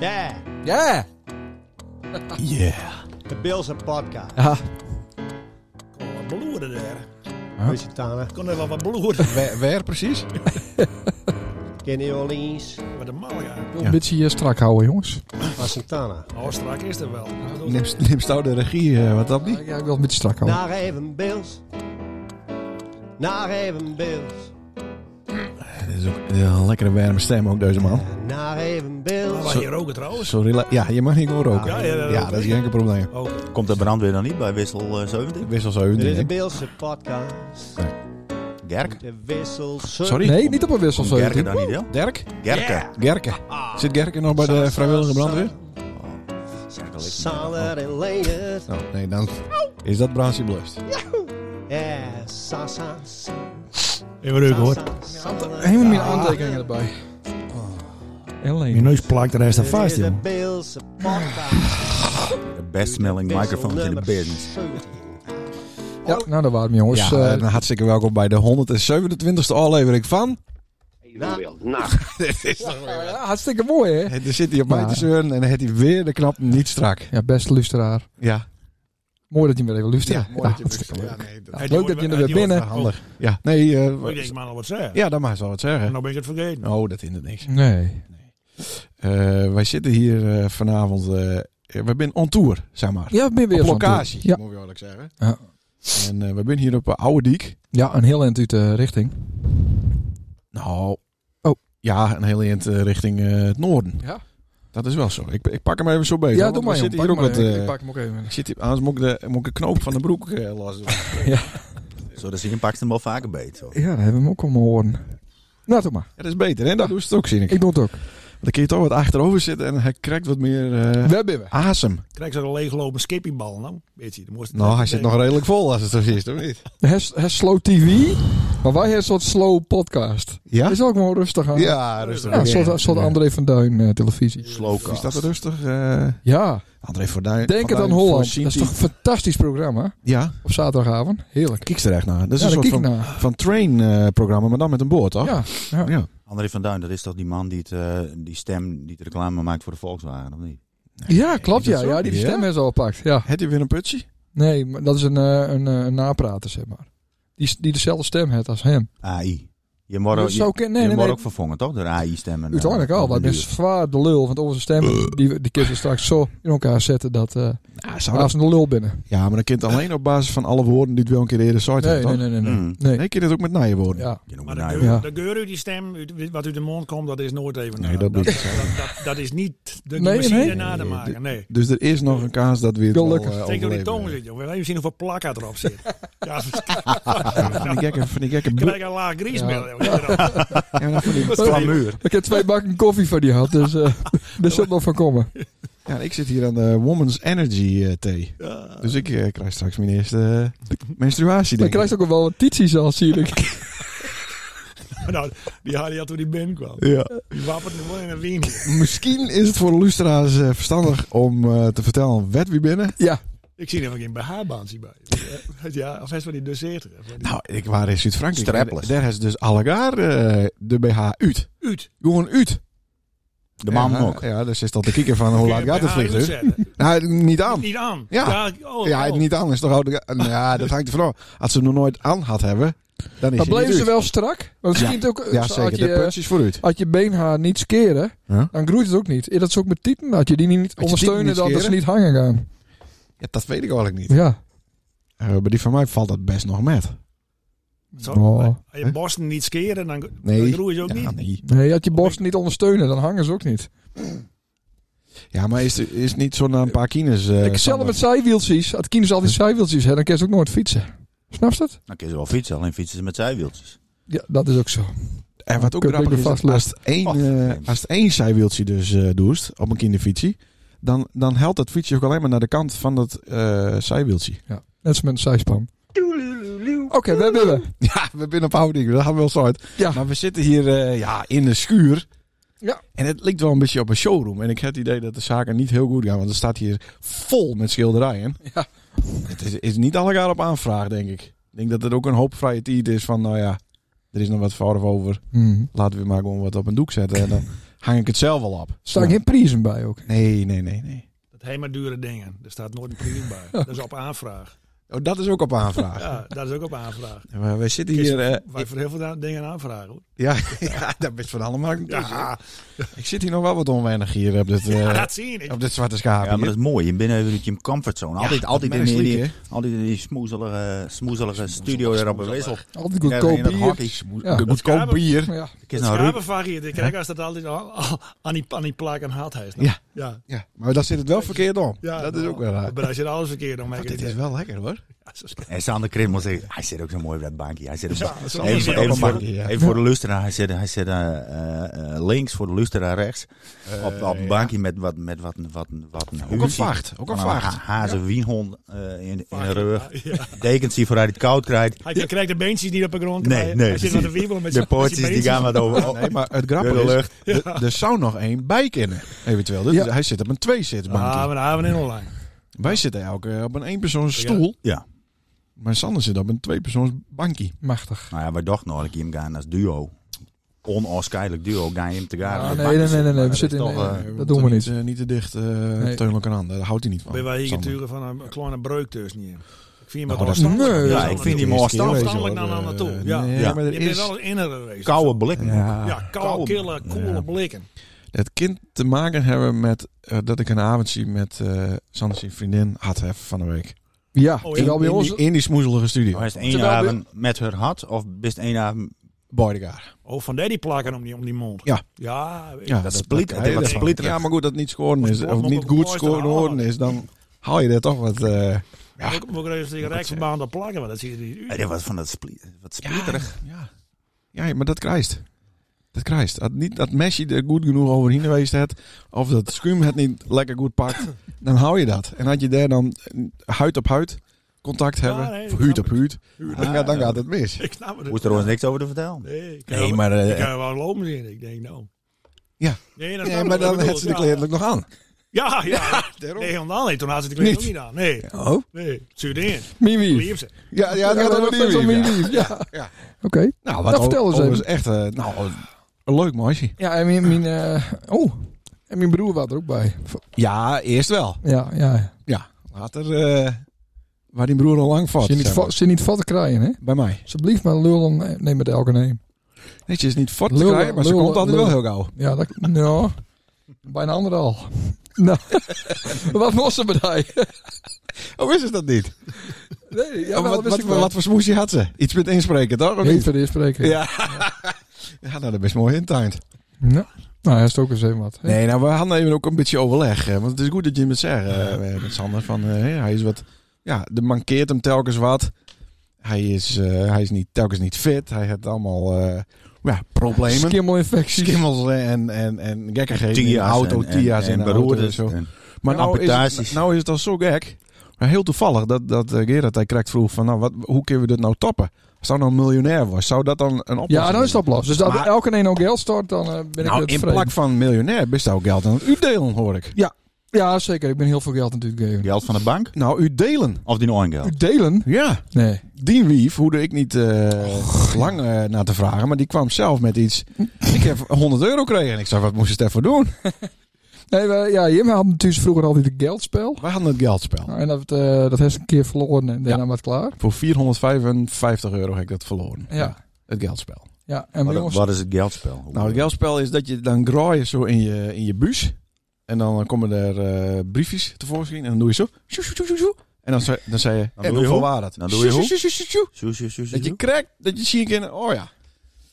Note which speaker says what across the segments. Speaker 1: Yeah,
Speaker 2: Yeah.
Speaker 3: Yeah.
Speaker 1: de Bills en podcast.
Speaker 2: Ja.
Speaker 3: Kon er wat bloeren daar.
Speaker 1: Huh? Lusitana,
Speaker 3: Kon er wel wat bloeren.
Speaker 4: Waar, waar precies?
Speaker 1: in New Orleans,
Speaker 3: Wat een mal, ja.
Speaker 2: Een beetje eh, strak houden, jongens.
Speaker 1: Wasentana.
Speaker 3: Oh, strak is er wel. Dat doet-
Speaker 4: Neemt neemt Stouw de regie, eh, wat dat
Speaker 2: Ja,
Speaker 4: niet?
Speaker 2: ik wil een beetje strak houden.
Speaker 1: Naar even Bills. Naar even Bills.
Speaker 4: Dat is ook een lekkere warme stem ook, deze man.
Speaker 1: Naar even
Speaker 3: Maar
Speaker 1: Bills.
Speaker 3: wij hier roken trouwens.
Speaker 4: Zo rela- ja, je mag niet gewoon roken.
Speaker 3: Ja,
Speaker 4: Ja,
Speaker 3: ja, ja,
Speaker 4: dat is geen enkel probleem.
Speaker 3: Ook.
Speaker 5: Komt de brandweer dan niet bij wissel eh, 17?
Speaker 4: Wissel zo hun
Speaker 1: Dit is de
Speaker 4: denk ik.
Speaker 1: Bills podcast.
Speaker 5: Gerk?
Speaker 1: De wissel.
Speaker 4: Sorry?
Speaker 2: Nee, niet op een wissel zo.
Speaker 5: Gerken dan niet, deel?
Speaker 4: Dirk?
Speaker 5: Gerken.
Speaker 4: Gerke. Zit Gerke nog bij de vrijwillige brandweer?
Speaker 1: Saler en Leijers.
Speaker 4: Oh, nee, dan is dat Braansie blust.
Speaker 1: Ja, sa, sa, sa,
Speaker 3: Even reuken hoor.
Speaker 1: sa, sa,
Speaker 2: Helemaal meer aantekeningen erbij.
Speaker 4: Oh.
Speaker 3: Je
Speaker 2: Alleen.
Speaker 3: neus plakt de rest aan
Speaker 1: Dit
Speaker 3: vast,
Speaker 1: is de
Speaker 3: joh.
Speaker 1: Bills podcast.
Speaker 5: De best smelling
Speaker 1: Wissel
Speaker 5: microphones in de
Speaker 1: nummer
Speaker 5: business.
Speaker 1: 17.
Speaker 2: Ja, nou, daar waren we, jongens.
Speaker 3: Dus,
Speaker 4: ja,
Speaker 2: Eh,
Speaker 4: en hartstikke welkom bij de 127e aflevering van...
Speaker 1: Na-
Speaker 4: nou.
Speaker 2: ja, hartstikke mooi, hè?
Speaker 4: Er zit hij op mij
Speaker 2: Ja.
Speaker 4: te zeuren en dan heeft hij weer de knap niet strak.
Speaker 2: Ja, beste luisteraar.
Speaker 4: Ja,
Speaker 2: Mooi dat je weer even luistert.
Speaker 4: mooi dat je
Speaker 2: hartstikke
Speaker 4: weer- ja,
Speaker 2: leuk.
Speaker 4: nee,
Speaker 2: Ja,
Speaker 4: dat-
Speaker 2: Leuk dat je er weer binnen.
Speaker 4: handig. Ja, nee... eh,
Speaker 3: Ik denk, maar al wat zeggen.
Speaker 4: ja, dat mag je wel wat
Speaker 3: En
Speaker 4: zeggen.
Speaker 3: nou ben ik het vergeten.
Speaker 4: Oh, dat hindert niks.
Speaker 2: Nee.
Speaker 4: Eh, wij zitten hier eh, vanavond. eh, we zijn on tour, zeg maar.
Speaker 2: Ja, ik ben weer
Speaker 4: op
Speaker 2: van toe.
Speaker 4: locatie,
Speaker 2: Ja.
Speaker 4: moet je eerlijk zeggen.
Speaker 2: Ja.
Speaker 4: En eh, we zijn hier op eh, Oude Diek.
Speaker 2: ja, een heel eind uit de richting.
Speaker 4: Nou,
Speaker 2: Oh.
Speaker 4: ja, een hele eind eh, richting eh, het noorden.
Speaker 2: Ja.
Speaker 4: Dat is wel zo. Ik, ik pak hem even zo bezig.
Speaker 2: Ja,
Speaker 4: want
Speaker 2: doe
Speaker 4: we
Speaker 2: maar,
Speaker 4: zitten
Speaker 2: jongen. Pak
Speaker 4: hier
Speaker 2: maar
Speaker 4: ook wat...
Speaker 2: even. Ik
Speaker 4: eh,
Speaker 2: pak hem ook even.
Speaker 4: ik zit hier, anders moet ik, de, moet ik een knoop van de broek eh los doen.
Speaker 5: Zodat ze inpakt hem wel vaker beet. Zo.
Speaker 2: Ja, daar hebben we hem ook al horen. Nou, doe maar.
Speaker 4: Ja, dat is beter, hè? Dat doe je het ook, zie ik.
Speaker 2: Ik doe het ook.
Speaker 4: Dan kun je toch wat achterover zitten en hij krijgt wat meer eh,
Speaker 2: Waar ben we?
Speaker 4: asem.
Speaker 3: Krijg ze een leeglopen skippiebal nou? Weet je, dan moest
Speaker 4: Nou, hij zit nog redelijk vol als het zo is, toch niet?
Speaker 2: Het is slow TV, maar wij hebben een soort slow podcast.
Speaker 4: Ja?
Speaker 2: Is ook gewoon rustig aan.
Speaker 4: Ja, rustig.
Speaker 2: Ja, een soort, een soort André van Duin eh, televisie.
Speaker 4: Is dat
Speaker 5: Slowcast.
Speaker 4: rustig? eh,
Speaker 2: Ja,
Speaker 4: André Forduin.
Speaker 2: denken aan
Speaker 4: Forduin,
Speaker 2: Holland.
Speaker 4: Forsyth.
Speaker 2: Dat is toch een fantastisch programma
Speaker 4: Ja,
Speaker 2: op zaterdagavond. Heerlijk.
Speaker 4: kijk er echt naar. Dat is
Speaker 2: ja,
Speaker 4: een
Speaker 2: daar
Speaker 4: soort
Speaker 2: kijk ik
Speaker 4: van,
Speaker 2: naar.
Speaker 4: van train-programma, maar dan met een boord, toch?
Speaker 2: Ja, ja.
Speaker 4: Ja.
Speaker 5: André van Duin, dat is toch die man die, het, eh, die stem, die de reclame maakt voor de Volkswagen, of niet?
Speaker 2: ja, klopt.
Speaker 4: Is
Speaker 2: Ja,
Speaker 4: dat zo?
Speaker 2: ja, die
Speaker 4: Ja?
Speaker 2: stem is al gepakt. Ja.
Speaker 4: Had hij weer een putje?
Speaker 2: Nee, maar dat is een, eh, een, eh, een naprater, zeg maar. Die, s- die dezelfde stem heeft als hem.
Speaker 5: AI. Je moet,
Speaker 2: Dus zo
Speaker 5: je,
Speaker 2: ken,
Speaker 5: je
Speaker 2: nee, nee,
Speaker 5: moet
Speaker 2: nee.
Speaker 5: ook vervangen, toch? Door AI-stemmen.
Speaker 2: Uiteindelijk al.
Speaker 5: wat
Speaker 2: Dat is zwaar de lul. Want onze stem, die, die kun je straks zo in elkaar zetten dat eh
Speaker 4: Ja,
Speaker 2: als een lul binnen.
Speaker 4: ja, maar dan kind alleen op basis van alle woorden die het wel een keer eerder site
Speaker 2: Nee, nee,
Speaker 4: toch?
Speaker 2: nee. nee, nee.
Speaker 5: Mm.
Speaker 2: nee.
Speaker 4: Nee, kun je dat ook met naaien woorden?
Speaker 2: Ja.
Speaker 3: Maar
Speaker 5: Maar
Speaker 3: de
Speaker 5: nou,
Speaker 3: geur,
Speaker 2: Ja.
Speaker 3: de geur uit die stem, uit- wat uit de mond komt, dat is nooit even. eh,
Speaker 4: Nee, dat
Speaker 3: dat,
Speaker 4: doet
Speaker 3: dat,
Speaker 4: het
Speaker 3: dat, dat is niet de
Speaker 2: Nee,
Speaker 3: machine
Speaker 2: nee.
Speaker 3: na te maken. Nee.
Speaker 4: Dus er is nog een kaas dat weer
Speaker 2: Gelukkig.
Speaker 3: Steek door die tong zit, jongen. Even zien hoeveel plakka erop zit. Ja,
Speaker 4: Van die gekke, van die gekke
Speaker 3: ik
Speaker 4: bu-
Speaker 3: krijg een laag griesmeel.
Speaker 2: Ja.
Speaker 3: jongen.
Speaker 4: ja, van die-
Speaker 5: Plamuur.
Speaker 2: Ik heb twee bakken koffie van die had, dus eh daar zult nog van komen.
Speaker 4: ja, ik zit hier aan de Woman's Energy eh, thee.
Speaker 3: Ja.
Speaker 4: Dus ik eh, krijg straks mijn eerste eh, menstruatie,
Speaker 2: Dan
Speaker 4: denk
Speaker 2: krijg
Speaker 4: ik.
Speaker 2: je ook wel wat tities al, zie ik.
Speaker 3: Nou, die Harry had toen die binnenkwam.
Speaker 4: Ja.
Speaker 3: Die wappert nog wel in een wien.
Speaker 4: Misschien is het voor de luisteraars eh, verstandig om eh, te vertellen wat we binnen.
Speaker 2: Ja,
Speaker 3: Ik zie er nog geen BH-baantje bij. Eh, Ja, of hij is wel die doseert.
Speaker 4: Nou, ik was in Zuid-Frankrijk.
Speaker 5: Strapless.
Speaker 4: En Daar is dus allegaar eh, de BH uit.
Speaker 3: Uit.
Speaker 4: Gewoon uit.
Speaker 5: De man
Speaker 4: ja,
Speaker 5: ook.
Speaker 4: Ja, dus is dat de kikker van hoe laat gaat het
Speaker 2: dus-
Speaker 4: vliegtuig? Nou, niet aan.
Speaker 3: Niet aan.
Speaker 4: Ja.
Speaker 3: oh,
Speaker 4: Ja,
Speaker 3: oh.
Speaker 4: niet aan is toch oude... Nou Ja, dat hangt er vanaf. Als ze hem nog nooit aan had hebben, dan is
Speaker 2: maar
Speaker 4: hij
Speaker 2: bleven
Speaker 4: niet
Speaker 2: ze
Speaker 4: uit.
Speaker 2: wel strak? Want het schiet ook, eh,
Speaker 4: Ja,
Speaker 2: als
Speaker 4: zeker.
Speaker 2: je,
Speaker 4: De punch is vooruit.
Speaker 2: als je beenhaar niet skeren,
Speaker 4: Ja.
Speaker 2: dan groeit het ook niet. Is Dat is ook met tieten, dat je die niet
Speaker 4: tieten
Speaker 2: ondersteunen,
Speaker 4: niet
Speaker 2: dan dat ze
Speaker 4: skeren?
Speaker 2: niet hangen gaan.
Speaker 4: Ja, dat weet ik eigenlijk niet.
Speaker 2: Ja.
Speaker 4: Eh, maar die van mij valt dat best nog met.
Speaker 3: Zo, eh,
Speaker 2: Oh.
Speaker 3: Als je borsten niet skeren, dan,
Speaker 4: Nee.
Speaker 3: dan groeien ze ook
Speaker 4: Ja,
Speaker 3: niet.
Speaker 4: nee.
Speaker 2: Nee, als je borst niet ondersteunen, dan hangen ze ook niet.
Speaker 4: ja maar is, is het niet zo na een paar kines... eh,
Speaker 2: ik zelf
Speaker 4: Sander?
Speaker 2: met zijwieltjes, als kinders altijd zijwieltjes hebben, dan kun je ze ook nooit fietsen. Snap je dat?
Speaker 5: Dan kun je Nou, wel fietsen, alleen fietsen ze met zijwieltjes.
Speaker 2: Ja, dat is ook zo.
Speaker 4: En wat ook
Speaker 2: Kut,
Speaker 4: grappig
Speaker 2: ik
Speaker 4: is,
Speaker 2: ben
Speaker 4: dat als het één,
Speaker 5: Och,
Speaker 4: eh,
Speaker 5: nee.
Speaker 4: als het één zijwieltje dus eh doest op een kinderfietsie, dan, dan helpt dat fietsje ook alleen maar naar de kant van dat eh zijwieltje.
Speaker 2: Net als met een zijspan. Oké, we hebben we.
Speaker 4: Ja, we zijn op houding, dat gaan we wel zo uit.
Speaker 2: Ja.
Speaker 4: Maar we zitten hier eh, ja, in de schuur.
Speaker 2: Ja.
Speaker 4: En het lijkt wel een beetje op een showroom. En ik heb het idee dat de zaken niet heel goed gaan, want er staat hier vol met schilderijen.
Speaker 2: Ja.
Speaker 4: Het is, is niet allegaar op aanvraag, denk ik. Ik denk dat het ook een hoop vrije tijd is van, nou ja, er is nog wat voor of over.
Speaker 2: Hmm.
Speaker 4: Laten we maar gewoon wat op een doek zetten. En dan hang ik het zelf wel op.
Speaker 2: Staan geen prijzen bij ook.
Speaker 4: Nee, nee, nee, nee.
Speaker 3: Dat helemaal dure dingen. Er staat nooit een prijs bij. Dat is op aanvraag.
Speaker 4: Oh, dat is ook op aanvraag.
Speaker 3: Ja, dat is ook op aanvraag.
Speaker 4: We, we zitten
Speaker 3: Kies-
Speaker 4: hier... eh,
Speaker 3: Wij voor heel veel da- dingen aanvragen hoor.
Speaker 4: ja, ja, dat is van allemaal.
Speaker 3: Ja,
Speaker 4: Ik zit hier nog wel wat onwennig hier op dit, eh,
Speaker 3: dat zie je niet.
Speaker 4: op dit zwarte schaap.
Speaker 5: Ja, maar
Speaker 4: hier.
Speaker 5: dat is mooi. Je bent even uit je comfortzone. Altijd,
Speaker 4: Ja,
Speaker 5: altijd
Speaker 4: dat
Speaker 5: in die,
Speaker 4: menselijk,
Speaker 5: die, altijd in die smoezelige, smoezelige studio daar op een wissel.
Speaker 2: Altijd
Speaker 5: Ja, in
Speaker 2: goedkoop
Speaker 5: dat
Speaker 2: bier.
Speaker 5: hockey.
Speaker 2: Ja.
Speaker 4: Een goedkoop
Speaker 3: schapen-
Speaker 4: bier.
Speaker 2: Ja.
Speaker 5: Ik
Speaker 3: Het
Speaker 5: is nou ruik.
Speaker 3: schapenvak hier, ik kijk als dat altijd al, al aan, die, aan die plaak en haat heeft.
Speaker 4: Ja.
Speaker 3: nou. ja. nou,
Speaker 4: Ja, maar daar zit het wel verkeerd om. dat is ook wel raar.
Speaker 3: Maar als je alles verkeerd om maakt,
Speaker 4: Dit is wel lekker hoor.
Speaker 5: En Sander Krimmel zegt, hij zit ook zo mooi op dat bankje. Hij zit op
Speaker 3: Ja, Sander
Speaker 5: even,
Speaker 3: zit
Speaker 5: even
Speaker 3: op dat
Speaker 5: voor-
Speaker 4: bankje, ja.
Speaker 5: even voor de luisteraar. Hij zit, hij zit eh, eh, eh, links, voor de luisteraar rechts. op, op een bankje met wat, met wat, wat, wat een
Speaker 4: Ook een
Speaker 5: huurtje.
Speaker 4: vacht. Ook een
Speaker 5: Van
Speaker 4: vacht.
Speaker 5: ha- Hazen, wienhond eh, in, in de rug.
Speaker 3: Ja.
Speaker 5: Dekens die vooruit het koud krijgt.
Speaker 3: Hij krijgt de beentjes niet op de grond.
Speaker 5: Nee,
Speaker 3: hij,
Speaker 5: nee,
Speaker 3: Hij zit aan de wiebel met
Speaker 5: De
Speaker 3: zijn met
Speaker 5: poortjes
Speaker 3: zijn
Speaker 5: die gaan
Speaker 3: beentjes.
Speaker 5: wat over.
Speaker 4: Nee, maar het
Speaker 5: door de
Speaker 4: grappige is,
Speaker 5: lucht.
Speaker 4: de- er zou nog één bij kunnen, eventueel. Dus
Speaker 2: Ja.
Speaker 4: Hij zit op een tweezitsbankje.
Speaker 3: Ah, maar daar hebben we heel lang.
Speaker 4: Wij zitten elke op een eenpersoons stoel.
Speaker 5: Ja.
Speaker 4: Maar Sander zit op een tweepersoons bankje.
Speaker 2: Machtig.
Speaker 5: Nou ja, we dachten nog dat ik hem gaan als duo. Onoorscheidelijk duo. Gaan hem te gaan.
Speaker 2: Ah,
Speaker 5: op de
Speaker 2: nee,
Speaker 5: bank
Speaker 2: nee, nee, nee,
Speaker 5: zitten.
Speaker 2: nee, we zitten
Speaker 5: Maar dat
Speaker 2: in,
Speaker 5: is toch,
Speaker 2: eh,
Speaker 5: eh,
Speaker 2: Dat
Speaker 4: Eh, we
Speaker 2: doen we
Speaker 4: moeten
Speaker 2: niet.
Speaker 4: eh, niet te dicht eh teun elkaar aan. Daar houdt hij niet van.
Speaker 3: Ben wij hier
Speaker 4: Sander.
Speaker 3: natuurlijk van een kleine breuk tussen hier. Ik vind hem
Speaker 4: Nou,
Speaker 3: wat
Speaker 4: dat
Speaker 2: is- Nee,
Speaker 5: ja, ik vind die mooi
Speaker 4: Eerste keer
Speaker 5: staan.
Speaker 4: wezen,
Speaker 3: Afstandelijk
Speaker 4: hoor.
Speaker 3: naar
Speaker 4: Eh,
Speaker 3: naartoe. Ja.
Speaker 4: nee,
Speaker 5: Ja.
Speaker 4: maar er
Speaker 3: Je bent
Speaker 4: is-
Speaker 3: wel een innere race.
Speaker 5: eh, Koude blikken.
Speaker 4: Ja.
Speaker 3: Ja, koude, kille, koele
Speaker 5: Ja.
Speaker 3: blikken.
Speaker 4: Het kind te maken hebben met eh, dat ik een avondje met eh Sander zijn vriendin had hè, van de week.
Speaker 2: Ja,
Speaker 3: Oh, ja.
Speaker 2: terwijl bij
Speaker 4: in,
Speaker 2: ons...
Speaker 4: die, in die smoezelige studio.
Speaker 5: Is het één
Speaker 2: Terwijl we-
Speaker 5: avond met haar had of best één avond
Speaker 4: Boydegaard.
Speaker 3: Oh, van daar die plakken om die, om die mond.
Speaker 4: Ja.
Speaker 3: Ja, ik-
Speaker 4: Ja,
Speaker 5: Dat split-
Speaker 4: kan
Speaker 5: het
Speaker 4: je
Speaker 5: wat
Speaker 4: ervan.
Speaker 5: splitterig.
Speaker 4: Ja, maar goed, dat niet scoren is,
Speaker 3: Sport
Speaker 4: of
Speaker 3: moet
Speaker 4: niet
Speaker 3: op
Speaker 4: goed
Speaker 3: het mooiste
Speaker 4: scoren worden
Speaker 3: halen.
Speaker 4: is, dan haal je daar toch wat... eh, Ja.
Speaker 3: Ook ook even tegen Rijksverbaan te plakken, want dat zie je niet.
Speaker 5: Ja,
Speaker 3: uit.
Speaker 5: dit was van dat split, wat splitterig.
Speaker 4: Ja. ja, maar dat krijgt. Dat krijgt. Dat, niet, dat Messi er goed genoeg overheen geweest had, of dat Schuum het niet lekker goed pakt, dan hou je dat. En had je daar dan huid op huid contact
Speaker 3: Ja,
Speaker 4: hebben,
Speaker 3: nee,
Speaker 4: of huid op
Speaker 3: snap
Speaker 4: huid,
Speaker 3: Huid.
Speaker 4: dan, gaat- dan gaat het mis.
Speaker 3: Ik snap het.
Speaker 5: Moest er ons niks over te vertellen.
Speaker 3: Nee, ik kan
Speaker 5: Nee,
Speaker 3: wel-
Speaker 5: maar eh,
Speaker 3: ik kan wel lopen zien. Ik denk, nou.
Speaker 4: Ja.
Speaker 3: Nee, dat
Speaker 4: Ja,
Speaker 3: snap
Speaker 4: maar
Speaker 3: ik wel.
Speaker 4: dan
Speaker 3: Ik
Speaker 4: had ze de
Speaker 3: bedoel, ja.
Speaker 4: kleren ook nog aan.
Speaker 3: Ja, ja.
Speaker 4: daarom.
Speaker 3: Nee, helemaal niet. Toen had ze de kleren
Speaker 4: Niet.
Speaker 3: ook niet aan. Nee,
Speaker 4: Oh?
Speaker 3: nee. Zuidin.
Speaker 2: Mimi.
Speaker 3: Liefste.
Speaker 4: Ja, ja, dat gaat ook niet
Speaker 2: om
Speaker 4: meer.
Speaker 2: Mimi. Ja.
Speaker 4: Ja.
Speaker 2: Oké.
Speaker 4: Nou, wat
Speaker 2: Dat vertel eens
Speaker 4: over- overigens echt eh, nou, een leuk meisje.
Speaker 2: Ja, en mijn... mijn eh, oh. En mijn broer was er ook bij.
Speaker 4: Ja, eerst wel.
Speaker 2: Ja, ja.
Speaker 4: Later, eh, waar die broer al lang vat.
Speaker 2: Ze niet,
Speaker 4: zeg maar.
Speaker 2: vo- ze niet vat te krijgen, hè?
Speaker 4: Bij mij.
Speaker 2: Ze blieft maar lullen. Neem met elke neem.
Speaker 4: Nee, ze is niet fort te
Speaker 2: Lul-
Speaker 4: krijgen, maar ze
Speaker 2: lul-
Speaker 4: komt altijd
Speaker 2: lul-
Speaker 4: wel heel gauw.
Speaker 2: Ja, dat... Nou. Bijna anderhalf. Nou. Wat moest ze bij mij?
Speaker 4: Oh, is het dat niet?
Speaker 2: Nee, ja, wel,
Speaker 4: Oh, wat,
Speaker 2: wist
Speaker 4: wat,
Speaker 2: ik wel.
Speaker 4: wat voor smoesje had ze? Iets met inspreken, toch? Of
Speaker 2: Niet
Speaker 4: niet?
Speaker 2: voor de eerst spreken.
Speaker 4: Ja. ja, nou, dat is mooi intimed.
Speaker 2: Nou, nou, hij is ook eens even wat. hè?
Speaker 4: Nee, nou, we hadden even ook een beetje overleg. eh, Want het is goed dat je het zegt, eh, eh, met Sander. Van, eh, hij is wat... Ja, er mankeert hem telkens wat. Hij is, eh, hij is niet, telkens niet fit. Hij heeft allemaal eh, ja, problemen.
Speaker 2: Skimmelinfecties.
Speaker 4: Schimmels en, en, en gekkigheden in de
Speaker 5: Tia's
Speaker 4: auto,
Speaker 5: en- en-
Speaker 4: Tia's en,
Speaker 5: en
Speaker 4: de auto en
Speaker 5: beroerdes.
Speaker 4: zo.
Speaker 5: En-
Speaker 4: Maar nou is, het,
Speaker 5: Amputaties.
Speaker 4: nou is het al zo gek. Maar heel toevallig dat, dat eh, Gerard hij krijgt vroeg van nou, wat, hoe kunnen we dit nou toppen? Als dat nou een miljonair was, zou dat dan een oplossing
Speaker 2: Ja, dan is
Speaker 4: zijn?
Speaker 2: dat los. Dus als
Speaker 4: Maar-
Speaker 2: elke een ook geld stort, dan eh, ben
Speaker 4: nou,
Speaker 2: ik
Speaker 4: in
Speaker 2: het tevreden.
Speaker 4: plak van miljonair best ook geld aan het uitdelen, hoor ik.
Speaker 2: Ja, zeker. Ik ben heel veel geld natuurlijk eh, gegeven.
Speaker 5: Geld van de bank?
Speaker 4: Nou, uitdelen.
Speaker 5: Of die nog een geld?
Speaker 2: Delen?
Speaker 4: Ja,
Speaker 2: Nee.
Speaker 4: die wief hoefde ik niet eh, lang eh, naar te vragen, maar die kwam zelf met iets. ik heb 100 euro gekregen en ik zei, wat moest je het even doen?
Speaker 2: Nee, we, ja, Jim had natuurlijk vroeger altijd het geldspel.
Speaker 4: We hadden het geldspel.
Speaker 2: Nou, en dat, eh, dat heeft ze een keer verloren en daarna
Speaker 4: Ja.
Speaker 2: was het klaar.
Speaker 4: Voor 455 euro heb ik dat verloren.
Speaker 2: Ja.
Speaker 4: Het geldspel.
Speaker 2: Ja, en bij
Speaker 5: Wat,
Speaker 2: ons...
Speaker 5: wat is het geldspel? Hoe-
Speaker 4: Nou, het geldspel is dat je dan graaien zo in je, in je buis. En dan komen er eh, briefjes tevoorschijn. En dan doe je zo. Sjoe, sjoe, sjoe, sjoe, sjoe. En dan, zei- dan zei je.
Speaker 5: doe
Speaker 4: en
Speaker 5: je
Speaker 4: hoeveel
Speaker 5: hoe?
Speaker 4: waren dat?
Speaker 5: Dan doe je
Speaker 4: Sjoe,
Speaker 5: hoe?
Speaker 4: sjoe, sjoe, sjoe, sjoe.
Speaker 5: Sjoe, sjoe, sjoe, sjoe,
Speaker 4: Dat je
Speaker 5: sjoe.
Speaker 4: krijgt, dat je ziet in. Oh ja.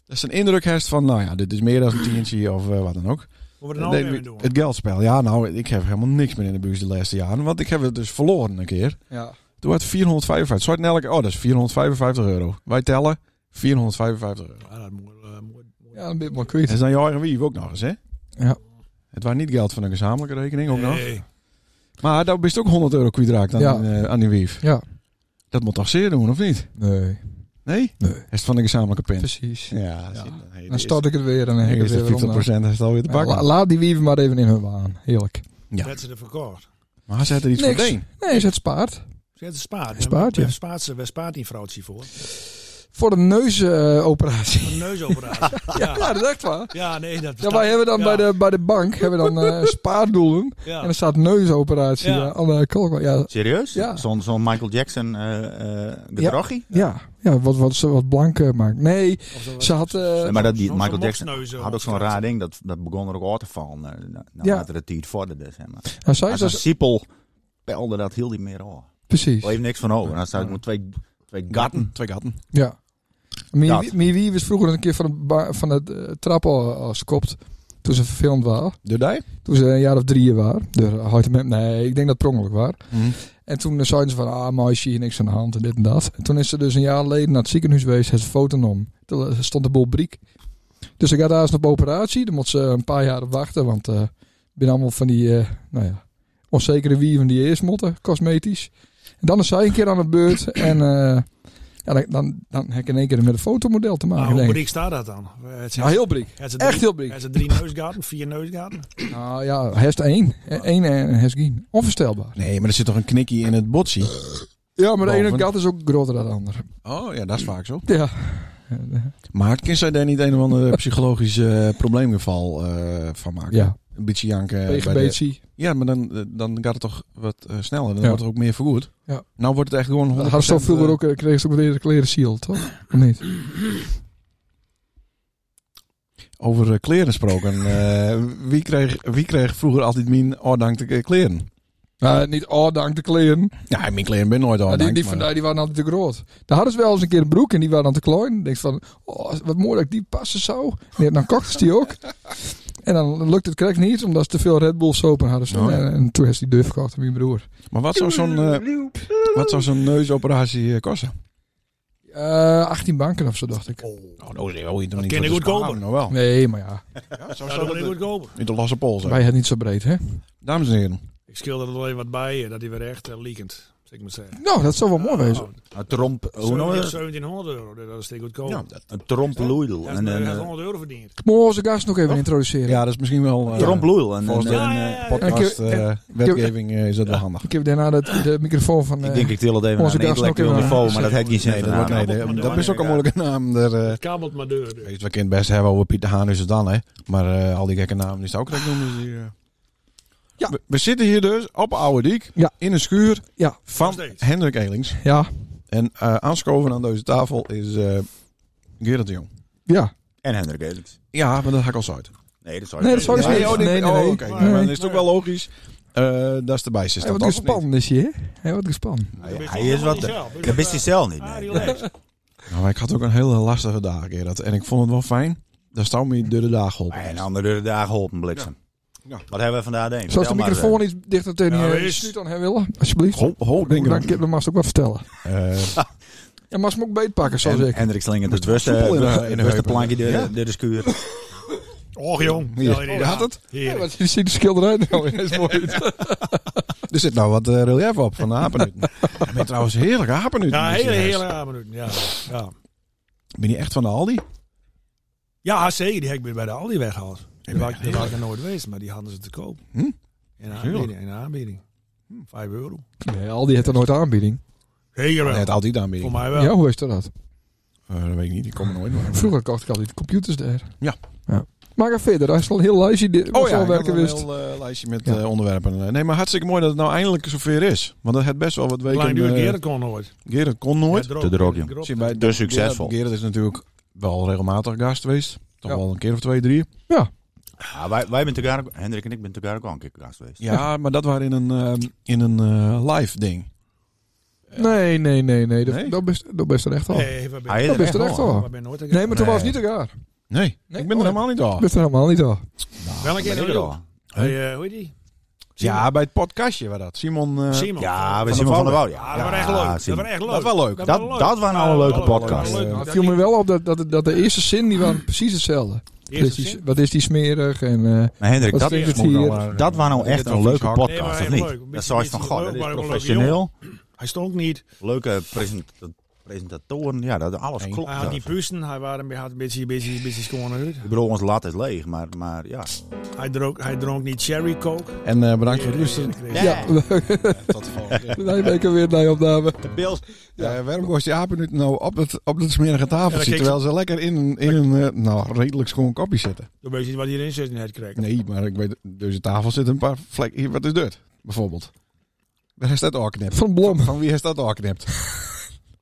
Speaker 4: Dat is een indruk heeft van. Nou ja, dit is meer dan een tientje of eh, wat dan ook.
Speaker 3: Hoe we er nou
Speaker 4: Nee,
Speaker 3: weer mee doen.
Speaker 4: het geldspel. Ja, nou, ik heb helemaal niks meer in de buis de laatste jaren. Want ik heb het dus verloren een keer.
Speaker 2: Ja.
Speaker 4: Toen had 455. Zwart elke. Oh, dat is 455 euro. Wij tellen 455 euro.
Speaker 3: Ja, dat moet, eh, moet- moet-
Speaker 2: ja, een beetje maar
Speaker 4: Dat
Speaker 2: kwijt.
Speaker 4: is dan jouw eigen wief ook nog eens, hè?
Speaker 2: Ja.
Speaker 4: Het was niet geld van een gezamenlijke rekening, ook nog.
Speaker 3: Nee.
Speaker 4: Maar daar bist ook 100 euro kwijtraakt aan,
Speaker 2: Ja.
Speaker 4: eh, aan die wief.
Speaker 2: Ja.
Speaker 4: Dat moet toch zeer doen, of niet?
Speaker 2: Nee.
Speaker 4: Nee?
Speaker 2: Nee.
Speaker 4: Is het van een gezamenlijke pin?
Speaker 2: Precies.
Speaker 4: Ja,
Speaker 2: Ja.
Speaker 4: zie je, hey,
Speaker 2: Dan
Speaker 4: dit
Speaker 2: start ik het weer en dan
Speaker 4: is-
Speaker 2: heb ik het
Speaker 4: is de
Speaker 2: weer
Speaker 4: 50
Speaker 2: om.
Speaker 4: procent alweer te pakken.
Speaker 2: La- Laat die wieven maar even in hun waan. Heerlijk.
Speaker 4: Ja.
Speaker 3: Werd ze er verkocht.
Speaker 4: maar ze had er iets
Speaker 2: Niks.
Speaker 4: van deen.
Speaker 2: Nee, is het spaart.
Speaker 3: Ze heeft een spaart.
Speaker 2: Spaart,
Speaker 3: We-
Speaker 2: ja.
Speaker 3: we spaart ze- we spaart die vrouwtje voor.
Speaker 2: Voor een neusoperatie.
Speaker 3: Een neusoperatie.
Speaker 2: ja.
Speaker 3: ja.
Speaker 2: dat is echt waar.
Speaker 3: ja, nee, dat
Speaker 2: Ja,
Speaker 3: versta-
Speaker 2: wij hebben dan
Speaker 3: ja,
Speaker 2: bij, de, bij de bank hebben we dan eh, spaardoelen.
Speaker 3: ja.
Speaker 2: En er staat neusoperatie
Speaker 3: Ja.
Speaker 2: ja. aan de klok. Ja,
Speaker 5: Serieus?
Speaker 2: Ja.
Speaker 5: Zo'n zo'n Michael Jackson eh eh gedrochie?
Speaker 2: ja. ja wat, wat ze wat blank eh, maakt. Nee,
Speaker 3: Of zo-
Speaker 2: ze had... eh,
Speaker 5: Nee, maar dat die
Speaker 3: zo'n
Speaker 5: Michael
Speaker 3: morsneus,
Speaker 5: Jackson
Speaker 3: eh,
Speaker 5: had ook zo'n
Speaker 3: opgestraald.
Speaker 5: raar ding. Dat, dat begon er ook uit te vallen. eh, na-
Speaker 2: Ja.
Speaker 5: Naarmate de tijd vorderde. Zeg maar.
Speaker 2: nou, zij is
Speaker 5: Als een
Speaker 2: dus,
Speaker 5: siepel pelde, dat hield hij meer aan.
Speaker 2: precies.
Speaker 5: Bleef niks van over. Dan staat met twee, twee gatten.
Speaker 4: Twee gatten.
Speaker 2: Ja.
Speaker 5: Dat.
Speaker 2: Miwi was vroeger een keer van de, ba- van de eh, trap al- al skopt. Toen ze verfilmd waren.
Speaker 4: De dij?
Speaker 2: Toen ze een jaar of drieën waren. Dus, eh, De houdt hem- Nee, ik denk dat het per ongeluk was. En toen eh, zeiden ze van, ah meisje, hier niks aan de hand en dit en dat. En toen is ze dus een jaar geleden naar het ziekenhuis geweest. Heeft ze foto om. Toen eh, stond de boel briek. Dus ze gaat daar eens op operatie. Dan moet ze een paar jaar op wachten. Want eh binnen allemaal van die, eh, nou ja, onzekere wieven die je eerst motten, cosmetisch. En dan is zij een keer aan de beurt. En eh, ja, dan, dan, dan heb ik in één keer met een fotomodel te
Speaker 3: Maar
Speaker 2: maken.
Speaker 3: Nou, hoe
Speaker 2: denk ik.
Speaker 3: breed staat dat dan? Het zijn-
Speaker 2: Ja, Nou, heel briek.
Speaker 3: het zijn
Speaker 2: Echt
Speaker 3: drie-
Speaker 2: heel briek.
Speaker 3: Het zijn drie neusgaten, vier neusgaten.
Speaker 2: Nou ja, hest één. Eh, één en hest geen. Onvoorstelbaar.
Speaker 4: Nee, maar er zit toch een knikkie in het botsie?
Speaker 2: Ja, maar de ene
Speaker 4: Boven.
Speaker 2: gat is ook groter dan de andere.
Speaker 4: Oh ja, dat is vaak zo.
Speaker 2: Ja.
Speaker 4: Maar kan zij daar niet een of ander psychologisch eh, probleemgeval eh, van maken?
Speaker 2: Ja,
Speaker 4: Een beetje janken. bij de-
Speaker 2: PGBC.
Speaker 4: Ja, maar dan, eh, dan gaat het toch wat eh, sneller. Dan
Speaker 2: Ja.
Speaker 4: wordt er ook meer vergoed.
Speaker 2: Ja.
Speaker 4: Nou wordt het echt gewoon 100%.
Speaker 2: Hadden ze al vroeger
Speaker 4: eh,
Speaker 2: ook, eh, kregen ze ook meteen de kleren seal, toch? Of niet?
Speaker 4: Over eh, kleren gesproken. Eh, wie, kreeg, wie kreeg vroeger altijd min ordankte eh, kleren? Eh,
Speaker 2: Nou, niet oh, dank de kleren.
Speaker 4: Ja, mijn kleren ben nooit
Speaker 2: Maar
Speaker 4: ordankt.
Speaker 2: die, die, van, die waren altijd te groot. Daar hadden ze wel eens een keer een broek en die waren dan te klein. Dan denk je van, oh, wat mooi dat ik die passen zou. En dan kochten ze die ook. En dan lukt het correct niet, omdat ze te veel Red Bull soap aan hadden. staan.
Speaker 4: Oh, ja.
Speaker 2: en, en toen is die duf gekocht aan mijn broer.
Speaker 4: Maar wat zou zo'n eh, wat zou zo'n neusoperatie eh, kosten?
Speaker 2: Eh 18 banken of zo, dacht ik.
Speaker 4: Oh, nou, dat niet
Speaker 3: niet voor te sparen,
Speaker 4: Nou wel.
Speaker 2: Nee, maar ja.
Speaker 4: Ja, zo
Speaker 3: Ja, dat wil ik goedkoper.
Speaker 4: in de losse pols.
Speaker 2: Wij het niet zo breed, hè?
Speaker 4: Dames en heren.
Speaker 3: Ik schilder er wel even wat bij, eh, dat hij weer echt eh, liekend. Dus ik moet zeggen.
Speaker 2: Nou, dat zou wel mooi wezen.
Speaker 3: Nou,
Speaker 5: Een tromp... Hoe noem je
Speaker 3: 17-
Speaker 5: dat?
Speaker 3: 1700 euro, dat is denk ik goedkoop.
Speaker 4: Ja,
Speaker 3: Ja.
Speaker 4: dat,
Speaker 5: Een tromploedel.
Speaker 3: Hij
Speaker 5: En een
Speaker 3: heeft
Speaker 5: eh,
Speaker 3: 100 euro verdiend.
Speaker 2: Mogen we onze gast nog even introduceren?
Speaker 4: ja, dat is misschien wel... eh,
Speaker 5: tromploedel. En
Speaker 4: Volgens
Speaker 5: een-
Speaker 4: de
Speaker 3: Ja,
Speaker 5: een,
Speaker 3: ja,
Speaker 5: eh,
Speaker 3: ja, ja.
Speaker 4: podcast
Speaker 2: En ik-
Speaker 4: eh, wetgeving eh, is dat wel handig.
Speaker 2: Ik heb daarna de, de microfoon van...
Speaker 5: Ik
Speaker 2: eh,
Speaker 5: denk ik til het even naar
Speaker 2: Onze
Speaker 5: een
Speaker 2: gast nog
Speaker 5: intellectueel
Speaker 2: even
Speaker 5: niveau,
Speaker 3: aan.
Speaker 5: maar dat heeft geen zin.
Speaker 4: Nee, Oh, dat, wordt, nee,
Speaker 5: vanavond.
Speaker 4: dat, dat is ook een moeilijke naam. Daar, eh,
Speaker 3: Het kabelt maar deur. dus.
Speaker 4: weet, we kunnen best hebben over Piet de Haan is het dan, hè. Maar eh, al die gekke namen is het ook gek noemen. Dus die, eh.
Speaker 2: Ja.
Speaker 4: we, we zitten hier dus op Oude Diek,
Speaker 2: Ja.
Speaker 4: in een schuur
Speaker 2: Ja.
Speaker 4: van
Speaker 3: Nog steeds.
Speaker 4: Hendrik Elings.
Speaker 2: Ja,
Speaker 4: En eh, aanschoven aan deze tafel is eh Gerard de Jong.
Speaker 2: ja.
Speaker 5: En Hendrik Elings.
Speaker 4: Ja, maar dat hak al uit.
Speaker 5: Nee, dat zou
Speaker 2: Nee, dat zou
Speaker 5: niet.
Speaker 2: dus niet.
Speaker 4: oh, die-
Speaker 2: Nee, nee,
Speaker 4: oh,
Speaker 2: nee.
Speaker 4: oké.
Speaker 2: Nee.
Speaker 4: Maar dan is het ook wel logisch eh, dat ze erbij zit.
Speaker 2: Hij wordt gespannen is hij, hè? Hij wordt gespannen.
Speaker 5: Hij- Hij is wat... Dat wist hij zelf niet.
Speaker 3: Ah,
Speaker 5: nee.
Speaker 4: Nou, maar ik had ook een hele lastige dag, Gerard. En ik vond het wel fijn. Daar staan we de dag op.
Speaker 5: Maar een
Speaker 2: nou,
Speaker 5: andere dagen op een bliksem.
Speaker 4: Ja. Ja.
Speaker 5: Wat hebben we vandaag deed?
Speaker 2: Zoals de microfoon
Speaker 5: eh,
Speaker 2: iets dichter tegen
Speaker 3: Ja,
Speaker 2: je
Speaker 3: wees.
Speaker 2: snuit aan hem willen, alsjeblieft.
Speaker 4: Ho, ho,
Speaker 2: Dan,
Speaker 4: denk ik.
Speaker 2: dan mag ze ook wat vertellen.
Speaker 4: Eh,
Speaker 2: En mag ze hem ook beetpakken, zoals ik.
Speaker 5: Hendrik slingert het
Speaker 4: soepel in de- in de
Speaker 5: wuste
Speaker 4: heupen.
Speaker 5: eh, plankje
Speaker 4: Ja.
Speaker 5: door de- door de schuur.
Speaker 3: Och jong.
Speaker 4: Hier.
Speaker 3: Ja,
Speaker 4: Oh, had het?
Speaker 2: Ja,
Speaker 3: Heerlijk.
Speaker 2: wat je ziet de schilderij nou in, is mooi.
Speaker 4: Er zit nou wat eh, relief op van de hapenuten. ja, maar trouwens, heerlijke hapenuten.
Speaker 3: Ja,
Speaker 4: is die
Speaker 3: hele,
Speaker 4: juist.
Speaker 3: hele raar minuten. Ja, ja.
Speaker 4: Ben je echt van de Aldi?
Speaker 3: ja zeker. Die heb ik weer bij de Aldi weggehaald.
Speaker 4: Ja,
Speaker 3: Die was
Speaker 4: ja,
Speaker 3: die was ik er nooit geweest, maar die hadden ze te koop.
Speaker 4: Hm?
Speaker 3: In de
Speaker 4: Heerlijk.
Speaker 3: aanbieding. In de aanbieding. Vijf euro.
Speaker 2: Nee, Aldi heeft er nooit aanbieding.
Speaker 3: Zeker
Speaker 4: Nee,
Speaker 3: wel.
Speaker 4: het Aldi daarmee.
Speaker 3: Voor
Speaker 4: Eh
Speaker 3: mij wel.
Speaker 2: Ja, hoe is dat? dat?
Speaker 4: dat weet ik niet, die komen nooit meer.
Speaker 2: Vroeger kocht ik altijd de computers daar.
Speaker 4: Ja.
Speaker 2: ja. Maar ga verder, hij is al heel lijstje. Dit,
Speaker 4: Oh ja, ik had
Speaker 2: werken
Speaker 4: een
Speaker 2: wist.
Speaker 4: heel eh, lijstje met
Speaker 2: Ja.
Speaker 4: eh, onderwerpen. Eh, Nee, maar hartstikke mooi dat het nou eindelijk zover is. Want dat had best wel wat weken...
Speaker 3: Lang duurt
Speaker 4: eh,
Speaker 3: keer, dat kon nooit.
Speaker 4: Gerrit kon nooit.
Speaker 3: Ja, droog.
Speaker 5: Te droog, jong.
Speaker 3: Droog.
Speaker 4: Zie je bij-
Speaker 5: Dus succesvol.
Speaker 4: Gerrit, Gerrit is natuurlijk wel regelmatig gast geweest. Toch
Speaker 2: Ja.
Speaker 4: wel een keer of twee, drie.
Speaker 5: Ja, Ah, wij, wij zijn elkaar, ook- Hendrik en ik zijn elkaar ook al een keer gast geweest.
Speaker 4: Ja, maar dat waren in een, eh, in een eh, live ding.
Speaker 2: Nee, nee, nee, nee. Dat,
Speaker 4: Nee?
Speaker 2: dat best, dat best er echt al.
Speaker 4: Oh.
Speaker 2: Nee,
Speaker 3: Nee, waar ben-
Speaker 5: Hij is
Speaker 2: dat
Speaker 5: Ah, er
Speaker 2: best
Speaker 5: echt
Speaker 2: er echt
Speaker 5: wel.
Speaker 2: al.
Speaker 3: waar ben je nooit
Speaker 2: Nee, maar toen
Speaker 4: Nee.
Speaker 2: was het niet elkaar.
Speaker 4: Nee,
Speaker 2: Nee?
Speaker 4: ik
Speaker 2: Oh, ja.
Speaker 4: ben er helemaal niet al.
Speaker 2: Best er helemaal niet al.
Speaker 3: Wel een keer
Speaker 5: Ben ik
Speaker 3: in
Speaker 5: er
Speaker 3: de
Speaker 5: al?
Speaker 3: Hey, eh, Hoe heet die?
Speaker 4: Ja, bij het podcastje was dat. Simon... eh,
Speaker 3: Simon.
Speaker 5: Ja, we
Speaker 4: de
Speaker 5: zien wel van de
Speaker 4: Wouw.
Speaker 5: Wouw.
Speaker 3: Ja, dat was echt leuk. Dat
Speaker 5: Simon.
Speaker 3: was echt leuk.
Speaker 4: Dat was wel leuk.
Speaker 5: Dat- dat was nou een leuke podcast.
Speaker 4: Ja,
Speaker 2: Het viel me wel op dat, dat, dat de eerste zin die waren precies hetzelfde. Dus die- wat is die smerig en... eh,
Speaker 5: Maar Hendrik,
Speaker 2: Wat
Speaker 5: dat,
Speaker 2: stinkt het
Speaker 5: moet
Speaker 2: hier?
Speaker 5: nou- dat was nou
Speaker 4: Ik
Speaker 5: echt
Speaker 4: heb wel
Speaker 5: een leuke
Speaker 4: vies hak.
Speaker 5: podcast,
Speaker 3: Nee,
Speaker 5: of
Speaker 3: maar
Speaker 5: niet?
Speaker 3: heel leuk.
Speaker 5: Dat zou je van,
Speaker 3: Beetje-
Speaker 5: god,
Speaker 3: beetje
Speaker 5: dat
Speaker 3: leuk, maar
Speaker 5: is
Speaker 3: wel
Speaker 5: professioneel.
Speaker 3: Hij stond niet.
Speaker 5: Leuke present- presentatoren, ja, dat alles
Speaker 4: Hij
Speaker 5: klopt.
Speaker 3: Hij had
Speaker 5: zelfs.
Speaker 3: die puisten. Hij waren- hij had een beetje, beetje, beetje schone huid.
Speaker 5: Ik bedoel, ons lat is leeg, maar, maar ja.
Speaker 3: Hij Hij dronk, hij dronk niet cherry coke.
Speaker 4: En eh, bedankt voor het luisteren.
Speaker 3: Ja.
Speaker 2: Ja,
Speaker 4: Tot de volgende keer.
Speaker 2: wij weken weer naar je opname.
Speaker 5: De beeld.
Speaker 4: Ja, Eh, waarom gooit die apen nu nou op dat, op dat smerige
Speaker 3: Ja,
Speaker 4: tafeltje
Speaker 3: kijk,
Speaker 4: terwijl ze lekker in een, in een eh, nou, redelijk schoon kopje zitten?
Speaker 3: Dan weet je wat hierin zit in het krek.
Speaker 4: Nee, maar ik weet, deze tafel zit een paar vlekken. Hier, wat is dit? Bijvoorbeeld. Waar is dat al geknipt?
Speaker 2: Van Blom.
Speaker 4: Van wie is dat al geknipt?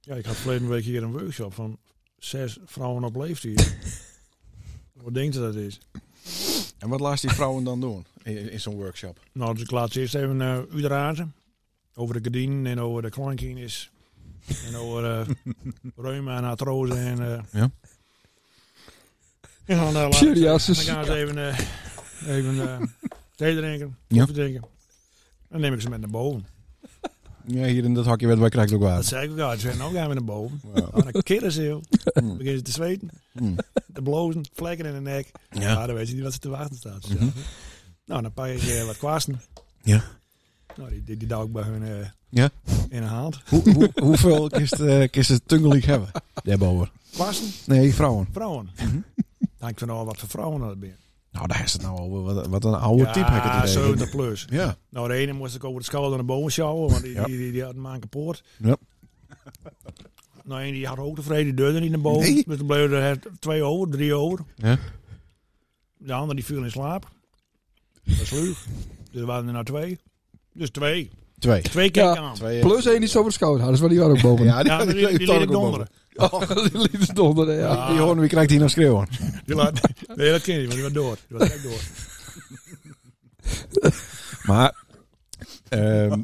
Speaker 3: Ja, ik had verleden week hier een workshop van zes vrouwen op leeftijd. Wat denkt u dat is?
Speaker 4: En wat laat die vrouwen dan doen in, in zo'n workshop?
Speaker 3: Nou, dus ik laat ze eerst even eh u razen. Over de gedienen en over de klankines. En over eh reuma en artrose en... eh
Speaker 4: Ja.
Speaker 3: En dan, eh, laat-
Speaker 2: Psoriasis.
Speaker 3: dan gaan ze even, eh even eh, thee drinken,
Speaker 4: Ja.
Speaker 3: koffie drinken. Dan neem ik ze met naar boven.
Speaker 4: Ja, hier in dat hakje werd wij krijgt ook
Speaker 3: Dat
Speaker 4: water.
Speaker 3: zei ik ook al. Ze zei, nou gaan we naar boven.
Speaker 4: Ja.
Speaker 3: En dan killen ze heel.
Speaker 4: Hmm.
Speaker 3: beginnen ze te zweten,
Speaker 4: Hmm.
Speaker 3: te blozen, vlekken in de nek. Ja.
Speaker 4: Ja.
Speaker 3: dan weet je niet wat ze te wachten staat.
Speaker 4: Mhm.
Speaker 3: Nou, dan pak ik eh, wat kwasten.
Speaker 4: Ja.
Speaker 3: Nou, die, die, die douw ik bij hun eh,
Speaker 4: Ja.
Speaker 3: in de hand.
Speaker 4: Hoe, hoe, hoeveel kist, eh kist het Tungeliek hebben? Daarboven.
Speaker 3: Kwasten,
Speaker 4: Nee, vrouwen.
Speaker 3: vrouwen.
Speaker 4: Mhm.
Speaker 3: Dan ik van nou wat voor vrouwen dat ben.
Speaker 4: Nou, daar is het nou over. Wat, wat een oude type heb ik
Speaker 3: ja,
Speaker 4: het idee.
Speaker 3: 70 plus.
Speaker 4: Ja.
Speaker 3: Nou, de ene moest ik over de schouder naar boven sjouwen, want die,
Speaker 4: Ja.
Speaker 3: die, die, die had een maand kapot.
Speaker 4: Ja.
Speaker 3: Nou, en die had ook tevreden, die deurde niet naar boven.
Speaker 4: Nee.
Speaker 3: Dus dan bleven er twee over, drie over.
Speaker 4: Ja.
Speaker 3: De andere die viel in slaap. Dat sloeg. Dus er waren er nou twee. Dus twee.
Speaker 4: Twee.
Speaker 3: Twee keer
Speaker 2: Ja.
Speaker 3: aan.
Speaker 4: Twee. eh,
Speaker 2: Plus één die zo over de schouder hadden, dus waar die waren ook boven.
Speaker 4: Ja, die,
Speaker 3: Ja,
Speaker 4: die,
Speaker 3: die, die, liet ik donderen.
Speaker 2: die lieten ze donderen, ja.
Speaker 3: Ja.
Speaker 4: Die horen, wie krijgt hier nou schreeuwen?
Speaker 3: Die laat, nee, dat ken je niet, want die was door. Die was echt door.
Speaker 4: Maar, ehm,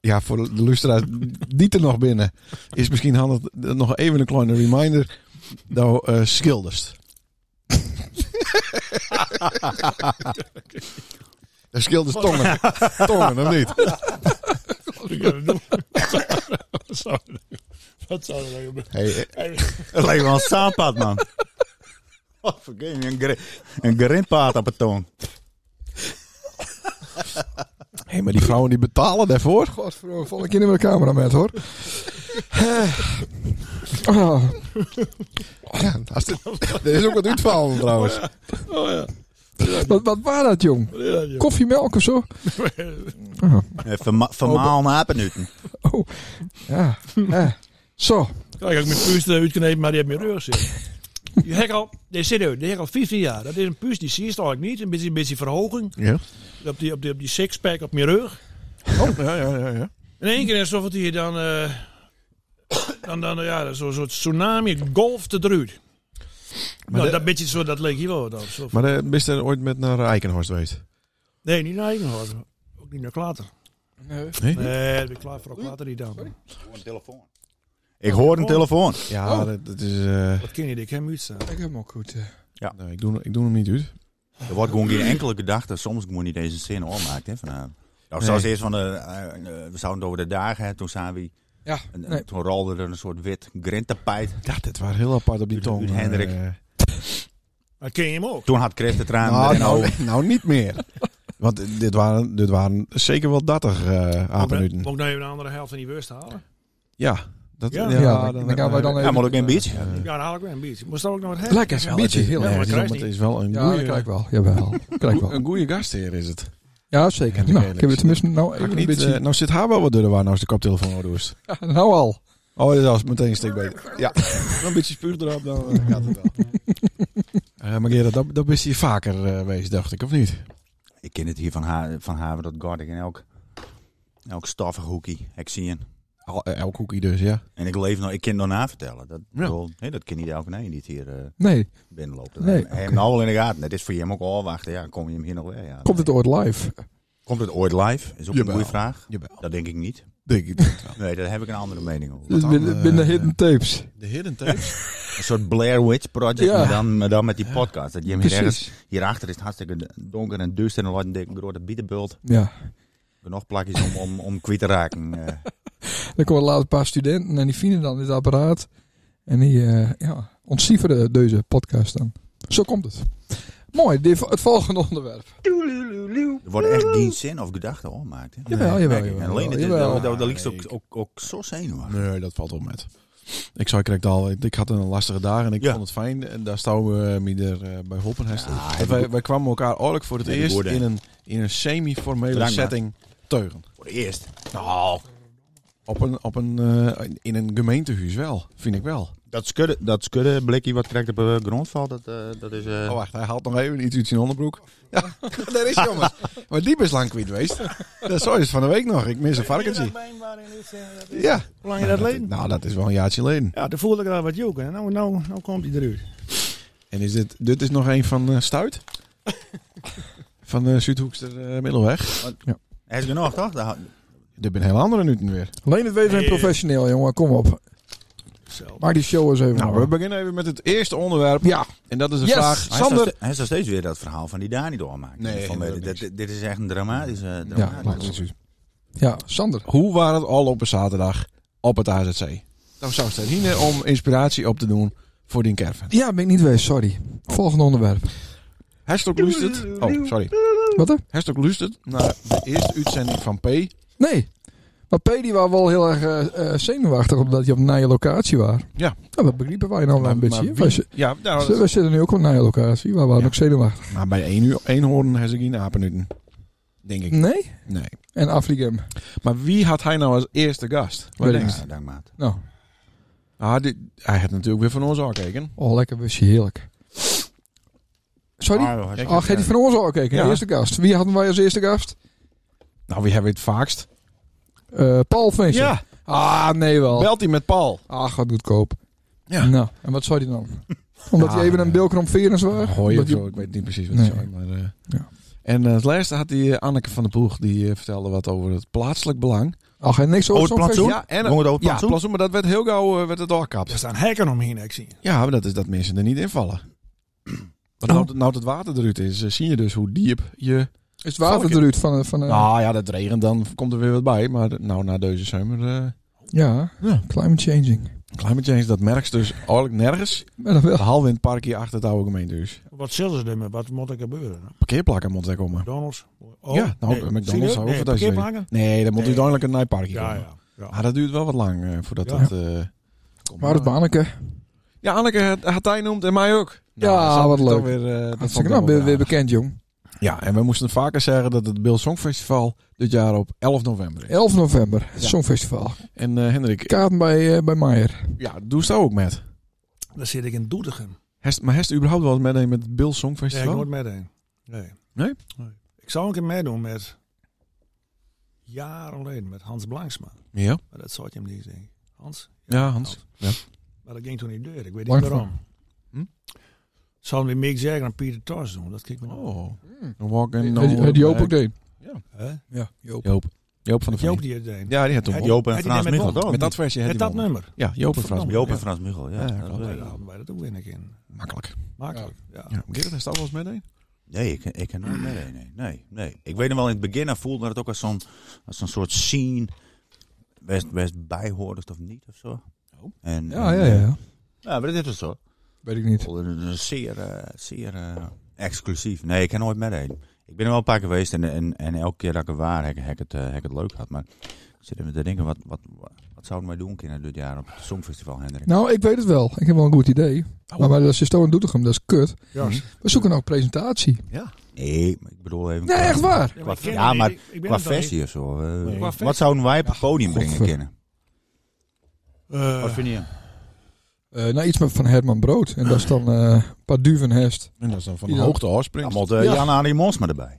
Speaker 4: ja, voor de luisteraars die er nog binnen, is misschien handig eh, nog even een kleine reminder. Nou, eh schilderst. Dat schilders tongen. Tongen, of niet?
Speaker 3: Ik heb het door. Wat zou er- Wat zou er nou gebeuren?
Speaker 4: Hey, eh,
Speaker 5: Het lijkt wel een zaadpad, man. Oh, vergeet me, een, gr- een grindpaad op het toon.
Speaker 4: hey, maar die vrouwen die betalen daarvoor.
Speaker 2: Godverdomme, val ik in met de camera met, hoor. oh,
Speaker 4: Ja, als dit- er is ook wat uitvallen trouwens.
Speaker 3: Oh ja.
Speaker 2: wat, wat was dat, jong?
Speaker 3: Wat is dat, joh?
Speaker 2: Koffiemelk of zo?
Speaker 5: Verma vermaal apenuten.
Speaker 2: Oh, ja. Eh, Zo,
Speaker 3: Ja, ik heb mijn puist eh, uitgeknepen, maar die heeft mijn rug zitten. Die hek al, die zit er, die hek al 15 jaar. Dat is een puist, die zie je eigenlijk niet. Een beetje, een beetje verhoging
Speaker 4: Ja.
Speaker 3: op die, op die, op die sixpack op mijn rug.
Speaker 4: Oh, ja, ja, ja. ja.
Speaker 3: In één keer alsof het hier dan, eh dan, dan ja, zo'n soort tsunami golft eruit. Nou,
Speaker 4: de-
Speaker 3: dat beetje zo, dat leek hier wel wat op. Zo van-
Speaker 4: Maar eh, ben je er ooit met naar Eikenhorst geweest?
Speaker 3: Nee, niet naar Eigenhoorn. Ook niet naar Klater.
Speaker 4: Nee?
Speaker 3: Nee, dat ben ik klaar voor Klater niet dan.
Speaker 5: Een telefoon. Ik hoor een telefoon.
Speaker 4: Ja,
Speaker 2: Oh.
Speaker 4: dat, dat is... eh,
Speaker 3: Wat ken je, ik hem uitstaan.
Speaker 2: ik heb hem ook goed. eh.
Speaker 4: nee, ik, doe, ik doe hem niet uit.
Speaker 5: Er wordt gewoon geen enkele gedachte. Soms moet je niet eens een zin opmaken. Hè, vanavond. Nou, zoals eerst van de, eh, eh, we zouden het over de dagen, hè, toen zagen we,
Speaker 2: Ja,
Speaker 5: en, en
Speaker 2: nee.
Speaker 5: toen rolde er een soort wit grindtapijt.
Speaker 4: Ja, dit was heel apart op die
Speaker 5: Uit-
Speaker 4: tong.
Speaker 5: uit
Speaker 4: eh,
Speaker 5: Hendrik.
Speaker 3: Maar ken je hem ook?
Speaker 5: Toen had Chris het raam
Speaker 4: nou,
Speaker 5: erin
Speaker 4: nou,
Speaker 5: open.
Speaker 4: nou, niet meer. Want eh, dit waren, dit waren zeker wel 30 eh
Speaker 3: Moet
Speaker 4: apenuten.
Speaker 3: ik nou even de andere helft van die worst halen?
Speaker 4: Ja. Dat,
Speaker 3: Ja.
Speaker 2: Ja, dan- dan gaan wij dan
Speaker 4: eh,
Speaker 5: Ja, maar ook in beach.
Speaker 4: eh,
Speaker 3: Ja, dan haal ik weer een biertje. Moest er ook nog wat hebben?
Speaker 2: Lekker is wel,
Speaker 4: het
Speaker 2: beetje
Speaker 4: is-
Speaker 2: heel
Speaker 4: nee,
Speaker 2: erg.
Speaker 4: het
Speaker 3: maar
Speaker 4: is wel-
Speaker 3: krijgt
Speaker 4: Het is wel een
Speaker 2: Ja, dat krijg ik
Speaker 4: goede...
Speaker 2: wel. Jawel, krijg ik wel.
Speaker 4: Een goede gastheer is het.
Speaker 2: Ja, zeker.
Speaker 4: Hendrik
Speaker 2: Nou,
Speaker 4: Elix.
Speaker 2: ik heb het tenminste nou
Speaker 4: Ga ik
Speaker 2: even een
Speaker 4: niet,
Speaker 2: beetje...
Speaker 4: eh, nou zit haar wel wat dunner waar nou is de koptelefoon roest.
Speaker 2: Ja, nou al.
Speaker 4: Oh, dat was meteen een stuk beter. Ja, een beetje spuur erop, dan eh, gaat het wel. Eh, maar Gerard, dat, dat is hier vaker eh, geweest, dacht ik, of niet?
Speaker 5: Ik ken het hier van, ha van Haven tot Gordon. En elk, elk stoffig hoekie. Ik zie een.
Speaker 4: Al, eh, elk hoekje dus, ja.
Speaker 5: En ik leef nog, ik kan het nog navertellen. Dat,
Speaker 4: Ja.
Speaker 5: wel- nee, dat kan niet elke nee niet hier eh,
Speaker 2: Nee,
Speaker 5: binnenloopt.
Speaker 2: Nee,
Speaker 5: hij heeft hem nou wel in de gaten. Het is voor je hem ook al wachten. Ja, kom je hem hier nog weer? Ja,
Speaker 2: komt het ooit live?
Speaker 5: Komt het ooit live? Is ook
Speaker 4: Jawel.
Speaker 5: een goede vraag.
Speaker 4: Jawel.
Speaker 5: Dat denk ik niet.
Speaker 4: Denk ik dat wel.
Speaker 5: Nee, daar heb ik een andere mening over.
Speaker 2: Dus
Speaker 4: dan,
Speaker 2: binnen,
Speaker 4: eh,
Speaker 2: binnen hidden tapes.
Speaker 4: De hidden tapes.
Speaker 5: Een soort Blair Witch Project,
Speaker 2: Ja.
Speaker 5: maar, dan, maar dan met die podcast. Dat je hem hier ergens,
Speaker 2: Precies.
Speaker 5: hierachter is het hartstikke donker en duister en dan een dikke grote bietenbult.
Speaker 2: Ja.
Speaker 5: Genoeg plakjes om, om, om kwijt te raken. eh.
Speaker 2: Dan komen later een paar studenten en die vinden dan dit apparaat. En die eh, ja, ontcijferen deze podcast dan. Zo komt het. Mooi, dit- het volgende onderwerp.
Speaker 5: er wordt echt geen zin of gedachte ommaakt. hè.
Speaker 2: Jawel, jawel,
Speaker 5: En
Speaker 2: jawel,
Speaker 5: alleen het is,
Speaker 2: jawel.
Speaker 5: dat, dat, dat liet
Speaker 4: Nee,
Speaker 5: ook, ook, ook zo zenuwachtig.
Speaker 4: Nee, dat valt op met. Ik zei correct al, ik, ik had een lastige dag en ik
Speaker 5: Ja.
Speaker 4: vond het fijn. En daar stonden we me er eh, bij Hoppen.
Speaker 5: Ja,
Speaker 4: Want
Speaker 5: hij
Speaker 4: wij,
Speaker 5: doet-
Speaker 4: wij kwamen elkaar oorlijk voor het
Speaker 5: Ja, die
Speaker 4: eerst
Speaker 5: woorden.
Speaker 4: in een, in een semi-formele
Speaker 5: Drank maar.
Speaker 4: setting teugen.
Speaker 5: Voor het eerst.
Speaker 4: Nou, op een, op een, eh, in een gemeentehuis wel, vind ik wel.
Speaker 5: Dat skudde, dat skudde blikje wat krijgt op de grond valt, dat, eh, dat is... eh,
Speaker 4: Oh, wacht, hij haalt nog even iets uit zijn onderbroek. Ja, daar is hij, jongens. Maar die is lang kwijt geweest. Dat zo is het van de week nog. Ik mis een varkentje. Ja.
Speaker 3: Hoe lang je eh, dat
Speaker 4: is-
Speaker 3: leed?
Speaker 4: Nou, dat is wel een jaartje geleden.
Speaker 3: Ja, toen voelde ik daar wat joeken. En nou, nou, nou komt hij eruit.
Speaker 4: En is dit, dit is nog een van eh Stuit? van de Zuidhoekster eh, Middelweg.
Speaker 5: Hij is genoeg, toch? Dat-
Speaker 4: Dit ben een hele andere Newton weer.
Speaker 2: Alleen het weten en
Speaker 3: Nee.
Speaker 2: professioneel, jongen. Kom op.
Speaker 3: Zo.
Speaker 2: Maak die show eens even.
Speaker 4: Nou,
Speaker 2: normaal.
Speaker 4: we beginnen even met het eerste onderwerp.
Speaker 2: Ja.
Speaker 4: En dat is de
Speaker 2: Yes.
Speaker 4: vraag...
Speaker 5: Hij
Speaker 4: Sander,
Speaker 5: Sander... Hij is nog steeds weer dat verhaal van die Dani doormaakt.
Speaker 4: Nee,
Speaker 5: Van, eh,
Speaker 4: dat
Speaker 5: dit,
Speaker 4: niks.
Speaker 5: dit- dit is echt een dramatisch. eh,
Speaker 2: Ja,
Speaker 5: dramatisch.
Speaker 2: laat het. ja, Sander.
Speaker 4: Hoe was het al op een zaterdag op het AZC? Dan zou het hier om inspiratie op te doen voor die caravan.
Speaker 2: Ja, ben ik niet geweest, sorry. Volgende onderwerp.
Speaker 4: Hashtag luistert... Oh, sorry.
Speaker 2: Wat er?
Speaker 4: Hashtag luistert naar de eerste uitzending van P.
Speaker 2: Nee. Maar P die was wel heel erg eh, eh, zenuwachtig omdat hij op een naaie locatie was.
Speaker 4: Ja.
Speaker 2: Nou, dat begrepen wij nou wel
Speaker 4: Maar-
Speaker 2: een
Speaker 4: maar
Speaker 2: beetje.
Speaker 4: wie-
Speaker 2: Wij zi-
Speaker 4: Ja, nou,
Speaker 2: We zitten nu ook op een naaie locatie. Waar we waren
Speaker 4: Ja.
Speaker 2: ook zenuwachtig.
Speaker 4: maar bij één uur, één hoorn heeft ik geen apenuten. Denk ik.
Speaker 2: Nee?
Speaker 4: Nee.
Speaker 2: En Afrigem.
Speaker 4: Maar wie had hij nou als eerste gast? Wat
Speaker 2: Weet ik
Speaker 4: denk je?
Speaker 5: Ja, dank maat.
Speaker 2: Nou,
Speaker 4: Ah, dit, hij had natuurlijk weer van ons aangekeken.
Speaker 2: oh, lekker busje. Heerlijk. Sorry?
Speaker 5: Ah, was-
Speaker 4: Kijk,
Speaker 2: Oh, geef die van ons ook kijken.
Speaker 4: Ja.
Speaker 2: Eerste gast. Wie hadden wij als eerste gast?
Speaker 4: Nou, wie hebben we het vaakst?
Speaker 2: Eh, Paul Vincent. Ah, nee wel.
Speaker 4: Belt hij met Paul?
Speaker 2: Ah, gaat goedkoop.
Speaker 4: Ja.
Speaker 2: Nou, en wat zei hij dan? Omdat
Speaker 4: Ja,
Speaker 2: hij even een
Speaker 4: eh,
Speaker 2: Bilkrom Verens was?
Speaker 4: Hooi of
Speaker 2: Omdat
Speaker 4: zo,
Speaker 2: hij-
Speaker 4: ik weet niet precies wat hij
Speaker 2: Nee.
Speaker 4: zei. Maar, eh,
Speaker 2: Ja.
Speaker 4: En eh, het laatste had die eh, Anneke van der Boeg, die eh, vertelde wat over het plaatselijk belang.
Speaker 2: Ach, en Ah, niks
Speaker 5: Oh,
Speaker 2: over
Speaker 5: het
Speaker 2: zo'n
Speaker 5: plantsoen?
Speaker 2: feestje?
Speaker 4: Ja, en
Speaker 5: Jongen, dat over
Speaker 4: ja,
Speaker 5: plantsoen?
Speaker 4: plantsoen, maar dat werd heel gauw eh, werd het doorkapt.
Speaker 3: Er staan hekken omheen, ik zie.
Speaker 4: Ja, maar dat is dat mensen er niet invallen. Want nou, het- nou het water eruit is, eh, zie je dus hoe diep je...
Speaker 2: Is het water
Speaker 4: Valken.
Speaker 2: eruit van... eh, van eh,
Speaker 4: Nou ja, dat regent, dan komt er weer wat bij. Maar nou, na deze zomer... eh
Speaker 2: Ja,
Speaker 4: Ja.
Speaker 2: climate changing.
Speaker 4: climate change, dat merk je dus eigenlijk nergens.
Speaker 2: Maar dan wel.
Speaker 4: Behalve in het park hier achter het oude gemeentehuis.
Speaker 3: Wat zullen ze ermee? Wat moet er gebeuren?
Speaker 4: Parkeerplakken moet daar komen.
Speaker 3: McDonald's? Oh,
Speaker 4: ja, nou,
Speaker 3: nee.
Speaker 4: McDonald's
Speaker 3: Serieus?
Speaker 4: zou
Speaker 3: Nee,
Speaker 4: over dat je-
Speaker 3: parkeerplakken?
Speaker 4: Nee, dan moet
Speaker 3: Nee.
Speaker 4: uiteindelijk een nijparkje
Speaker 3: Ja,
Speaker 4: komen.
Speaker 3: ja. ja.
Speaker 4: Ah, dat duurt wel wat lang eh, voordat
Speaker 3: Ja.
Speaker 4: dat... eh, komt.
Speaker 2: Maar het Banneke.
Speaker 4: Ja, Anneke had- had hij noemd en mij ook.
Speaker 2: Ja,
Speaker 4: dat vond
Speaker 2: wat
Speaker 4: ik toch
Speaker 2: leuk.
Speaker 4: Weer, eh, dat vond ik
Speaker 2: Hartstikke
Speaker 4: toch
Speaker 2: knap.
Speaker 4: wel
Speaker 2: Weer, weer
Speaker 4: aardig.
Speaker 2: bekend, jong.
Speaker 4: Ja, en we moesten vaker zeggen dat het Bill Songfestival dit jaar op 11 november is.
Speaker 2: 11 november. het
Speaker 4: Ja.
Speaker 2: Songfestival.
Speaker 4: En eh, Hendrik,
Speaker 2: Kaarten bij, eh, bij Meijer.
Speaker 4: ja, doe zo ook met.
Speaker 3: Dan zit ik in Doetinchem.
Speaker 4: Hest, maar Hest überhaupt wel eens meteen met het Bill
Speaker 3: Nee, ik
Speaker 4: Songfestival?
Speaker 3: nooit meedoen. Nee.
Speaker 4: Nee?
Speaker 3: Ik zou een keer meedoen met... Jaren geleden, met Hans Blanksma.
Speaker 4: ja.
Speaker 3: Maar dat zou je hem niet zeggen. Hans?
Speaker 4: ja, Hans.
Speaker 3: Maar dat ging toen niet deur. Ik weet niet
Speaker 2: Blanksma.
Speaker 3: waarom.
Speaker 4: Hm?
Speaker 3: Zal we Mick Jagger en Peter Tosh doen? Dat kijk me nou.
Speaker 4: Oh, een walk in.
Speaker 2: Die- die- Die Joop ook deed.
Speaker 3: Hè?
Speaker 2: Ja, Joop.
Speaker 4: Joop. Joop van de
Speaker 3: Joop
Speaker 4: Veen.
Speaker 3: die het deed.
Speaker 4: Ja, die had toen
Speaker 3: Hij-
Speaker 4: Joop.
Speaker 5: Joop en
Speaker 3: Hij die
Speaker 5: Frans
Speaker 3: net met
Speaker 5: Michel, toch?
Speaker 4: Met dat versie had
Speaker 3: Met
Speaker 4: hij
Speaker 3: dat
Speaker 4: won.
Speaker 3: nummer.
Speaker 4: Ja, Joop en Frans.
Speaker 5: Joop en
Speaker 4: Ja.
Speaker 5: Frans Michel, ja.
Speaker 4: Ja,
Speaker 5: dat
Speaker 4: klopt.
Speaker 5: weet
Speaker 3: Ja,
Speaker 5: ik.
Speaker 3: daar hadden wij dat ook win ik in.
Speaker 4: Makkelijk.
Speaker 3: Makkelijk. Ja.
Speaker 4: Ja, Gerrit heeft dat wel eens meteen?
Speaker 5: Nee, ik, ik kan nooit mee. Nee, nee, nee. Ik weet nog wel, in het begin hij voelde dat het ook als zo'n als zo'n soort scene. Best, best bijhoordend of niet of zo.
Speaker 4: Oh.
Speaker 5: En,
Speaker 2: Ja,
Speaker 5: en,
Speaker 2: ja,
Speaker 5: eh,
Speaker 2: ja.
Speaker 5: ja, maar dat is dus zo.
Speaker 2: Weet ik niet.
Speaker 5: Voelde het, eh, Zeer, eh, zeer eh, exclusief. Nee, ik kan nooit meedoen. Ik ben er wel een paar keer geweest en, en, en elke keer dat ik er was, heb ik, heb ik het, eh, heb ik het leuk gehad. Maar ik zit even te denken, wat, wat, wat, zouden wij doen kinderen dit jaar op het Songfestival, Hendrik?
Speaker 2: Nou, ik weet het wel. Ik heb wel een goed idee. Maar, maar dat is Stoon Doetinchem, dat is kut.
Speaker 3: Juist.
Speaker 2: We zoeken ook presentatie.
Speaker 5: Nee, maar ik bedoel even...
Speaker 2: Nee,
Speaker 5: qua-
Speaker 2: echt waar.
Speaker 5: Qua,
Speaker 3: maar ik ken
Speaker 5: ja,
Speaker 3: het
Speaker 5: maar
Speaker 3: niet. Ik- ik ben
Speaker 5: qua
Speaker 3: het dan niet.
Speaker 5: versie of zo. eh,
Speaker 4: Nee.
Speaker 3: Qua versie?
Speaker 5: Wat zouden wij op het podium brengen
Speaker 2: godver.
Speaker 5: kunnen?
Speaker 3: Eh,
Speaker 5: Wat vind je?
Speaker 2: Eh, nou, iets met van Herman Brood. En dat is dan eh, een paar duvenhest.
Speaker 4: En dat is dan van
Speaker 2: Ja.
Speaker 4: de hoogte
Speaker 5: Dan
Speaker 4: afspringen.
Speaker 5: moet eh,
Speaker 2: Ja.
Speaker 5: Jan Arie Monsma erbij.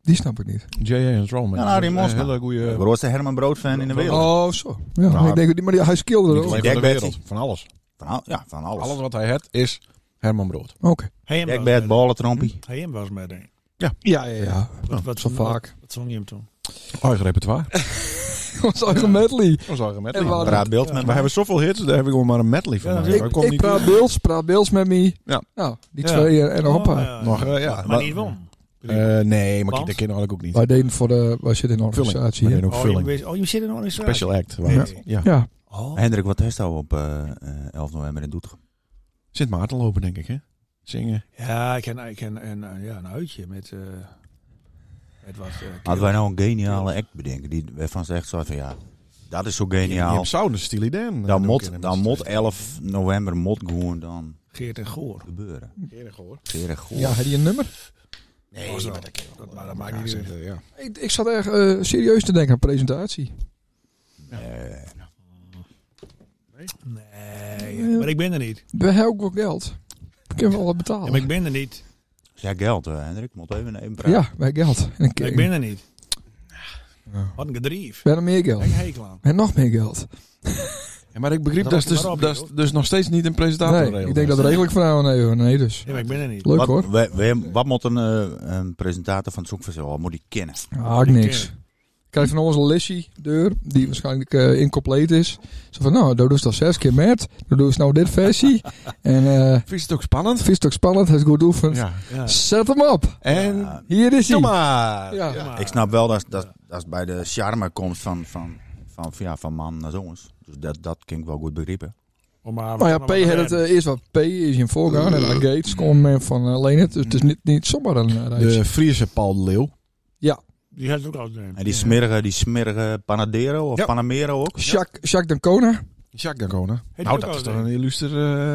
Speaker 2: Die snap ik niet.
Speaker 4: J.A. en Strowman.
Speaker 5: Ja, nou, die
Speaker 4: Een
Speaker 5: Mosma.
Speaker 4: Hele
Speaker 5: De
Speaker 4: goede...
Speaker 5: grootste Herman Brood fan in de wereld.
Speaker 2: Oh, zo. Ja,
Speaker 4: Nou,
Speaker 2: ik denk, dat die- maar die, hij is kilder
Speaker 4: Niet
Speaker 2: ook.
Speaker 4: alleen
Speaker 5: Jack
Speaker 4: van de
Speaker 5: Bertie.
Speaker 4: wereld, van alles.
Speaker 5: Van, al- ja, van alles.
Speaker 4: Alles wat hij had is Herman Brood.
Speaker 2: Oké.
Speaker 3: hij hem
Speaker 5: Jack
Speaker 3: was
Speaker 5: Bert,
Speaker 3: meedoen.
Speaker 5: ballentrompie.
Speaker 3: Hij hem was meedoen.
Speaker 2: Ja, ja, ja.
Speaker 3: Wat, wat,
Speaker 2: Zo
Speaker 3: wat-
Speaker 2: vaak.
Speaker 3: Wat zong je hem toen?
Speaker 4: Eigen repertoire.
Speaker 2: Ons eigen medley.
Speaker 4: Ons eigen medley.
Speaker 2: En waar-
Speaker 5: Raad beeld
Speaker 3: Ja.
Speaker 5: met
Speaker 4: We
Speaker 5: mij.
Speaker 4: hebben zoveel hits, daar hebben we gewoon maar een medley van.
Speaker 3: Ja,
Speaker 4: maken.
Speaker 3: ik-
Speaker 4: Hij
Speaker 2: Ik,
Speaker 4: komt
Speaker 2: ik
Speaker 4: niet
Speaker 2: praat
Speaker 4: door.
Speaker 2: Beels, praat Beels met me.
Speaker 4: Ja.
Speaker 2: Nou, die
Speaker 4: Ja.
Speaker 2: twee eh, en
Speaker 3: Oh,
Speaker 2: nog een paar.
Speaker 4: Nog, eh, ja.
Speaker 3: Maar niet won.
Speaker 4: Eh, nee, maar
Speaker 3: Want?
Speaker 4: dat kinderen had ik ook niet.
Speaker 2: Wij deden voor de, wij zitten in een
Speaker 4: Vulling.
Speaker 2: organisatie.
Speaker 4: We deden ook
Speaker 3: Oh, je,
Speaker 4: vulling.
Speaker 3: bent- oh, je zit in een organisatie.
Speaker 4: Special act. waren het.
Speaker 3: Nee.
Speaker 4: Ja.
Speaker 2: Ja.
Speaker 3: Oh.
Speaker 5: Hendrik, wat heeft jou op eh, eh, 11 november in Doetinchem?
Speaker 4: Sint Maarten lopen, denk ik, hè? Zingen.
Speaker 3: Ja, ik ken, ik ken een, een- ja, een uitje met... eh met wat, eh,
Speaker 5: Hadden wij nou een geniale act bedenken, die, waarvan ze echt zo van ja, Dat is zo
Speaker 4: Ja.
Speaker 5: geniaal.
Speaker 4: Je zou een stil idee.
Speaker 5: Dan moet, dan moet 11 november moet gewoon dan
Speaker 3: Geert en Goor.
Speaker 5: gebeuren.
Speaker 4: Eerlijk hoor.
Speaker 5: Gerrit Goor.
Speaker 2: Ja, heb je een nummer?
Speaker 4: Nee,
Speaker 3: Oh, zo.
Speaker 4: maar dat kan
Speaker 3: Dat-
Speaker 4: wel.
Speaker 3: maar dat maakt niet
Speaker 4: Ja,
Speaker 3: uit.
Speaker 4: zeg, eh, ja.
Speaker 2: Ik, ik zat erg eh, serieus te denken aan presentatie.
Speaker 5: Eh,
Speaker 3: Nee,
Speaker 2: Ja.
Speaker 3: maar ik ben er niet.
Speaker 2: We hebben ook wel geld. Ik heb wel wat
Speaker 3: Ja,
Speaker 2: betalen.
Speaker 3: maar ik ben er niet.
Speaker 5: ja, geld, eh, Hendrik. Moet even een praten.
Speaker 2: Ja, wij geld. En
Speaker 3: Maar ik ben er niet. Wat een gedrief.
Speaker 2: We hebben meer geld.
Speaker 3: Ik hekel aan.
Speaker 2: En nog meer geld.
Speaker 4: Ja, maar ik begreep
Speaker 3: Dat
Speaker 4: dat is
Speaker 3: was
Speaker 4: dus,
Speaker 3: maar op,
Speaker 4: dat is
Speaker 3: joh.
Speaker 4: dus nog steeds niet een presentator.
Speaker 2: Nee, ik denk dat regelijk vrouwen even. Nee, dus.
Speaker 3: Nee, maar ik ben er niet.
Speaker 2: Leuk
Speaker 5: wat,
Speaker 2: hoor.
Speaker 5: we- we- wat moet een, eh, een presentator van het Zoekfestival? Wat moet die kennen?
Speaker 2: Ja, ook niks. Ik krijg van ons een lesje deur, die waarschijnlijk eh, incompleet is. Zo van, nou, dat doe je dat zes keer met. Dat doe je nou dit versie. en eh
Speaker 4: Vind je het ook spannend?
Speaker 2: vind je het ook spannend, het is goed oefend.
Speaker 4: Ja.
Speaker 3: Ja.
Speaker 2: Zet hem op.
Speaker 4: En
Speaker 5: Ja,
Speaker 2: Hier is hij.
Speaker 4: doe maar.
Speaker 2: Ja.
Speaker 3: Ja, maar-
Speaker 5: Ik snap wel dat, dat, dat bij de charme komt van, van, van, ja, van man naar jongens. Dus dat, dat kan ik wel goed begrijpen.
Speaker 3: Oh, maar
Speaker 2: Nou ja, P had het eh, eerst wat P is in voorgaan en dan Gates komt men van eh, Lenet. Dus het is niet, niet zomaar een eh, reis.
Speaker 4: De Friese Paul de Leeuw.
Speaker 3: Die had het ook al gedaan.
Speaker 5: En die smerige, die smerige Panadero of
Speaker 4: Ja.
Speaker 5: Panamero ook.
Speaker 2: Jacques, Jacques D'Ancona.
Speaker 4: Jacques Dacona.
Speaker 3: Heeft
Speaker 4: nou,
Speaker 3: hij ook
Speaker 4: dat
Speaker 3: al
Speaker 4: is toch
Speaker 3: gedaan.
Speaker 4: een illuster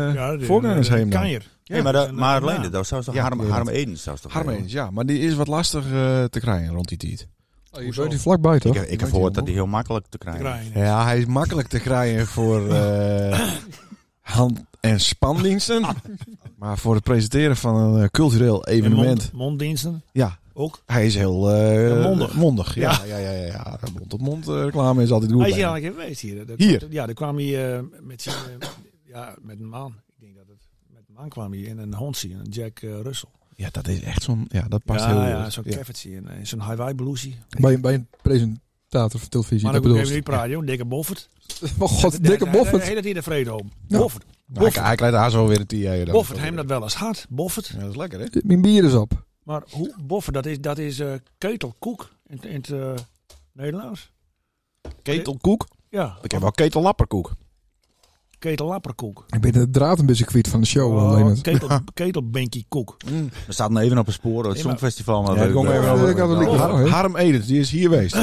Speaker 4: eh
Speaker 3: Ja, die-
Speaker 4: voorgangersheem
Speaker 3: Kan
Speaker 4: dan.
Speaker 3: je.
Speaker 5: Nee, maar, dat-
Speaker 3: en,
Speaker 5: maar
Speaker 3: eh,
Speaker 5: alleen,
Speaker 3: nou.
Speaker 5: dat zou toch
Speaker 4: Ja,
Speaker 5: Harm,
Speaker 4: inderdaad.
Speaker 5: Harm Eden zou toch
Speaker 4: Harm
Speaker 5: hebben?
Speaker 4: eens, ja. Maar die is wat lastig eh, te krijgen rond die tijd.
Speaker 2: Oh, je
Speaker 3: Hoezo?
Speaker 2: bent hier vlakbij toch?
Speaker 5: Ik, ik heb
Speaker 4: Weet
Speaker 5: gehoord
Speaker 4: je
Speaker 5: dat die heel makkelijk te
Speaker 3: Te
Speaker 5: krijgen is.
Speaker 3: krijgen.
Speaker 4: Ja, hij is makkelijk te krijgen voor eh, hand- en spandiensten. maar voor het presenteren van een eh, cultureel
Speaker 3: En mond-
Speaker 4: evenement.
Speaker 3: monddiensten
Speaker 4: Ja,
Speaker 3: ook.
Speaker 4: hij is heel... eh,
Speaker 3: Ja, mondig.
Speaker 4: ja. Ja, ja, ja, ja. Mond-op-mond eh, reclame is altijd goed.
Speaker 3: Hij is
Speaker 4: bij
Speaker 3: hier al
Speaker 4: hem.
Speaker 3: een keer geweest hier. Dat-
Speaker 4: Hier?
Speaker 3: Ja, daar kwam hij eh, met, zijn, eh, ja, met een man. Ik denk dat het met een man kwam hij en een hondsie, een Jack eh, Russell.
Speaker 4: Ja, dat is echt zo'n... Ja, dat past heel
Speaker 3: ja, ja,
Speaker 4: goed.
Speaker 3: zo'n
Speaker 4: Ja. Nou,
Speaker 3: keffertje en eh, zo'n Hawaii bluesie.
Speaker 2: Bij, bij een presentator van televisie. dat
Speaker 3: Maar dan moet ik
Speaker 2: bedoel
Speaker 3: even
Speaker 2: ik.
Speaker 3: niet praten, joh. Dikke Boffert.
Speaker 2: Oh god,
Speaker 3: Daar-
Speaker 2: dikke
Speaker 3: daar- Daar
Speaker 2: boffert.
Speaker 3: heet het hier de vrede om.
Speaker 2: Ja.
Speaker 3: Boffert.
Speaker 4: Nou, hij, hij krijgt daar zo weer een TA. dan.
Speaker 3: Boffert hem dat wel eens hard. Boffert.
Speaker 4: Ja, dat is lekker, hè?
Speaker 2: Mijn bier is op.
Speaker 3: Maar hoe, Boffert, dat is, dat is eh, keutelkoek in, het- in het eh, Nederlands.
Speaker 4: Ketelkoek.
Speaker 3: Ja,
Speaker 4: Ik heb wel ketellapperkoek.
Speaker 3: ketellapperkoek.
Speaker 2: Ik ben de draad een beetje kwijt van de show.
Speaker 3: Oh,
Speaker 2: alleen het.
Speaker 3: ketel, ketelbenkiekoek.
Speaker 5: We staan even op een spoor,
Speaker 3: Nee,
Speaker 5: het
Speaker 3: maar-
Speaker 5: Songfestival. Maar
Speaker 4: Ja, ik
Speaker 5: we-
Speaker 4: kom
Speaker 5: we-
Speaker 4: even
Speaker 5: we-
Speaker 4: over-
Speaker 5: we-
Speaker 2: ik had het
Speaker 5: we-
Speaker 2: niet
Speaker 5: we-
Speaker 2: gehad.
Speaker 5: we-
Speaker 2: hè?
Speaker 4: Harm Edens, die is hier geweest.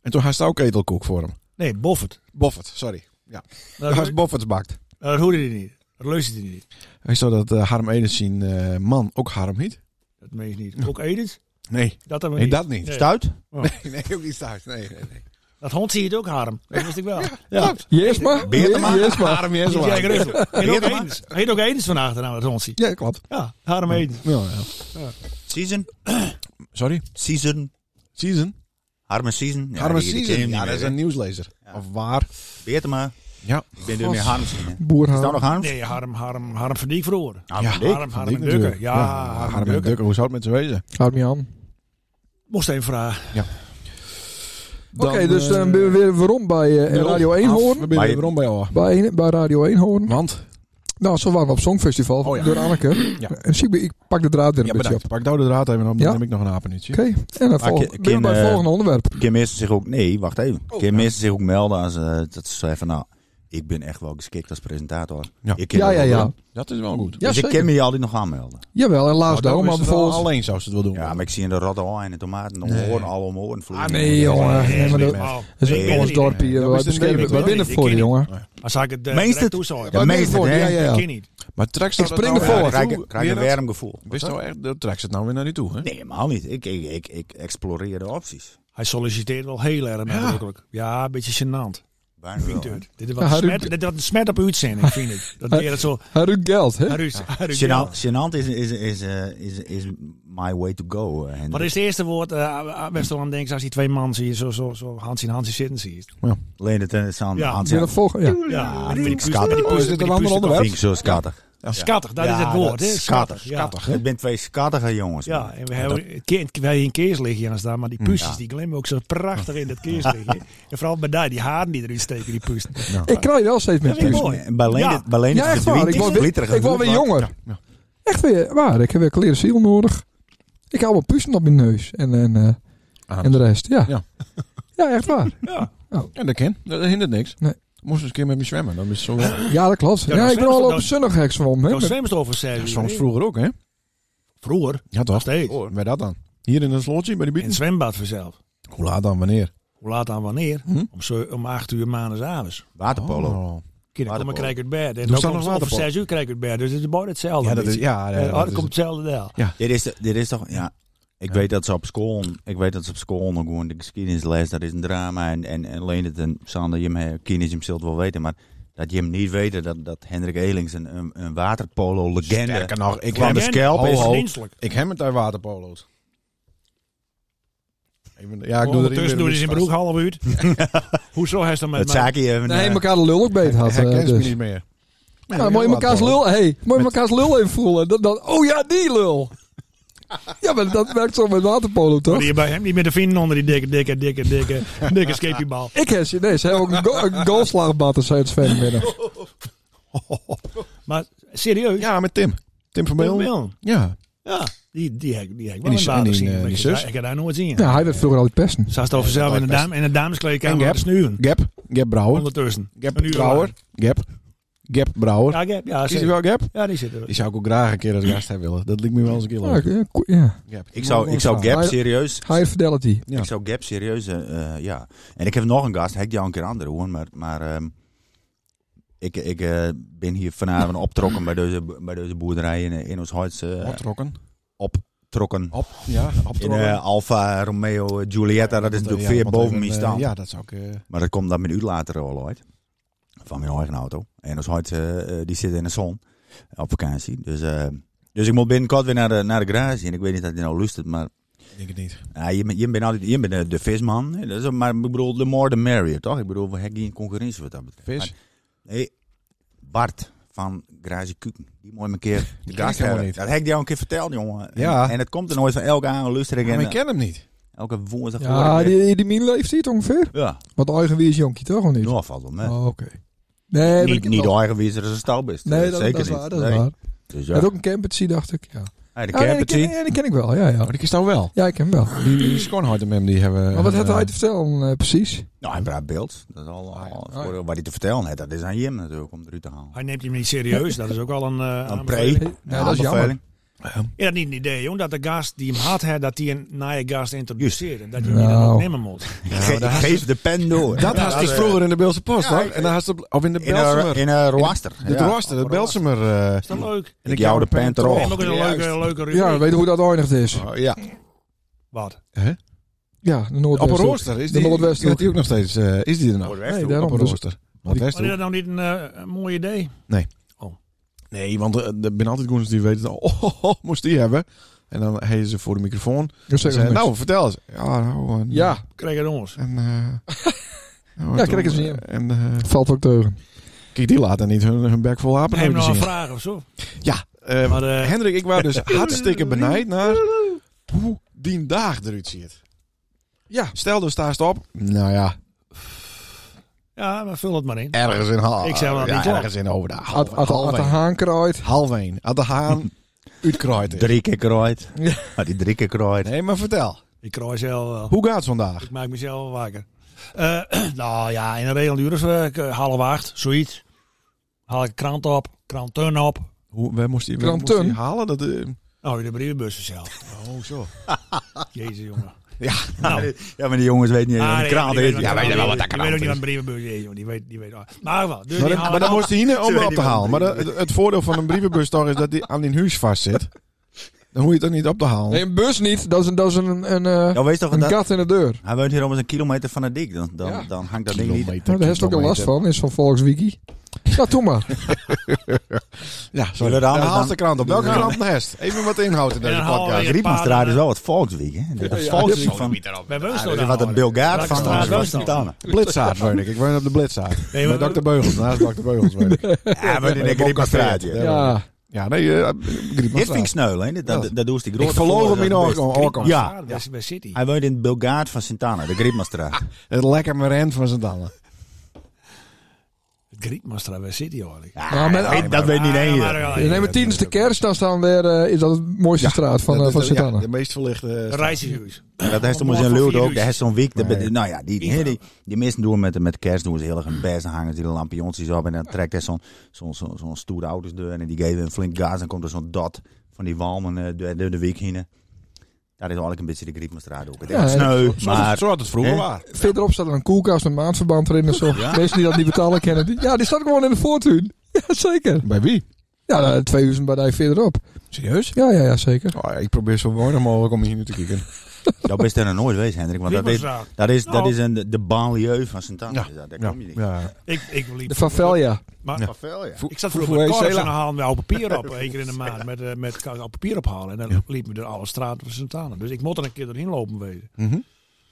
Speaker 4: en toen had ze ook ketelkoek voor hem.
Speaker 3: Nee, Boffert.
Speaker 4: Boffert, sorry.
Speaker 3: Dat,
Speaker 4: Dat was
Speaker 3: dat,
Speaker 4: Boffert's bakt.
Speaker 3: hoorde hij niet. Nou, Dat luisterde hij niet.
Speaker 4: Hij zou dat eh, Harm Edens zien eh, man ook Harm heet?
Speaker 3: Dat meen je niet. Ook Edens?
Speaker 4: Nee,
Speaker 3: Dat hebben
Speaker 4: nee
Speaker 3: we niet.
Speaker 4: dat niet.
Speaker 3: Nee. Oh.
Speaker 5: Stuit?
Speaker 4: Nee, nee, ook niet thuis. Nee, nee, nee.
Speaker 3: Dat hond zie je het ook, Harm. Dat wist ik wel.
Speaker 4: Klopt.
Speaker 2: Yes, maar.
Speaker 5: Beertema?
Speaker 2: Yes, maar.
Speaker 4: Harm is
Speaker 3: Die Jack
Speaker 4: wel.
Speaker 3: Russell. Heet ook
Speaker 5: Heerlijk.
Speaker 3: Edens. Heet ook Edens van achternaam, dat hond zie.
Speaker 4: Ja, klopt.
Speaker 3: Ja, Harm Edens.
Speaker 4: Ja, ja.
Speaker 5: Season?
Speaker 4: Sorry?
Speaker 5: Season?
Speaker 4: Season?
Speaker 5: Harme Season?
Speaker 4: Harm
Speaker 5: die- die ken je
Speaker 4: Season.
Speaker 5: niet
Speaker 4: Ja, dat
Speaker 5: meer,
Speaker 4: is
Speaker 5: hè?
Speaker 4: een nieuwslezer.
Speaker 5: Ja.
Speaker 4: Of waar?
Speaker 5: Beter maar.
Speaker 4: Ja.
Speaker 5: Ik ben er meer Harm zien. hè. Is dat nog
Speaker 2: Boerhaan.
Speaker 5: Harm?
Speaker 3: Nee, Harm, Harm, Harm van Dijk vroeger.
Speaker 5: Harm
Speaker 4: Ja.
Speaker 5: van Dijk.
Speaker 3: Harm,
Speaker 4: Van
Speaker 3: Harm
Speaker 4: Dijk
Speaker 3: en Dukker.
Speaker 4: natuurlijk.
Speaker 3: Ja, Harm,
Speaker 4: Harm
Speaker 3: en
Speaker 4: en
Speaker 3: Dukker.
Speaker 4: Dukker. Hoe zou het met ze wezen?
Speaker 2: Houd me aan.
Speaker 3: Moest even vragen.
Speaker 2: Oké, dus dan ben we weer waarom bij eh,
Speaker 4: Nul
Speaker 2: Radio 1
Speaker 4: eh, af.
Speaker 2: horen.
Speaker 4: We zijn
Speaker 5: Maar-
Speaker 4: weer rond bij jou.
Speaker 2: Bij, bij Radio 1 horen.
Speaker 4: Want?
Speaker 2: Nou, zo waren we op Songfestival
Speaker 4: Oh ja.
Speaker 2: door Anneke.
Speaker 4: Ja.
Speaker 2: En zie ik, ik pak de draad weer een
Speaker 4: Ja,
Speaker 2: beetje op.
Speaker 4: bedankt. Pak nou de draad even op. Dan
Speaker 2: Ja.
Speaker 4: neem ik nog een apenutje.
Speaker 2: Oké, en dan volg,
Speaker 5: je-
Speaker 2: ben
Speaker 5: ken,
Speaker 2: bij het
Speaker 5: eh,
Speaker 2: volgende onderwerp.
Speaker 5: Kun mensen zich ook... Nee, wacht even.
Speaker 2: Oh,
Speaker 5: Kun mensen zich ook melden als... eh, dat ze zeggen van nou... Ik ben echt wel geschikt als presentator.
Speaker 4: Ja.
Speaker 5: Ik ken
Speaker 2: Ja,
Speaker 5: dat
Speaker 2: ja,
Speaker 5: wel
Speaker 2: ja.
Speaker 5: doen.
Speaker 4: Dat is wel goed.
Speaker 2: Ja,
Speaker 5: dus ik
Speaker 2: zeker.
Speaker 5: kan me je altijd nog aanmelden.
Speaker 2: Jawel, en laatst
Speaker 4: Nou, dan
Speaker 2: daarom,
Speaker 4: is
Speaker 2: maar
Speaker 4: het wel
Speaker 2: bijvoorbeeld...
Speaker 4: Alleen zou ze het wel doen.
Speaker 5: Ja, maar ik zie in de rotte en de tomaten omhoorn, al omhoorn.
Speaker 2: Ah, nee, jongen.
Speaker 5: Nee,
Speaker 2: Nee, maar dat-
Speaker 3: normaal.
Speaker 2: Het is
Speaker 5: Nee,
Speaker 2: een
Speaker 5: nee,
Speaker 2: ons
Speaker 3: nee, nee.
Speaker 2: dorpje, eh,
Speaker 4: Dat
Speaker 2: wij
Speaker 4: is het
Speaker 2: beschermen-
Speaker 4: niet,
Speaker 2: wij
Speaker 4: dat
Speaker 2: binnen
Speaker 3: is
Speaker 2: voor,
Speaker 3: niet.
Speaker 2: jongen.
Speaker 3: Als ik het eh,
Speaker 5: Meest
Speaker 3: direct
Speaker 5: het-
Speaker 3: toezorg.
Speaker 5: Ja,
Speaker 3: Dat
Speaker 5: meest het, hè? Nou,
Speaker 2: Ja, ja, ja.
Speaker 3: ken niet.
Speaker 4: Maar trek ze
Speaker 2: Ik
Speaker 4: dat
Speaker 2: spring
Speaker 4: nou
Speaker 2: ervoor.
Speaker 4: weer naar
Speaker 5: Krijg,
Speaker 4: je
Speaker 5: ik-
Speaker 4: toe?
Speaker 5: krijg je
Speaker 4: Weer
Speaker 5: een warm gevoel.
Speaker 4: dat- Wist nou echt, dat trek ze het nou weer naar je toe, hè?
Speaker 5: Nee, helemaal niet. Ik, ik, ik, ik exploreer de opties.
Speaker 3: Hij solliciteert wel heel erg nadrukkelijk. Ja, een beetje gênant.
Speaker 5: Bijna
Speaker 3: Vindt u
Speaker 5: wel, hè.
Speaker 3: het? Dit is
Speaker 2: Ja,
Speaker 3: wat
Speaker 2: hij
Speaker 3: smet-
Speaker 2: doet-
Speaker 3: dit is wat een smet op uw uitzending, vind ik. Dat
Speaker 2: Hij-
Speaker 3: deed het zo.
Speaker 2: Hij ruikt geld, hè?
Speaker 3: naar u- naar u-
Speaker 5: Gênant, gênant is, is, is, eh, is, is my way to go. eh, Hendrik.
Speaker 3: Wat is het eerste woord uh, best wel aan denkt als die twee man zie je zo, zo, zo Hans in Hansie zitten ziet?
Speaker 5: Leendert en Sander.
Speaker 3: Ja,
Speaker 5: Hans,
Speaker 2: Binnen het volgende, ja.
Speaker 5: Ja,
Speaker 3: met
Speaker 5: vind
Speaker 3: die
Speaker 5: ik
Speaker 3: puist-
Speaker 5: schattig.
Speaker 3: met die
Speaker 5: Oh,
Speaker 3: puist-
Speaker 4: is dit
Speaker 3: met die
Speaker 4: een ander
Speaker 3: puist-
Speaker 4: onderwerp?
Speaker 5: vind ik zo schattig.
Speaker 3: Schattig, dat is het woord. hè?
Speaker 5: Schattig.
Speaker 3: ja.
Speaker 5: Schattig. Het zijn twee schattige jongens.
Speaker 3: Ja,
Speaker 5: man.
Speaker 3: en we hebben het kind- wij in keers liggen hier aan staan, maar die
Speaker 4: Mm.
Speaker 3: puistjes die glimmen ook zo prachtig in dat keers liggen. en vooral bij die, die haren die erin steken, die puisten.
Speaker 2: Ik krijg wel steeds meer
Speaker 3: Dat vind ik
Speaker 2: puist.
Speaker 3: mooi.
Speaker 5: En Dus Bij Leendert-
Speaker 3: Ja.
Speaker 5: bij Leendert
Speaker 2: Ja, echt
Speaker 5: verdwijnt
Speaker 2: waar. Ik
Speaker 5: die
Speaker 2: word weer,
Speaker 5: glitterige
Speaker 2: ik word weer
Speaker 5: vloed,
Speaker 2: jonger.
Speaker 4: Ja.
Speaker 2: Echt weer waar. Ik heb weer kleren ziel nodig. Ik hou wel puisten op mijn neus en, en, eh,
Speaker 4: Ah.
Speaker 2: en de rest. Ja.
Speaker 4: Ja.
Speaker 2: ja. echt waar.
Speaker 4: Ja, dat kan. Dat hindert niks.
Speaker 2: Nee.
Speaker 4: Moest eens een keer met me zwemmen. Dan is het zo...
Speaker 2: Ja, dat klopt. Ja,
Speaker 3: nou,
Speaker 2: ik ben
Speaker 3: zwemmen-
Speaker 2: al op
Speaker 3: nou-
Speaker 2: een zonnig hek zwommen.
Speaker 3: Zo'n
Speaker 2: hè.
Speaker 3: zwemstof of zei
Speaker 4: Soms vroeger ook, hè?
Speaker 3: Vroeger,
Speaker 4: Ja,
Speaker 3: nog
Speaker 4: toch?
Speaker 3: steeds.
Speaker 4: Bij dat dan? Hier in het slotje, bij de
Speaker 3: In het
Speaker 4: bieten?
Speaker 3: zwembad vanzelf.
Speaker 4: Hoe laat dan? Wanneer?
Speaker 3: Hoe laat dan wanneer?
Speaker 4: Hm?
Speaker 3: Om, zo, om acht uur maandagavond.
Speaker 5: Waterpolo.
Speaker 4: Oh.
Speaker 3: Kinderen
Speaker 5: Waterpolo.
Speaker 3: komen krijg ik het bed. En
Speaker 4: Hoe
Speaker 3: dan
Speaker 4: staat
Speaker 3: komt
Speaker 4: nog
Speaker 3: het over
Speaker 4: waterpolo?
Speaker 3: zes uur krijg ik het bed. Dus het is bijna hetzelfde.
Speaker 4: Ja, dat Oh, is,
Speaker 3: beetje.
Speaker 4: ja,
Speaker 3: Eh,
Speaker 4: ja, dus dat
Speaker 3: dat
Speaker 4: is-
Speaker 3: komt hetzelfde deel.
Speaker 5: Dit, is, de- dit is toch... Ja. Ik weet dat ze op school... Ik weet dat ze op school nog gewoon de geschiedenisles... Dat is een drama. En, en, en Leendert en Sander Jim Kienis hem zult wel weten. Maar dat je hem niet weet dat, dat Hendrik Elings een, een, een waterpolo-legende...
Speaker 4: Sterker nog, ik
Speaker 5: Van
Speaker 4: heb,
Speaker 5: de
Speaker 4: het,
Speaker 5: scalp
Speaker 4: Ho,
Speaker 5: is...
Speaker 2: Oh,
Speaker 4: ho.
Speaker 3: Menselijk.
Speaker 4: ik heb het uit waterpolo's. Ik ben- Ja, ik doe er
Speaker 3: Ondertussen doen ze in broek half uur. Hoezo heeft dat met
Speaker 5: Het
Speaker 3: mij?
Speaker 5: zaakje even...
Speaker 2: Nee,
Speaker 5: eh,
Speaker 2: elkaar de lul ook beet had. eh,
Speaker 4: Herken
Speaker 2: dus.
Speaker 4: ze me niet meer.
Speaker 2: Ja, dan moet je mekaars lul, hey, moet je mekaars lul even voelen. Dan, dan, oh ja, die lul. ja, maar dat werkt zo met waterpolo, toch?
Speaker 3: Die je bij hem niet meer te vinden onder die dikke, dikke, dikke, dikke, dikke skatebal.
Speaker 2: Ik heb ze, nee, ze hebben ook een, go een goalslagbatter, zei het Sven middag.
Speaker 3: Maar serieus?
Speaker 4: Ja, met Tim. Tim van
Speaker 3: Wil
Speaker 4: Meel.
Speaker 3: Wil.
Speaker 4: Ja.
Speaker 3: Ja, die, die, heb- die heb
Speaker 4: En
Speaker 3: ik wel
Speaker 4: die
Speaker 3: in
Speaker 4: zus- en
Speaker 3: water
Speaker 4: die,
Speaker 3: zien.
Speaker 4: eh,
Speaker 3: maar
Speaker 4: die
Speaker 3: ik-
Speaker 4: zus?
Speaker 3: Ik heb daar nooit zien.
Speaker 2: Ja, hij werd vroever altijd pesten.
Speaker 3: Ze had het over zelf in de,
Speaker 4: best.
Speaker 3: dame, in de dameskleedkamer
Speaker 4: En Gap.
Speaker 3: te snuwen.
Speaker 4: Gap. Gap Brouwer.
Speaker 3: Ondertussen.
Speaker 4: Gap
Speaker 3: Een uur
Speaker 4: Brouwer.
Speaker 3: lang.
Speaker 4: Gap. Gap Brouwer.
Speaker 3: Ja, Gap. Ja,
Speaker 4: Is
Speaker 3: zeker.
Speaker 4: die wel Gap?
Speaker 3: ja, die zit er.
Speaker 4: Die zou ik ook graag een keer als gast hebben willen. Dat liet me wel eens een keer
Speaker 2: Ja,
Speaker 4: leuk.
Speaker 2: ja, ko- ja.
Speaker 4: Gap.
Speaker 5: Ik zou, ik zou Gap
Speaker 2: Maar-
Speaker 5: serieus...
Speaker 2: High fidelity.
Speaker 4: Ja.
Speaker 5: Ik zou Gap serieus, eh, eh, ja. En ik heb nog een gast, heb die al een keer andere hoor, maar, maar ehm, ik, ik eh, ben hier vanavond optrokken bij deze, bij deze boerderij in, eh, in ons huis. eh,
Speaker 4: Optrokken.
Speaker 5: optrokken.
Speaker 4: Op. Ja,
Speaker 5: In
Speaker 4: optrokken.
Speaker 5: eh, Alfa Romeo eh, Giulietta, dat is natuurlijk veel boven mijn stand.
Speaker 4: eh, Ja, dat zou ik... eh,
Speaker 5: Maar dat komt dan mijn uur later al ooit. Van mijn eigen auto. En ons huid, eh, eh, die zit in de zon. Op vakantie. Dus, eh, dus ik moet binnenkort weer naar de, naar de garage. En ik weet niet dat hij nou luistert, maar
Speaker 4: Ik denk het niet.
Speaker 5: ja, je, bent- je bent altijd je bent eh, de visman. hè. Dat is, maar ik bedoel, de more the merrier, toch? Ik bedoel, we hebben geen concurrentie wat dat betreft.
Speaker 4: Vis.
Speaker 5: Maar, nee, Bart van Garage Kuken. Die mooi een keer de
Speaker 4: ken ik
Speaker 5: gast
Speaker 4: helemaal
Speaker 5: hebben.
Speaker 4: niet.
Speaker 5: Dat heb ik jou een keer verteld, jongen. En-
Speaker 4: Ja.
Speaker 5: En, het komt er nooit van elke aanlustering
Speaker 4: Maar ik
Speaker 5: en eh,
Speaker 4: ken hem niet.
Speaker 5: elke woensdag. hoor
Speaker 2: Ja,
Speaker 5: ik weer-
Speaker 2: Ah, die, die min leeftijd ongeveer.
Speaker 5: ja.
Speaker 2: Wat eigen wie is jonkie, toch? Of niet?
Speaker 5: Nou, valt wel mee.
Speaker 2: Oh, oké. Nee,
Speaker 5: niet
Speaker 2: dat-
Speaker 5: niet de eigen wie er een stal is.
Speaker 2: Nee, dat,
Speaker 5: Zeker
Speaker 2: dat is
Speaker 5: niet.
Speaker 2: waar, dat is
Speaker 5: Nee.
Speaker 2: waar.
Speaker 5: Dus
Speaker 2: Hij
Speaker 5: ja.
Speaker 2: had ook een campertje, dacht ik. Ja,
Speaker 5: Hey, de Oh,
Speaker 2: Ja, nee, die
Speaker 5: campertie.
Speaker 2: ken, ja, die ken ik wel, ja, ja.
Speaker 4: Maar die is nou wel.
Speaker 2: Ja, ik ken hem wel.
Speaker 4: Die, die schoonheid hem die hebben...
Speaker 2: Maar wat had
Speaker 4: hebben-
Speaker 2: hij te vertellen eh, precies?
Speaker 5: Nou, hij braakt beeld. Dat is al,
Speaker 4: Ah, ja.
Speaker 5: al- voor, wat hij te vertellen heeft, dat is aan Jim natuurlijk om eruit te halen.
Speaker 3: Hij neemt je niet serieus. Dat is ook al een... eh,
Speaker 5: Een pre.
Speaker 3: aanbeveling.
Speaker 2: Ja, dat is jammer.
Speaker 5: Aanbeveling.
Speaker 3: Ja, dat is niet een idee, jong. Dat de gast die hem had, hè, dat die een naaie gast introduceert. En dat je
Speaker 2: Nou.
Speaker 3: die dan ook nemen moet.
Speaker 5: Ge- geef de pen door.
Speaker 4: Dat
Speaker 5: Ja,
Speaker 4: had dus
Speaker 5: eh,
Speaker 4: vroeger in de Beelse Post,
Speaker 5: Ja,
Speaker 4: hoor.
Speaker 5: ik-
Speaker 4: En dan had ze op- of in de
Speaker 5: In een,
Speaker 4: Belsemer.
Speaker 5: in een rooster.
Speaker 4: De
Speaker 5: ja.
Speaker 4: Roaster, de Belsemer. eh,
Speaker 3: Is dat leuk?
Speaker 4: en
Speaker 5: Ik jou de
Speaker 4: heb een
Speaker 5: pent
Speaker 3: Oh,
Speaker 5: erop.
Speaker 3: neem ook een
Speaker 4: Juist.
Speaker 3: leuke, leuke rubriek.
Speaker 2: Ja, we weten hoe dat eindigd is.
Speaker 4: Oh, ja.
Speaker 3: Wat?
Speaker 2: Ja, de
Speaker 4: Op een
Speaker 2: Noordwesthoek.
Speaker 4: rooster is
Speaker 2: De
Speaker 4: die.
Speaker 2: Noordwesthoek.
Speaker 4: Gaat die ook nog steeds? eh, is die er nog?
Speaker 5: Noordwesthoek.
Speaker 2: Nee, daarom.
Speaker 4: op een
Speaker 2: Dus-
Speaker 4: rooster.
Speaker 3: Was dit nou niet een, eh, een mooi idee?
Speaker 4: Nee, want eh, er zijn altijd goeders die weten. Oh, oh, oh, moest die hebben. En dan heen ze voor de microfoon.
Speaker 2: Dus
Speaker 4: Ze
Speaker 2: zeg
Speaker 4: zeggen,
Speaker 2: maar niks.
Speaker 4: nou, vertel eens. Ja, nou. En,
Speaker 2: Ja,
Speaker 3: Krijg het ons.
Speaker 4: En, eh, nou,
Speaker 2: Ja,
Speaker 4: toen,
Speaker 2: kijk eens
Speaker 4: eh,
Speaker 2: hier.
Speaker 4: En eh,
Speaker 2: valt ook teugen.
Speaker 4: kijk, die laten niet hun, hun bek vol apen
Speaker 3: Heb je
Speaker 4: zien.
Speaker 3: nog nou een vraag of zo?
Speaker 4: Ja, eh,
Speaker 3: Maar, eh,
Speaker 4: Hendrik, ik was dus hartstikke benijd naar hoe die dag eruit ziet.
Speaker 2: Ja.
Speaker 4: Stel, dus staat op. Nou ja,
Speaker 3: Ja, maar vul het maar in.
Speaker 4: ergens in half.
Speaker 3: Ik zeg wel dat niet
Speaker 4: ja,
Speaker 3: klopt.
Speaker 4: Ergens in over de
Speaker 5: Oh,
Speaker 4: half.
Speaker 2: Had had de haan kruid.
Speaker 4: Half één. Had de haan uitkruiden.
Speaker 5: Drie keer krooit.
Speaker 2: Ja.
Speaker 5: Ja, die drie keer krooit.
Speaker 4: Nee, maar vertel.
Speaker 3: Ik krijg zelf wel.
Speaker 4: Hoe gaat het vandaag?
Speaker 3: Ik maak mezelf wel wakker. Eh, nou ja, in een regel uur is eh, half acht, zoiets. Haal ik een krant op, kranten op.
Speaker 4: Hoe, waar moest hij
Speaker 2: Grand Tun.
Speaker 4: halen? Dat, eh,
Speaker 3: Oh, de brievenbus zelf.
Speaker 4: oh, zo.
Speaker 3: Jezus, jongen.
Speaker 4: Ja.
Speaker 3: nou.
Speaker 5: Ja, maar die jongens weten niet.
Speaker 3: Ah,
Speaker 5: een
Speaker 3: nee,
Speaker 5: krant
Speaker 3: die
Speaker 5: is.
Speaker 3: weet
Speaker 5: Ja, weet je wel wat dat
Speaker 3: Die weet ook niet
Speaker 5: krant
Speaker 3: wat
Speaker 5: is.
Speaker 3: een brievenbus is, jongen. Die weet, die weet. Maar wel. Dus
Speaker 4: Maar, dan-
Speaker 3: die haal
Speaker 4: maar
Speaker 3: ik
Speaker 4: dan moest hij hier om
Speaker 5: weet
Speaker 4: op
Speaker 5: niet
Speaker 4: te
Speaker 5: wat
Speaker 4: halen.
Speaker 5: een
Speaker 4: Maar dat- het voordeel van een brievenbus toch is dat hij aan die huis vast zit. Dan hoef je het ook niet op te halen.
Speaker 2: Nee, een bus niet. Dat is een, dat is een, een, eh,
Speaker 5: Ja, weet toch
Speaker 2: een
Speaker 5: dat...
Speaker 2: gat in de deur.
Speaker 5: Hij woont hier om eens een kilometer van het dik. Dan, dan,
Speaker 2: Ja.
Speaker 5: dan hangt dat ding niet.
Speaker 2: Nou, daar heeft ook een last van. Is van Volkswiki. Ja, doe maar.
Speaker 4: Ja,
Speaker 5: Zullen
Speaker 4: sorry.
Speaker 5: we
Speaker 4: De
Speaker 5: daar anders
Speaker 4: haalste
Speaker 5: dan-
Speaker 4: krant op. Welke
Speaker 5: Ja.
Speaker 4: krant nest? Even wat inhoud in deze
Speaker 3: Ja, haal
Speaker 4: podcast.
Speaker 3: weer.
Speaker 5: Riepmansstraat is wel wat Volksweek, hè? Dat is Volksweek van...
Speaker 3: Bij
Speaker 5: Ah,
Speaker 3: Weusel
Speaker 5: dat is
Speaker 3: dan
Speaker 5: wat een
Speaker 3: al.
Speaker 5: Bill Gates
Speaker 3: Welke
Speaker 5: van
Speaker 3: straat
Speaker 5: eh,
Speaker 3: was
Speaker 5: was
Speaker 3: dat?
Speaker 5: die tanden.
Speaker 4: Blitzaard weet ik. Ik woon op de Blitzaard.
Speaker 3: Nee,
Speaker 4: Met
Speaker 3: maar-
Speaker 4: Dr. Beugels. Naast Dr. Beugels weet ik.
Speaker 5: Ja, maar in de Riepmansstraat, ja.
Speaker 2: Ja.
Speaker 4: Ja, nee. eh,
Speaker 5: Dit vind ik
Speaker 4: Griepmansstraat.
Speaker 5: sneu, hè? Dat- Dat, dat doe ze die grote
Speaker 4: Ik verloor hem
Speaker 5: voorzet
Speaker 4: in
Speaker 5: best.
Speaker 4: Orkom.
Speaker 5: Ja.
Speaker 3: Ja, dat is bij City.
Speaker 5: Hij woont in het Bulgaard van Sint-Anna, de Griepmansstraat.
Speaker 4: Het lekker merend van zijn tanden.
Speaker 3: Grietmastra bij City, hoor ik.
Speaker 5: Ja,
Speaker 2: maar-
Speaker 5: dat weet- dat weet niet één.
Speaker 3: maar-
Speaker 5: joh.
Speaker 3: maar-
Speaker 2: Je neemt tijdens de kerst. Dan staan weer, eh, is dat het mooiste straat van,
Speaker 4: Dat
Speaker 2: eh,
Speaker 4: is
Speaker 2: van
Speaker 4: de- ja,
Speaker 2: Sint-Anne.
Speaker 4: De meest verlichte. eh,
Speaker 3: Reishuis.
Speaker 5: En
Speaker 3: Om
Speaker 5: dat heeft hem eens in
Speaker 3: morgen
Speaker 5: Leeuwarden
Speaker 3: vier
Speaker 5: ook. Dat
Speaker 3: uur.
Speaker 5: heeft zo'n week. dat
Speaker 4: Nee.
Speaker 5: be- nou ja, die, die, die, die mensen doen met, met kerst doen ze heel erg hun best. Dan hangen ze die lampiontjes op en dan trekt hij zo'n zo'n zo'n zo'n stoere auto's deur. En die geven een flink gas. Dan komt er zo'n dot van die walmen eh, door door de week heen. Daar is eigenlijk een beetje de Griepmestraat ook. Het
Speaker 2: Ja,
Speaker 5: ja, sneu,
Speaker 4: Zo-
Speaker 5: maar...
Speaker 4: Zo had het vroeger
Speaker 5: Hè?
Speaker 4: waar.
Speaker 2: Verderop staat er een koelkast met maandverband erin en zo.
Speaker 5: Ja.
Speaker 2: Mensen die dat niet betalen kennen. die- ja, die staat gewoon in de voortuin. Ja, zeker.
Speaker 4: Bij wie?
Speaker 2: Ja, nou, twee uur bij daar verderop.
Speaker 4: Serieus?
Speaker 2: Ja, ja, ja, zeker.
Speaker 4: Oh, ja, ik probeer zo mooi mogelijk om hier nu te kijken.
Speaker 5: Dat best er nooit wees, Hendrik. Want dat is,
Speaker 3: Griepmestraat.
Speaker 5: dat is, dat
Speaker 3: Nou.
Speaker 5: is een, de banlieue van Sint Anne.
Speaker 4: Ja,
Speaker 5: Daar
Speaker 4: Ja,
Speaker 5: kom je niet.
Speaker 4: ja.
Speaker 3: Ik, ik liep
Speaker 2: De Favelia.
Speaker 3: Maar,
Speaker 4: Ja.
Speaker 3: Ik
Speaker 4: Voor-
Speaker 3: zat vroeger met
Speaker 4: voor
Speaker 3: korps en
Speaker 4: Ezela.
Speaker 3: dan haalden we al papier op. één keer in de maand met, eh, met kan ik al papier ophalen. En dan
Speaker 4: Ja.
Speaker 3: liepen we door alle straten van Sint-Anne. Dus ik mocht er een keer doorheen lopen wezen.
Speaker 4: Mhm.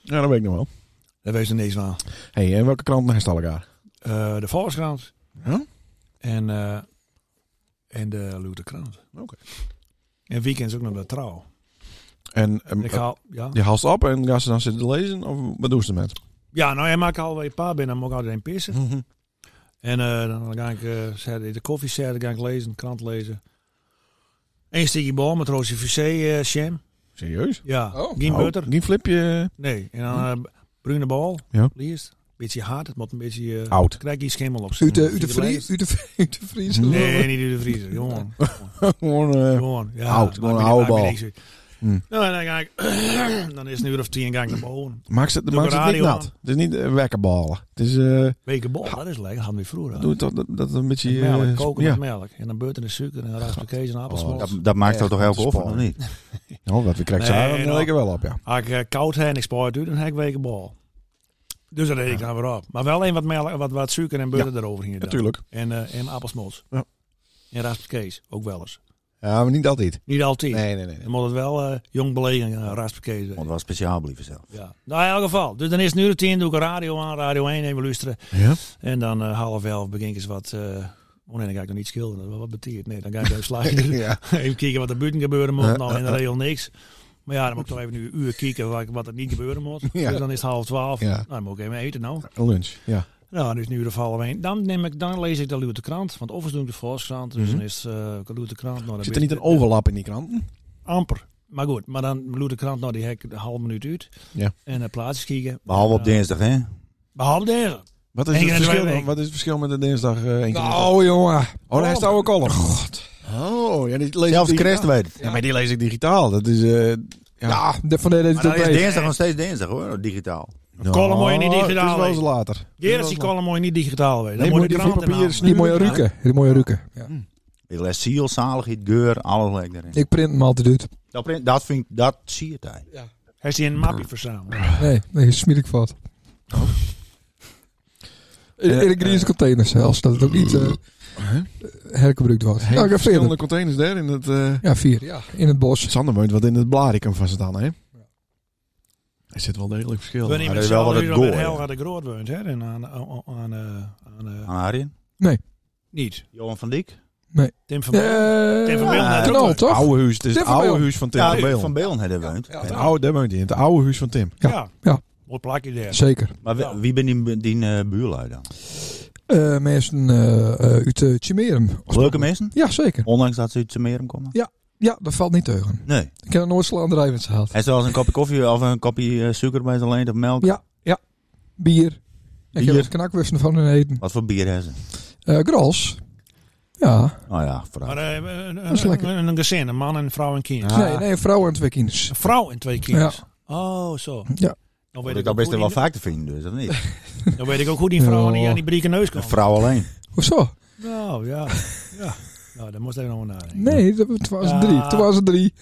Speaker 4: Ja, dat weet ik nog wel.
Speaker 3: Daar wees er niks aan.
Speaker 4: hey, en welke kranten heeft elkaar?
Speaker 3: Eh, de Volkskrant.
Speaker 4: Ja?
Speaker 3: En, eh, en de Luterkrant.
Speaker 4: Oké.
Speaker 3: En weekends ook nog de Trouw.
Speaker 4: En
Speaker 3: En
Speaker 4: ehm,
Speaker 3: ik haal, ja.
Speaker 4: je haalt ze op en gaan ze dan zitten lezen? Of wat doen ze ermee?
Speaker 3: ja, nou ja, maar ik haal weer een paar binnen. Dan moet ik altijd een pissen.
Speaker 5: Mhm.
Speaker 3: En eh, dan ga ik eh, zet- in de koffie zetten, ga ik lezen, krant lezen. Eén stukje bal met Roosje Vissé, eh Sham.
Speaker 4: Serieus?
Speaker 3: Ja,
Speaker 2: Oh.
Speaker 3: geen
Speaker 4: Oh,
Speaker 3: butter.
Speaker 4: Geen flipje?
Speaker 3: Nee, en dan eh, bruine bal,
Speaker 4: Ja.
Speaker 3: liefst. Beetje hard, het moet een beetje... eh
Speaker 4: Oud.
Speaker 3: krijg je schimmel op.
Speaker 2: Uit de, uit de,
Speaker 3: Beetje
Speaker 2: vrie,
Speaker 3: lijst.
Speaker 2: uit de, uit de vriezer.
Speaker 3: Nee, niet uit de vriezer. Jongen,
Speaker 4: Gewoon, eh,
Speaker 3: jongen. Ja,
Speaker 4: Oud, gewoon een oude bal. Hm.
Speaker 3: Nou, en dan ga ik... dan is het een uur of tien ga ik naar boven.
Speaker 4: maak ze,
Speaker 3: Doe
Speaker 4: maak ze
Speaker 3: de
Speaker 4: het niet
Speaker 3: radio
Speaker 4: nat.
Speaker 3: aan.
Speaker 4: Het is niet eh, wekkerballen. Het is, eh,
Speaker 3: Weken bol, dat is lekker. Dat hadden we vroeger.
Speaker 4: doe het toch dat, dat een beetje...
Speaker 3: Met melk,
Speaker 4: eh,
Speaker 3: koken
Speaker 4: ja.
Speaker 3: met melk. En dan beurten in suiker en raspberry kaas en
Speaker 4: Oh,
Speaker 3: appelsmol.
Speaker 5: Dat, dat maakt dat toch elke
Speaker 4: Echt,
Speaker 5: ochtend, of niet?
Speaker 4: Oh, wat we krijgen
Speaker 3: Nee,
Speaker 4: ze dan
Speaker 3: nou.
Speaker 4: lekker wel op, ja.
Speaker 3: Als ik eh, koud heb en ik spaar het uit, dan heb ik weken bal. Dus dat deed ik dan weer op. Maar wel een wat, melk, wat, wat suiker en beurten erover gingen. doen.
Speaker 4: Natuurlijk.
Speaker 3: En, eh en appelsmols.
Speaker 4: Ja.
Speaker 3: En raspberry kaas, ook wel eens.
Speaker 4: Ja, maar niet altijd.
Speaker 3: Niet altijd.
Speaker 4: Nee, nee, nee.
Speaker 3: Dan moet het wel eh, jong belegen, uh, raspakkees.
Speaker 5: Want wel speciaal blijven zelf.
Speaker 3: Ja. Nou, in elk geval. Dus dan is het nu de tien, doe ik een radio aan, radio 1 even luisteren.
Speaker 4: Ja?
Speaker 3: En dan eh, half elf begin ik eens wat... eh, oh nee, dan ga ik nog niet schilderen. Wat- Wat betekent Nee, dan ga ik even slagen.
Speaker 4: ja.
Speaker 3: even kijken wat er buiten gebeuren moet.
Speaker 4: Ja,
Speaker 3: Nou, in de regel niks. Maar ja, dan moet ik toch even een uur kijken wat, wat er niet gebeuren moet.
Speaker 4: Ja.
Speaker 3: Dus dan is het half twaalf.
Speaker 4: Ja.
Speaker 3: Nou, dan moet ik even eten nou.
Speaker 4: Lunch, ja.
Speaker 3: Nou, dus nu de half één. Dan, neem ik, dan lees ik de Luwte Krant. Want of is doen de Volkskrant. Dus
Speaker 4: Mhm.
Speaker 3: dan is eh de Luwte Krant. Nou, dan
Speaker 4: Zit er
Speaker 3: ben
Speaker 4: niet
Speaker 3: ik- eh,
Speaker 4: een overlap in die kranten?
Speaker 3: amper. Maar goed, maar dan loert de krant nou die hek een half minuut uit.
Speaker 4: Ja.
Speaker 3: En de plaatjes kijken.
Speaker 5: Behalve op
Speaker 3: Eh,
Speaker 5: dinsdag, hè?
Speaker 3: Behalve deze.
Speaker 4: Wat is,
Speaker 3: Eén
Speaker 4: het
Speaker 3: keer in de
Speaker 4: verschil,
Speaker 3: week.
Speaker 4: dan? wat is het verschil met de dinsdag? eh, één keer in de week?
Speaker 2: Nou, jongen.
Speaker 4: oh, daar is de oude column. God. Oh, ja, die lees
Speaker 5: Zelfs
Speaker 4: ik
Speaker 5: Christ
Speaker 4: digitaal.
Speaker 5: weet het.
Speaker 4: Ja, maar die lees ik digitaal. Dat is... eh
Speaker 2: Ja, de, van de, de,
Speaker 5: Maar dan is
Speaker 2: de,
Speaker 5: dinsdag nog steeds dinsdag, hoor. Digitaal.
Speaker 4: nou,
Speaker 3: column moet je niet digitaal
Speaker 4: Het is wel eens
Speaker 3: lezen.
Speaker 4: later. Het is wel
Speaker 3: Gerrit
Speaker 4: eens
Speaker 3: die
Speaker 4: later.
Speaker 3: column mooi niet digitaal weten.
Speaker 4: Nee,
Speaker 3: Dan moet
Speaker 4: moet
Speaker 3: je
Speaker 4: je
Speaker 3: de
Speaker 4: van
Speaker 3: krant in de
Speaker 4: papier
Speaker 3: hand.
Speaker 2: die mooie ruken. Die mooie ruken. Ja.
Speaker 5: Ik les ziel, zaligheid, geur, alles lijkt erin.
Speaker 2: Ik print hem altijd uit.
Speaker 5: Dat, print- dat, vind ik, dat zie je tijd.
Speaker 3: Hij is die in een mappie verzameld.
Speaker 2: Nee, nee, smier ik wat. In, in de Griekse container zelfs, dat het ook niet eh hergebruikt wordt.
Speaker 4: Hele
Speaker 2: Ja, ik heb
Speaker 4: verschillende
Speaker 2: vier.
Speaker 4: containers daar in het... eh,
Speaker 2: Ja, vier. Ja, in het bos.
Speaker 4: Sander woont wat in het blarikum van Zetan, hè? Er zit wel degelijk verschil.
Speaker 3: We nemen
Speaker 5: dat
Speaker 3: het
Speaker 5: is wel
Speaker 3: wel
Speaker 5: wat
Speaker 3: wat
Speaker 5: het
Speaker 3: het
Speaker 5: gooi,
Speaker 3: Helga de Groot woont. Hè? En aan, aan, aan, eh, aan eh,
Speaker 5: Aan Arjen?
Speaker 3: niet.
Speaker 5: Johan van Dijk?
Speaker 3: Tim van Beek. Tim van
Speaker 2: Eh,
Speaker 3: Beelden
Speaker 5: Ja,
Speaker 3: had er ook
Speaker 2: knal,
Speaker 3: een.
Speaker 4: Het
Speaker 2: toch?
Speaker 4: oude huis, het is
Speaker 2: Tim
Speaker 4: het
Speaker 2: van
Speaker 4: oude
Speaker 2: Beel.
Speaker 4: huis van Tim
Speaker 5: Ja,
Speaker 4: van Beel.
Speaker 5: Van Beelen hebben woont.
Speaker 2: Ja,
Speaker 4: Het oude, daar woont hij, in het oude huis van Tim.
Speaker 2: Ja.
Speaker 3: Ja.
Speaker 2: Ja.
Speaker 3: Mooi plakje daar.
Speaker 2: Zeker.
Speaker 5: Maar wie,
Speaker 3: Ja.
Speaker 5: wie ben die, die eh, buurlui dan?
Speaker 2: Eh, mensen eh, eh, uit uh, Chimerum.
Speaker 5: Leuke mensen?
Speaker 2: Ja, zeker.
Speaker 5: Ondanks dat ze uit Summerum komen?
Speaker 2: Ja, dat valt niet tegen.
Speaker 5: Nee.
Speaker 2: Ik heb een Noord-Slanderij met ze gehad.
Speaker 5: En zoals een kopje koffie of een kopje eh, suiker bij ze alleen of melk?
Speaker 2: Ja. Bier. Ik heb
Speaker 5: Bier.
Speaker 2: er knakwissen van hun eten.
Speaker 5: Wat voor bier hebben ze?
Speaker 2: Eh gras. Ja.
Speaker 5: Nou ja, vooral.
Speaker 3: Maar eh, een,
Speaker 2: is
Speaker 3: een,
Speaker 2: lekker.
Speaker 3: een, een gezin, een man en een vrouw en kind.
Speaker 4: Ah.
Speaker 2: Nee, nee, een vrouw en twee kinders.
Speaker 3: Een vrouw en twee kinderen. Oh, zo.
Speaker 2: Ja.
Speaker 3: Dan
Speaker 5: Dat
Speaker 3: weet
Speaker 5: ik
Speaker 3: ik,
Speaker 5: dat
Speaker 3: ook
Speaker 5: best
Speaker 3: hoe
Speaker 5: wel
Speaker 3: die,
Speaker 5: vaak te vinden, dus of niet?
Speaker 3: dan weet ik ook hoe die vrouw aan die,
Speaker 2: Ja.
Speaker 3: aan die brieke neus
Speaker 5: Een
Speaker 3: komt.
Speaker 5: vrouw alleen.
Speaker 2: Hoezo?
Speaker 3: Nou ja, ja. Nou, daar moest ik nog maar nadenken.
Speaker 2: Nee, dat- het was
Speaker 3: Ja.
Speaker 2: drie. Toen was het drie.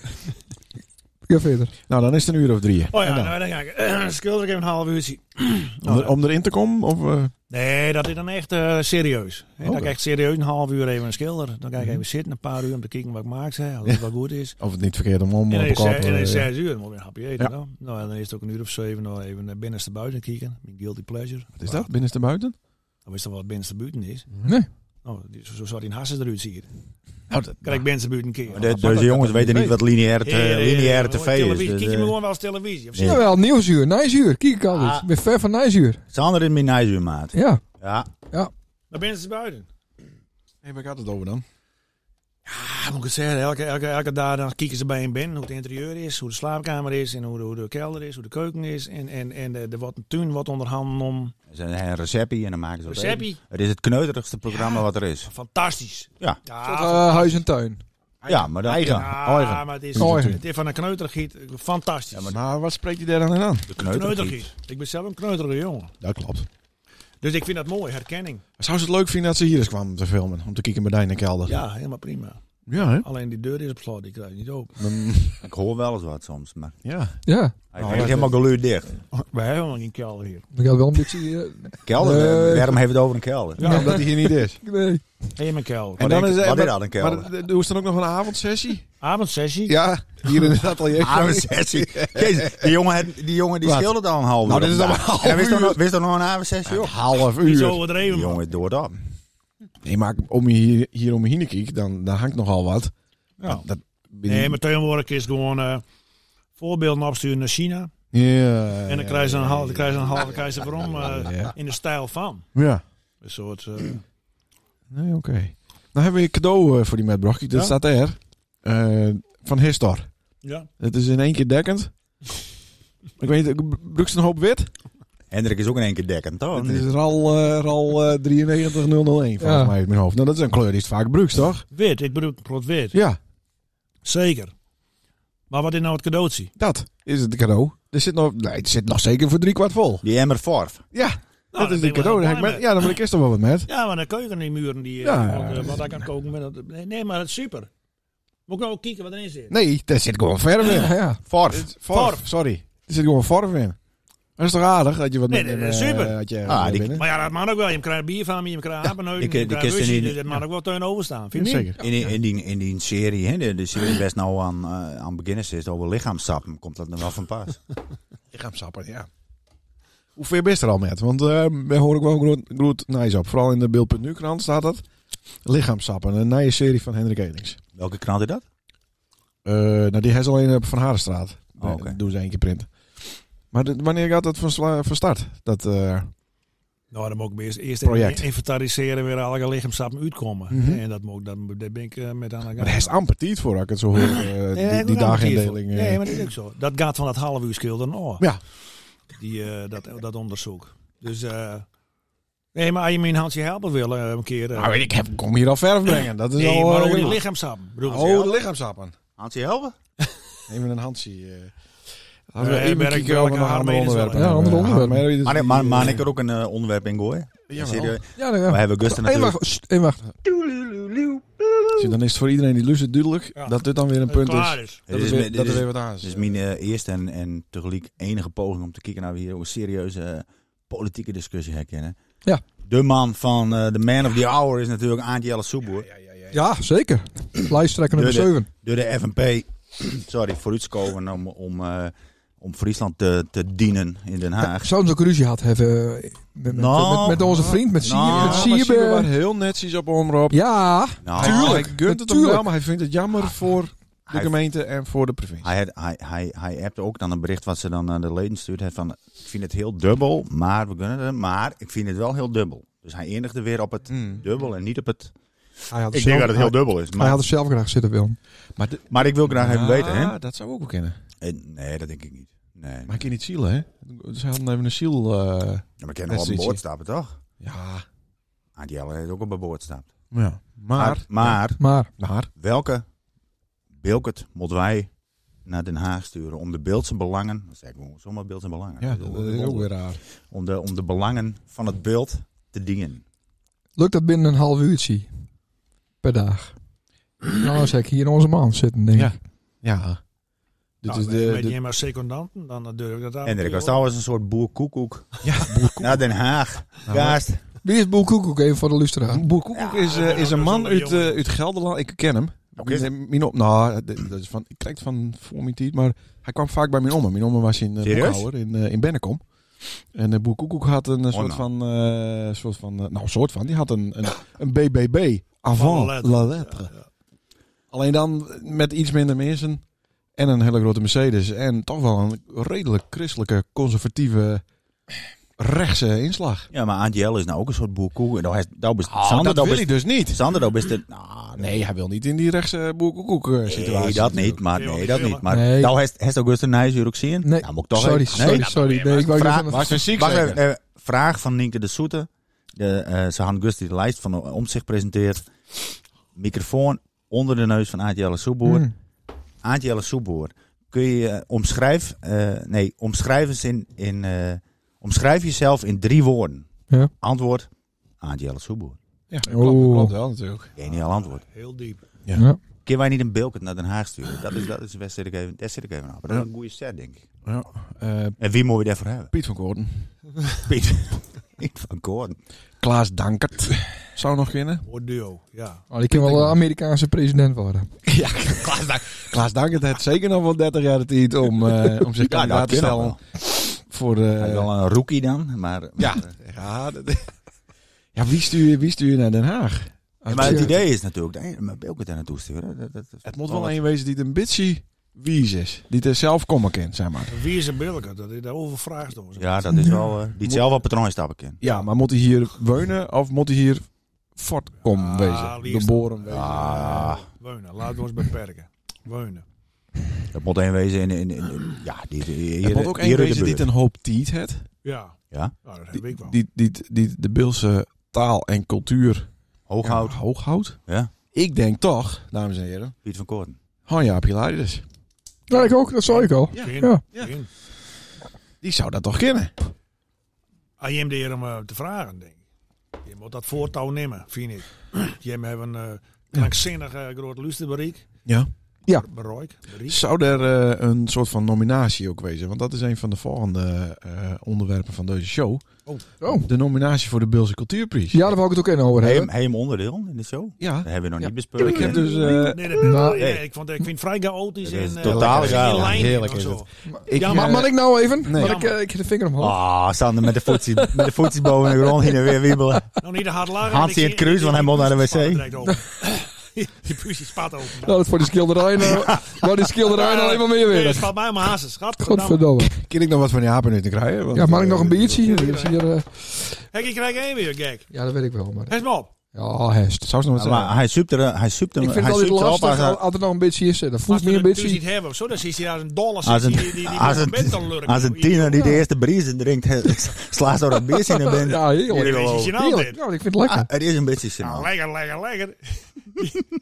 Speaker 2: Ik ga verder.
Speaker 4: Nou, dan is het een uur of drie.
Speaker 3: Oh
Speaker 4: En
Speaker 3: ja,
Speaker 4: dan?
Speaker 3: nou, dan ga ik. schilder ik even een half uurtje.
Speaker 4: om,
Speaker 3: Nou,
Speaker 4: er- om erin te komen? Of, eh,
Speaker 3: Nee, dat is dan echt eh, serieus. Hè, Dan
Speaker 4: Oké.
Speaker 3: ga ik serieus een half uur even een schilder. Dan ga ik even zitten, een paar uur om te kijken wat ik maak. Hè, als het wel goed is.
Speaker 4: of het niet verkeerd om om
Speaker 3: En
Speaker 4: op
Speaker 3: dan is
Speaker 4: elkaar
Speaker 3: het-
Speaker 4: te...
Speaker 3: en dan is
Speaker 4: eh,
Speaker 3: het zes uur, dan moet ik een hapje eten.
Speaker 4: Ja.
Speaker 3: Dan. Nou, en dan is het ook een uur of zeven nog even naar binnenste buiten kijken. Mijn guilty pleasure.
Speaker 4: Wat is dat? Binnenste buiten?
Speaker 3: Dan is dat wel wat binnenste buiten is.
Speaker 2: Nee.
Speaker 3: Nou, die- zo, zo zou die in Hassen eruit zien.
Speaker 4: Nou, dat,
Speaker 3: Krijg ik binnenste buiten een keer.
Speaker 5: Maar de- Deze jongens weten niet wat lineaire,
Speaker 4: eh,
Speaker 3: Ja, ja, ja,
Speaker 5: te,
Speaker 3: ja,
Speaker 5: lineaire
Speaker 3: ja,
Speaker 5: tv is.
Speaker 3: televisie.
Speaker 5: Dus,
Speaker 3: Kijk je me
Speaker 5: eh,
Speaker 3: gewoon wel eens televisie? Of
Speaker 5: Ja.
Speaker 2: Jawel, nieuwsuur, nicezuur. Kijk ik altijd. Ik ben ver van nicezuur.
Speaker 5: Sander is mijn nijzuur, maat.
Speaker 2: Ja.
Speaker 5: Ja.
Speaker 3: Naar binnenste buiten.
Speaker 4: hey, waar gaat het over dan?
Speaker 3: Ja, moet ik het zeggen. Elke, elke, elke dag dan kijken ze bij een binnen. Hoe het interieur is, hoe de slaapkamer is, en hoe de, hoe de kelder is, hoe de keuken is. En, en, en de, de, wat, de tuin wordt onderhanden om. Dus
Speaker 5: Ze hebben een receptie en dan maken ze wat
Speaker 3: Receptie.
Speaker 5: eten. Het is het kneuterigste programma
Speaker 3: Ja.
Speaker 5: wat er is.
Speaker 3: Fantastisch.
Speaker 5: Ja.
Speaker 2: Eh, huis en tuin.
Speaker 5: Ja, maar dat,
Speaker 4: Eigen.
Speaker 5: ja,
Speaker 4: Eigen.
Speaker 3: maar het is,
Speaker 2: Eigen.
Speaker 3: het is van een kneutergiet fantastisch.
Speaker 5: Ja, maar
Speaker 4: Maar wat spreekt hij daar dan in aan?
Speaker 5: de
Speaker 3: kneutergiet.
Speaker 5: kneutergiet.
Speaker 3: Ik ben zelf een kneuterige jongen.
Speaker 4: Dat klopt.
Speaker 3: Dus ik vind dat mooi, herkenning.
Speaker 4: Zou ze het leuk vinden dat ze hier eens kwamen te filmen? Om te kijken bij Dijnen Kelder.
Speaker 3: Ja, helemaal prima.
Speaker 4: Ja, hè?
Speaker 3: Alleen die deur is op slot, die krijg je niet open.
Speaker 4: Mm,
Speaker 5: Ik hoor wel eens wat soms, maar
Speaker 4: ja.
Speaker 2: Ja,
Speaker 5: hij
Speaker 4: Oh,
Speaker 5: heeft
Speaker 4: dat-
Speaker 5: helemaal geluid dicht.
Speaker 3: Wij hebben nog geen kelder hier.
Speaker 2: ik had wel een beetje... eh,
Speaker 5: Kelder,
Speaker 2: Nee.
Speaker 5: eh, waarom heeft het over een kelder?
Speaker 3: Ja.
Speaker 4: Omdat hij hier niet is.
Speaker 2: nee.
Speaker 3: Helemaal een kelder.
Speaker 5: Wat
Speaker 4: dan
Speaker 5: denk-
Speaker 4: is het-
Speaker 5: wat
Speaker 4: maar-
Speaker 5: is dat, een kelder?
Speaker 4: Maar eh, doen ze dan ook nog een avondsessie?
Speaker 3: Avondsessie.
Speaker 4: Ja, hier in het atelier.
Speaker 5: Avondsessie. Ah, Jezus, die jongen, had- die, jongen die
Speaker 4: Wat?
Speaker 5: schildert al een half
Speaker 4: Nou,
Speaker 5: uur
Speaker 4: dit is
Speaker 5: op de
Speaker 4: al een
Speaker 5: dag.
Speaker 4: half
Speaker 5: Ja, wist er
Speaker 4: uur.
Speaker 5: nog- Wist er nog een avondsessie
Speaker 4: Een
Speaker 5: op?
Speaker 4: half
Speaker 3: Niet zo
Speaker 4: uur.
Speaker 5: Die
Speaker 3: overdreven. man.
Speaker 5: jongen door dat.
Speaker 4: Nee, maar om je hier, hier om je heen kijkt, dan, dan hangt nogal wat.
Speaker 3: Ja.
Speaker 4: Dat,
Speaker 3: Nee, maar tegenwoordig is gewoon eh, voorbeelden opsturen naar China.
Speaker 4: Ja,
Speaker 3: En dan
Speaker 4: ja,
Speaker 3: krijg je een
Speaker 4: ja,
Speaker 3: halve, dan krijg je een halve, dan krijg je erom eh,
Speaker 4: Ja.
Speaker 3: in de stijl van.
Speaker 4: Ja.
Speaker 3: Een soort. eh,
Speaker 4: Nee, oké. Dan hebben we een cadeau eh, voor die metbrocht. Dat
Speaker 3: Ja?
Speaker 4: staat er. Eh, van Histor.
Speaker 3: ja.
Speaker 4: Het is in één keer dekkend. ik weet niet, ik- Brugst een hoop wit.
Speaker 5: Hendrik is ook in één keer dekkend,
Speaker 3: Oh,
Speaker 5: toch?
Speaker 4: Het is RAL, eh RAL eh, 93001 volgens
Speaker 2: Ja.
Speaker 4: mij uit mijn hoofd. Nou, dat is een kleur die is vaak Brugst, toch?
Speaker 3: Wit, ik bedoel rood wit.
Speaker 4: Ja,
Speaker 3: Zeker. Maar wat is nou het cadeautje?
Speaker 4: dat is het cadeau. Er zit nog, nee, het zit nog zeker voor drie kwart vol.
Speaker 5: Die emmer Forf.
Speaker 4: Ja,
Speaker 3: Nou,
Speaker 4: dat is
Speaker 3: daar
Speaker 4: het
Speaker 3: ben ik wel
Speaker 4: cadeau. Dan heb ik
Speaker 3: blij
Speaker 4: met- ja, dan wil ik eerst nog wel wat met.
Speaker 3: Ja, maar dan kun je in die muren die. eh,
Speaker 4: Ja,
Speaker 3: want, eh,
Speaker 4: ja.
Speaker 3: wat daar kan koken. Met dat, nee, nee, maar het is super. Moet ik nou ook kijken wat erin zit?
Speaker 4: Nee, daar zit gewoon verf in.
Speaker 2: Ja, ja.
Speaker 5: Forf.
Speaker 4: Vorf, sorry. Er zit gewoon vorf in. Dat is toch aardig dat je wat
Speaker 3: Nee,
Speaker 4: met
Speaker 3: nee,
Speaker 4: eh,
Speaker 3: super.
Speaker 4: dat je
Speaker 5: Ah,
Speaker 4: ah,
Speaker 5: die-
Speaker 3: Maar ja, dat mag ook wel. Je krijgt bier van me, je krijgt apenheuden,
Speaker 5: die-
Speaker 3: je
Speaker 5: die
Speaker 3: krijgt
Speaker 5: kisten
Speaker 3: whisky.
Speaker 5: in-
Speaker 3: Dat mag ook wel teun overstaan. Vind je niet?
Speaker 4: zeker.
Speaker 5: In, die- in, die, in die serie, hè, de, de serie best nou aan, eh, aan beginners is over lichaamstappen, komt dat dan wel van pas.
Speaker 4: Lichaamsappen, ja. Hoe ver best er al met? Want eh daar hoor ik wel groot, groot nice op. Vooral in de beeld.nu krant staat dat. Lichaamsappen, een nieuwe serie van Hendrik Elings.
Speaker 5: Welke krant is dat?
Speaker 4: Eh, nou, die heeft ze alleen op Van Harenstraat.
Speaker 5: Oh, oké.
Speaker 4: Eh, Doen ze één keer print. Maar dit- wanneer gaat dat van, sla- van start? Dat, eh,
Speaker 3: Nou, dan moet ik eerst, eerst
Speaker 4: Project.
Speaker 3: even inventariseren weer alle lichaamstappen uitkomen.
Speaker 4: Mhm.
Speaker 3: En dat moet, dat, daar ben ik eh, met aan de gang.
Speaker 4: maar hij is amper tijd voor, als ik het zo hoor. eh,
Speaker 3: Nee,
Speaker 4: die
Speaker 3: ik
Speaker 4: die
Speaker 3: ben ook niet
Speaker 4: dagindeling.
Speaker 3: voor.
Speaker 4: eh.
Speaker 3: Nee, maar dat is ook zo. Dat gaat van dat half uur schilderen af.
Speaker 4: Ja.
Speaker 3: Die, eh, dat, dat onderzoek. Dus, eh, nee, maar als je me een handje helpen wil eh, een keer. eh,
Speaker 4: Nou, ik heb, kom hier al verf brengen. Dat is
Speaker 3: nee,
Speaker 4: al...
Speaker 3: maar
Speaker 4: eh,
Speaker 3: over die lichaamstappen. Ik bedoel,
Speaker 4: Oh, de lichaamsappen.
Speaker 5: Hansie Helven?
Speaker 4: Even een handje. eh
Speaker 3: Eh,
Speaker 4: Laten we even
Speaker 3: Berk,
Speaker 4: kijken
Speaker 3: welke
Speaker 4: of we nog andere
Speaker 3: Harmedes
Speaker 4: onderwerpen
Speaker 2: wel? Ja, andere
Speaker 4: hebben.
Speaker 2: onderwerpen.
Speaker 4: Harmedes
Speaker 5: Maar,
Speaker 4: die,
Speaker 5: maar, maar
Speaker 4: eh,
Speaker 5: ik er ook een eh, onderwerp in gooien.
Speaker 4: jawel.
Speaker 5: Serieus.
Speaker 2: Ja, nou ja.
Speaker 5: We hebben Gusten
Speaker 2: Eén
Speaker 5: natuurlijk.
Speaker 2: wacht, sst, één wacht.
Speaker 4: Zie, dan is het voor iedereen die luistert duidelijk
Speaker 3: Ja.
Speaker 4: dat dit dan weer een
Speaker 3: dat het
Speaker 4: punt
Speaker 3: klaar
Speaker 4: is.
Speaker 3: is.
Speaker 4: Dat
Speaker 5: Dit
Speaker 4: is
Speaker 5: is
Speaker 4: weer,
Speaker 5: met-
Speaker 4: dat
Speaker 5: dit
Speaker 4: er
Speaker 5: is-
Speaker 4: weer wat aan is.
Speaker 5: Dit is mijn eh, eerste en, en tegelijk enige poging om te kijken naar we hier ook een serieuze eh, politieke discussie herkennen.
Speaker 2: Ja.
Speaker 5: De man van eh, de man of the hour is natuurlijk Aantje Jelle Soeboer.
Speaker 2: Ja, zeker. Lijsttrekker nummer
Speaker 5: De- de-
Speaker 2: 7.
Speaker 5: Door de FNP, sorry, vooruitskomen om, om, eh, om Friesland te, te dienen in Den Haag.
Speaker 2: Zouden ze ook ruzie gehad hebben met, met,
Speaker 5: Ah, Nou.
Speaker 2: met, met onze vriend, met
Speaker 5: Nou.
Speaker 2: Sier- met
Speaker 5: Ja,
Speaker 2: Sierbe.
Speaker 4: waar heel netjes op omroep.
Speaker 2: Ja,
Speaker 5: Nou,
Speaker 4: Tuurlijk. Ah, Hij gunt het hem wel,
Speaker 2: Tuurlijk.
Speaker 4: maar hij vindt het jammer voor de
Speaker 5: hij-
Speaker 4: gemeente en voor de provincie.
Speaker 5: Hij, had, hij, hij, hij appte ook dan een bericht wat ze dan aan de leden stuurt. hè, Van, ik vind het heel dubbel, maar we kunnen het. Maar ik vind het wel heel dubbel. Dus hij eindigde weer op het
Speaker 4: Hmm.
Speaker 5: dubbel en niet op het...
Speaker 2: Hij had,
Speaker 5: Ik
Speaker 2: zelf,
Speaker 5: denk dat het heel
Speaker 2: hij,
Speaker 5: dubbel is.
Speaker 2: hij
Speaker 5: Maar,
Speaker 2: had er zelf graag zitten, Wilm.
Speaker 4: Maar de-
Speaker 5: maar ik wil graag even
Speaker 4: Ah,
Speaker 5: weten. Hè?
Speaker 4: Dat zou ik ook wel kennen.
Speaker 5: Eh, Nee, dat denk ik niet. Nee.
Speaker 4: Maar ik ken niet ziel, hè? Ze hadden even een ziel. eh,
Speaker 5: Ja, maar ik ken
Speaker 4: Dat is
Speaker 5: nog wel een
Speaker 4: ietsje.
Speaker 5: boordstappen, toch?
Speaker 4: ja.
Speaker 5: Ah, die Jelle heeft ook op een boordstap.
Speaker 4: ja. Maar,
Speaker 5: maar
Speaker 2: Maar
Speaker 4: maar,
Speaker 5: welke Bilkert moeten wij naar Den Haag sturen om de beeldse belangen... Dat zeg ik gewoon, zomaar beeldse belangen.
Speaker 4: ja,
Speaker 5: Ik bedoel,
Speaker 4: dat is ook weer raar.
Speaker 5: om, de, om de belangen van het beeld te dienen.
Speaker 2: lukt dat binnen een half uurtje per dag? Nou, dan zeg ik hier in onze man zitten, denk ik.
Speaker 4: Ja. Ja. Dit
Speaker 3: Nou,
Speaker 4: is
Speaker 3: ben je
Speaker 4: de,
Speaker 3: met
Speaker 4: de-
Speaker 3: je maar secondanten, dan durf ik dat aan.
Speaker 5: Hendrik was trouwens een soort boerkoekoek.
Speaker 4: Ja,
Speaker 5: Naar Den Haag.
Speaker 4: maar-
Speaker 5: Gaast.
Speaker 2: Wie is Boel Koekoek, even voor de luisteraar?
Speaker 4: Boer Koekoek
Speaker 5: Ja,
Speaker 4: is, eh,
Speaker 3: dat
Speaker 4: is een man
Speaker 3: is wel een
Speaker 4: uit,
Speaker 3: jongen.
Speaker 4: eh, uit Gelderland. Ik ken hem.
Speaker 5: Oké.
Speaker 4: Mijn, mijn op, nou, d- dat is van, ik krijg het van voor mijn tijd, maar hij kwam vaak bij mijn oma. Mijn oma was in uh,
Speaker 5: Serieus?
Speaker 4: Boekhouwer, in, eh, in Bennekom. En eh, Boer Koekoek had een eh, soort,
Speaker 5: nou.
Speaker 4: van, eh, soort van, eh, nou, soort van, die had een, een, een BBB, avant
Speaker 3: Van
Speaker 4: la lettre. Alleen dan met iets minder mensen en een hele grote Mercedes. En toch wel een redelijk christelijke, conservatieve, rechtse inslag.
Speaker 5: Ja, maar Angel is nou ook een soort boerkoek. En daar is- daar is- Sander,
Speaker 4: dat
Speaker 5: daar
Speaker 4: wil
Speaker 5: is-
Speaker 4: hij dus niet.
Speaker 5: Sander, daar is de... Nou,
Speaker 4: Nee, hij wil niet in die rechtse boerkoekoek eh, situatie.
Speaker 5: Nee, dat niet,
Speaker 4: natuurlijk.
Speaker 5: maar
Speaker 3: Nee,
Speaker 5: nee,
Speaker 3: want
Speaker 5: dat
Speaker 3: die
Speaker 5: niet. Maar
Speaker 2: Nee.
Speaker 5: nou, heeft heeft Augustin Nijs hier ook zien?
Speaker 2: Nee.
Speaker 5: Nou, moet ik toch
Speaker 2: Sorry,
Speaker 5: even-
Speaker 2: sorry,
Speaker 5: Nee,
Speaker 2: sorry. Nee, ik wou
Speaker 5: Vraag-
Speaker 2: even-
Speaker 4: Maar ze ziek
Speaker 5: Wacht
Speaker 4: zeker?
Speaker 5: even, eh, vraag van Nienke de Soete. De, eh, ze had Gusti de lijst van Omzicht presenteert. Microfoon onder de neus van Aadjelle Soeboer.
Speaker 2: Mm.
Speaker 5: Aadjelle Soeboer, kun je eh, omschrijf, eh, nee, omschrijf, eens in, in, eh, omschrijf jezelf in drie woorden.
Speaker 2: Ja.
Speaker 5: Antwoord, Aadjelle Soeboer.
Speaker 4: Ja, dat
Speaker 2: Oeh.
Speaker 4: klopt, dat klopt wel natuurlijk.
Speaker 5: Geniaal antwoord.
Speaker 3: Heel diep.
Speaker 4: Ja.
Speaker 2: Ja.
Speaker 5: Kun wij niet een Bilkert naar Den Haag sturen? Dat is, dat is, daar zit ik even, daar zit ik even aan. Maar dat is een goede set, denk ik.
Speaker 4: Ja. Eh,
Speaker 5: En wie moet je daarvoor hebben?
Speaker 4: Piet van Koorden.
Speaker 5: Piet. Piet van Koorn.
Speaker 4: Klaas Dankert. Zou nog kunnen.
Speaker 3: Mooi duo, ja.
Speaker 2: Oh, die kan wel een Amerikaanse president worden.
Speaker 4: ja, Klaas Dankert. Klaas Dankert heeft zeker nog wel 30 jaar de tijd om, eh, om zich
Speaker 5: Ja,
Speaker 4: kandidaat
Speaker 5: dat
Speaker 4: te
Speaker 5: is
Speaker 4: stellen.
Speaker 5: wel.
Speaker 4: Voor, eh,
Speaker 5: Hij is wel een rookie dan, maar...
Speaker 4: Ja. ja, dat- ja wie, stuur je, wie stuur je naar Den Haag?
Speaker 5: Ja, maar het
Speaker 2: Absoluut.
Speaker 5: idee is natuurlijk, nee, maar Bilkert daar naartoe sturen. Dat, dat,
Speaker 4: Het moet wel een wezen die het een beetje wies is. Die het er zelf komen kent, zeg maar.
Speaker 3: Wie is een Bilker? Dat is daar overvraagd over.
Speaker 5: Ja, dat is wel... eh, die het zelf wel patroon stappen kan.
Speaker 4: Ja, maar moet hij hier wonen of moet hij hier voortkom
Speaker 3: Ah,
Speaker 4: wezen?
Speaker 3: liefst.
Speaker 4: Geboren wezen.
Speaker 5: Ah,
Speaker 3: Weunen, laten we ons beperken. Weunen.
Speaker 5: dat moet een wezen in... in, in- in- ja, die, die- hier,
Speaker 4: Het moet ook
Speaker 5: hier
Speaker 4: een
Speaker 5: in de
Speaker 4: wezen die
Speaker 5: buurt.
Speaker 4: het een hoop tiet het.
Speaker 3: Ja.
Speaker 5: Ja.
Speaker 3: Nou, dat heb
Speaker 4: Die,
Speaker 3: ik wel.
Speaker 4: die, die, die de Beelse taal en cultuur
Speaker 5: Hooghout,
Speaker 4: ja, hooghoudt.
Speaker 5: Ja.
Speaker 4: Ik denk toch, dames en heren,
Speaker 5: Piet van Koorn.
Speaker 4: Hanja Pilarides.
Speaker 2: Ja, ik ook. Dat zou ik al.
Speaker 4: Ja.
Speaker 3: Geen,
Speaker 2: Ja.
Speaker 4: Ja.
Speaker 3: geen.
Speaker 4: Die zou dat toch kennen?
Speaker 3: Ah, je hebt de heer om eh, te vragen, denk ik. Je moet dat voortouw nemen, vind ik. Je hebt een eh krankzinnig eh, groot luisterbereik.
Speaker 4: Ja.
Speaker 2: Ja.
Speaker 3: Bereik. bereik.
Speaker 4: Zou er eh, een soort van nominatie ook wezen? Want dat is een van de volgende eh, onderwerpen van deze show.
Speaker 2: Oh.
Speaker 4: De nominatie voor de Beelse Cultuurprijs.
Speaker 2: Ja, daar wou ik het ook in over
Speaker 5: Heb je hem-
Speaker 2: hebben.
Speaker 5: heb je hem onderdeel in de show?
Speaker 4: Ja.
Speaker 5: Dat hebben we nog
Speaker 2: Ja.
Speaker 5: niet besproken.
Speaker 4: Ik heb dus... eh,
Speaker 3: Nee, dat,
Speaker 2: Nou,
Speaker 3: nee,
Speaker 5: nee.
Speaker 3: ik, vond, ik vind het vrij chaotisch.
Speaker 5: Het is
Speaker 3: en, eh,
Speaker 5: totaal
Speaker 3: geen
Speaker 5: chaos.
Speaker 3: lijn in
Speaker 4: Heerlijk
Speaker 3: of
Speaker 4: is
Speaker 3: zo.
Speaker 4: het.
Speaker 3: Ik,
Speaker 2: Ja, maar
Speaker 3: eh,
Speaker 2: mag ik nou even?
Speaker 4: Nee.
Speaker 2: Maar ik, eh, ik heb de vinger omhoog.
Speaker 5: Ah, staan er met de voetjes, met de voetjes boven de grond heen en weer wiebelen.
Speaker 3: Nog niet de hard lager.
Speaker 5: Hansie
Speaker 3: want ik
Speaker 5: het kruis,
Speaker 3: zie-
Speaker 5: want hij moet naar de
Speaker 3: die puus
Speaker 5: wc.
Speaker 3: die spat er direct open. Die puus die spat open.
Speaker 2: Nou, dat voor die schilderij nou, nou die schilderij nou alleen maar meer
Speaker 3: Nee, dat
Speaker 2: weer.
Speaker 3: spat mij om mijn hazes. Godverdomme.
Speaker 2: Godverdomme.
Speaker 4: Kan ik nog wat van die apen uit te krijgen? Want,
Speaker 2: Ja, mag ik
Speaker 4: eh,
Speaker 2: nog een biertje? Ja, dat is hier, eh,
Speaker 3: Hek, ik krijg één weer, gek.
Speaker 2: ja, dat weet ik wel. Maar...
Speaker 3: Hij is maar op.
Speaker 2: Ja, hest.
Speaker 4: Zou ze nog wat zeggen?
Speaker 5: Maar hij zoekt er, hij zoekt hem,
Speaker 2: Ik vind
Speaker 5: hij
Speaker 2: het altijd
Speaker 5: zoekt erop als,
Speaker 2: lastig
Speaker 5: hij-
Speaker 2: als er nog een beetje is. Dat voelt
Speaker 3: Als we
Speaker 2: meer een
Speaker 3: het puus niet
Speaker 2: beetje.
Speaker 3: hebben of zo, dan zit hij daar een dollar zit
Speaker 5: als een,
Speaker 3: die- die- die
Speaker 5: als
Speaker 3: op
Speaker 5: een,
Speaker 3: bed kan lurken.
Speaker 5: als een tiener die de eerste briesen drinkt, slaat zo dat biertje in de bent.
Speaker 2: Ja, heerlijk.
Speaker 3: Hier is hij gênant,
Speaker 2: Heerlijk.
Speaker 3: dit.
Speaker 2: Ja, ik vind het lekker.
Speaker 5: Ah, het is een beetje zin.
Speaker 3: Nou, lekker, lekker, lekker.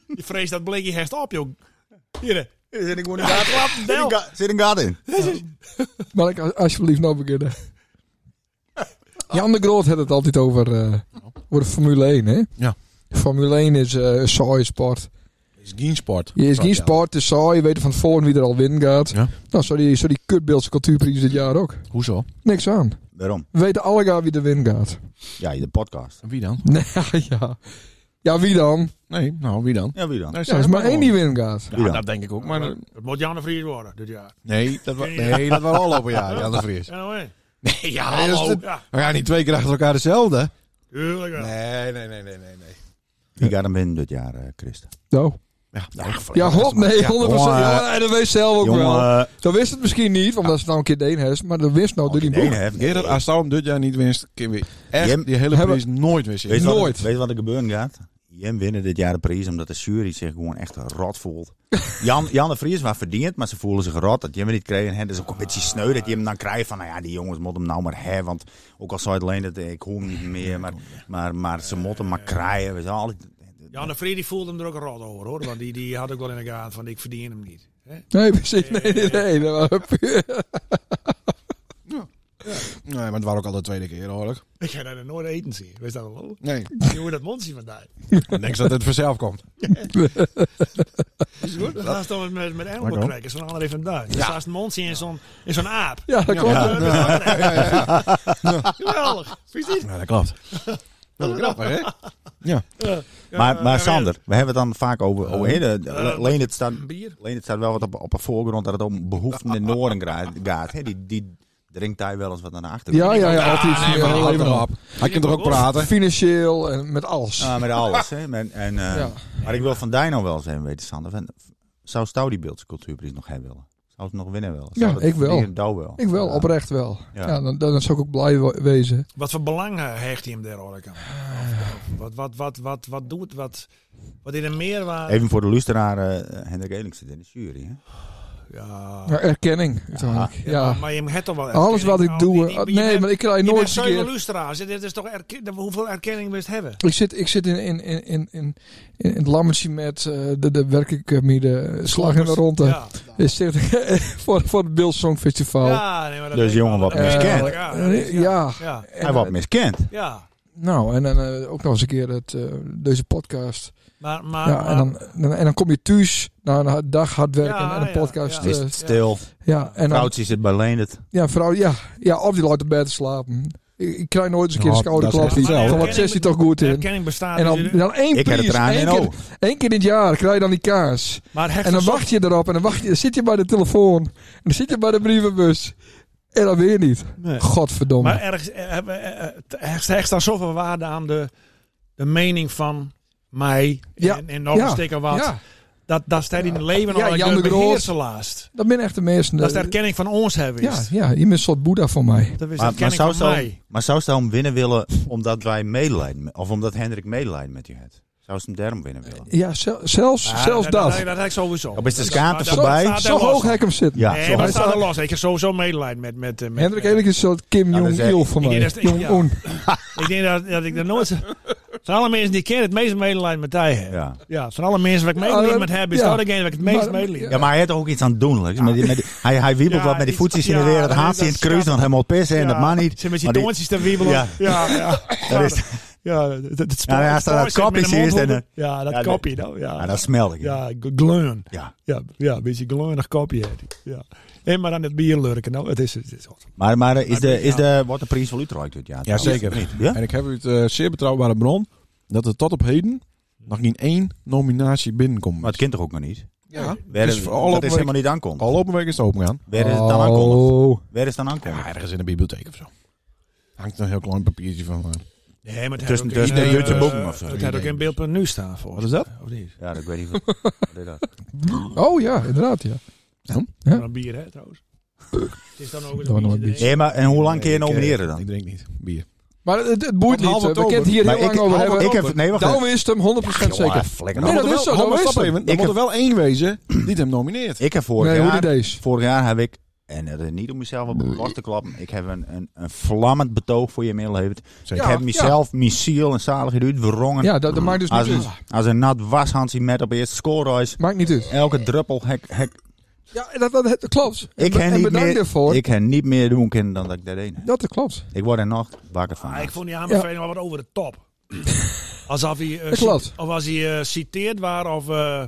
Speaker 3: Je vreest dat blikje herst op, joh. Hier, hè.
Speaker 5: Zit ik gewoon
Speaker 3: daar klapt een del.
Speaker 5: Zit een gat in.
Speaker 2: Maar ik als- alsjeblieft nou beginnen. Jan de Groot had het altijd over, eh, over de Formule 1, hè?
Speaker 4: Ja.
Speaker 2: Formule 1 is eh, een saaie sport.
Speaker 4: is geen sport.
Speaker 2: Je is geen sport, het is saai. Je weet van tevoren wie er al winnen gaat.
Speaker 4: Ja.
Speaker 2: Nou, zo die, zo die kutbeeldse cultuurprijs dit jaar ook.
Speaker 4: Hoezo?
Speaker 2: Niks aan.
Speaker 5: Waarom?
Speaker 2: We weten alle gaan wie er winnen gaat.
Speaker 5: Ja, de podcast.
Speaker 4: Wie dan?
Speaker 2: Nee, ja. Ja, wie dan?
Speaker 4: Nee, nou, wie dan?
Speaker 5: Ja, wie
Speaker 4: Nee,
Speaker 5: dan?
Speaker 2: Ja, er
Speaker 4: zeg
Speaker 2: is maar één die
Speaker 4: gewoon.
Speaker 2: winnen gaat.
Speaker 5: Wie
Speaker 4: Ja,
Speaker 5: dan?
Speaker 4: dat denk ik ook, maar... eh,
Speaker 3: Het moet Jan de Vries worden dit jaar.
Speaker 4: Nee, dat was, nee, dat was al over jaar, Jan de Vries.
Speaker 3: Ja, nou, hè.
Speaker 4: Nee, ja,
Speaker 3: Hallo.
Speaker 4: dat is de-
Speaker 3: Ja,
Speaker 4: We gaan niet twee keer achter elkaar dezelfde.
Speaker 3: tuurlijk wel.
Speaker 4: Nee, nee, nee, nee, nee. nee.
Speaker 5: Wie gaat hem winnen dit jaar, eh Christen?
Speaker 2: Nou.
Speaker 4: Ja,
Speaker 2: Ja, god, nee, 100%.
Speaker 5: jongen.
Speaker 2: Ja, en dat wist zelf ook wel.
Speaker 5: Jongen,
Speaker 2: Dat wist het misschien niet, omdat ze nou een keer Deen heeft. Maar dat wist nou door die boek.
Speaker 5: heeft
Speaker 4: Gerard, als Stam dit jaar niet winst, kun je
Speaker 5: Jim,
Speaker 4: echt die hele
Speaker 2: hebben-
Speaker 4: prijs nooit weer
Speaker 5: Weet
Speaker 4: zien.
Speaker 5: je wat-
Speaker 2: Nooit.
Speaker 5: Weet je wat er gebeuren gaat? Jem winnen dit jaar de prijs omdat de jury zich gewoon echt rot voelt. Jan, Jan de Vries was verdiend, maar ze voelen zich rot dat Jem hem niet kreeg. En het is ook een beetje sneu dat je hem dan krijgt van, nou ja, die jongens moeten hem nou maar hebben. Want ook al zei het alleen dat eh, ik hoor hem niet meer, maar, maar, maar ze moeten hem maar krijgen. We zijn altijd...
Speaker 3: Jan de Vries die voelde hem er ook een rot over, hoor. Want die, die had ook wel in de gaten van, ik verdien hem niet. Hè?
Speaker 2: Nee, precies. Nee, nee, nee. Dat was puur.
Speaker 4: Nee, maar het was ook al de tweede keer, hoor ik.
Speaker 3: Ik ga daar nooit eten zien. Wees dat wel?
Speaker 4: Nee,
Speaker 3: Je hoort dat monsie vandaag.
Speaker 4: ik denk dat het vanzelf komt.
Speaker 3: Is goed? Dan gaan ze dan met, met, met animal
Speaker 4: Lekker.
Speaker 3: crackers van André van Duin. Dan staat een monsie in zo'n in zo'n aap.
Speaker 2: Ja, dat klopt.
Speaker 3: Ja,
Speaker 2: hè.
Speaker 3: dat is wel- Geweldig. Vind je het niet?
Speaker 4: Ja, dat klopt. Dat is grappig, hè? Ja.
Speaker 5: Maar, maar
Speaker 3: ja,
Speaker 5: Sander, we hebben het dan vaak over... Oh, hè, de- de-
Speaker 3: Eh,
Speaker 5: Leen, het staat,
Speaker 3: een bier?
Speaker 5: Leen, het staat wel wat op, op de voorgrond dat het om behoeften in Noorden gra- gaat. hè. Die, die drinkt hij wel eens wat naar de achtergrond.
Speaker 2: Ja, ja, ja. Altijd.
Speaker 4: Nee, maar
Speaker 2: ja,
Speaker 4: houd
Speaker 2: helemaal.
Speaker 4: erop. Hij kan toch ook praten?
Speaker 2: Financieel en met alles.
Speaker 5: Ja, Ah, met alles. hè. Met- en, eh,
Speaker 2: Ja.
Speaker 5: Maar ik wil van Dino wel eens even weten, Sander. van, zou Stouw die beeldcultuurprijs nog hebben willen? Zou het nog winnen willen? Zou
Speaker 2: Ja,
Speaker 5: dat
Speaker 2: ik wel.
Speaker 5: verdienen? Douw wel.
Speaker 2: Ik wel,
Speaker 5: Ja.
Speaker 2: oprecht wel.
Speaker 5: Ja.
Speaker 2: Ja, dan, dan zou ik ook blij we- wezen.
Speaker 3: Wat voor belang eh, hecht hij hem daar eigenlijk aan? Of- of Wat, wat, wat, wat, wat doet, wat, wat in een meerwaarde?
Speaker 5: Even voor de luisteraar, eh Hendrik Elings zit in de jury. Hè?
Speaker 3: Ja.
Speaker 2: Ja, erkenning. uiteindelijk.
Speaker 3: Ja,
Speaker 2: Ja.
Speaker 3: maar- Maar je hebt toch wel Oh,
Speaker 2: Alles wat ik doe. eh, nee, maar ik krijg nooit eens een
Speaker 3: zoveel
Speaker 2: keer.
Speaker 3: lustra's. Dit is toch erken- hoeveel erkenning we het hebben?
Speaker 2: Ik zit, ik zit in, in, in, in, in, in het lammetje met. eh de, de werk ik eh, met de slag in de ronde.
Speaker 3: Ja.
Speaker 2: Is dit- voor, voor het Bill Song Festival.
Speaker 3: Ja, nee, maar dat
Speaker 5: Dus
Speaker 3: weet ik
Speaker 5: jongen,
Speaker 3: wel.
Speaker 5: wat
Speaker 3: Dat weet ik
Speaker 5: miskend.
Speaker 3: wel.
Speaker 2: Eh,
Speaker 3: Ja, dat is- ja.
Speaker 2: ja.
Speaker 3: Ja,
Speaker 2: En,
Speaker 5: Hij wordt
Speaker 2: eh,
Speaker 5: miskend.
Speaker 3: ja.
Speaker 2: Nou, en dan eh, ook nog eens een keer het, eh, deze podcast.
Speaker 3: Maar, maar,
Speaker 2: ja, en, dan, dan- en dan kom je thuis na een ha- dag hard werken
Speaker 3: Ja,
Speaker 2: en een
Speaker 3: ja,
Speaker 2: podcast.
Speaker 3: ja.
Speaker 5: Is
Speaker 2: eh,
Speaker 5: het stil?
Speaker 2: ja, en dan,
Speaker 5: Vrouwtje zit bij Leendert.
Speaker 2: ja, vrouw, ja, ja, of die laat op bed te slapen. Ik, ik krijg nooit eens een keer een
Speaker 4: Nou,
Speaker 2: schouder
Speaker 4: dat is
Speaker 2: klap.
Speaker 4: echt zo.
Speaker 2: Van wat zegt hij toch goed
Speaker 3: de
Speaker 2: in?
Speaker 3: erkenning bestaat
Speaker 2: En dan,
Speaker 3: natuurlijk-
Speaker 2: dan één
Speaker 5: Ik heb het
Speaker 2: prijs,
Speaker 5: eraan
Speaker 2: één
Speaker 5: in
Speaker 2: keer,
Speaker 5: oog.
Speaker 2: één keer in het jaar krijg je dan die kaas.
Speaker 3: maar hecht
Speaker 2: En dan
Speaker 3: verzorgd-
Speaker 2: wacht je erop en dan, wacht je, dan zit je bij de telefoon. En dan zit je bij de brievenbus. En dan weer niet.
Speaker 3: Nee.
Speaker 2: Godverdomme.
Speaker 3: Maar ergens eh, hebben- eh, eh, hecht, hecht daar zoveel waarde aan de, de mening van mij
Speaker 2: Ja.
Speaker 3: en, en nog
Speaker 2: Ja.
Speaker 3: een stikker wat.
Speaker 2: Ja,
Speaker 3: Dat, dat staat in het leven
Speaker 2: Ja,
Speaker 3: al
Speaker 2: Jan
Speaker 3: de,
Speaker 2: de
Speaker 3: de
Speaker 2: Groot.
Speaker 3: beheerselaast.
Speaker 2: dat ben echt de mensen.
Speaker 3: Dat is de
Speaker 2: eh,
Speaker 3: erkenning van ons hebben.
Speaker 2: ja,
Speaker 3: is.
Speaker 2: ja, je bent een soort boeddha voor mij.
Speaker 3: Dat is de
Speaker 5: Maar, maar,
Speaker 3: erkenning
Speaker 5: zou
Speaker 3: van
Speaker 5: ze
Speaker 3: mij.
Speaker 5: maar zou ze hem winnen willen omdat wij medelijden, met- of omdat Hendrik medelijden met je had? Zou ze hem daarom winnen willen?
Speaker 2: Ja, zel- zelfs,
Speaker 3: Ja,
Speaker 2: zelfs dat.
Speaker 3: Dat, dat heb ik sowieso.
Speaker 5: Op is de
Speaker 3: Dat-
Speaker 5: schaamte
Speaker 3: dat-
Speaker 5: voorbij?
Speaker 3: dat staat
Speaker 2: Zo
Speaker 3: er los.
Speaker 2: hoog heb ik hem zitten.
Speaker 5: Ja,
Speaker 3: Nee,
Speaker 5: zo.
Speaker 3: maar
Speaker 2: Hij
Speaker 3: het staat er
Speaker 2: staat-
Speaker 3: los. Ik heb sowieso medelijden met... met, eh, met
Speaker 2: Hendrik
Speaker 3: met-
Speaker 2: Elik is een soort Kim
Speaker 5: Nou, dat is
Speaker 2: Jong-il
Speaker 5: echt-
Speaker 2: voor
Speaker 3: Ik
Speaker 2: mij.
Speaker 3: denk dat- ja.
Speaker 2: Jong-un.
Speaker 3: Ik denk dat, dat ik dat nooit... Van alle mensen die ik ken, het meest medelijden met hij heb. Ja.
Speaker 5: Ja.
Speaker 3: van alle mensen waar ik
Speaker 2: Ah,
Speaker 3: medelijden met heb, is
Speaker 2: ja.
Speaker 3: dat degene waar ik het meest
Speaker 2: Maar-
Speaker 3: medelijden
Speaker 5: ja, maar hij heeft ook iets aan het doen. Lex. Met die- met die- hij, hij wiebelt
Speaker 3: Ja,
Speaker 5: wat met die
Speaker 3: iets-
Speaker 5: voetjes in de
Speaker 3: ja,
Speaker 5: weer. Dat
Speaker 3: dat-
Speaker 5: haalt hij in het
Speaker 3: dat
Speaker 5: kruis,
Speaker 3: snap
Speaker 5: dan helemaal pissen en dat
Speaker 3: Ja,
Speaker 5: mag niet.
Speaker 3: Ze met die
Speaker 5: Maar die-
Speaker 3: doontjes te wiebelen.
Speaker 5: Ja.
Speaker 3: Ja, ja. ja.
Speaker 5: Dat is- Nou,
Speaker 3: Ja, het, het, het spoor-
Speaker 5: Ja, hij
Speaker 3: het
Speaker 5: staat aan het
Speaker 3: spoor zit met
Speaker 5: kopje,
Speaker 3: een
Speaker 5: zie je,
Speaker 3: mondhoeken.
Speaker 5: en
Speaker 3: Ja,
Speaker 5: ja,
Speaker 3: dat
Speaker 5: dat-
Speaker 3: kopje. Nou,
Speaker 5: Ja,
Speaker 3: ja,
Speaker 5: ah, dat smelt ik. Ja.
Speaker 3: ja, g- gleun.
Speaker 5: ja.
Speaker 3: Ja, ja, een beetje gleunig kopje. heeft hij. Ja. En maar aan het bier lurken. Nou, het is... Het is
Speaker 5: Maar, maar eh, is
Speaker 3: Maar
Speaker 5: de,
Speaker 3: die-
Speaker 5: is de, wordt de prijs van Utrecht dit jaar?
Speaker 4: Ja,
Speaker 5: trouwens?
Speaker 4: zeker.
Speaker 5: Niet, Ja?
Speaker 4: En ik heb uit eh zeer betrouwbare bron dat er tot op heden nog niet één nominatie binnenkomt.
Speaker 5: Maar het kind toch ook nog niet?
Speaker 4: ja,
Speaker 5: Waar
Speaker 4: Dus
Speaker 5: is-
Speaker 4: voor alle
Speaker 5: dat is
Speaker 4: week-
Speaker 5: helemaal niet aankomt.
Speaker 4: al op een week is het open gaan.
Speaker 5: Waar is het dan aankomt?
Speaker 2: Oh.
Speaker 5: Waar is het dan aankomt?
Speaker 4: Ja, ergens in de bibliotheek of zo. Hangt een heel klein papiertje van. eh,
Speaker 3: Nee, maar het
Speaker 5: Tussen- tussen
Speaker 4: de
Speaker 3: eh,
Speaker 4: Jutte
Speaker 5: Boeken of zo.
Speaker 3: Het had ook in beeld.nu staan voor.
Speaker 4: Wat is dat?
Speaker 3: Of niet?
Speaker 5: Ja, dat weet ik niet. wat- wat is dat?
Speaker 2: oh ja, inderdaad. Ja. Ja.
Speaker 3: Van een bier, hè, trouwens. Het is dan ook eens
Speaker 2: Dat was nog
Speaker 3: een
Speaker 2: een
Speaker 3: beetje
Speaker 2: beetje.
Speaker 5: Nee, maar en hoe lang kun je
Speaker 4: ik, eh,
Speaker 5: nomineren dan?
Speaker 4: Ik drink niet bier.
Speaker 2: Maar het, het boeit
Speaker 4: Tot half
Speaker 2: niet. eh, We
Speaker 4: oktober.
Speaker 2: kunnen het hier
Speaker 5: Maar
Speaker 2: heel lang over hebben.
Speaker 5: ik heb, nee, wacht even.
Speaker 2: Dan is het hem 100%
Speaker 5: Jongen,
Speaker 2: zeker.
Speaker 5: flikker
Speaker 2: Nee,
Speaker 5: op.
Speaker 2: dat is zo, dat
Speaker 4: Hallo,
Speaker 2: is
Speaker 4: stop
Speaker 2: zo.
Speaker 4: even. Er
Speaker 5: Ik
Speaker 4: moet er
Speaker 5: heb-
Speaker 4: wel één wezen die hem nomineert.
Speaker 5: Ik heb vorig
Speaker 2: Nee, hoe die
Speaker 5: jaar...
Speaker 2: deze?
Speaker 5: Vorig jaar heb ik, en dat is niet om mezelf op de borst te klappen, ik heb een, een, een vlammend betoog voor je middeleeuwen.
Speaker 4: Zeker.
Speaker 5: ik heb mezelf, mijn ziel en zaligheid uitwrongen.
Speaker 2: Ja, dat, dat maakt dus
Speaker 5: als,
Speaker 2: niet
Speaker 5: een,
Speaker 2: uit.
Speaker 5: als een nat washandje met op eerste scorereis.
Speaker 2: Maakt niet uit.
Speaker 5: Elke druppel hek, hek.
Speaker 2: Ja, dat, dat, dat klopt.
Speaker 5: Ik
Speaker 2: en,
Speaker 5: heb
Speaker 2: en
Speaker 5: niet
Speaker 2: bedankt
Speaker 5: meer,
Speaker 2: daarvoor.
Speaker 5: Ik heb niet meer doen kunnen dan dat ik dat deed.
Speaker 2: dat dat klopt.
Speaker 5: Ik word er nog wakker van.
Speaker 3: Ah, ik vond die aanbeveling wel wat over de top. Alsof hij, eh,
Speaker 2: Dat klopt.
Speaker 3: cite- of als hij eh, citeerd was of eh,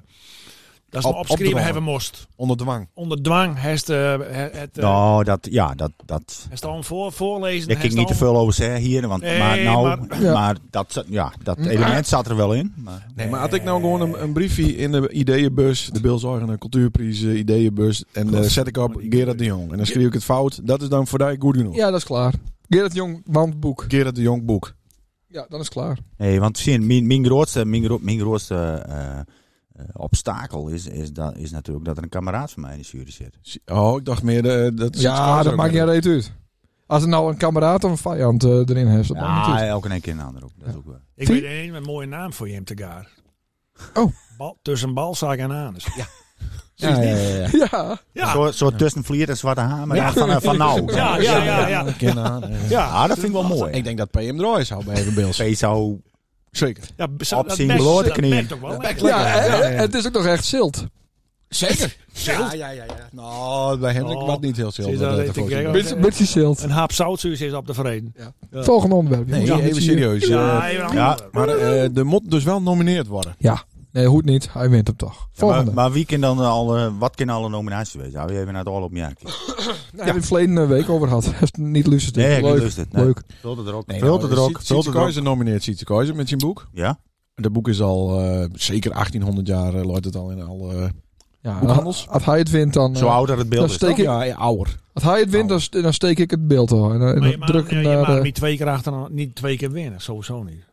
Speaker 3: dat ze
Speaker 4: Op-
Speaker 3: hem opschreven
Speaker 4: opdrongen.
Speaker 3: hebben moest.
Speaker 4: Onder dwang.
Speaker 3: Onder dwang heeft eh, het, het, eh,
Speaker 5: nou, dat, ja, dat, dat,
Speaker 3: heeft al een voor, voorlezen.
Speaker 5: daar
Speaker 3: heeft
Speaker 5: kan ik niet te
Speaker 3: al-
Speaker 5: veel over zeggen hier. Want,
Speaker 3: Nee,
Speaker 5: maar nou, maar,
Speaker 3: maar-
Speaker 2: Ja. Hm.
Speaker 5: dat, zat- ja, dat element zat er wel in. Maar,
Speaker 4: Maar had ik nou gewoon een, een briefje in de ideeënbus, de Bilzorgende Cultuurprijs, eh, ideeënbus, en eh, zet ik op Gerard de Jong. En dan schreeuw ik het fout, dat is dan voor mij goed genoeg.
Speaker 2: Ja, dat is klaar. Gerrit Jong, wandboek.
Speaker 4: Gerard de Jong boek.
Speaker 2: Ja, dat is klaar.
Speaker 5: Nee, want zien, mijn, mijn grootste, mijn, gro- mijn grootste eh, eh, obstakel is, is, dat, is natuurlijk dat er een kameraad van mij in de jury zit.
Speaker 4: Oh, ik dacht meer, eh, dat is iets
Speaker 2: Ja,
Speaker 4: anders
Speaker 2: dat
Speaker 4: ook
Speaker 2: maakt
Speaker 4: weer.
Speaker 2: niet reet uit. Als er nou een kameraad of een vijand eh, erin heeft, dat maakt niet
Speaker 5: Ja,
Speaker 2: uit.
Speaker 5: elke een keer een ander ook. Dat is ook wel.
Speaker 3: Ik
Speaker 2: Zie-
Speaker 3: weet een een mooie naam voor je hem te gaar.
Speaker 2: Oh.
Speaker 3: Bal, tussen balzaak en anus. Ja.
Speaker 4: Ja, ja, ja, ja.
Speaker 2: Ja,
Speaker 5: Een
Speaker 3: Ja.
Speaker 5: soort, soort tussen vlier en zwarte hamer. Ja. Van, eh, van nou.
Speaker 3: Ja, ja, ja, ja.
Speaker 4: Ik ken haar, eh.
Speaker 5: Ah, dat vind ik wel mooi.
Speaker 4: Ik denk dat PM Droy zou bij even Bills.
Speaker 5: Twee zou...
Speaker 4: Zeker.
Speaker 3: Ja, zo-
Speaker 5: Op
Speaker 3: dat
Speaker 5: zijn
Speaker 3: bekt-
Speaker 5: beloorde
Speaker 3: dat
Speaker 5: knieën.
Speaker 3: bekt ook wel. lekker.
Speaker 2: ja, eh, eh, het is ook nog echt zilt.
Speaker 4: Zeker. Ja, ja, ja, ja. Nou, bij Hendrik
Speaker 3: Oh.
Speaker 4: wat niet heel
Speaker 3: Zie
Speaker 4: zilver.
Speaker 3: je dat,
Speaker 4: dat-
Speaker 3: ik
Speaker 4: dat
Speaker 3: denk,
Speaker 4: voorstel.
Speaker 3: ja.
Speaker 2: Beetje beetje zilt.
Speaker 3: Een hap zoutzuur is op de vreden. Ja.
Speaker 2: Volgende onderwerp.
Speaker 4: Nee,
Speaker 2: jongens.
Speaker 4: even serieus.
Speaker 3: Ja,
Speaker 4: eh,
Speaker 3: even een
Speaker 5: Ja,
Speaker 3: ander.
Speaker 4: maar eh er moet dus wel nomineerd worden.
Speaker 2: Nee, hoe het niet. Hij wint hem toch. Volgende.
Speaker 5: maar, maar wie kan dan eh, alle, wat kunnen alle nominaties wezen? Hou je even naar het al op jaar kiezen.
Speaker 2: Daar hebben we het verleden eh, week over gehad. Hij heeft niet luisterd.
Speaker 5: Nee, ik
Speaker 2: leuk.
Speaker 5: lust het. Nee.
Speaker 2: leuk.
Speaker 5: Vult het er ook.
Speaker 4: nou,
Speaker 5: Vult het er ook.
Speaker 4: Sietse
Speaker 5: Vult het er ook.
Speaker 4: Keizer nomineert Sietse Keizer met zijn boek.
Speaker 5: Ja?
Speaker 4: Dat boek is al eh, zeker 1800 jaar, eh, loopt het al in al... eh,
Speaker 2: Ja,
Speaker 4: Boekhandels?
Speaker 2: als, als hij het wint, dan, eh,
Speaker 5: Zo oud dat het
Speaker 2: dan
Speaker 5: beeld is.
Speaker 2: steek ik,
Speaker 4: ja, ja, ouder.
Speaker 2: als hij het
Speaker 5: Oh.
Speaker 2: wint, dan, st- dan steek ik het beeld al. En dan,
Speaker 3: Maar
Speaker 2: dan
Speaker 3: je mag,
Speaker 2: druk ik
Speaker 3: ja, je
Speaker 2: naar eh,
Speaker 3: mag
Speaker 2: de-
Speaker 3: niet twee keer achter, niet twee keer winnen. Sowieso niet.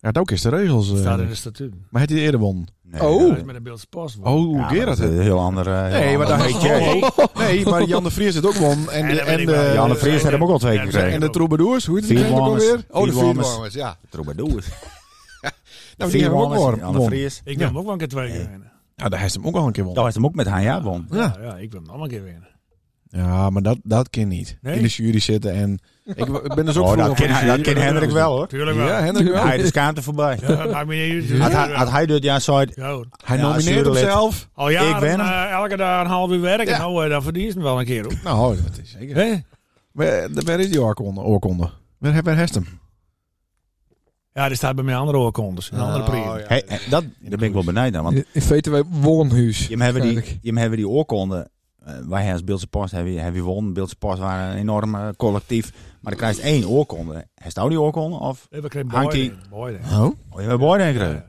Speaker 4: Ja, dat ook is de regels. eh.
Speaker 3: staat in de statuut.
Speaker 4: Maar heeft hij eerder won?
Speaker 5: Nee,
Speaker 2: Oh.
Speaker 5: ja,
Speaker 3: Dat is met een beeldse pas.
Speaker 4: Oh,
Speaker 5: maar
Speaker 4: Gerard.
Speaker 5: dat is een heel ander... eh, heel
Speaker 4: Nee, maar
Speaker 5: ander
Speaker 4: daar
Speaker 5: beetje.
Speaker 4: Nee, maar Jan de Vries het ook won. En
Speaker 3: Ja,
Speaker 4: de,
Speaker 3: dat weet
Speaker 4: en
Speaker 3: ik
Speaker 4: de,
Speaker 3: wel.
Speaker 5: Jan de Vries
Speaker 3: Ja,
Speaker 5: had hem ook al twee
Speaker 3: ja,
Speaker 5: keer
Speaker 3: zeker.
Speaker 5: gekregen.
Speaker 4: en de troubadoers. Hoe heet het
Speaker 5: Vier
Speaker 4: eigenlijk ook
Speaker 5: Walmers.
Speaker 4: alweer? Oh, de
Speaker 5: Vier Walmers.
Speaker 4: Vierwangers, ja.
Speaker 5: Troubadours.
Speaker 4: Nou, die
Speaker 5: Vier
Speaker 4: hebben ook
Speaker 5: Wallis,
Speaker 4: won.
Speaker 5: Jan de Vries.
Speaker 3: Ik
Speaker 4: Ja.
Speaker 3: wil hem ook wel een keer twee keer winnen.
Speaker 4: Ja, daar heeft hem ook al een keer
Speaker 5: Dat
Speaker 4: won.
Speaker 5: was hem ook met Hanja won.
Speaker 4: Ja.
Speaker 3: Ja, ja, ik wil hem allemaal een keer winnen.
Speaker 4: Ja, maar dat, dat kan niet.
Speaker 3: Nee?
Speaker 4: In de jury zitten en... Ik, wa- ik ben dus ook
Speaker 5: Oh,
Speaker 4: vroeger
Speaker 5: dat
Speaker 4: van de jury.
Speaker 5: ken, dat ken Hendrik wel hoor.
Speaker 3: Tuurlijk wel.
Speaker 4: Ja,
Speaker 3: Ja,
Speaker 4: Hendrik wel.
Speaker 5: Hij is kaarten voorbij.
Speaker 3: dat maakt me niet uit.
Speaker 5: Had, hij- had hij dit jaar zei
Speaker 3: Ja, hoor.
Speaker 4: Hij
Speaker 5: Ja,
Speaker 4: nomineert
Speaker 5: jurylid.
Speaker 4: hemzelf.
Speaker 3: Al jaren,
Speaker 5: Ik ben hem.
Speaker 3: eh, elke dag een half uur werken.
Speaker 4: Ja.
Speaker 3: Nou, eh, dan verdient hij wel een keer. Hoor.
Speaker 4: Nou, dat is zeker.
Speaker 3: Hè?
Speaker 4: Waar, eh, waar is die oorkonde? oorkonde? Waar, waar heeft hem?
Speaker 3: Ja, die staat bij mijn andere oorkondes. Een andere priem.
Speaker 4: Oh, ja.
Speaker 5: Hey, eh, dat, daar ben ik wel benieuwd naar. Want
Speaker 2: In, in VTW Woonhuis.
Speaker 5: Jim hebben die,
Speaker 2: Waarschijnlijk.
Speaker 5: Jim hebben die oorkonden. eh, wij als Beeldse Post hebben, hebben won. Beeldse Post waren een enorm eh, collectief. Maar dan krijg je één oorkonde. Heeft nou die oorkonde? Of
Speaker 3: Nee, we kregen
Speaker 5: Hangt
Speaker 3: Boyden.
Speaker 5: die-
Speaker 3: Boyden.
Speaker 4: Oh?
Speaker 5: oh, je hebt Boyden gekregen.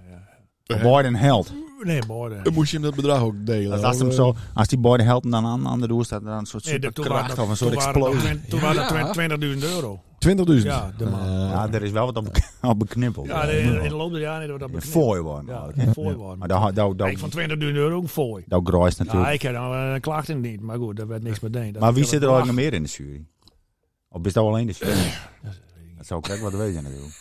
Speaker 5: Of Boyden held.
Speaker 3: Nee, Boyden.
Speaker 4: Dan moest je hem dat bedrag ook delen.
Speaker 5: Dat als, hem zo, als die Boyden held dan aan, aan de doel staat, dan een soort
Speaker 3: Nee, dat- toen
Speaker 5: superkracht
Speaker 3: waren
Speaker 5: of een
Speaker 3: dat- toen
Speaker 5: soort
Speaker 3: waren dat
Speaker 5: explosie.
Speaker 3: twen- Toen waren dat 20.000 euro.
Speaker 4: 20.000.
Speaker 3: Ja, de man.
Speaker 5: Ja, er is wel wat op, op beknippeld.
Speaker 3: Ja, in in de loop der jaren hebben we dat
Speaker 5: Een
Speaker 3: beknipt.
Speaker 5: fooi worden.
Speaker 3: Ja,
Speaker 5: Ja.
Speaker 3: een fooi worden.
Speaker 5: Maar daar dat,
Speaker 3: Ik vond 20.000 euro ook een fooi.
Speaker 5: dat Groys
Speaker 3: Ja,
Speaker 5: natuurlijk.
Speaker 3: ik heb dan wel een klacht in niet, maar goed, daar werd niks meteen.
Speaker 5: maar wie zit er eigenlijk nog meer in de jury? Of is dat alleen de jury? dat zou ik ook wat weten natuurlijk.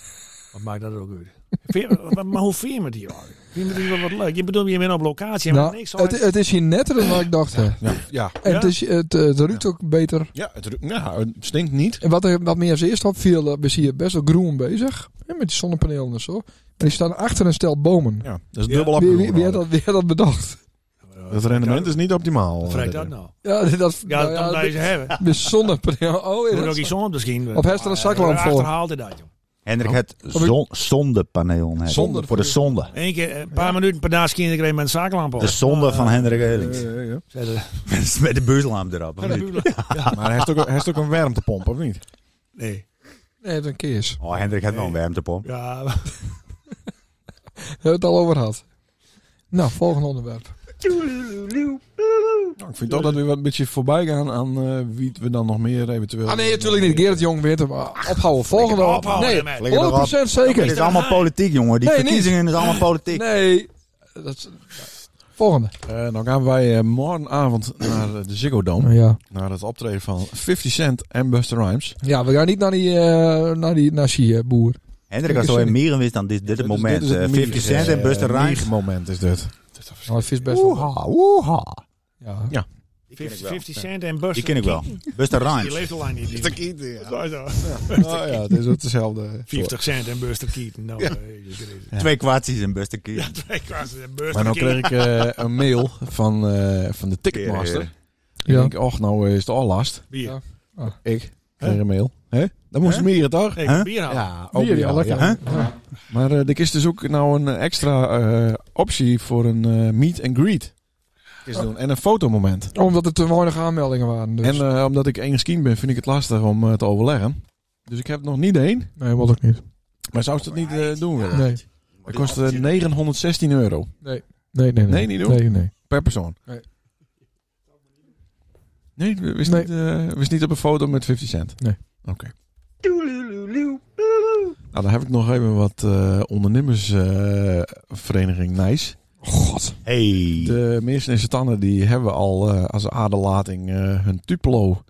Speaker 3: Wat maakt dat ook uit? Vind je- maar- maar hoe vind je het hier eigenlijk? Vind je het hier wel wat leuk? Je bedoelt, je bent op locatie en
Speaker 2: Nou,
Speaker 3: niks. aan-
Speaker 2: het, het is hier netter dan wat ik dacht. hè.
Speaker 4: Ja. Ja.
Speaker 2: En het,
Speaker 3: Ja?
Speaker 2: is, het, eh, het ruikt ook beter.
Speaker 4: Ja, het, ru- nou, het stinkt niet.
Speaker 2: En wat, er, wat meer als eerst opviel, eh, we zien hier best wel groen bezig. Hè, met die zonnepanelen en zo. En die staan achter een stel bomen.
Speaker 4: Ja, dat is
Speaker 3: Ja.
Speaker 4: dubbel
Speaker 2: Wie,
Speaker 4: opgenomen.
Speaker 2: wie, wie had dat, wie had dat bedacht?
Speaker 4: Dat rendement is niet optimaal. eh,
Speaker 3: Wat vreet dat nou?
Speaker 2: Ja, dat...
Speaker 3: Ja,
Speaker 2: nou
Speaker 3: dat kan deze hebben.
Speaker 2: met zonnepanelen. Oh,
Speaker 3: Moet
Speaker 2: ja,
Speaker 3: ook iets zon misschien. eh,
Speaker 2: Of heeft er een zaklamp voor?
Speaker 3: Achterhaalt hij dat, joh.
Speaker 5: Hendrik, het
Speaker 2: ik-
Speaker 5: zon, zondepaneel. net.
Speaker 2: Zonde.
Speaker 5: Voor de zonde.
Speaker 3: Eén keer, een paar minuten per dag schiet ik er een met een zaklamp op.
Speaker 5: De zonde van Hendrik Elings.
Speaker 4: Eh, ja.
Speaker 5: Met de buurtlamp erop. of niet?
Speaker 4: Maar hij heeft, ook, hij heeft ook een warmtepomp, of niet?
Speaker 3: Nee.
Speaker 2: Nee, het is een keers.
Speaker 5: Oh, Hendrik heeft wel een warmtepomp.
Speaker 3: Ja,
Speaker 2: We hebben het al over gehad. Nou, volgende onderwerp.
Speaker 4: Nou, ik vind toch dat we wat een beetje voorbij gaan aan eh, wie we dan nog meer eventueel...
Speaker 2: Ah nee, natuurlijk niet. Gerrit Jong wint hem. Ah, Ophouden. Volgende.
Speaker 3: flikker op, ophouden
Speaker 2: Nee,
Speaker 3: ermee.
Speaker 2: 100%
Speaker 5: Flikker erop. Het is
Speaker 2: zeker.
Speaker 5: allemaal politiek, jongen. Die
Speaker 2: Nee, niet.
Speaker 5: verkiezingen is allemaal politiek.
Speaker 2: Nee. Dat is... Volgende.
Speaker 4: Eh, dan gaan wij eh, morgenavond naar eh, de Ziggo
Speaker 5: Oh,
Speaker 4: Dome.
Speaker 2: Ja.
Speaker 4: Naar het optreden van 50 Cent en Buster Rhymes. Eh,
Speaker 2: ja, we gaan niet naar die, eh naar die nazi-boer.
Speaker 5: Hendrik, als zo in mieren wist, dan is dit het
Speaker 4: Dus
Speaker 5: moment.
Speaker 4: dit is het
Speaker 5: Eh, 50
Speaker 4: mier-
Speaker 5: Cent en
Speaker 4: eh,
Speaker 5: Buster Rhymes.
Speaker 4: mier-moment is dit.
Speaker 2: Nou, het is best wel.
Speaker 5: woeha.
Speaker 2: Ja.
Speaker 4: Ja.
Speaker 5: Die ken ik wel.
Speaker 3: 50 cent en Buster.
Speaker 5: Die ken ik wel. Buster
Speaker 3: Die
Speaker 5: Rhymes.
Speaker 3: leeft al lang niet. die man. Zo is dat.
Speaker 4: Oh ja, het is ook hetzelfde.
Speaker 3: 50 cent en Buster Keaton. Nou, jezus Christus.
Speaker 5: Twee kwartjes en Buster Keaton.
Speaker 3: Twee kwasten en
Speaker 4: Maar
Speaker 3: Buster
Speaker 4: nou kreeg
Speaker 3: Keaton.
Speaker 4: ik eh, een mail van, eh, van de Ticketmaster.
Speaker 5: Ja.
Speaker 4: Ik
Speaker 2: Ja.
Speaker 4: denk, och, nou is het al last.
Speaker 3: Bier.
Speaker 2: Ja.
Speaker 4: Ik
Speaker 3: Huh?
Speaker 4: kreeg een mail. Hè? Dan moest
Speaker 5: Huh?
Speaker 4: meer het toch?
Speaker 3: Hey,
Speaker 5: Huh?
Speaker 3: bier halen.
Speaker 4: Ja, ook
Speaker 2: Bier, ja,
Speaker 4: ja,
Speaker 2: lekker.
Speaker 4: ja.
Speaker 2: Ja.
Speaker 4: Maar eh, er is dus ook nou een extra eh, optie voor een eh, meet and greet. Is doen. En een fotomoment.
Speaker 2: Omdat er te weinig aanmeldingen waren. Dus.
Speaker 4: En eh, omdat ik één scheme ben, vind ik het lastig om eh, te overleggen. Dus ik heb nog niet één.
Speaker 2: nee, wat ook niet.
Speaker 4: Maar zou ze dat niet eh, doen willen?
Speaker 2: Nee.
Speaker 4: Het kost eh, 916 euro
Speaker 2: Nee, nee, nee.
Speaker 4: Nee, niet doen?
Speaker 2: Nee, nee.
Speaker 4: per persoon.
Speaker 2: Nee.
Speaker 4: Nee, we- wist,
Speaker 2: Nee.
Speaker 4: Niet, eh, wist niet op een foto met 50 cent.
Speaker 2: Nee.
Speaker 4: Oké. Nou, dan heb ik nog even wat eh ondernemersvereniging eh, Nijs.
Speaker 2: God.
Speaker 5: Hey.
Speaker 4: De meesten en Satannen die hebben al eh, als aderlating eh, hun Tupelo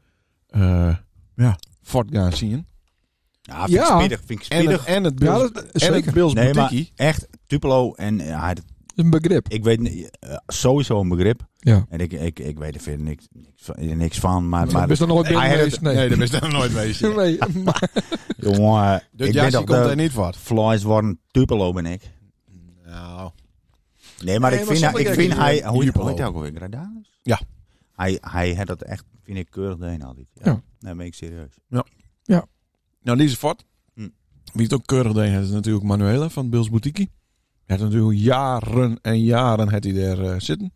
Speaker 4: eh ja, fort gaan zien.
Speaker 5: Ja, Nou, vind ik
Speaker 2: Ja.
Speaker 5: spiedig. Vind ik
Speaker 4: En
Speaker 5: spiedig.
Speaker 4: het, en het
Speaker 2: Ja,
Speaker 4: Bills,
Speaker 2: dat,
Speaker 4: en het
Speaker 2: zeker.
Speaker 4: Bills
Speaker 5: Nee, maar
Speaker 4: Boutiquie.
Speaker 5: echt, Tupelo en... ja, hij-
Speaker 2: Dat is een begrip.
Speaker 5: ik weet niet, eh, sowieso een begrip.
Speaker 2: Ja.
Speaker 5: En ik, ik, ik weet er verder niks, niks, van- niks van. Maar, Ah, maar
Speaker 2: Best nog nooit
Speaker 5: Hij
Speaker 2: meer
Speaker 5: had
Speaker 2: geweest.
Speaker 5: het-
Speaker 2: Nee.
Speaker 4: Nee, daar ben je dan nooit mee.
Speaker 2: Nee, maar-
Speaker 5: jongen,
Speaker 4: Dit
Speaker 5: ik eh, ben
Speaker 4: jasje
Speaker 5: toch
Speaker 4: komt er
Speaker 5: de
Speaker 4: niet wat.
Speaker 5: Flies worden Tupelo ben ik.
Speaker 4: Nou,
Speaker 5: Nee, maar
Speaker 2: Nee,
Speaker 5: ik
Speaker 2: maar
Speaker 5: vind,
Speaker 2: sommige
Speaker 5: ik
Speaker 2: kerken
Speaker 5: vind hij...
Speaker 4: doen
Speaker 5: Hoe heet
Speaker 4: Tupelo.
Speaker 5: hoe heet hij ook alweer? Gradalis?
Speaker 4: Ja.
Speaker 5: Hij, hij had dat echt, vind ik, keurig deen altijd. Ja.
Speaker 2: Ja.
Speaker 5: Nee, ben ik serieus.
Speaker 4: nou die is fort.
Speaker 5: Hm.
Speaker 4: Wie het ook keurig deed, is natuurlijk Manuela van Bills Boutique. Hij heeft natuurlijk jaren en jaren het hij daar eh, zitten.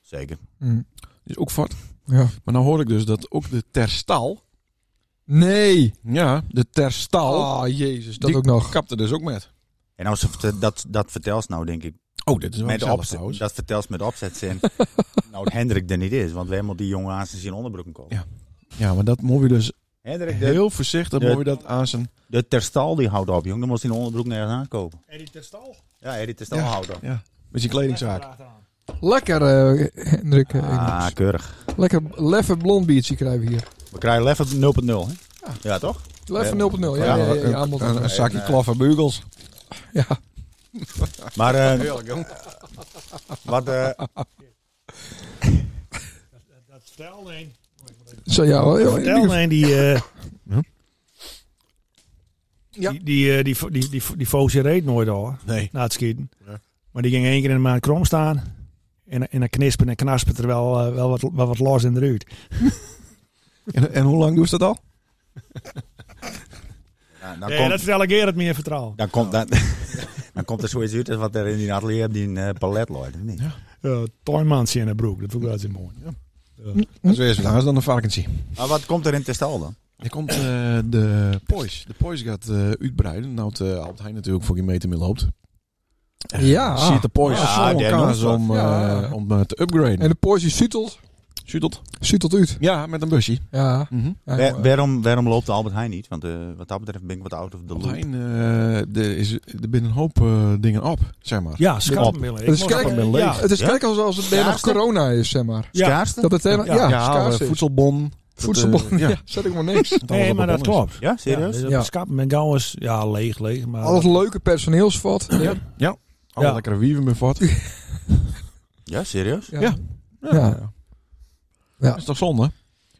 Speaker 5: Zeker.
Speaker 2: Hm.
Speaker 4: Die is ook fort.
Speaker 2: Ja.
Speaker 4: Maar nou hoor ik dus dat ook de Terstal...
Speaker 2: Nee.
Speaker 4: Ja, de Terstal...
Speaker 2: Ah, jezus. Dat
Speaker 4: die
Speaker 2: ook nog.
Speaker 4: kapte dus ook met.
Speaker 5: En als ze, dat, dat vertelt ze nou, denk ik,
Speaker 4: Oh, dit is wel
Speaker 5: met
Speaker 4: gezellig
Speaker 5: opzet,
Speaker 4: trouwens.
Speaker 5: dat vertelt ze met opzet zin. nou, dat Hendrik er niet is, want we hebben die jongen aan zijn onderbroeken komen.
Speaker 4: Ja. Ja, maar dat moet je dus
Speaker 5: Hendrik, de,
Speaker 4: heel voorzichtig
Speaker 5: de-
Speaker 4: moet je dat aan zijn...
Speaker 5: de Terstal die houdt op, jongen. Dan moest hij een onderbroek nergens aankopen.
Speaker 3: En die testal.
Speaker 5: Ja, Eddie Terstal
Speaker 4: Ja.
Speaker 5: houdt op.
Speaker 4: Ja, met je kledingzaak.
Speaker 2: Lekker, eh, Hendrik. eh,
Speaker 5: Ah, keurig.
Speaker 2: Lekker leffe blond biertje krijgen we hier.
Speaker 5: We krijgen level 0.0, hè? Ja, toch?
Speaker 2: Leffe
Speaker 5: Ja.
Speaker 2: 0.0. Ja, ja, ja, ja,
Speaker 4: een-
Speaker 2: aanbod.
Speaker 4: een, een zakje klaffe bugels.
Speaker 2: Ja.
Speaker 5: Maar eh, Wat, eh,
Speaker 3: Dat vertelde een.
Speaker 2: Zo ja, hoor.
Speaker 3: Vertelde een die... eh,
Speaker 4: Ja.
Speaker 3: Die, die, eh, die, vo- die, die, die Foosje reed nooit al
Speaker 4: Nee.
Speaker 3: na het schieten.
Speaker 4: Ja.
Speaker 3: Maar die ging één keer in de maand krom staan. En, en dan knispen en knaspen er wel, eh, wel wat, wel wat los in de ruit.
Speaker 4: En, en hoe lang doen ze dat al?
Speaker 5: nou, dan,
Speaker 3: Nee,
Speaker 5: komt,
Speaker 3: dat vertel ik Gerrit meer vertrouwen.
Speaker 5: dan, komt, dan, dan komt er zoiets uit als wat er in die atelier op die eh, palet loopt. of niet?
Speaker 3: Ja, Toymansje in de broek, dat vond ik wel zo mooi.
Speaker 4: Dat is weer eens wat anders dan een vakantie.
Speaker 5: Maar wat komt er in Testal dan?
Speaker 4: Er komt eh, de Poys. De Poys gaat eh, uitbreiden. Nou, het, eh Albert Heijn natuurlijk voor geen meter meer loopt.
Speaker 2: Ja.
Speaker 4: Ziet de Poys
Speaker 5: Ja,
Speaker 4: zo'n
Speaker 5: die
Speaker 4: kans
Speaker 5: noemt
Speaker 4: om,
Speaker 2: Ja.
Speaker 4: eh, om eh, te upgraden.
Speaker 2: En de Porsche sutelt.
Speaker 4: Sjoerd?
Speaker 2: Sutelt uit.
Speaker 4: Ja, met een busje.
Speaker 2: Ja.
Speaker 4: Mhm.
Speaker 2: ja
Speaker 5: Wa-
Speaker 2: jongen.
Speaker 5: waarom, waarom loopt de Albert Heijn niet? Want eh, wat dat betreft ben ik wat out of the
Speaker 4: Albert
Speaker 5: loop.
Speaker 4: Heijn, eh, er, is, er binnen een hoop eh, dingen op, zeg maar.
Speaker 3: Ja,
Speaker 5: schapenbillen.
Speaker 2: Het is
Speaker 3: schapenbillen.
Speaker 2: kijk-
Speaker 3: Ja,
Speaker 2: Het is
Speaker 5: Ja?
Speaker 2: kijk alsof het bijna nog
Speaker 5: Schaarste?
Speaker 2: corona is, zeg maar.
Speaker 3: Ja.
Speaker 5: Schaarste?
Speaker 2: Dat het helemaal, ja,
Speaker 3: Ja,
Speaker 2: schaars
Speaker 4: eh,
Speaker 2: is.
Speaker 4: voedselbon.
Speaker 2: Voedselbon.
Speaker 4: eh, ja.
Speaker 2: ja, zet ik maar niks.
Speaker 4: Dat alles
Speaker 3: nee,
Speaker 4: op
Speaker 3: maar
Speaker 4: een
Speaker 3: dat
Speaker 4: bon is.
Speaker 3: klopt.
Speaker 5: Ja, serieus?
Speaker 3: Ja,
Speaker 2: Ja.
Speaker 3: dus Schapen met gauw is, ja, leeg, leeg. Maar
Speaker 2: Alles leuke personeelsvat. Ja.
Speaker 4: Ja. Alle
Speaker 3: Ja.
Speaker 4: lekkere wieven met wat.
Speaker 5: Ja, serieus?
Speaker 4: Ja.
Speaker 2: Ja.
Speaker 4: Dat is toch zonde?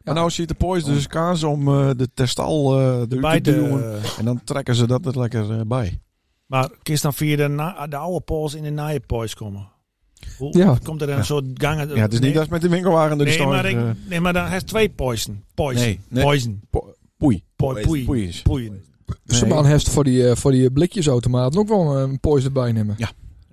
Speaker 4: Maar nou ziet de Poys dus kans om eh, de testal eh eruit te
Speaker 3: Beide,
Speaker 4: duwen.
Speaker 3: eh,
Speaker 4: En dan trekken ze dat er lekker eh, bij.
Speaker 3: maar kist dan via de, na- de oude pols in de nieuwe pols komen. Hoe
Speaker 2: Ja.
Speaker 3: komt er een soort gangen?
Speaker 4: Ja, het is niet
Speaker 3: nee,
Speaker 4: als met de winkelwagen door de
Speaker 3: nee,
Speaker 4: stad,
Speaker 3: maar
Speaker 4: eh,
Speaker 3: ik, nee, maar dan heeft twee poison. Poison.
Speaker 4: Nee, nee.
Speaker 3: Poison.
Speaker 4: po- poei.
Speaker 3: Po- Poei. Poei.
Speaker 4: Poei is.
Speaker 2: Dus de
Speaker 4: Nee.
Speaker 2: man heeft voor die, eh, voor die blikjesautomaten ook wel een Porsche erbij nemen.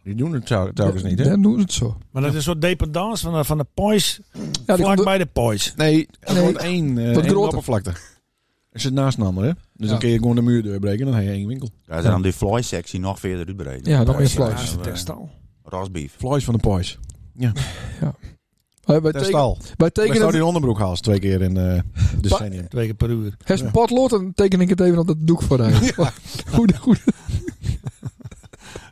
Speaker 4: Die doen het tel- telkens niet, hè?
Speaker 2: Dan doen ze het zo.
Speaker 3: Maar dat is een soort dependance van de, van de poison.
Speaker 2: Ja, die
Speaker 3: vlak
Speaker 2: komt-
Speaker 3: bij de poison.
Speaker 4: Nee, er
Speaker 2: Nee.
Speaker 4: wordt één, eh
Speaker 2: Wat
Speaker 4: één
Speaker 2: groter.
Speaker 4: oppervlakte. Er zit naast een ander, hè? Dus
Speaker 2: Ja.
Speaker 4: dan kun je gewoon de muur doorbreken en dan heb je één winkel.
Speaker 5: Daar zijn dan die fly-sectie nog verder uitbreiden. eh,
Speaker 2: Ja, nog meer fly.
Speaker 3: Dat is de testal.
Speaker 5: Rasbeef.
Speaker 4: Vlees van de Poys.
Speaker 2: Eh, wij, teken-
Speaker 4: Testal.
Speaker 2: wij
Speaker 4: Ik
Speaker 2: tekenen
Speaker 4: zou
Speaker 2: het,
Speaker 4: die onderbroek halen twee keer in eh decennium.
Speaker 3: Twee keer per uur.
Speaker 2: heeft een potlood en teken ik het even op dat doek voor hem. Goed, goed.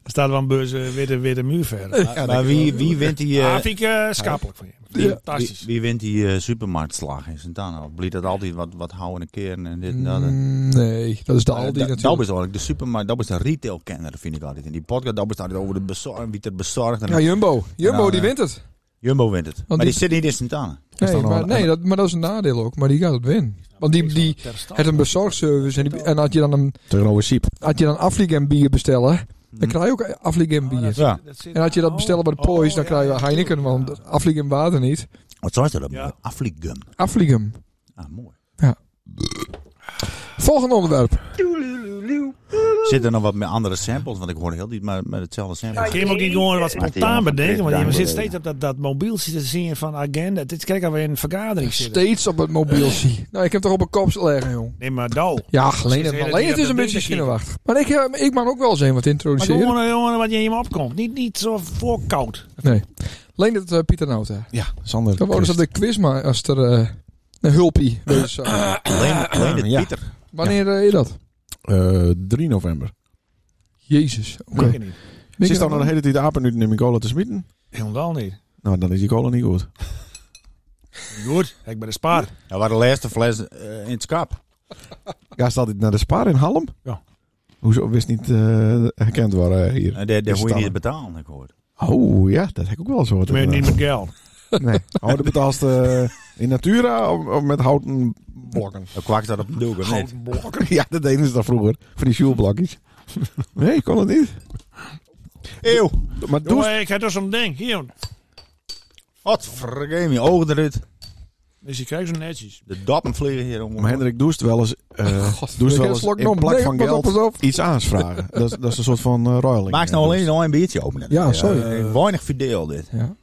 Speaker 3: Er staat wel een beurs eh, witte, witte muur verder.
Speaker 4: Ah,
Speaker 5: Maar- maar wie, wie wint die, eh,
Speaker 3: Ah, vind ik eh, schapelijk van je.
Speaker 5: wie,
Speaker 3: Fantastisch.
Speaker 5: wie- wie wint die eh, supermarktslag in Santana? Of blijft dat altijd wat, wat houden keren en dit en dat? en-
Speaker 2: Mm, Nee, dat is de Aldi
Speaker 5: Eh, da- Dat
Speaker 2: natuurlijk.
Speaker 5: is eigenlijk de supermarkt, dat is de retailkenner, vind ik altijd. In die podcast, dat bestaat over de bezorging, wie het bezorgt. En
Speaker 2: Ja, Jumbo. Jumbo,
Speaker 5: Ja,
Speaker 2: die
Speaker 5: nee.
Speaker 2: wint het.
Speaker 5: Jumbo wint het. maar
Speaker 2: die-
Speaker 5: die, zit niet in Santana.
Speaker 4: is
Speaker 2: Nee,
Speaker 4: dan
Speaker 2: maar,
Speaker 4: al-
Speaker 2: nee dat, maar dat is een nadeel ook. Maar die gaat het winnen. Want die, die het een bezorgservice. En, die, en had je dan een
Speaker 4: Tegenover Siep.
Speaker 2: had je dan Afligem bier bestellen,
Speaker 5: Hm.
Speaker 2: dan krijg je ook Afligem bier.
Speaker 5: Ja.
Speaker 2: En had je
Speaker 3: nou-
Speaker 2: dat bestellen
Speaker 3: Oh,
Speaker 2: bij de Poys, dan krijg je Heineken, want Afligem water niet.
Speaker 5: Wat zou je dat?
Speaker 3: Ja.
Speaker 5: Ja. Afligum.
Speaker 2: Afligem.
Speaker 5: Ah, mooi.
Speaker 2: Volgende onderwerp.
Speaker 5: Zitten er nog wat meer andere samples? Want ik hoor heel niet maar met hetzelfde sample.
Speaker 3: Kun je hem ook niet gewoon wat spontaan
Speaker 5: Maar die
Speaker 3: bedenken? Want je
Speaker 5: jongen
Speaker 3: zit
Speaker 5: van
Speaker 3: steeds op dat, dat mobieltje te zien van agenda. Dit kijk alweer in een vergadering zitten.
Speaker 2: Steeds op het mobiel zie. Nou, ik heb toch op een kop leggen, jong.
Speaker 3: Nee, maar dol.
Speaker 2: Ja, alleen het,
Speaker 3: Ze zeiden
Speaker 2: alleen
Speaker 3: die
Speaker 2: het is een
Speaker 3: op de
Speaker 2: beetje
Speaker 3: ding te
Speaker 2: zenuwachtig. Maar ik, eh, ik mag ook wel eens een wat
Speaker 3: Maar
Speaker 2: introduceren.
Speaker 3: gewoon eh, jongen wat je in me opkomt. Niet, niet zo voorkoud.
Speaker 2: Nee. Leen het eh, Pieter Nauta.
Speaker 4: Ja, Sander.
Speaker 2: Dan wonen ze op
Speaker 4: Christ.
Speaker 2: de quizmaster eh een hulpie. wees, eh.
Speaker 5: Leen, Leen het
Speaker 4: Ja.
Speaker 5: Pieter.
Speaker 2: Wanneer eh, je dat?
Speaker 4: Eh, 3 november.
Speaker 2: Jezus. Oké.
Speaker 3: Zeker niet.
Speaker 4: Zit dan nog de hele tijd de apen nu in mijn cola te smieten?
Speaker 3: Helemaal niet.
Speaker 4: Nou, dan is die cola niet goed.
Speaker 3: Goed, ik ben de spaar.
Speaker 5: Dat waren Nou, de laatste fles eh, in het skap.
Speaker 4: Ja, staat dit naar de spaar in Halm?
Speaker 3: Ja.
Speaker 4: Hoezo wist niet eh, herkend worden hier?
Speaker 5: En daar daar
Speaker 4: Is
Speaker 5: hoor je
Speaker 4: dan-
Speaker 5: niet betalen, heb ik gehoord.
Speaker 4: Oh ja, dat heb ik ook wel zo.
Speaker 3: Maar niet met geld.
Speaker 4: Nee. Oh, dat betaalt eh, in Natura of, of met houten blokken?
Speaker 5: Dan kwakt dat op de doek, of
Speaker 4: Oh.
Speaker 5: niet?
Speaker 3: Houten blok.
Speaker 4: Ja, dat deden ze dan vroeger. Van die sjoelblokjes. Nee, ik kon het niet.
Speaker 5: Eeuw.
Speaker 4: Maar doe
Speaker 3: Jongen, ik heb dus zo'n ding. Hier.
Speaker 5: Wat vergeet ogen eruit.
Speaker 3: Dus je krijgt zo netjes.
Speaker 5: De dappen vliegen hier om.
Speaker 4: Maar Hendrik, doe het wel eens, eh
Speaker 2: God,
Speaker 4: doe het
Speaker 2: ik
Speaker 4: wel
Speaker 2: heb
Speaker 4: eens
Speaker 2: slok
Speaker 4: in
Speaker 2: nog.
Speaker 4: plak
Speaker 2: Nee,
Speaker 4: van
Speaker 2: pas op,
Speaker 4: geld
Speaker 2: pas op.
Speaker 4: iets aanvragen. dat, is, dat is een soort van eh, ruiling.
Speaker 5: Maak nou alleen nog een biertje open. hè.
Speaker 2: Ja, sorry.
Speaker 5: Eh, weinig verdeel dit.
Speaker 2: Ja.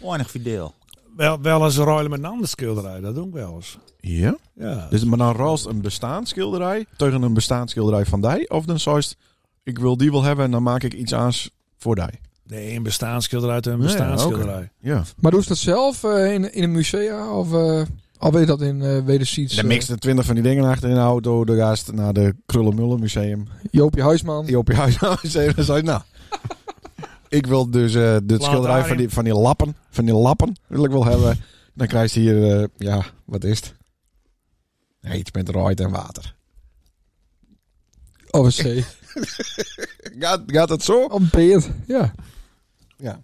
Speaker 5: Weinig verdeel.
Speaker 3: Wel, wel eens ruilen met een ander schilderij. Dat doe ik wel eens.
Speaker 4: Ja?
Speaker 3: Ja.
Speaker 4: Dus, maar dan ruilst een bestaansschilderij tegen een bestaansschilderij van die. Of dan zoist, ik wil die wel hebben en dan maak ik iets aans voor die.
Speaker 3: Nee, een bestaansschilderij uit een
Speaker 4: Ja,
Speaker 3: bestaansschilderij.
Speaker 4: Ja.
Speaker 2: Maar doe ze dat zelf eh, in, in een musea of eh al weet je dat in eh Wedersiets?
Speaker 4: Dan
Speaker 2: eh,
Speaker 4: mixte twintig van die dingen achter in de auto. De gast naar de Krullenmullen Museum.
Speaker 2: Joopje Huisman.
Speaker 4: Die op je huis museum. Dan zei je, nou... Ik wil dus eh dit schilderij van die, van die lappen, van die lappen, wil ik wel hebben. Dan krijg je hier, eh, ja, wat is het? Nee, iets met rood en water.
Speaker 2: Of een C.
Speaker 4: Gaat, gaat het zo?
Speaker 2: Of een Peert. Ja.
Speaker 4: Ja.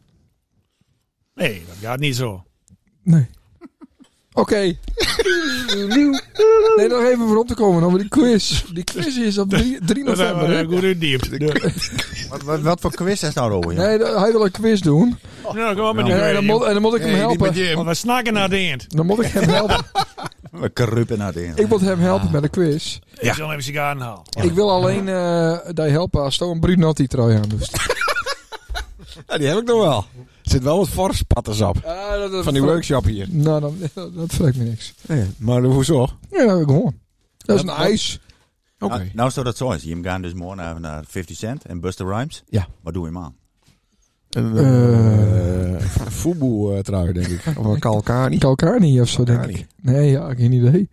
Speaker 3: Nee, dat gaat niet zo.
Speaker 2: Nee. Oké. nee, nog even voor op te komen over die quiz. Die quiz is op 3, 3 november. hè?
Speaker 3: Dat goed in eh, diep.
Speaker 5: Wat, wat, wat voor quiz is nou over?
Speaker 2: Nee, dat- hij wil een quiz doen.
Speaker 3: Nou, kom maar met die
Speaker 2: En, en dan, moet,
Speaker 3: radio.
Speaker 2: en dan moet ik hem
Speaker 4: Nee, niet
Speaker 2: helpen.
Speaker 4: met Jim.
Speaker 3: Want we snakken naar de eind.
Speaker 2: Dan moet ik hem helpen.
Speaker 5: We kruipen naar de ene.
Speaker 2: Ik moet hem helpen met een quiz.
Speaker 3: Ik zal even sigaren halen.
Speaker 2: Ik wil alleen eh die helpen als Stoon Brunotti trui aan doet.
Speaker 4: Ja, die heb ik nog wel. Er zit wel wat fors patters op.
Speaker 2: Ah,
Speaker 4: Van die workshop hier.
Speaker 2: Nou, dan, dat, dat vreekt me niks.
Speaker 4: Maar hoezo? Oké.
Speaker 2: Ja, gewoon. Dat is een
Speaker 4: Wat-
Speaker 2: ijs.
Speaker 4: Ah,
Speaker 5: Nou, nou zou dat zo is. Je gaat dus morgen naar, naar 50 Cent en Buster Rhymes.
Speaker 4: Ja.
Speaker 5: Wat doe je man? aan?
Speaker 4: Een
Speaker 2: Eh.
Speaker 4: eh, voetbal, eh, trui, denk ik. Of een Kalkani.
Speaker 2: Kalkani of zo, denk ik.
Speaker 4: Kalkani.
Speaker 2: Nee, ja, geen idee.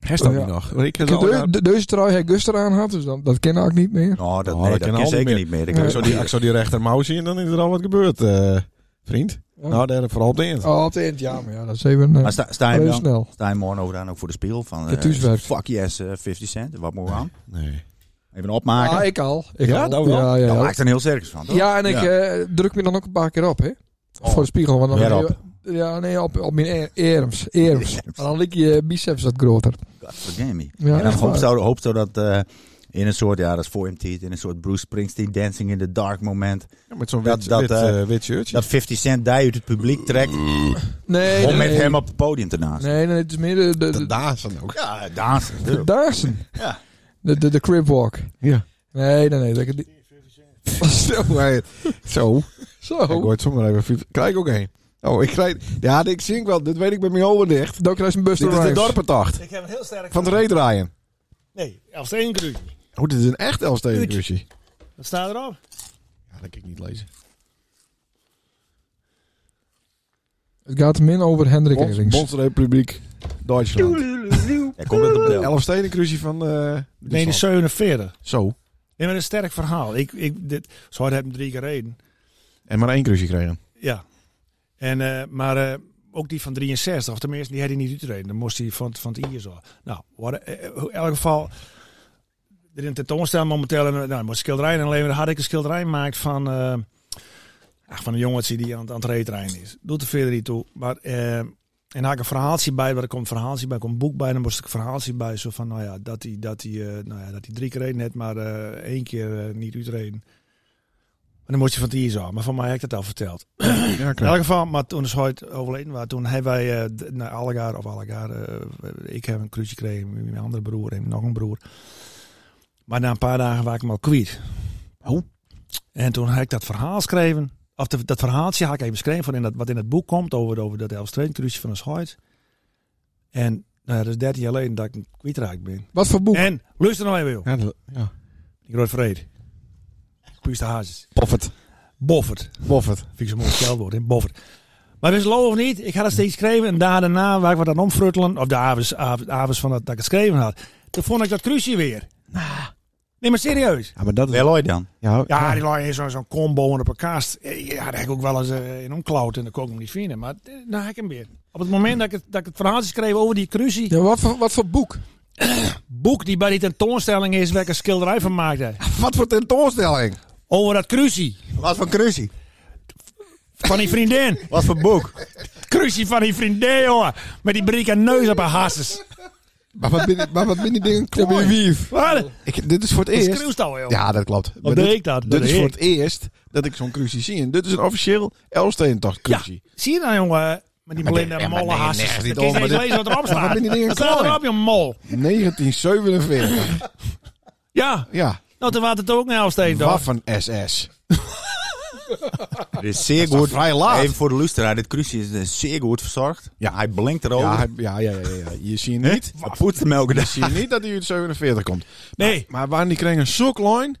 Speaker 4: Hij staat
Speaker 2: Ja.
Speaker 4: niet nog. Ik Oh, heb
Speaker 2: Ik heb
Speaker 4: al-
Speaker 2: de- de- Deze trui heb ik Guster aan had, dus dat, dat ken ik niet meer.
Speaker 5: Nou, dat,
Speaker 4: Oh, dat
Speaker 5: nee, dat
Speaker 4: kan
Speaker 5: kan
Speaker 4: allemaal
Speaker 5: zeker
Speaker 4: meer.
Speaker 5: niet meer. Ik
Speaker 2: Nee.
Speaker 4: Ik zou die, ik zou die rechtermouw zien, dan is er al wat gebeurd, eh, vriend.
Speaker 2: Ja.
Speaker 4: Nou, daar vooral op de eind.
Speaker 2: Oh, op het eind, ja, maar ja, dat is even... eh,
Speaker 5: Maar sta, sta, je
Speaker 2: Heel
Speaker 5: dan,
Speaker 2: snel.
Speaker 5: sta je morgen over dan ook voor de spiegel van... eh,
Speaker 2: Het huiswerk.
Speaker 5: fuck yes, eh, 50 Cent. Wat moet we aan?
Speaker 4: Nee.
Speaker 5: Even opmaken.
Speaker 2: Ah, ik al. Ik
Speaker 4: Ja,
Speaker 2: al.
Speaker 4: dat wel.
Speaker 2: Ja, ja,
Speaker 5: Daar
Speaker 2: ja.
Speaker 5: maakt er een heel circus van, toch?
Speaker 2: Ja, en ik
Speaker 4: Ja.
Speaker 2: eh, druk me dan ook een paar keer op, hè?
Speaker 5: Oh.
Speaker 2: Voor de spiegel. Want dan
Speaker 5: Weer op.
Speaker 2: Ja, nee, op, op mijn eer- erms. Erms.
Speaker 5: Erms.
Speaker 2: Maar dan lig je biceps wat groter.
Speaker 5: Godverdomme me.
Speaker 2: Ja,
Speaker 5: en dan
Speaker 2: echt
Speaker 5: hoop
Speaker 2: waar.
Speaker 5: zo, hoop zo dat eh, in een soort, ja, dat is voor hem tiet, in een soort Bruce Springsteen Dancing in the Dark moment,
Speaker 4: Ja, met zo'n
Speaker 5: Dat-
Speaker 4: wit,
Speaker 5: dat,
Speaker 4: wit,
Speaker 5: eh,
Speaker 4: eh, wit shirtje.
Speaker 5: dat 50 Cent die uit het publiek trekt
Speaker 2: Nee,
Speaker 5: om
Speaker 2: nee,
Speaker 5: met
Speaker 2: nee.
Speaker 5: hem op het podium te naasten.
Speaker 2: Nee, nee, het is meer de... de,
Speaker 4: dat
Speaker 2: de,
Speaker 4: daar is dan ook.
Speaker 5: Ja, dansen.
Speaker 2: de Daarsen.
Speaker 5: Ja.
Speaker 2: De, de, de crib walk.
Speaker 4: Ja.
Speaker 2: Nee, nee, nee. Dat ik, die-
Speaker 4: Zo, hij- zo. Ik
Speaker 2: zo.
Speaker 4: word zomaar even. fiets- Krijg ik ook één. Oh, ik krijg. Ja, dit zie ik wel. Dit weet ik bij mijn ogen dicht.
Speaker 2: Dan krijg je een bus
Speaker 4: Dit is de dorpentacht
Speaker 3: Ik heb een heel sterk...
Speaker 4: van het reedraaien.
Speaker 3: Nee, als één kruidje.
Speaker 4: Oh, dit is een echt Elfstedenkruisje.
Speaker 3: Wat staat erop?
Speaker 4: Ja, dat kan ik niet lezen.
Speaker 2: Het gaat min over Hendrik
Speaker 4: Bonds,
Speaker 2: Elings.
Speaker 4: Bondsrepubliek Duitsland.
Speaker 5: Hij komt op de bril.
Speaker 4: Elfstedenkruisje van. eh,
Speaker 3: Nee, die
Speaker 4: Duitsland.
Speaker 3: 47.
Speaker 4: Zo.
Speaker 3: Nee, maar dat is een sterk verhaal. Ik, ik, dit, zo had ik hem drie keer reden.
Speaker 4: En maar één kruisje kregen.
Speaker 3: Ja. En, eh, maar eh, ook die van 63, of tenminste, die had hij niet uitreden. Dan moest hij van, van het IS al. Nou, wat, eh, eh, in elk geval, er in tentoonstelling momenteel, en, eh, nou, moest schilderijen alleen maar had ik een schilderij gemaakt van, eh, ach, van een jongetje die aan, het- aan het reetrein is. Doet er verder niet toe. Maar, eh, en had ik een verhaaltje bij, waar er komt een verhaaltje bij, er komt een boek bij, dan moest ik een verhaaltje bij, zo van, nou ja, dat hij, dat hij, eh, nou ja, dat hij drie keer reden net, maar eh, één keer eh, niet uitreden. En dan moest je van het IS al. Maar van mij heb ik dat al verteld.
Speaker 4: Ja,
Speaker 3: In elk geval, maar toen is ooit overleden was, toen hebben wij eh, d- naar Allegaar of Allegaar. eh, ik heb een cruise gekregen met mijn andere broer en nog een broer. Maar na een paar dagen was ik hem al kwijt.
Speaker 4: Oh.
Speaker 3: En toen heb ik dat verhaal geschreven. Of de- dat verhaaltje had ik even geschreven van in dat, wat in het boek komt over, over dat Elfstreen cruise van ons ooit. En nou, ja, dat is 13 jaar geleden dat ik hem kwijtraakt ben.
Speaker 2: Wat voor boek?
Speaker 3: En luister nog even, joh.
Speaker 4: Ja, dat- ja.
Speaker 3: Ik word vreed. Puuste hazes.
Speaker 4: Poffert.
Speaker 3: Boffert.
Speaker 4: Poffert.
Speaker 3: Vind ik zo'n mooi spelwoord, hè? Boffert. Maar wist loof of niet, ik had het steeds geschreven en daar daarna waar ik wat aan omfruttelen, of de avonds, av- avonds van dat, dat ik het geschreven had, toen vond ik dat crucie weer. Nee, maar serieus.
Speaker 4: Ja, maar dat
Speaker 5: Wel ooit dan.
Speaker 4: Ja,
Speaker 3: Nou. Ja, die lag in zo'n zo'n combo en op een kast. Ja, daar heb ik ook wel eens eh, in omklauwd en dan kon ik hem niet vinden. Maar eh, nou heb ik hem weer. Op het moment dat ik het, dat ik het verhaal schreef over die crucie,
Speaker 2: Ja, wat, voor, wat voor boek?
Speaker 3: boek die bij die tentoonstelling is, waar ik een schilderij van maakte.
Speaker 4: Wat voor tentoonstelling?
Speaker 3: Over dat crucie.
Speaker 5: Wat voor cruisie?
Speaker 3: Van die vriendin.
Speaker 5: Wat voor boek?
Speaker 3: crucie van die vriendin, jongen. Met die brieke neus op haar hasses.
Speaker 4: Maar wat ben ik, maar wat ben ik dingen
Speaker 2: Een wief.
Speaker 3: Wat?
Speaker 4: Ik, dit is voor het
Speaker 3: Is
Speaker 4: eerst.
Speaker 3: cruist al, joh.
Speaker 4: Ja, dat klopt. Maar
Speaker 3: deed
Speaker 4: dit,
Speaker 3: ik dat?
Speaker 4: Dit
Speaker 3: Dat
Speaker 4: is
Speaker 3: deed
Speaker 4: voor
Speaker 3: ik.
Speaker 4: het eerst dat ik zo'n cruisie zie. En dit is een officieel Elfstedentocht
Speaker 3: Ja,
Speaker 4: cruisie.
Speaker 3: zie je dan, jongen? Met die blinde
Speaker 4: nee, maar
Speaker 3: molle
Speaker 4: nee,
Speaker 3: hassen.
Speaker 4: nergens niet
Speaker 3: Dan kun je
Speaker 4: om,
Speaker 3: eens
Speaker 4: maar
Speaker 3: lezen wat erop staat.
Speaker 4: ben je niet in
Speaker 3: Wat staat
Speaker 4: klaar.
Speaker 3: erop, je mol?
Speaker 4: 1947.
Speaker 3: Ja,
Speaker 4: ja,
Speaker 3: nou, toen was het ook een Elfsteen, toch?
Speaker 4: Waffen-SS.
Speaker 5: Dit is zeer
Speaker 4: toch
Speaker 5: goed.
Speaker 4: vrij laat?
Speaker 5: Even voor de luisteraar. Dit cruisie is eh, zeer goed verzorgd.
Speaker 4: Ja.
Speaker 5: Hij blinkt erover.
Speaker 4: Ja, hij- ja, ja, ja, ja. Je ziet niet,
Speaker 5: Hij poetst hem elke
Speaker 4: je
Speaker 5: dag.
Speaker 4: ziet niet dat hij uit 47 komt.
Speaker 3: Nee.
Speaker 4: Maar waren die kregen zo klein?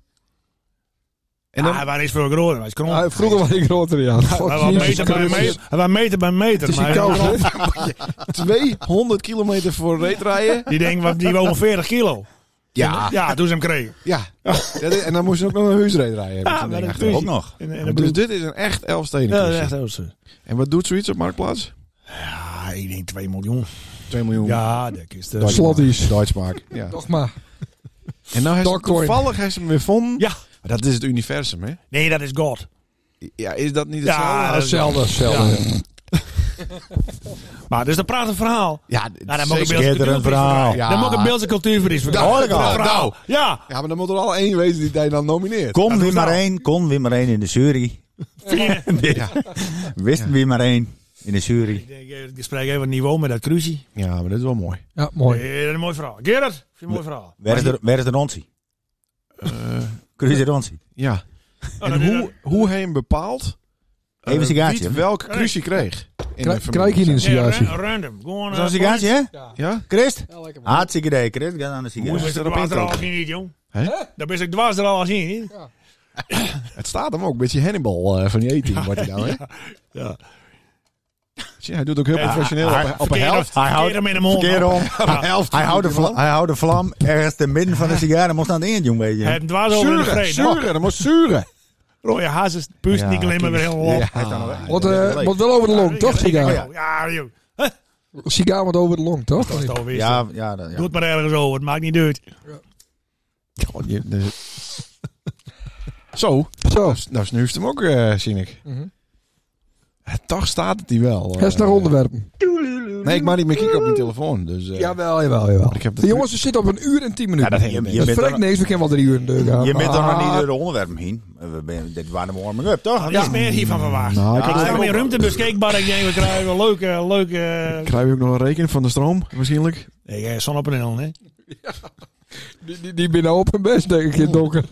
Speaker 4: En dan,
Speaker 3: Ah, waar is voor groter? Hij is krom.
Speaker 2: Ja, vroeger was ik groter, ja. Fuck
Speaker 3: Hij was
Speaker 2: Oh, Jezus
Speaker 3: meter bij
Speaker 2: Christus.
Speaker 3: meter. Hij was meter bij meter.
Speaker 2: Het is hier
Speaker 3: maar hij-
Speaker 2: koud, hè?
Speaker 4: 200 kilometer voor reetrijden.
Speaker 3: Die ding, wat- die woog 40 kilo.
Speaker 4: Ja,
Speaker 3: Ja, toen ze hem kregen.
Speaker 4: ja. Dat is- en dan moest je ook nog een huisreed rijden. met
Speaker 3: Ja,
Speaker 4: zo'n ding
Speaker 3: maar dat
Speaker 4: achter.
Speaker 3: doe
Speaker 5: Ook
Speaker 3: je.
Speaker 5: nog.
Speaker 3: En, en
Speaker 4: Maar
Speaker 3: de
Speaker 4: Dus
Speaker 3: broer-
Speaker 4: dit is een echt Elfsteden
Speaker 3: Ja, dat is
Speaker 4: cruisie.
Speaker 3: echt Ah, Elfsteen.
Speaker 4: En wat doet zoiets op Marktplaats?
Speaker 3: Ja, ik denk 2 miljoen.
Speaker 4: 2 miljoen.
Speaker 3: Ja, dat is de...
Speaker 4: Deutschmark.
Speaker 2: Slotties.
Speaker 4: Deutschmark. Ja.
Speaker 2: Toch maar.
Speaker 4: En nou heeft ze
Speaker 2: Dogcoin.
Speaker 4: toevallig heeft ze hem weer gevonden.
Speaker 3: Ja.
Speaker 4: Maar Dat is het universum, hè?
Speaker 3: Nee, dat is God.
Speaker 4: Ja, is dat niet hetzelfde?
Speaker 3: Ja, dat is wel-
Speaker 2: Hetzelfde, hetzelfde.
Speaker 3: Maar dus dan praat een verhaal.
Speaker 4: Ja,
Speaker 3: Nou, dan
Speaker 4: zeker.
Speaker 3: mag ik beeldse
Speaker 5: eerder
Speaker 3: cultuur voor
Speaker 5: een
Speaker 3: iets
Speaker 5: verhaal.
Speaker 3: vragen.
Speaker 4: Ja.
Speaker 3: Dan mag ik beeldse cultuur voor iets vragen.
Speaker 4: hoor ik al.
Speaker 3: Een verhaal.
Speaker 4: Nou.
Speaker 3: Ja,
Speaker 4: ja, maar dan moet er al één wezen die jij dan nomineert.
Speaker 5: Kom
Speaker 3: Dat
Speaker 5: weer
Speaker 3: hoeft
Speaker 5: maar
Speaker 3: wel.
Speaker 5: één. Kom weer maar één in de jury.
Speaker 4: nou. Ja.
Speaker 5: Wist weer maar één in de jury.
Speaker 3: Ik denk, eh, Ik spreek even het niveau met dat cruzie.
Speaker 4: Ja, maar dat is wel mooi.
Speaker 2: Ja, mooi.
Speaker 3: Eh, dat is een mooi verhaal. Gerard, vind je Eh, een mooi verhaal?
Speaker 5: Waar is de, waar is de ronsie? Cruise de ronsie.
Speaker 4: ja.
Speaker 3: Oh, dat
Speaker 4: En
Speaker 3: is-
Speaker 4: hoe, hoe hij hem bepaalt eh,
Speaker 5: Even sigaartje,
Speaker 4: wie het
Speaker 5: hè?
Speaker 4: welke crucie kreeg. In
Speaker 2: Krij-
Speaker 4: de familie.
Speaker 2: krijg je niet een
Speaker 3: Ja,
Speaker 2: sigaartje?
Speaker 3: ra- random. Gewoon
Speaker 5: Zo'n sigaartje, hè?
Speaker 4: Ja?
Speaker 5: Christ?
Speaker 2: Ja, lekker man.
Speaker 5: Hartstikke idee, Christ. Ga aan de
Speaker 3: Hoe
Speaker 5: sigaar.
Speaker 3: is
Speaker 4: Ja.
Speaker 3: er dwars er al als je niet, jong?
Speaker 4: Hè?
Speaker 3: Dan ben ik dwars er al als je niet.
Speaker 4: Het staat hem ook. Een beetje Hannibal eh, van die 18 wordt hij nou, hè?
Speaker 3: Ja.
Speaker 4: Zie, hij doet ook heel professioneel op, een- op een
Speaker 3: Verkeerde-
Speaker 4: helft.
Speaker 5: Hij houdt
Speaker 3: verkeerde hem in de mond.
Speaker 5: verkeerde om.
Speaker 4: Op een helft.
Speaker 5: Hij houdt de vlam, hij houdt de vlam ergens te midden van de sigaar. Dan moest aan het eind, jong, weet
Speaker 3: Hij
Speaker 5: je.
Speaker 3: heeft hem dwars over in de
Speaker 4: Zuren,
Speaker 3: vreed.
Speaker 4: zuren. Dat moest zuren.
Speaker 3: Rode hazes, puust
Speaker 5: Ah,
Speaker 3: niet alleen maar weer helemaal op.
Speaker 4: Ja.
Speaker 2: Wordt eh, wordt wel over de long, toch, sigaar?
Speaker 3: Ja, joh.
Speaker 2: Sigaar wordt over de long, toch?
Speaker 3: Dat is het alweer zo.
Speaker 5: Ja, ja, dat-
Speaker 3: Doe
Speaker 5: ja.
Speaker 3: het maar ergens over, het maakt niet uit.
Speaker 4: God, je- de- Zo,
Speaker 2: Zo.
Speaker 4: nou, s- nou snuift hem ook, eh zie ik.
Speaker 2: Mhm.
Speaker 4: Eh, Toch staat het hij wel. eh.
Speaker 2: Hes naar onderwerpen.
Speaker 4: Nee, ik mag niet meer kijken op mijn telefoon. Dus, eh,
Speaker 2: Jawel, jawel, jawel.
Speaker 4: Ik heb
Speaker 2: De
Speaker 4: dat-
Speaker 2: jongens, we zitten op een uur en tien
Speaker 5: Ja,
Speaker 2: minuten.
Speaker 5: dat
Speaker 2: dat
Speaker 5: je, je,
Speaker 4: Dat
Speaker 5: bent
Speaker 2: spreekt
Speaker 5: dan,
Speaker 2: niks, we kunnen wel drie uur in de deur gaan.
Speaker 5: je bent dan nog niet
Speaker 2: Ah,
Speaker 5: door de onderwerpen heen. Eh, We ben, dit waren de onderwerp, toch?
Speaker 3: Wat is meer hiervan verwacht?
Speaker 4: Nou, ik
Speaker 5: Ja,
Speaker 3: Er
Speaker 4: had-
Speaker 3: staat meer
Speaker 5: ook-
Speaker 3: ruimte beschikbaar. Ik denk, we krijgen een leuke... leuke eh,
Speaker 4: krijg je ook nog een rekening van de stroom, misschien?
Speaker 3: nee, eh, zonnepaneel, hè?
Speaker 2: Die, die, die binnen op hun best, denk ik, in het donker.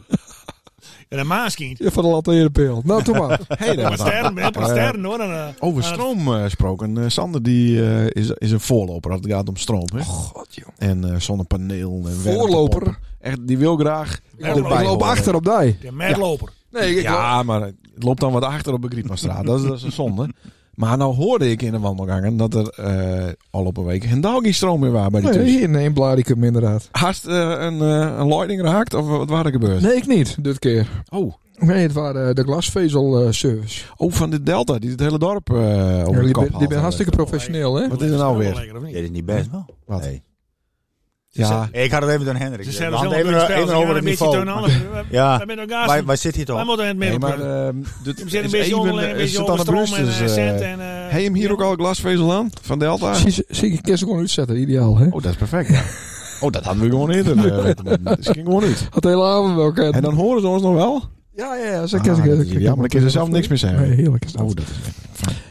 Speaker 3: En een maaskind.
Speaker 2: Ja, Van de lantaarnpeel. Nou, doe maar.
Speaker 4: Hey,
Speaker 3: Op
Speaker 4: daar.
Speaker 3: een sterren, hè, op een sterren, hoor. En, eh,
Speaker 4: Over
Speaker 3: aan het-
Speaker 4: stroom eh, gesproken. Eh, Sander die, eh, is, is een voorloper als het gaat om stroom. Hè?
Speaker 2: God, joh.
Speaker 4: En eh, zonnepaneel. En werkpompen.
Speaker 2: Voorloper.
Speaker 4: Echt, die wil graag
Speaker 2: Ik loop,
Speaker 4: erbij
Speaker 2: ik loop
Speaker 4: horen.
Speaker 2: achter op die.
Speaker 3: De metloper.
Speaker 2: Nee, ik,
Speaker 4: Ja, maar het loopt dan wat achter op de Grietmanstraat. dat, is, dat is een zonde. Maar nou hoorde ik in de wandelgangen dat er eh al op een week geen dagje stroom meer was bij die
Speaker 2: Nee,
Speaker 4: thuis.
Speaker 2: in, in Blaricum inderdaad.
Speaker 4: Haast eh, een, eh, een leiding raakt of wat waar er gebeurd?
Speaker 2: Nee, ik niet, dit keer.
Speaker 4: Oh,
Speaker 2: Nee, het waren eh, de glasvezel-service.
Speaker 4: oh, van de Delta die het hele dorp eh over de
Speaker 2: die ben,
Speaker 4: kop
Speaker 2: die
Speaker 4: haalt. eh.
Speaker 2: ben hartstikke professioneel, hè?
Speaker 4: Wat is er nou weer?
Speaker 5: Dit is niet best, wel.
Speaker 4: Wat?
Speaker 5: Nee.
Speaker 4: Ja,
Speaker 5: Ik had het even dan Hendrik.
Speaker 3: Ze
Speaker 5: We
Speaker 3: zijn er
Speaker 5: hadden
Speaker 3: zelf
Speaker 5: even, even, over het
Speaker 3: een beetje
Speaker 5: niveau.
Speaker 3: toon anders. We-
Speaker 5: Ja.
Speaker 3: we zijn elkaar-
Speaker 5: Wij, wij zitten hier
Speaker 3: Wij
Speaker 5: toch?
Speaker 3: moeten in het
Speaker 4: nee,
Speaker 3: midden.
Speaker 4: maar
Speaker 3: blijven.
Speaker 4: eh, dit
Speaker 3: We zitten een
Speaker 4: is
Speaker 3: beetje
Speaker 4: even,
Speaker 3: onderling, een
Speaker 4: eh,
Speaker 3: beetje
Speaker 4: zit aan
Speaker 3: over
Speaker 4: de
Speaker 3: stroom en
Speaker 4: brusters,
Speaker 3: eh,
Speaker 4: eh,
Speaker 3: cent. en, eh,
Speaker 4: Hey, hem hier
Speaker 3: ja.
Speaker 4: ook al glasvezel aan van Delta?
Speaker 2: Zie, zie- zie ik kerst gewoon uitzetten, ideaal, hè?
Speaker 4: Oh, dat is perfect. ja. Oh, dat hadden we gewoon eerder. eh, dat ging gewoon niet.
Speaker 2: Had de hele avond wel kunnen.
Speaker 4: En dan horen ze ons nog wel.
Speaker 2: Ja, ja, ja. Zo
Speaker 4: Ah,
Speaker 2: kerst-
Speaker 4: dat
Speaker 2: kerst-
Speaker 4: is jammer, dan kun je er zelf niks meer zeggen.
Speaker 2: Nee, heerlijk is dat.
Speaker 4: Oh, dat is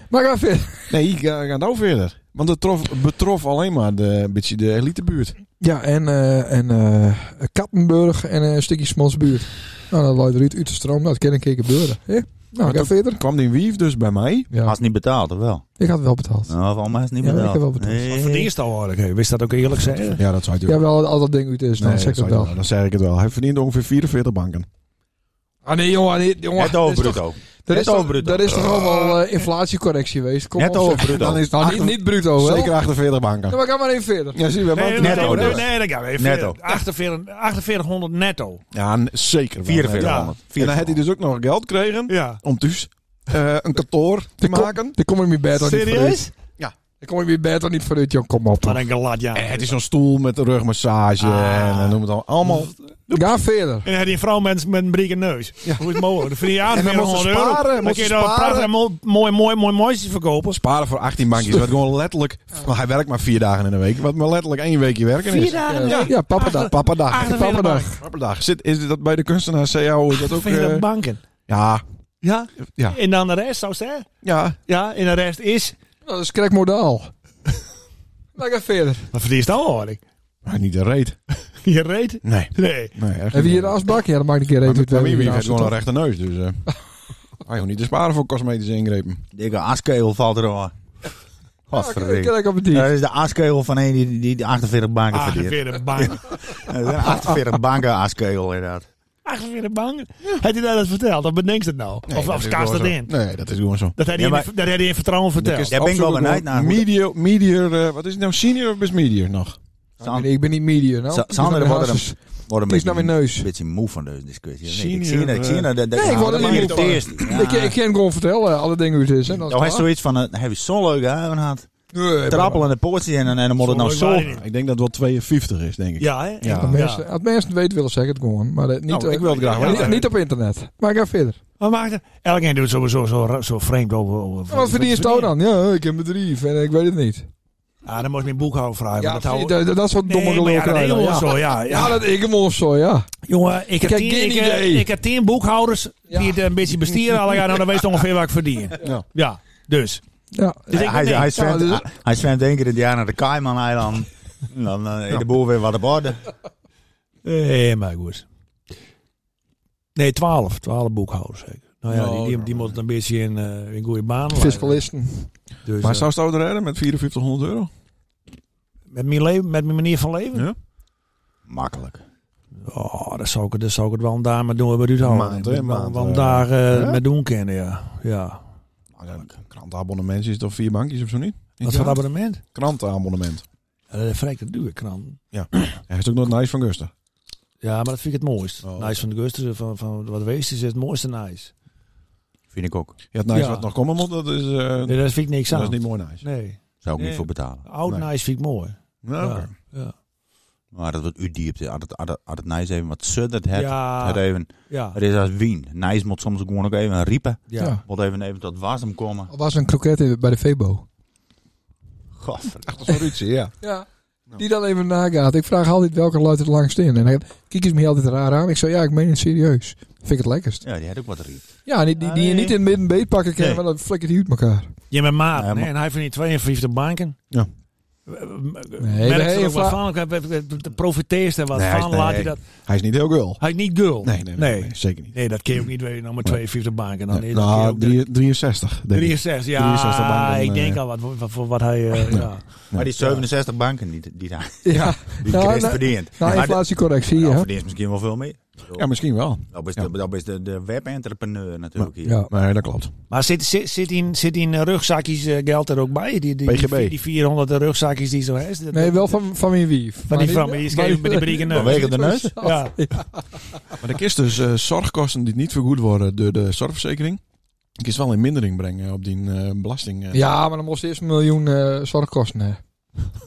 Speaker 2: Maar ga verder.
Speaker 4: Nee, ik ga, ga nou verder. Want het trof, betrof alleen maar de, een beetje de elitebuurt.
Speaker 2: Ja, en, eh, en eh, Kattenburg en eh, een stukje Smansbuurt. Nou, dat luidt eruit uit de stroom. Nou, dat kan een keer gebeuren. Hè? Nou, ga verder.
Speaker 4: Er kwam die wief dus bij mij.
Speaker 2: Ja,
Speaker 5: Haast niet betaald, of wel?
Speaker 2: ik had wel betaald.
Speaker 5: Nou, voor mij is het niet
Speaker 2: Ja, ik
Speaker 5: betaald.
Speaker 2: heb wel betaald.
Speaker 3: Wat verdienst dat eigenlijk? hè? Wist dat ook eerlijk zijn?
Speaker 4: Ja, dat zou je
Speaker 2: Ja, wel, als dat ding uit is, dan zeg ik het wel.
Speaker 4: Dan zeg ik het wel. Hij verdient ongeveer 44 banken.
Speaker 2: Ah nee, jongen, nee, jongen.
Speaker 5: Net over
Speaker 2: dat is toch-
Speaker 5: bruto.
Speaker 2: dat is
Speaker 5: Netto
Speaker 2: toch-
Speaker 5: bruto.
Speaker 2: Dat is toch allemaal eh, inflatiecorrectie geweest? Kom
Speaker 5: Netto
Speaker 2: op,
Speaker 5: over
Speaker 2: zeg.
Speaker 5: bruto.
Speaker 4: Dan is het
Speaker 2: Nou,
Speaker 4: achter-
Speaker 2: niet, niet bruto, wel?
Speaker 4: Zeker 48 banken.
Speaker 2: Ja, maar ga maar even verder.
Speaker 4: Ja, zie je wel.
Speaker 3: Nee,
Speaker 4: banken.
Speaker 5: Netto,
Speaker 3: netto.
Speaker 5: dus.
Speaker 3: Nee, dat gaan we even.
Speaker 5: Netto.
Speaker 3: 48 4800 netto.
Speaker 4: Ja, n- zeker wel.
Speaker 5: 4400.
Speaker 4: Ja. En dan had hij dus ook nog geld gekregen
Speaker 3: Ja.
Speaker 4: om thuis eh, een kantoor te
Speaker 2: Die kom-
Speaker 4: maken.
Speaker 2: Die kom ik meer bed al niet vooruit.
Speaker 3: Serieus?
Speaker 2: Die kom ik meer bed al niet vooruit, joh. Kom op.
Speaker 3: Maar
Speaker 2: toch.
Speaker 3: een glad ja.
Speaker 4: En Eh, het is zo'n stoel met een rugmassage en eh, noem het al. allemaal.
Speaker 2: Ga verder.
Speaker 3: En dan had die vrouw met, met een brieke neus. Hoe is het mogelijk? Dan verdien je aardig
Speaker 4: En dan
Speaker 3: meer
Speaker 4: moet ze
Speaker 3: 100 euro.
Speaker 4: sparen,
Speaker 3: Dan
Speaker 4: moet
Speaker 3: kun je
Speaker 4: ze
Speaker 3: dan
Speaker 4: sparen.
Speaker 3: prachtig mooi, mooi, mooi, mooi, mooisjes verkopen.
Speaker 4: Sparen voor 18 bankjes. Wat gewoon letterlijk. Hij werkt maar vier dagen in de week. Wat maar letterlijk één weekje werken is.
Speaker 3: dagen?
Speaker 2: Ja, ja papa daar.
Speaker 4: Papa dag.
Speaker 3: 48
Speaker 2: Papa
Speaker 3: banken.
Speaker 2: dag.
Speaker 4: Papperdag. Zit, is dat bij de kunstenaar CAO? Is dat ook, eh,
Speaker 3: 48 banken.
Speaker 4: ja,
Speaker 3: Ja?
Speaker 4: Ja.
Speaker 3: En dan de rest, zou ze
Speaker 4: ja.
Speaker 3: Ja, en de rest is...
Speaker 2: Dat is krek modaal. Nou, ga verder.
Speaker 3: Wat verdienst dat eigenlijk?
Speaker 4: Maar niet een reet.
Speaker 3: Je reet?
Speaker 4: Nee.
Speaker 3: Nee.
Speaker 4: nee echt
Speaker 2: Hebben we
Speaker 4: niet.
Speaker 2: hier een asbak? Ja, dat maakt een keer
Speaker 4: Maar
Speaker 2: reet
Speaker 4: met-
Speaker 2: uit.
Speaker 4: Maar wie
Speaker 2: eh,
Speaker 4: wie
Speaker 2: die
Speaker 4: heeft
Speaker 2: asbak,
Speaker 4: gewoon een
Speaker 2: toch?
Speaker 4: rechte neus. Dus, eh hij hoeft niet te sparen voor cosmetische ingrepen.
Speaker 5: Dikke askegel valt er al.
Speaker 2: Ja, kijk, kijk op het dier.
Speaker 5: Dat is de askegel van een die, die de 48 banken
Speaker 2: Ah,
Speaker 5: verdient.
Speaker 3: 48 banken.
Speaker 5: Dat is een 48 banken askegel inderdaad.
Speaker 3: 48 banken? Had hij dat net verteld? Of bedenkt het nou? of of kaas dat
Speaker 4: gewoon
Speaker 3: in?
Speaker 4: zo. Nee, dat is gewoon zo.
Speaker 3: Dat hij
Speaker 5: Ja,
Speaker 3: die
Speaker 5: maar-
Speaker 3: dat hij die in vertrouwen verteld.
Speaker 5: Daar ben ik wel benieuwd naar. hoe dat-
Speaker 4: Medior, medior eh, wat is het nou? Senior of is medior nog?
Speaker 2: Ah, ik ben- Ik ben niet medium. Nou.
Speaker 5: Sa-
Speaker 2: Kies
Speaker 5: Sander,
Speaker 2: nou
Speaker 5: wat
Speaker 2: mijn
Speaker 5: er
Speaker 2: hazes.
Speaker 5: Wordt een
Speaker 2: Kies
Speaker 5: beetje,
Speaker 2: naar mijn neus.
Speaker 5: een beetje moe van deze discussie. Nee,
Speaker 4: Senior,
Speaker 5: ik zie dat, ik
Speaker 2: eh.
Speaker 5: zie dat. dat- dat-
Speaker 2: Nee, ik word er
Speaker 5: dat
Speaker 2: niet moe
Speaker 5: irriteert.
Speaker 2: Ik, ik kan gewoon vertellen eh, alle dingen hoe het is. Hè? Dat is
Speaker 5: Nou, hij is
Speaker 2: klaar.
Speaker 5: zoiets van, eh, heb je zo'n leuke haar gehad?
Speaker 2: Nee,
Speaker 5: Trappel en een poortje en, en dan moet het nou
Speaker 3: Zo
Speaker 5: zo.
Speaker 3: leuk waren
Speaker 4: Ik denk dat het wel 52 is, denk ik.
Speaker 3: Ja, hè?
Speaker 4: Ja.
Speaker 2: Als mensen, als mensen het weten willen, zeg ik het gewoon. Maar eh, niet,
Speaker 4: Nou,
Speaker 2: eh,
Speaker 4: ik wil het graag
Speaker 3: Ja,
Speaker 4: weten.
Speaker 2: niet, niet op internet. Maar ga verder.
Speaker 3: Wat maakt het? Elkeen doet sowieso zo, ra- zo vreemd over. over
Speaker 2: Wat verdien je nou dan? Ja, ik heb bedrijf en ik weet het niet.
Speaker 3: Ah, dan moet je mijn boekhouder vragen.
Speaker 2: Ja,
Speaker 3: want dat houdt-
Speaker 2: dat, dat is wat
Speaker 3: Nee,
Speaker 2: domme
Speaker 3: maar
Speaker 2: gelul
Speaker 3: ja, dat
Speaker 2: krijgen.
Speaker 3: is
Speaker 2: Ja.
Speaker 3: gewoon zo,
Speaker 2: Ja,
Speaker 3: ja. ja.
Speaker 2: dat ik hem of zo, ja.
Speaker 3: Jongen, ik heb,
Speaker 2: heb
Speaker 3: tien,
Speaker 2: geen
Speaker 3: ik, eh,
Speaker 2: idee.
Speaker 3: ik heb tien boekhouders
Speaker 2: Ja.
Speaker 3: die het eh, een beetje bestieren. Alle jaar, nou, dan weet je ongeveer wat ik verdien.
Speaker 4: Ja.
Speaker 3: Ja, dus.
Speaker 2: Ja,
Speaker 3: Dus ik
Speaker 5: Hij,
Speaker 3: denk,
Speaker 5: hij, zwemt,
Speaker 2: nou, dus-
Speaker 5: hij- hij zwemt één keer in het jaar naar de Cayman-eiland. En dan eh, is de boel weer wat op orde.
Speaker 4: Eh,
Speaker 3: Nee, maar goed. Nee, twaalf. Twaalf boekhouders zeker. Nou ja, die, die, die
Speaker 4: Oh.
Speaker 3: moet het een beetje in, eh in goede baan leiden.
Speaker 2: fiscalisten.
Speaker 3: Dus,
Speaker 4: Maar
Speaker 3: eh,
Speaker 4: zou het ouder redden met 5400 euro?
Speaker 3: met, mijn leven, met mijn manier van leven?
Speaker 4: Ja.
Speaker 5: Makkelijk.
Speaker 3: Oh, dat zou, ik, dat zou ik het wel een dag met doen. Met u houden.
Speaker 4: maand, hè,
Speaker 3: Wel-
Speaker 4: maand,
Speaker 3: wel een
Speaker 4: eh,
Speaker 3: dag eh,
Speaker 4: ja?
Speaker 3: met doen kennen, ja. ja.
Speaker 4: Een krantenabonnement is toch vier bankjes of zo niet?
Speaker 3: Wat voor abonnement?
Speaker 4: Krantenabonnement.
Speaker 3: Ja, dat is vrij te duur, krant.
Speaker 4: Hij is ook nog nice van Guster.
Speaker 3: Ja, maar dat vind ik het mooist.
Speaker 4: Oh,
Speaker 3: Nice
Speaker 4: oké.
Speaker 3: van de Gusten, van, van wat wees is het mooiste nice.
Speaker 5: Vind ik ook.
Speaker 4: Ja, het nice
Speaker 3: Ja.
Speaker 4: wat nog komen moet, dat is, eh,
Speaker 3: Nee, dat vind ik niks
Speaker 4: dat is
Speaker 3: aan.
Speaker 4: niet mooi nice.
Speaker 3: Nee,
Speaker 5: Zou ik
Speaker 4: Nee.
Speaker 5: niet voor betalen.
Speaker 3: oud
Speaker 4: Nee.
Speaker 3: nice vind ik mooi.
Speaker 4: Nou,
Speaker 3: Ja.
Speaker 4: oké.
Speaker 3: Ja,
Speaker 5: Maar dat wordt u diepte. Had het, had het, had het nice even wat suddert het.
Speaker 3: ja,
Speaker 5: Het, even,
Speaker 3: ja.
Speaker 5: het is als wien. Nice moet soms ook gewoon ook even riepen.
Speaker 3: ja.
Speaker 2: Ja.
Speaker 5: Moet even, even tot wasem komen.
Speaker 2: Al was een kroket in- bij de Febo.
Speaker 5: Godverdomme.
Speaker 4: Dat is voor Ruudse, ja.
Speaker 2: Ja.
Speaker 5: Nou.
Speaker 2: Die dan even nagaat. Ik vraag altijd welke luidt het langst in. En dan kijk eens me altijd raar aan. Ik zei, ja, ik meen het serieus. Vind ik het lekkerst.
Speaker 5: Ja, die had ook wat riep.
Speaker 2: Ja, die, die, die je
Speaker 3: Nee.
Speaker 2: niet in het midden beet pakken kan,
Speaker 5: Nee.
Speaker 2: maar dan flikkert die uit elkaar.
Speaker 3: Je bent maat,
Speaker 5: Ja,
Speaker 3: hè,
Speaker 5: maar-
Speaker 3: en hij verdient 52 banken.
Speaker 4: Ja.
Speaker 2: nee,
Speaker 3: Nee, Merk er
Speaker 2: je
Speaker 3: ook wat
Speaker 2: vla-
Speaker 3: van, Ik heb- ik heb- de profiteerst er wat
Speaker 5: Nee, hij is-
Speaker 3: van, laat
Speaker 5: nee.
Speaker 3: hij dat.
Speaker 4: Hij is niet heel girl.
Speaker 3: Hij is niet girl.
Speaker 4: Nee, nee, nee, nee, zeker niet.
Speaker 3: Nee, dat kun je ook niet weten, nou maar 52 banken. Dan,
Speaker 4: Nee,
Speaker 3: nee, dat kun je
Speaker 4: nou,
Speaker 3: ook-
Speaker 4: drie- 63, denk ik.
Speaker 3: 63, ja,
Speaker 4: 63 banken,
Speaker 3: ik denk
Speaker 4: eh,
Speaker 3: al wat, wat, voor wat hij... eh, ja.
Speaker 5: Maar die 67 banken die, die daar
Speaker 2: Ja,
Speaker 5: die
Speaker 2: Nou,
Speaker 5: Chris
Speaker 2: nou,
Speaker 5: verdient.
Speaker 2: nou
Speaker 5: Maar de-
Speaker 2: inflatiecorrectie,
Speaker 5: nou,
Speaker 2: ja.
Speaker 5: verdient misschien wel veel meer.
Speaker 4: Ja, misschien wel.
Speaker 5: Dat is
Speaker 4: Ja.
Speaker 5: de, dat is de, de webentrepreneur natuurlijk hier.
Speaker 2: Ja.
Speaker 4: Maar dat klopt.
Speaker 3: Maar zit, zit, zit in, zit in eh, rugzakjes eh, geld er ook bij? Die, die,
Speaker 4: PGB.
Speaker 3: Die, die 400 rugzakjes die zo heeft. Dat-
Speaker 2: Nee, wel van, van wie wie.
Speaker 3: Van die van, die is geen- met die eh. brieken neus.
Speaker 5: Vanwege de neus?
Speaker 2: Oh.
Speaker 3: Ja.
Speaker 4: Maar ik is dus eh, zorgkosten die niet vergoed worden door de zorgverzekering. Ik is wel in mindering brengen op die eh, belasting. eh.
Speaker 2: Ja, maar dan moest eerst een miljoen eh zorgkosten hebben.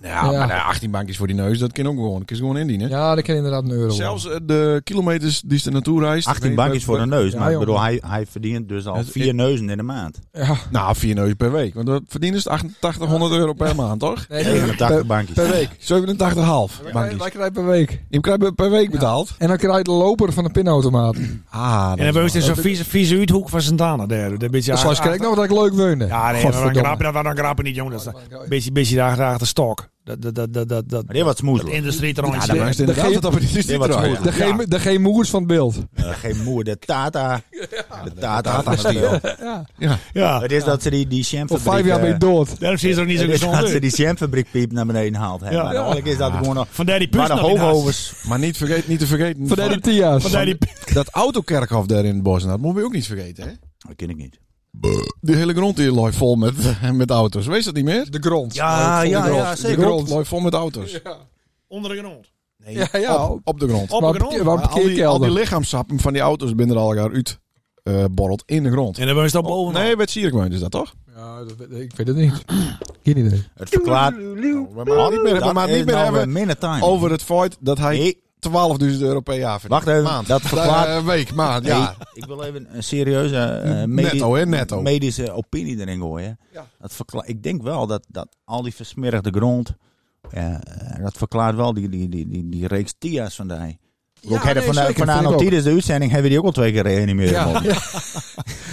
Speaker 4: Ja,
Speaker 2: Ja.
Speaker 4: maar eh, 18 bankjes voor die neus, dat kan ook gewoon. Ik is gewoon indienen.
Speaker 2: Ja, dat kan inderdaad een euro.
Speaker 4: Zelfs eh, de kilometers die ze naartoe reist.
Speaker 5: 18
Speaker 4: Nee,
Speaker 5: bankjes
Speaker 4: per-
Speaker 5: voor de neus.
Speaker 2: Ja,
Speaker 5: maar ik
Speaker 2: joh.
Speaker 5: bedoel, hij, hij verdient dus al
Speaker 4: Het-
Speaker 5: vier
Speaker 4: ik-
Speaker 5: neuzen in de maand.
Speaker 2: Ja.
Speaker 4: Nou, vier neus per week. Want dat verdienen ze 8800 euro per maand, toch?
Speaker 2: Nee, per,
Speaker 5: 80 bankjes.
Speaker 2: per week.
Speaker 4: 87,5
Speaker 2: Wij, wij
Speaker 4: bankjes.
Speaker 2: krijgen per week.
Speaker 4: Die krijg je per week betaald.
Speaker 2: En dan krijg je de loper van de pinautomaat.
Speaker 4: Ah, dat
Speaker 3: En dan
Speaker 4: is
Speaker 3: hebben
Speaker 4: wel-
Speaker 3: we zo'n vieze, vieze uithoek van Santana daar. Dat beetje
Speaker 2: Dus zoals
Speaker 3: achter-
Speaker 2: kijk ik nog dat ik leuk woonde.
Speaker 3: Ja, nee, maar dan
Speaker 2: Godverdomme.
Speaker 3: grappen, dan, dan grappen niet, jongen. Dat is een beetje, beetje daar achter stok. Dat, dat, dat, dat, dat, dat,
Speaker 5: Maar dit wat smoes.
Speaker 3: dat industrie er
Speaker 4: Ja, dan
Speaker 3: ja,
Speaker 4: is het inderdaad
Speaker 2: geeft-
Speaker 4: dat we die
Speaker 5: Ja, wat
Speaker 4: draaien.
Speaker 5: goed.
Speaker 2: De, geen, de geen moers van het beeld.
Speaker 5: Eh, geen moer, de Tata. De Tata.
Speaker 4: Tata
Speaker 5: van het
Speaker 4: stiel.
Speaker 5: spel.
Speaker 3: ja.
Speaker 5: Het is dat ze die, die
Speaker 2: Voor
Speaker 5: jamfabriek...
Speaker 2: vijf jaar ben je
Speaker 5: eh,
Speaker 2: dood.
Speaker 3: Daarom zit er niet zo
Speaker 5: het is
Speaker 3: gezond
Speaker 5: dat ze
Speaker 3: uit.
Speaker 5: die jamfabriek piep naar beneden haalt. hè.
Speaker 3: Ja.
Speaker 5: Maar eigenlijk is dat gewoon nog...
Speaker 3: Vandaar die puus
Speaker 5: Maar de
Speaker 3: nog niet
Speaker 5: hoogovers...
Speaker 4: Maar niet, vergeet, niet te vergeten
Speaker 2: Van
Speaker 4: van-
Speaker 2: die Tia's.
Speaker 3: Vandaar die pu-
Speaker 4: dat autokerkhof daar in het bos. Dat moet je ook niet vergeten, hè?
Speaker 5: Dat ken ik niet.
Speaker 4: De hele grond hier loopt vol met, met auto's. Weet je dat niet meer?
Speaker 2: De grond.
Speaker 5: Ja, ja,
Speaker 4: de grond.
Speaker 5: ja, zeker.
Speaker 4: De grond loopt vol met auto's.
Speaker 3: onder de grond.
Speaker 4: Nee,
Speaker 2: Ja, ja.
Speaker 4: Op, op de grond.
Speaker 3: Op
Speaker 2: Waar
Speaker 3: de grond.
Speaker 2: parkeer- waar
Speaker 4: Maar al, die, al die
Speaker 2: parkeerkelder.
Speaker 4: lichaamsappen van die auto's binnen er al elkaar uit eh, borrelt in de grond.
Speaker 3: En dan was dat boven.
Speaker 4: Nee, bij het Sierkmeun is dat toch?
Speaker 2: Ja, dat weet- ik weet het niet. Geen idee.
Speaker 5: Het verklaart...
Speaker 4: We maken niet meer, we
Speaker 5: Dat
Speaker 4: maken niet
Speaker 5: is
Speaker 4: meer
Speaker 5: nou
Speaker 4: hebben
Speaker 5: een minute time.
Speaker 4: over het feit dat hij
Speaker 5: Nee,
Speaker 4: 12.000 euro per jaar verdient.
Speaker 5: wacht even.
Speaker 4: Maand.
Speaker 5: Dat verklaart...
Speaker 4: Eh, week, maand, ja.
Speaker 5: Hey, ik wil even een serieuze eh,
Speaker 4: Netto, hè, netto.
Speaker 5: medische opinie erin gooien. Dat verkla- ik denk wel dat, dat al die versmerigde grond, eh, eh, dat verklaart wel die, die, die, die, die reeks Tia's van die.
Speaker 2: Ja,
Speaker 5: ik heb er
Speaker 2: nee,
Speaker 5: van,
Speaker 2: zeker,
Speaker 5: van
Speaker 2: vind ik ook.
Speaker 5: Anotides de uitzending hebben we die ook al twee keer reanimeerd.
Speaker 2: Ja.
Speaker 5: Ja.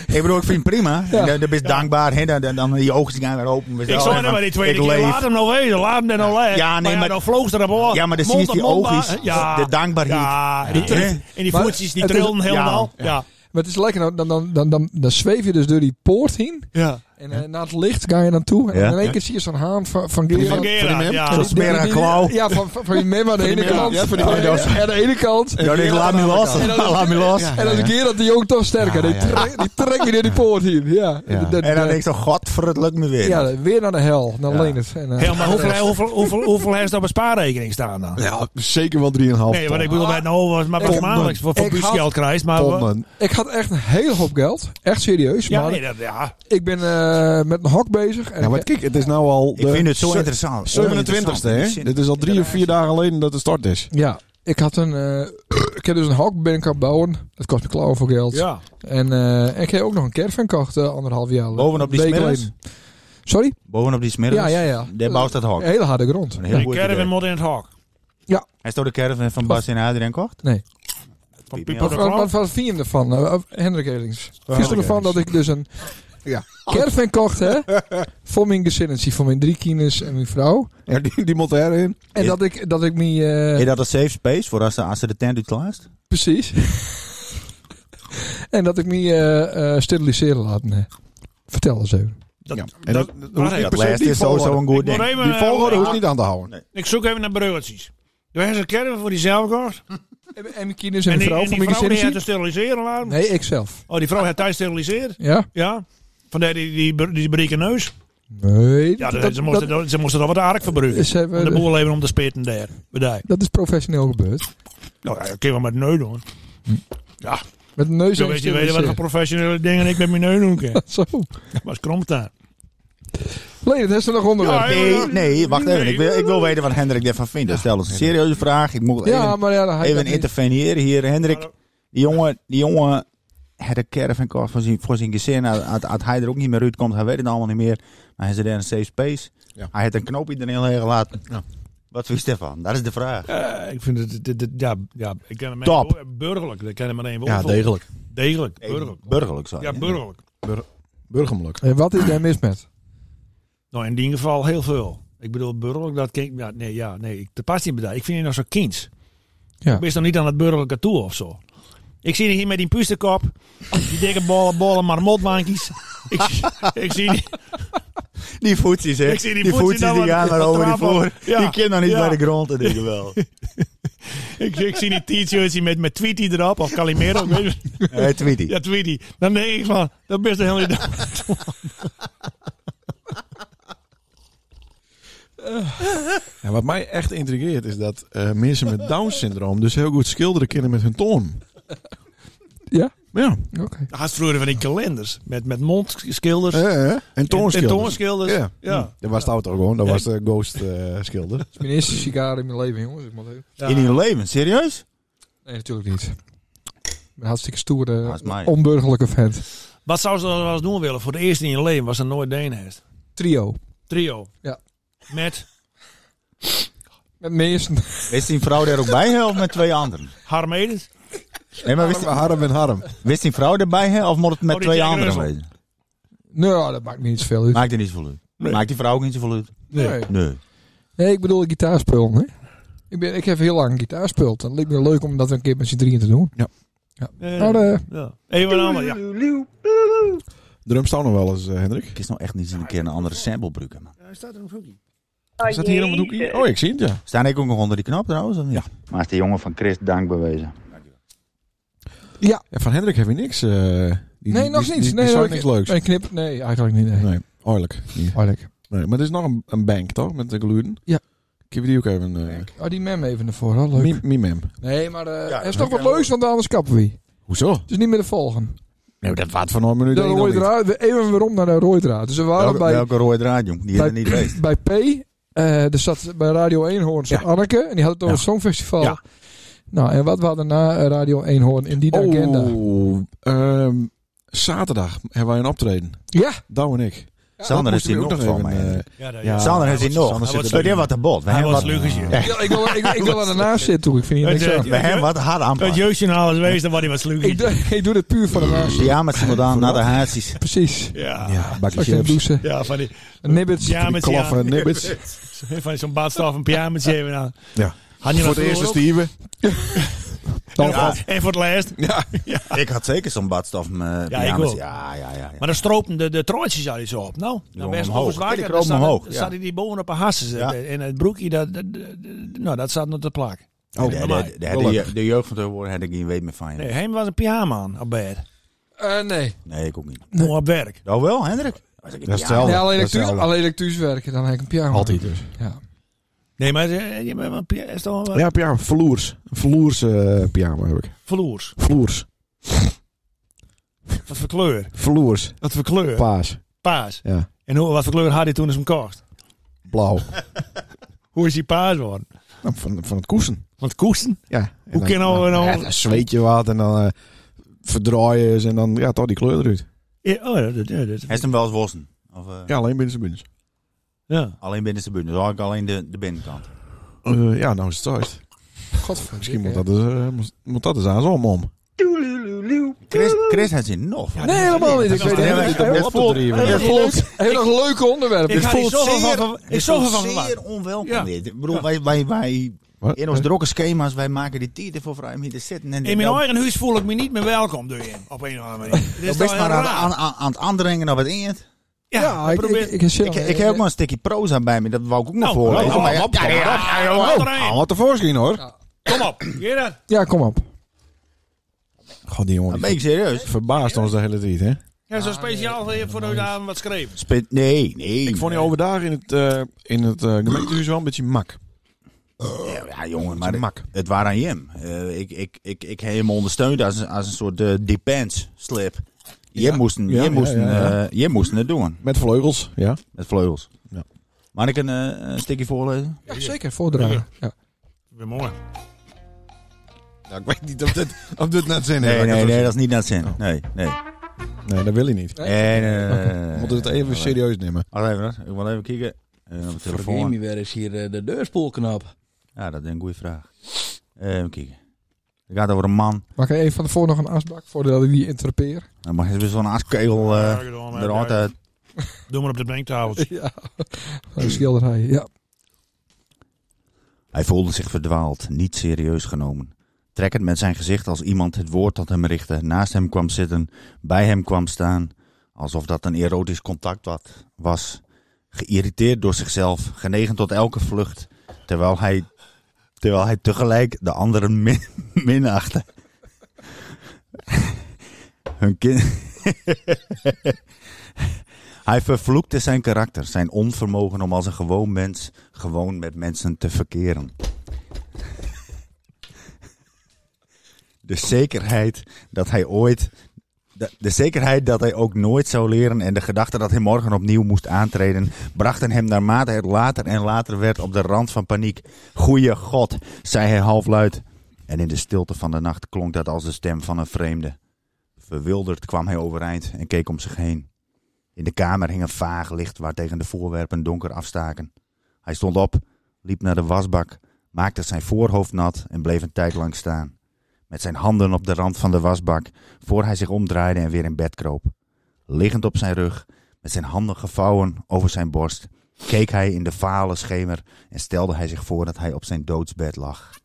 Speaker 5: ik bedoel, ik vind het prima.
Speaker 2: Ja.
Speaker 5: Dan Dan ben je dankbaar. hè, dan, dan, dan die ogen gaan weer open. We
Speaker 3: Ik
Speaker 5: zeggen,
Speaker 3: zou
Speaker 5: van,
Speaker 3: hem maar die tweede
Speaker 5: ik
Speaker 3: keer.
Speaker 5: leef.
Speaker 3: Laat hem nou wezen, laat hem dan nou lezen.
Speaker 5: Ja, nee,
Speaker 3: maar,
Speaker 5: maar-
Speaker 3: dan vloog ze ervoor.
Speaker 5: Ja, maar dan zie
Speaker 3: Mond
Speaker 5: je
Speaker 3: op
Speaker 5: die
Speaker 3: mond,
Speaker 5: oogjes.
Speaker 3: maar- Ja,
Speaker 5: De dankbaarheid.
Speaker 3: Ja, en die,
Speaker 5: Ja.
Speaker 3: trillen- en die
Speaker 2: Maar
Speaker 3: voetjes die
Speaker 2: het is-
Speaker 3: trillen helemaal.
Speaker 5: Ja.
Speaker 3: Ja,
Speaker 2: Maar het is lekker, nou, dan, dan, dan, dan, dan, dan zweef je dus door die poort heen.
Speaker 3: ja.
Speaker 2: En eh, naar het licht ga je naartoe. En
Speaker 5: Ja.
Speaker 2: in één keer zie je zo'n haan van, van Gerard.
Speaker 3: Van
Speaker 4: Van die
Speaker 3: Gera,
Speaker 4: mem?
Speaker 3: ja.
Speaker 5: Zo'n
Speaker 2: Die- die-
Speaker 5: smerige
Speaker 2: die-
Speaker 5: klauw.
Speaker 2: Ja, van, van, van je mem aan de ene
Speaker 4: mem,
Speaker 2: kant.
Speaker 4: ja, van die
Speaker 2: aan de-
Speaker 4: mem, ja.
Speaker 2: aan de ene kant.
Speaker 5: Ja, ik laat me los.
Speaker 2: En dan-
Speaker 5: Laat me los.
Speaker 2: En dan is Gerard de Jong toch sterker.
Speaker 4: Ja,
Speaker 2: Die,
Speaker 4: ja.
Speaker 2: trek, die trek je door die poort heen. Ja. Dat-
Speaker 4: Ja.
Speaker 5: En dan
Speaker 2: dat-
Speaker 5: denk ik zo, godver, het lukt me weer.
Speaker 2: ja, weer naar de hel. Naar
Speaker 5: Ja.
Speaker 2: Leendert. En, eh,
Speaker 3: Heel, maar hoeveel, hoeveel, hoeveel, hoeveel heeft op een spaarrekening staan dan?
Speaker 4: Ja, zeker wel 3,5
Speaker 3: Nee, wat
Speaker 4: ton.
Speaker 3: ik bedoel Nou, bij nou was maar voor
Speaker 4: Tonnen.
Speaker 3: maandelijks voor, voor
Speaker 2: Ik had-
Speaker 3: buurtgeld krijgt, maar...
Speaker 4: Tonnen.
Speaker 2: Ik had echt een hele hoop geld. Echt serieus.
Speaker 3: Ja,
Speaker 2: maar
Speaker 3: nee, dat, ja.
Speaker 2: ik ben eh, eh, met een hok bezig. En
Speaker 4: Ja, maar
Speaker 2: ik-
Speaker 4: kijk, het is nou al
Speaker 5: Ik vind het zo
Speaker 4: de
Speaker 5: interessant.
Speaker 4: 27 e hè? Dit is al drie of vier dagen geleden dat de start is.
Speaker 2: ja, ik had een. eh, ik heb dus een hok ben ik aan het bouwen. Dat kost me klauwen voor geld.
Speaker 3: Ja.
Speaker 2: En eh, ik heb ook nog een caravan gekocht eh, anderhalf jaar
Speaker 5: Bovenop die
Speaker 2: week
Speaker 5: smiddags?
Speaker 2: geleden. Sorry?
Speaker 5: Bovenop die smiddags.
Speaker 2: Ja, Eh, ja, ja.
Speaker 5: Daar bouwt dat hok.
Speaker 2: Een hele harde grond.
Speaker 5: Een heel
Speaker 2: Ja.
Speaker 5: goed
Speaker 3: De
Speaker 5: idee.
Speaker 3: caravan moet in het hak.
Speaker 5: Hij stond de caravan van Bas en Adrien kocht?
Speaker 2: Nee.
Speaker 3: Van
Speaker 5: Piet
Speaker 3: Pieper
Speaker 5: Mel.
Speaker 3: de
Speaker 2: Wat, wat,
Speaker 3: Klant.
Speaker 2: wat vind je ervan, eh, eh, Hendrik Elings? Vind je
Speaker 5: Hendrik
Speaker 2: ervan
Speaker 5: Elings.
Speaker 2: dat ik dus een caravan kocht, hè? Voor mijn gezinnetje, voor mijn drie kinders en mijn vrouw.
Speaker 4: Ja, die, die moet erin.
Speaker 2: En
Speaker 5: Is-
Speaker 2: dat ik, dat ik me... eh,
Speaker 5: Is dat een safe space voor als ze, als ze de tent uitklaast?
Speaker 2: Precies. en dat ik me eh, eh, steriliseren laat. Nee. Vertel eens even.
Speaker 4: Ja.
Speaker 3: Dat-
Speaker 4: En
Speaker 3: dat-
Speaker 4: dat, dat hoeft
Speaker 3: wacht
Speaker 4: niet
Speaker 5: Dat
Speaker 4: per
Speaker 3: even.
Speaker 4: se
Speaker 5: laatste
Speaker 4: die
Speaker 5: is sowieso
Speaker 4: volgorde.
Speaker 5: een goed
Speaker 3: Ik moet
Speaker 5: ding.
Speaker 3: even,
Speaker 4: Die
Speaker 3: eh,
Speaker 4: volgorde
Speaker 3: ja,
Speaker 4: hoeft niet aan te houden.
Speaker 3: Ik zoek even naar brulletjes. Toen hebben ze een caravan voor diezelf gekocht.
Speaker 2: En mijn kinders en,
Speaker 3: En
Speaker 2: mijn
Speaker 3: die,
Speaker 2: vrouw
Speaker 3: en
Speaker 2: voor mijn
Speaker 3: die vrouw die had te
Speaker 2: gezinnetje?
Speaker 3: steriliseren laten.
Speaker 2: Nee, ik zelf.
Speaker 3: Oh, die vrouw had thuis steriliseerd.
Speaker 2: Ja?
Speaker 3: Ja. Vandaar die, die, die, die breken neus.
Speaker 2: Nee.
Speaker 3: Ja,
Speaker 2: dat,
Speaker 3: dat, ze, moesten, dat, ze moesten dan wat aardig verbruiken.
Speaker 2: ze hebben-
Speaker 3: Om de boel even om te spitten daar. Bedij.
Speaker 2: dat is professioneel gebeurd.
Speaker 3: Nou, ja, dat kun je wel met neus doen.
Speaker 2: Met een neus
Speaker 3: Zo
Speaker 2: en
Speaker 3: weet je weten wat voor
Speaker 2: steriliseren.
Speaker 3: professionele dingen ik met mijn neus doen kan.
Speaker 2: Zo.
Speaker 3: Dat was kromt daar.
Speaker 2: Leen, het is er nog onderwerp.
Speaker 3: Ja,
Speaker 5: Nee, nee, wacht even. Ik wil, ik wil weten wat Hendrik daarvan vindt. Dat Stel ons een serieuze vraag. Ik moet
Speaker 2: Ja,
Speaker 5: even,
Speaker 2: maar ja, dan hij
Speaker 5: even
Speaker 2: dat niet.
Speaker 5: interveneren hier. Hendrik, die jongen, die jongen had een caravan kocht voor zijn, voor zijn gezin. Als- Als als hij er ook niet meer uitkomt, hij weet het allemaal niet meer. Maar hij zit in een safe space.
Speaker 4: Ja.
Speaker 5: Hij heeft een knoopje erin heel gelaten. Wat vind je ervan? Dat is de vraag.
Speaker 3: Eh, ik vind het, dit- dit- ja, ja, ik ken hem
Speaker 5: Top.
Speaker 3: echt burgerlijk. Ik ken hem maar één woord
Speaker 4: Ja,
Speaker 3: voor.
Speaker 4: degelijk.
Speaker 3: Degelijk,
Speaker 5: Nee,
Speaker 3: burgerlijk.
Speaker 5: Burgerlijk, sorry.
Speaker 3: Ja, burgerlijk.
Speaker 4: Burgerlijk.
Speaker 2: En Eh, wat is daar mis met?
Speaker 3: Nou, in die geval heel veel. Ik bedoel, burgerlijk, dat klinkt... Ja, nee, ja, nee, ik, dat past niet bij dat. Ik vind je nog zo kinds.
Speaker 2: Ja.
Speaker 3: Ik ben nog niet aan het burgerlijke toe of zo. Ik zie je hier met die puisterkop, die dikke bollen, bollen marmotwankjes. ik, zie- ik zie die...
Speaker 5: Die voetsies, hè?
Speaker 3: Ik zie die
Speaker 5: die
Speaker 3: voetsies
Speaker 5: voetsies
Speaker 3: nou
Speaker 5: die
Speaker 3: wat-
Speaker 5: gaan maar
Speaker 3: wat
Speaker 5: over die
Speaker 3: trappen.
Speaker 5: vloer.
Speaker 3: Ja.
Speaker 5: Die kind nog niet
Speaker 3: Ja.
Speaker 5: bij de grond, dat denk ik wel.
Speaker 3: Ik, ik zie die t-shirts hier met, met Tweety erop, of Calimero. ik weet het.
Speaker 5: Hé, Tweety.
Speaker 3: ja, Tweety. Dan denk ik van, dat is de hele dag.
Speaker 4: Ja, wat mij echt intrigeert is dat eh, mensen met Down-syndroom dus heel goed schilderen kunnen met hun tong.
Speaker 2: Ja?
Speaker 4: Ja.
Speaker 2: Oké.
Speaker 3: Had vroeger van die kalenders, met, met mondschilders.
Speaker 4: Eh, eh, en
Speaker 3: En, en
Speaker 4: toonschilders.
Speaker 3: toonschilders.
Speaker 4: Ja.
Speaker 3: Ja.
Speaker 4: Dat was het auto gewoon. Dat
Speaker 3: Ja.
Speaker 4: was de ghost eh, schilder.
Speaker 2: Het is mijn eerste sigaar in mijn leven, jongens. Ik moet even-
Speaker 3: Ja.
Speaker 5: In hun leven, serieus?
Speaker 2: Nee, natuurlijk niet. Ik ben hartstikke stoer, eh,
Speaker 5: Haast mij.
Speaker 2: onburgerlijke vent.
Speaker 3: Wat zou ze dan wel eens doen willen? Voor de eerste in je leven was er nooit Deen heeft.
Speaker 2: Trio.
Speaker 3: Trio.
Speaker 2: Ja.
Speaker 3: Met
Speaker 2: Met mijn eerste...
Speaker 5: Wist die vrouw daar ook bij, hè, of met twee anderen?
Speaker 3: Harm Edens.
Speaker 5: Nee, maar wist,
Speaker 4: Harm en Harm.
Speaker 5: wist die vrouw erbij, hè, of moet het met
Speaker 3: Oh, die
Speaker 5: twee
Speaker 3: Jack
Speaker 5: anderen
Speaker 3: Russell.
Speaker 5: wezen?
Speaker 2: Nou, dat maakt me niet zoveel uit.
Speaker 5: Maakt er niet zoveel uit.
Speaker 3: Nee.
Speaker 5: Maakt die vrouw ook niet zoveel uit?
Speaker 2: Nee.
Speaker 3: Nee.
Speaker 2: nee.
Speaker 5: Dus- Nee.
Speaker 2: ik bedoel gitaarspul. Hè? Ik, ben, ik heb heel lang gitaar gespeeld. En het leek me leuk om dat een keer met z'n drieën te doen.
Speaker 3: Eh,
Speaker 2: Maar eh,
Speaker 3: ja. Even een ander. Ja.
Speaker 4: Drum staan nog wel eens, eh, Hendrik.
Speaker 5: Ik is nou echt niet eens een keer een andere sample gebruiken, man.
Speaker 4: Is dat hier om het hoekje? Oh, ik zie het, ja.
Speaker 5: Staan ik ook nog onder die knop trouwens? Ja. Maar is die jongen van Christ dank bewezen?
Speaker 4: En van Hendrik heb je niks. eh, die,
Speaker 2: nee,
Speaker 4: die-
Speaker 2: nog
Speaker 4: die-
Speaker 2: niet.
Speaker 4: Die,
Speaker 2: nee,
Speaker 4: die zei
Speaker 2: ook-
Speaker 4: niks leuks.
Speaker 2: Nee, knip, nee, eigenlijk niet. Nee.
Speaker 4: Nee, oorlijk. Nee.
Speaker 2: Eigenlijk.
Speaker 4: maar er is nog een, een bank, toch? Met de gluten.
Speaker 2: Ja.
Speaker 4: Ik heb die ook even... eh
Speaker 2: Oh, die mem even naar voren. oh, Leuk.
Speaker 4: mie- Mimem.
Speaker 2: Nee, maar eh,
Speaker 5: Ja,
Speaker 2: er is
Speaker 5: dat
Speaker 2: toch wat
Speaker 5: kan
Speaker 2: leuks, want anders kappen we.
Speaker 4: Hoezo?
Speaker 2: Dus niet meer te volgen.
Speaker 4: Nee, dat waard van een minuut
Speaker 2: De
Speaker 4: één nog
Speaker 2: rode
Speaker 4: niet.
Speaker 2: draad, we- even weer om naar de rode draad. Dus we waren
Speaker 5: Welke,
Speaker 2: bij,
Speaker 5: welke rode draad, jong? Die
Speaker 2: bij,
Speaker 5: hebben niet geweest.
Speaker 2: bij P. eh er zat bij Radio 1 Hoorn zat Anneke. En die had het over
Speaker 4: Ja.
Speaker 2: het Songfestival.
Speaker 4: Ja.
Speaker 2: Nou, en wat we hadden na eh, Radio 1 Hoorn in die agenda?
Speaker 4: Oh, ehm, zaterdag hebben wij een optreden.
Speaker 2: Ja,
Speaker 4: Douw en ik.
Speaker 5: Sander is
Speaker 4: Dat
Speaker 5: hier
Speaker 4: moeten we
Speaker 5: nog van
Speaker 4: ook nog even,
Speaker 5: mij.
Speaker 4: eh,
Speaker 3: Ja, daar,
Speaker 4: Ja.
Speaker 3: ja.
Speaker 5: Sander heeft
Speaker 3: Hij
Speaker 5: hier
Speaker 3: was-
Speaker 5: nog.
Speaker 3: hij was-
Speaker 5: We hebben wat aan bod. We
Speaker 3: Hij
Speaker 5: hebben
Speaker 3: was
Speaker 5: wat
Speaker 3: Lucasje.
Speaker 5: We
Speaker 2: Ja, ik wil, ik, ik wil er naast zitten toe. Ik vind hier niks aan.
Speaker 5: hebben wat hard
Speaker 3: Het
Speaker 5: aanpakken.
Speaker 3: jeugdjournaal is wees, dan was hij wat
Speaker 2: Ik, doe-
Speaker 3: Lucasje.
Speaker 2: ik doe dit puur voor de naast.
Speaker 5: Ja, met simultaan naar de haartjes.
Speaker 2: Precies.
Speaker 3: Ja.
Speaker 4: Ja, bakje
Speaker 2: Als je hem
Speaker 4: chips.
Speaker 2: douchen.
Speaker 3: Ja, van die,
Speaker 2: Nibbits.
Speaker 3: ja, met die-
Speaker 4: Klaffen, nibbits.
Speaker 3: ja, van zo'n badstaf en pyjamaatje even aan.
Speaker 4: Ja.
Speaker 3: nou. Had je
Speaker 4: Voor
Speaker 3: dat
Speaker 4: de eerste
Speaker 3: vroeger
Speaker 4: stieven.
Speaker 3: ook?
Speaker 5: Ja.
Speaker 3: En- En voor het laatst.
Speaker 4: Ja.
Speaker 5: Ik had zeker zo'n badstof. eh, Ja,
Speaker 3: ook.
Speaker 5: Ja, ja, ja. ja.
Speaker 3: Maar dan stropen de, de trooitjes al zo op. Nou, dan
Speaker 5: gewoon
Speaker 3: werd het
Speaker 5: omhoog.
Speaker 3: overigens
Speaker 5: Ja,
Speaker 3: wakker.
Speaker 5: die
Speaker 3: Dan
Speaker 5: kroop
Speaker 3: zat-
Speaker 5: omhoog,
Speaker 3: dan
Speaker 5: ja.
Speaker 3: zat hij die boven op een hassen.
Speaker 5: Ja.
Speaker 3: En het broekje, dat, dat, dat- dat- nou, dat zat nog te plaak.
Speaker 5: Oh, de,
Speaker 4: maar
Speaker 5: de, de, de,
Speaker 4: gelukkig.
Speaker 5: de, de jeugd van tegenwoordig had ik geen weet meer van.
Speaker 3: Nee,
Speaker 5: Nee.
Speaker 3: hem was een pyjama aan op bed.
Speaker 2: Eh, nee.
Speaker 5: nee, ik ook niet.
Speaker 3: Gewoon op werk.
Speaker 5: Nou wel, Hendrik.
Speaker 4: Dat is hetzelfde.
Speaker 2: nee alleen,
Speaker 4: Oh, Dat
Speaker 2: ik thuis,
Speaker 4: is hetzelfde.
Speaker 2: alleen ik thuis werken, dan heb ik een pyjama.
Speaker 4: Altijd dus.
Speaker 2: Ja.
Speaker 3: Nee, maar eh, je bent wel py- is toch wel
Speaker 4: Ja, pyjama. Vloers. Vloers eh, pyjama heb ik.
Speaker 3: vloers.
Speaker 4: Vloers.
Speaker 3: Wat voor kleur?
Speaker 4: Vloers.
Speaker 3: Wat voor kleur?
Speaker 4: Paas.
Speaker 3: paas.
Speaker 4: Ja,
Speaker 3: En hoe, wat voor kleur had hij toen ze hem kocht?
Speaker 4: blauw.
Speaker 3: Hoe is die paas geworden?
Speaker 4: Nou, van, van het koesen.
Speaker 3: Want koesten?
Speaker 4: Ja. En
Speaker 3: Hoe
Speaker 4: dan-
Speaker 3: kunnen we nou-
Speaker 4: Ja, dan zweet je wat en dan eh verdraai je ze en dan ja, toch die kleur eruit.
Speaker 3: Ja, oh, ja, dat, ja, dat-
Speaker 5: Hij is hem wel eens wassen. Of, eh,
Speaker 4: Ja, alleen binnen zijn buntjes.
Speaker 3: ja.
Speaker 5: Alleen binnen de buurt. Dus eigenlijk alleen de, de binnenkant.
Speaker 4: Eh, ja, nou is het thuis.
Speaker 2: Godverdikke.
Speaker 4: Misschien moet dat, eens, eh, moet- moet dat eens aan zo'n mom.
Speaker 5: Chris, Chris had zin nog.
Speaker 2: Nee, helemaal niet. Ik weet
Speaker 5: Ja,
Speaker 2: het
Speaker 5: maar-
Speaker 2: niet.
Speaker 5: dat
Speaker 2: Heel
Speaker 5: op te
Speaker 4: drie.
Speaker 5: drieven.
Speaker 2: erg leuk- heel erg leuke onderwerp.
Speaker 3: Ik
Speaker 2: Dit
Speaker 3: had hier
Speaker 2: voelt
Speaker 3: zoveel van
Speaker 5: zeer-
Speaker 3: verwa- ik
Speaker 5: Ik
Speaker 3: zoveel van
Speaker 5: zeer
Speaker 3: verwacht.
Speaker 5: onwelkom
Speaker 3: Ja.
Speaker 5: dit. Ik bedoel, wij, wij, wij
Speaker 4: Wat? Eh?
Speaker 5: in onze drokke schema's, wij maken die tieten voor vrij om hier te zitten. En dit-
Speaker 3: In mijn
Speaker 5: nou-
Speaker 3: eigen huis voel ik me niet meer welkom, doe je. Op een of andere manier. Dit toch
Speaker 5: Dat best maar
Speaker 3: heel
Speaker 5: aan,
Speaker 3: raar?
Speaker 5: aan, aan, aan het aandringen op het eind.
Speaker 3: Ja,
Speaker 2: Ja, ik,
Speaker 3: probeer...
Speaker 2: ik, ik, ik,
Speaker 5: Ik, ik heb ook maar een stukje proza bij me, dat wou ik ook nog
Speaker 3: Nou,
Speaker 5: voor.
Speaker 3: nou, nou, op, kom maar op. Haal er een.
Speaker 4: Haal Oh, wat tevoorschijn hoor.
Speaker 3: Kom op. Gerard.
Speaker 2: Ja, kom op.
Speaker 4: God, die jongen
Speaker 5: Dan
Speaker 4: die
Speaker 5: ben ik serieus.
Speaker 4: verbaast ons de hele tijd, hè?
Speaker 3: Ja, zo speciaal voor je voor de avond wat schreef.
Speaker 5: Spit, nee, nee.
Speaker 4: Ik vond die overdag in het, eh, in het eh, gemeentehuis wel een beetje mak.
Speaker 5: Ja,
Speaker 4: Oh,
Speaker 5: ja, jongen,
Speaker 4: Maar
Speaker 5: maar
Speaker 4: mak.
Speaker 5: het waren aan hem. Eh, ik, ik, ik, ik heb hem ondersteund als, een- als een soort eh depends slip. Je
Speaker 4: Ja.
Speaker 5: moest,
Speaker 4: Ja, ja,
Speaker 5: je, moest,
Speaker 4: ja, ja.
Speaker 5: eh, je moest het doen,
Speaker 4: Met vleugels, ja.
Speaker 5: met vleugels.
Speaker 4: Ja.
Speaker 5: Mag ik een, eh, een stukje voorlezen?
Speaker 2: Ja, zeker, voordragen. Ja.
Speaker 3: Weer
Speaker 5: Eh,
Speaker 3: mooi.
Speaker 4: Nou, ik weet niet of dit, of dit net zin
Speaker 5: Nee,
Speaker 4: heeft.
Speaker 5: nee, nee, dat is niet naar het zin.
Speaker 4: Oh.
Speaker 5: Nee, nee.
Speaker 4: Nee, dat wil hij niet.
Speaker 5: Nee, nee, nee, nee, nee,
Speaker 4: We
Speaker 5: nee.
Speaker 4: moeten het even
Speaker 5: Wacht
Speaker 4: serieus nemen.
Speaker 5: Wacht even, hoor. ik wil even kijken. Eh, op de
Speaker 6: Vergeet
Speaker 5: telefoon.
Speaker 6: me weer eens hier eh, de deurspoelknap.
Speaker 5: Ja, dat is een goede vraag. Eh, even kijken. Het gaat over een man.
Speaker 2: Mag ik even van tevoren nog een asbak voordat ik die interpeer?
Speaker 5: Dan mag je weer zo'n aaskegel eh eruit uit.
Speaker 3: Doe maar op de brenktafel.
Speaker 2: Ja. Een schilderij. Ja.
Speaker 5: Hij voelde zich verdwaald, niet serieus genomen. Trekkend met zijn gezicht als iemand het woord tot hem richtte, naast hem kwam zitten, bij hem kwam staan. Alsof dat een erotisch contact wat- was. Geïrriteerd door zichzelf, genegen tot elke vlucht. Terwijl hij, terwijl hij tegelijk de anderen min, minachtte. Hun kind. Hij vervloekte zijn karakter, zijn onvermogen om als een gewoon mens gewoon met mensen te verkeren. De zekerheid dat hij ooit. De, de zekerheid dat hij ook nooit zou leren en de gedachte dat hij morgen opnieuw moest aantreden, brachten hem naarmate het later en later werd op de rand van paniek. Goeie God, zei hij halfluid. En in de stilte van de nacht klonk dat als de stem van een vreemde. Verwilderd kwam hij overeind en keek om zich heen. In de kamer hing een vaag licht waartegen de voorwerpen donker afstaken. Hij stond op, liep naar de wasbak, maakte zijn voorhoofd nat en bleef een tijd lang staan. Met zijn handen op de rand van de wasbak, voor hij zich omdraaide en weer in bed kroop. Liggend op zijn rug, met zijn handen gevouwen over zijn borst, keek hij in de vale schemer en stelde hij zich voor dat hij op zijn doodsbed lag.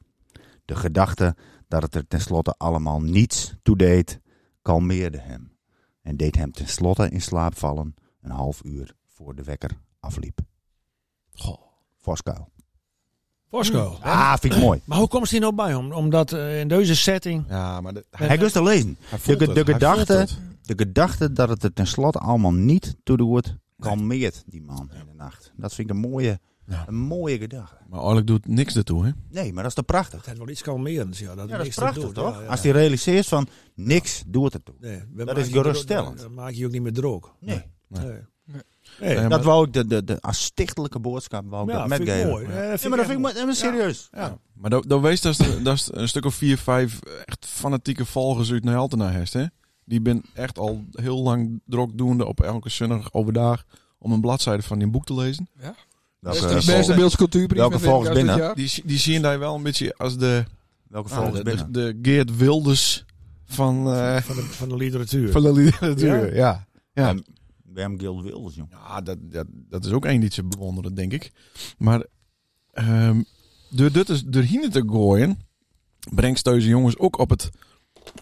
Speaker 5: De gedachte dat het er tenslotte allemaal niets toe deed, kalmeerde hem en deed hem tenslotte in slaap vallen een half uur voor de wekker afliep. Goh. Voskuil.
Speaker 3: Bosco.
Speaker 5: Ah, vind ik mooi.
Speaker 3: Maar hoe komt ze hier nou bij? Om- Omdat eh, in deze setting...
Speaker 4: Ja, maar de, hij,
Speaker 5: Hij lust te lezen.
Speaker 4: hij voelt
Speaker 5: De,
Speaker 4: het,
Speaker 5: de,
Speaker 4: hij
Speaker 5: gedachte,
Speaker 4: voelt het.
Speaker 5: de gedachte dat het er tenslotte allemaal niet toe doet, kalmeert die man in de nacht. Dat vind ik een mooie,
Speaker 4: Ja.
Speaker 5: een mooie gedachte.
Speaker 4: Maar Orlik doet niks ertoe, hè?
Speaker 5: Nee, maar dat is te prachtig.
Speaker 3: Het had wel iets kalmerends, ja. Dat,
Speaker 5: Ja, dat is
Speaker 3: niks te
Speaker 5: prachtig,
Speaker 3: doen,
Speaker 5: toch?
Speaker 3: ja, ja.
Speaker 5: Als hij realiseert van niks doet het toe.
Speaker 3: Nee, we
Speaker 5: Dat
Speaker 3: maken
Speaker 5: is
Speaker 3: je ook-
Speaker 5: geruststellend.
Speaker 3: Dan maak je je ook niet meer droog.
Speaker 5: Nee.
Speaker 4: Nee.
Speaker 3: Nee.
Speaker 4: Nee, maar-
Speaker 5: Dat wou ik, de, de, de als stichtelijke boodschap wou ik
Speaker 3: Ja,
Speaker 5: dat
Speaker 3: vind ik
Speaker 5: metgeven.
Speaker 3: mooi. Ja, dat
Speaker 5: Ja, maar dat vind ik mooi. Nee, maar serieus.
Speaker 4: Ja. Maar dat, dat wees dat is- dat is een stuk of vier, vijf echt fanatieke volgers uit Nijltena heeft, hè? Die ben echt al heel lang drokdoende op elke zondag overdag om een bladzijde van die boek te lezen.
Speaker 5: Welke,
Speaker 4: Dat
Speaker 2: De
Speaker 4: is
Speaker 5: volgens-
Speaker 2: beste beeldcultuurbrief.
Speaker 5: welke
Speaker 2: met Wim
Speaker 5: volgens
Speaker 2: Kuijs dit
Speaker 5: binnen?
Speaker 2: jaar.
Speaker 4: Die, die zien daar wel een beetje als de,
Speaker 5: welke
Speaker 4: ah,
Speaker 5: volgens
Speaker 4: de,
Speaker 5: binnen?
Speaker 4: de, de Geert Wilders van, eh,
Speaker 3: Van de, van de literatuur.
Speaker 4: van de literatuur. Ja, ja. ja.
Speaker 5: Ja. Wem Guild Wilders, jong.
Speaker 4: dat, dat, dat is ook één die ze bewonderen, denk ik. Maar ehm door dit is door hierheen te gooien, brengt deze jongens ook op het,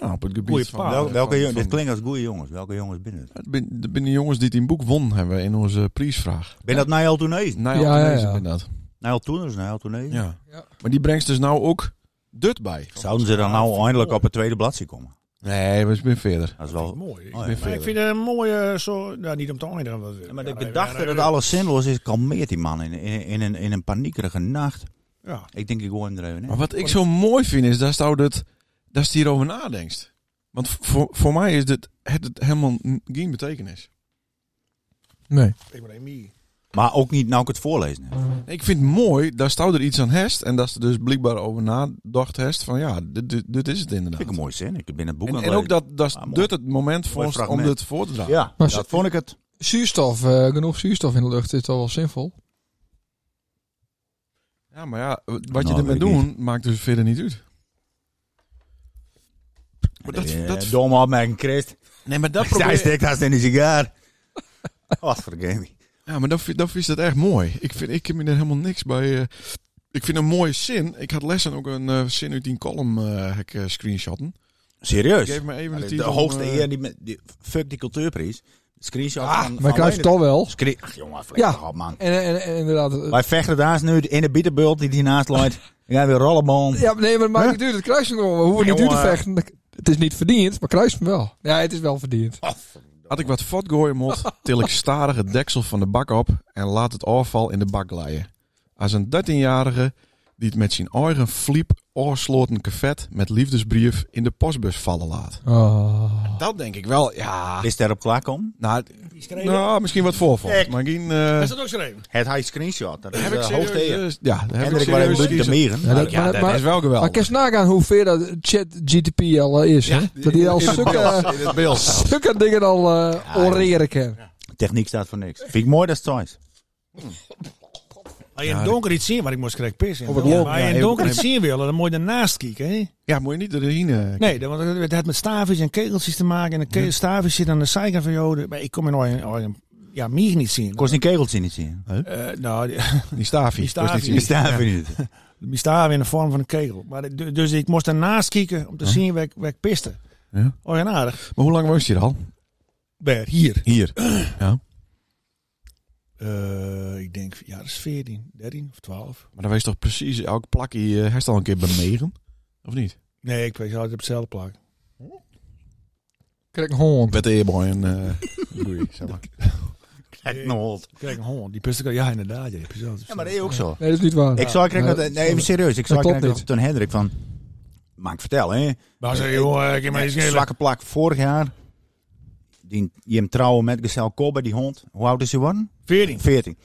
Speaker 4: nou, op het
Speaker 3: Goeie
Speaker 4: gebied van,
Speaker 3: paard.
Speaker 5: Ah, Wel-
Speaker 4: van-
Speaker 5: welke, jongen-
Speaker 4: van-
Speaker 5: dit klinkt als goede jongens. Welke jongens binnen?
Speaker 4: Het ben- dat ben de jongens die het in boek won hebben in onze prijsvraag.
Speaker 5: Ben dat Nijal Toenees?
Speaker 4: Nou
Speaker 2: Ja, ja, ja.
Speaker 4: inderdaad.
Speaker 5: Nijal Toeners, Nijal Toenees?
Speaker 4: Ja.
Speaker 2: Ja.
Speaker 4: Maar die brengt dus nou ook Dut bij.
Speaker 5: Zouden ze dan nou eindelijk op het tweede bladzij komen?
Speaker 4: Nee, we zijn verder.
Speaker 5: Dat is wel...
Speaker 3: Mooi. Ik,
Speaker 5: Oh, ja.
Speaker 4: ben
Speaker 3: maar ik vind het een mooie... Zo, nou, niet om te eindigen. want-
Speaker 5: Ja, maar de
Speaker 3: ja,
Speaker 5: gedachte
Speaker 3: ja,
Speaker 5: dat
Speaker 3: ja,
Speaker 5: alles zinloos is, kalmeert die man in, in, in, een, in een paniekerige nacht.
Speaker 3: Ja.
Speaker 5: Ik denk, ik gooi hem er even
Speaker 4: Maar
Speaker 5: in.
Speaker 4: wat ik zo mooi vind is dat je dat, dat je hierover nadenkt. Want voor, voor mij is dit, het, het helemaal n- geen betekenis.
Speaker 2: Nee.
Speaker 3: Ik ben Emie.
Speaker 5: Maar ook niet nou ik het voorlezen heb.
Speaker 4: Ik vind het mooi, daar staat er iets aan hest. En dat is er dus blijkbaar over nadacht hest. Van ja, dit, dit, dit is het
Speaker 5: Dat
Speaker 4: inderdaad.
Speaker 5: vind ik een mooie zin. Ik ben het boek
Speaker 4: en,
Speaker 5: aan
Speaker 4: en
Speaker 5: het
Speaker 4: ook dat, dat is
Speaker 5: Ah, mooi.
Speaker 4: dit het moment voor
Speaker 5: Mooi
Speaker 4: ons om
Speaker 5: fragment.
Speaker 4: dit voor te dragen.
Speaker 5: Ja,
Speaker 2: Maar
Speaker 5: dat
Speaker 2: ze-
Speaker 5: vond ik het.
Speaker 2: Zuurstof, eh, genoeg zuurstof in de lucht is toch wel zinvol?
Speaker 4: Ja, maar ja, wat je
Speaker 5: Nou,
Speaker 4: ermee
Speaker 5: weet ik
Speaker 4: doet, maakt dus verder niet uit. Maar dat,
Speaker 5: Eh,
Speaker 4: dat,
Speaker 5: Domme opmerking, Christ.
Speaker 4: nee, maar dat
Speaker 5: Hij
Speaker 4: probeer
Speaker 5: steekt haast in de sigaar. Wat voor game.
Speaker 4: Ja, maar dat, vind- dat is dat echt mooi. Ik vind, ik heb me er helemaal niks bij. eh, ik vind een mooie zin. Ik had lessen ook een eh, zin uit die column eh heb ik, eh, screenshotten. Ik
Speaker 5: Serieus.
Speaker 4: geef me even
Speaker 5: Maar
Speaker 4: de
Speaker 5: de,
Speaker 4: titel.
Speaker 5: hoogste
Speaker 4: eh,
Speaker 5: eer, die, me- die, fuck die cultuurprijs. Screenshot van...
Speaker 2: maar
Speaker 5: van
Speaker 2: Cruijff het al wel.
Speaker 5: Screen- Ach jongen, vlees
Speaker 2: Ja.
Speaker 5: toch op man.
Speaker 2: En, en, en inderdaad... eh,
Speaker 5: Wij vechten daar nu in de bietenbult die die naast loopt. We gaan weer rollenboom.
Speaker 2: Ja, maar nee, maar het maakt niet uit. Het kruist hem gewoon. We hoeven
Speaker 5: Ja,
Speaker 2: niet uit te
Speaker 5: jongen.
Speaker 2: vechten. Het is niet verdiend, maar kruist hem wel. Ja, het is wel verdiend.
Speaker 4: Had ik wat fot gooien mot, til ik starig het deksel van de bak op en laat het afval in de bak glijden. Als een 13-jarige die het met zijn eigen fliep oorsloten cafet met liefdesbrief in de postbus vallen laat.
Speaker 2: Oh.
Speaker 4: Dat denk ik wel, ja.
Speaker 5: Is daarop klaarkomen?
Speaker 4: Nou,
Speaker 3: Die schreef dat.
Speaker 4: nou misschien wat voorval.
Speaker 5: Kijk.
Speaker 4: Maar geen...
Speaker 3: Hij
Speaker 4: eh
Speaker 3: staat ook schreven.
Speaker 5: Het high screenshot. Dat is
Speaker 4: heb
Speaker 5: de
Speaker 4: ik serieus...
Speaker 5: hoogste eer.
Speaker 4: eh, Ja, daar heb ik
Speaker 5: Hendrik waar
Speaker 4: serieus...
Speaker 5: een de
Speaker 4: kiezen.
Speaker 5: meren.
Speaker 2: Ja, dat-
Speaker 5: Ja,
Speaker 2: maar-
Speaker 5: dat-
Speaker 4: Dat is wel geweldig.
Speaker 2: Maar kun je nagaan hoe ver dat chat GTP al eh, is, hè? Dat die al
Speaker 4: In het beeld,
Speaker 2: stukken,
Speaker 4: in het beeld.
Speaker 2: stukken dingen al eh, oreren kan.
Speaker 5: Techniek staat voor niks. Vind ik mooi dat is thuis.
Speaker 3: Als je in het donker iets zien, want ik moest gelijk pissen.
Speaker 2: Oh, wat
Speaker 3: Ja,
Speaker 2: leuk.
Speaker 3: maar als je in het donker iets zien wil, dan moet je ernaast kijken. Hè?
Speaker 4: Ja, moet je niet erin... eh,
Speaker 3: Nee, dan- want het heeft met staafjes en kegeltjes te maken. En de ke- staafjes zitten aan de zijkant van je hoofd. Maar ik kom in ooit, ooit een- ja, meer niet zien.
Speaker 5: Kost die kegeltje niet zien.
Speaker 3: Eh, nou, die-
Speaker 4: Die staafie.
Speaker 3: Die
Speaker 4: kost
Speaker 3: staafie.
Speaker 4: niet
Speaker 5: Die
Speaker 4: zien.
Speaker 5: staan we niet.
Speaker 3: die staven in de vorm van een kegel. Maar, de- dus ik moest ernaast kijken om te zien waar ik, waar ik piste.
Speaker 4: Ja.
Speaker 3: Oh ja, aardig.
Speaker 4: Maar hoe lang woont je er al?
Speaker 3: Ber, hier.
Speaker 4: Hier.
Speaker 3: Eh, ik denk, ja, dat is 14, 13 of 12.
Speaker 4: Maar dan wees toch precies elk plakje eh, herst al een keer beneden? Of niet?
Speaker 3: Nee, ik weet altijd op dezelfde plak.
Speaker 2: Krijg een hond.
Speaker 4: Met de eerboy en... eh, goeie, zeg maar.
Speaker 5: Kijk nog wat.
Speaker 3: Kijk, een hond. Die piste Ja, inderdaad. Ja, die piste altijd op
Speaker 5: Ja, maar dat
Speaker 3: dezelfde.
Speaker 5: is ook zo.
Speaker 2: Nee, dat is niet waar.
Speaker 5: Ik zou krijgen dat... Nee, even serieus. Ik zou
Speaker 2: klopt
Speaker 5: krijgen dat
Speaker 2: niet.
Speaker 5: toen Hendrik van... Maar ik vertel, hè.
Speaker 3: Maar zei, joh, ik heb maar
Speaker 5: Nee,
Speaker 3: eens gele.
Speaker 5: Zwakke plak vorig jaar. Die, je hem trouwen met Gezel Kobe, die hond. Hoe oud is hij geworden?
Speaker 3: 14.
Speaker 5: 14.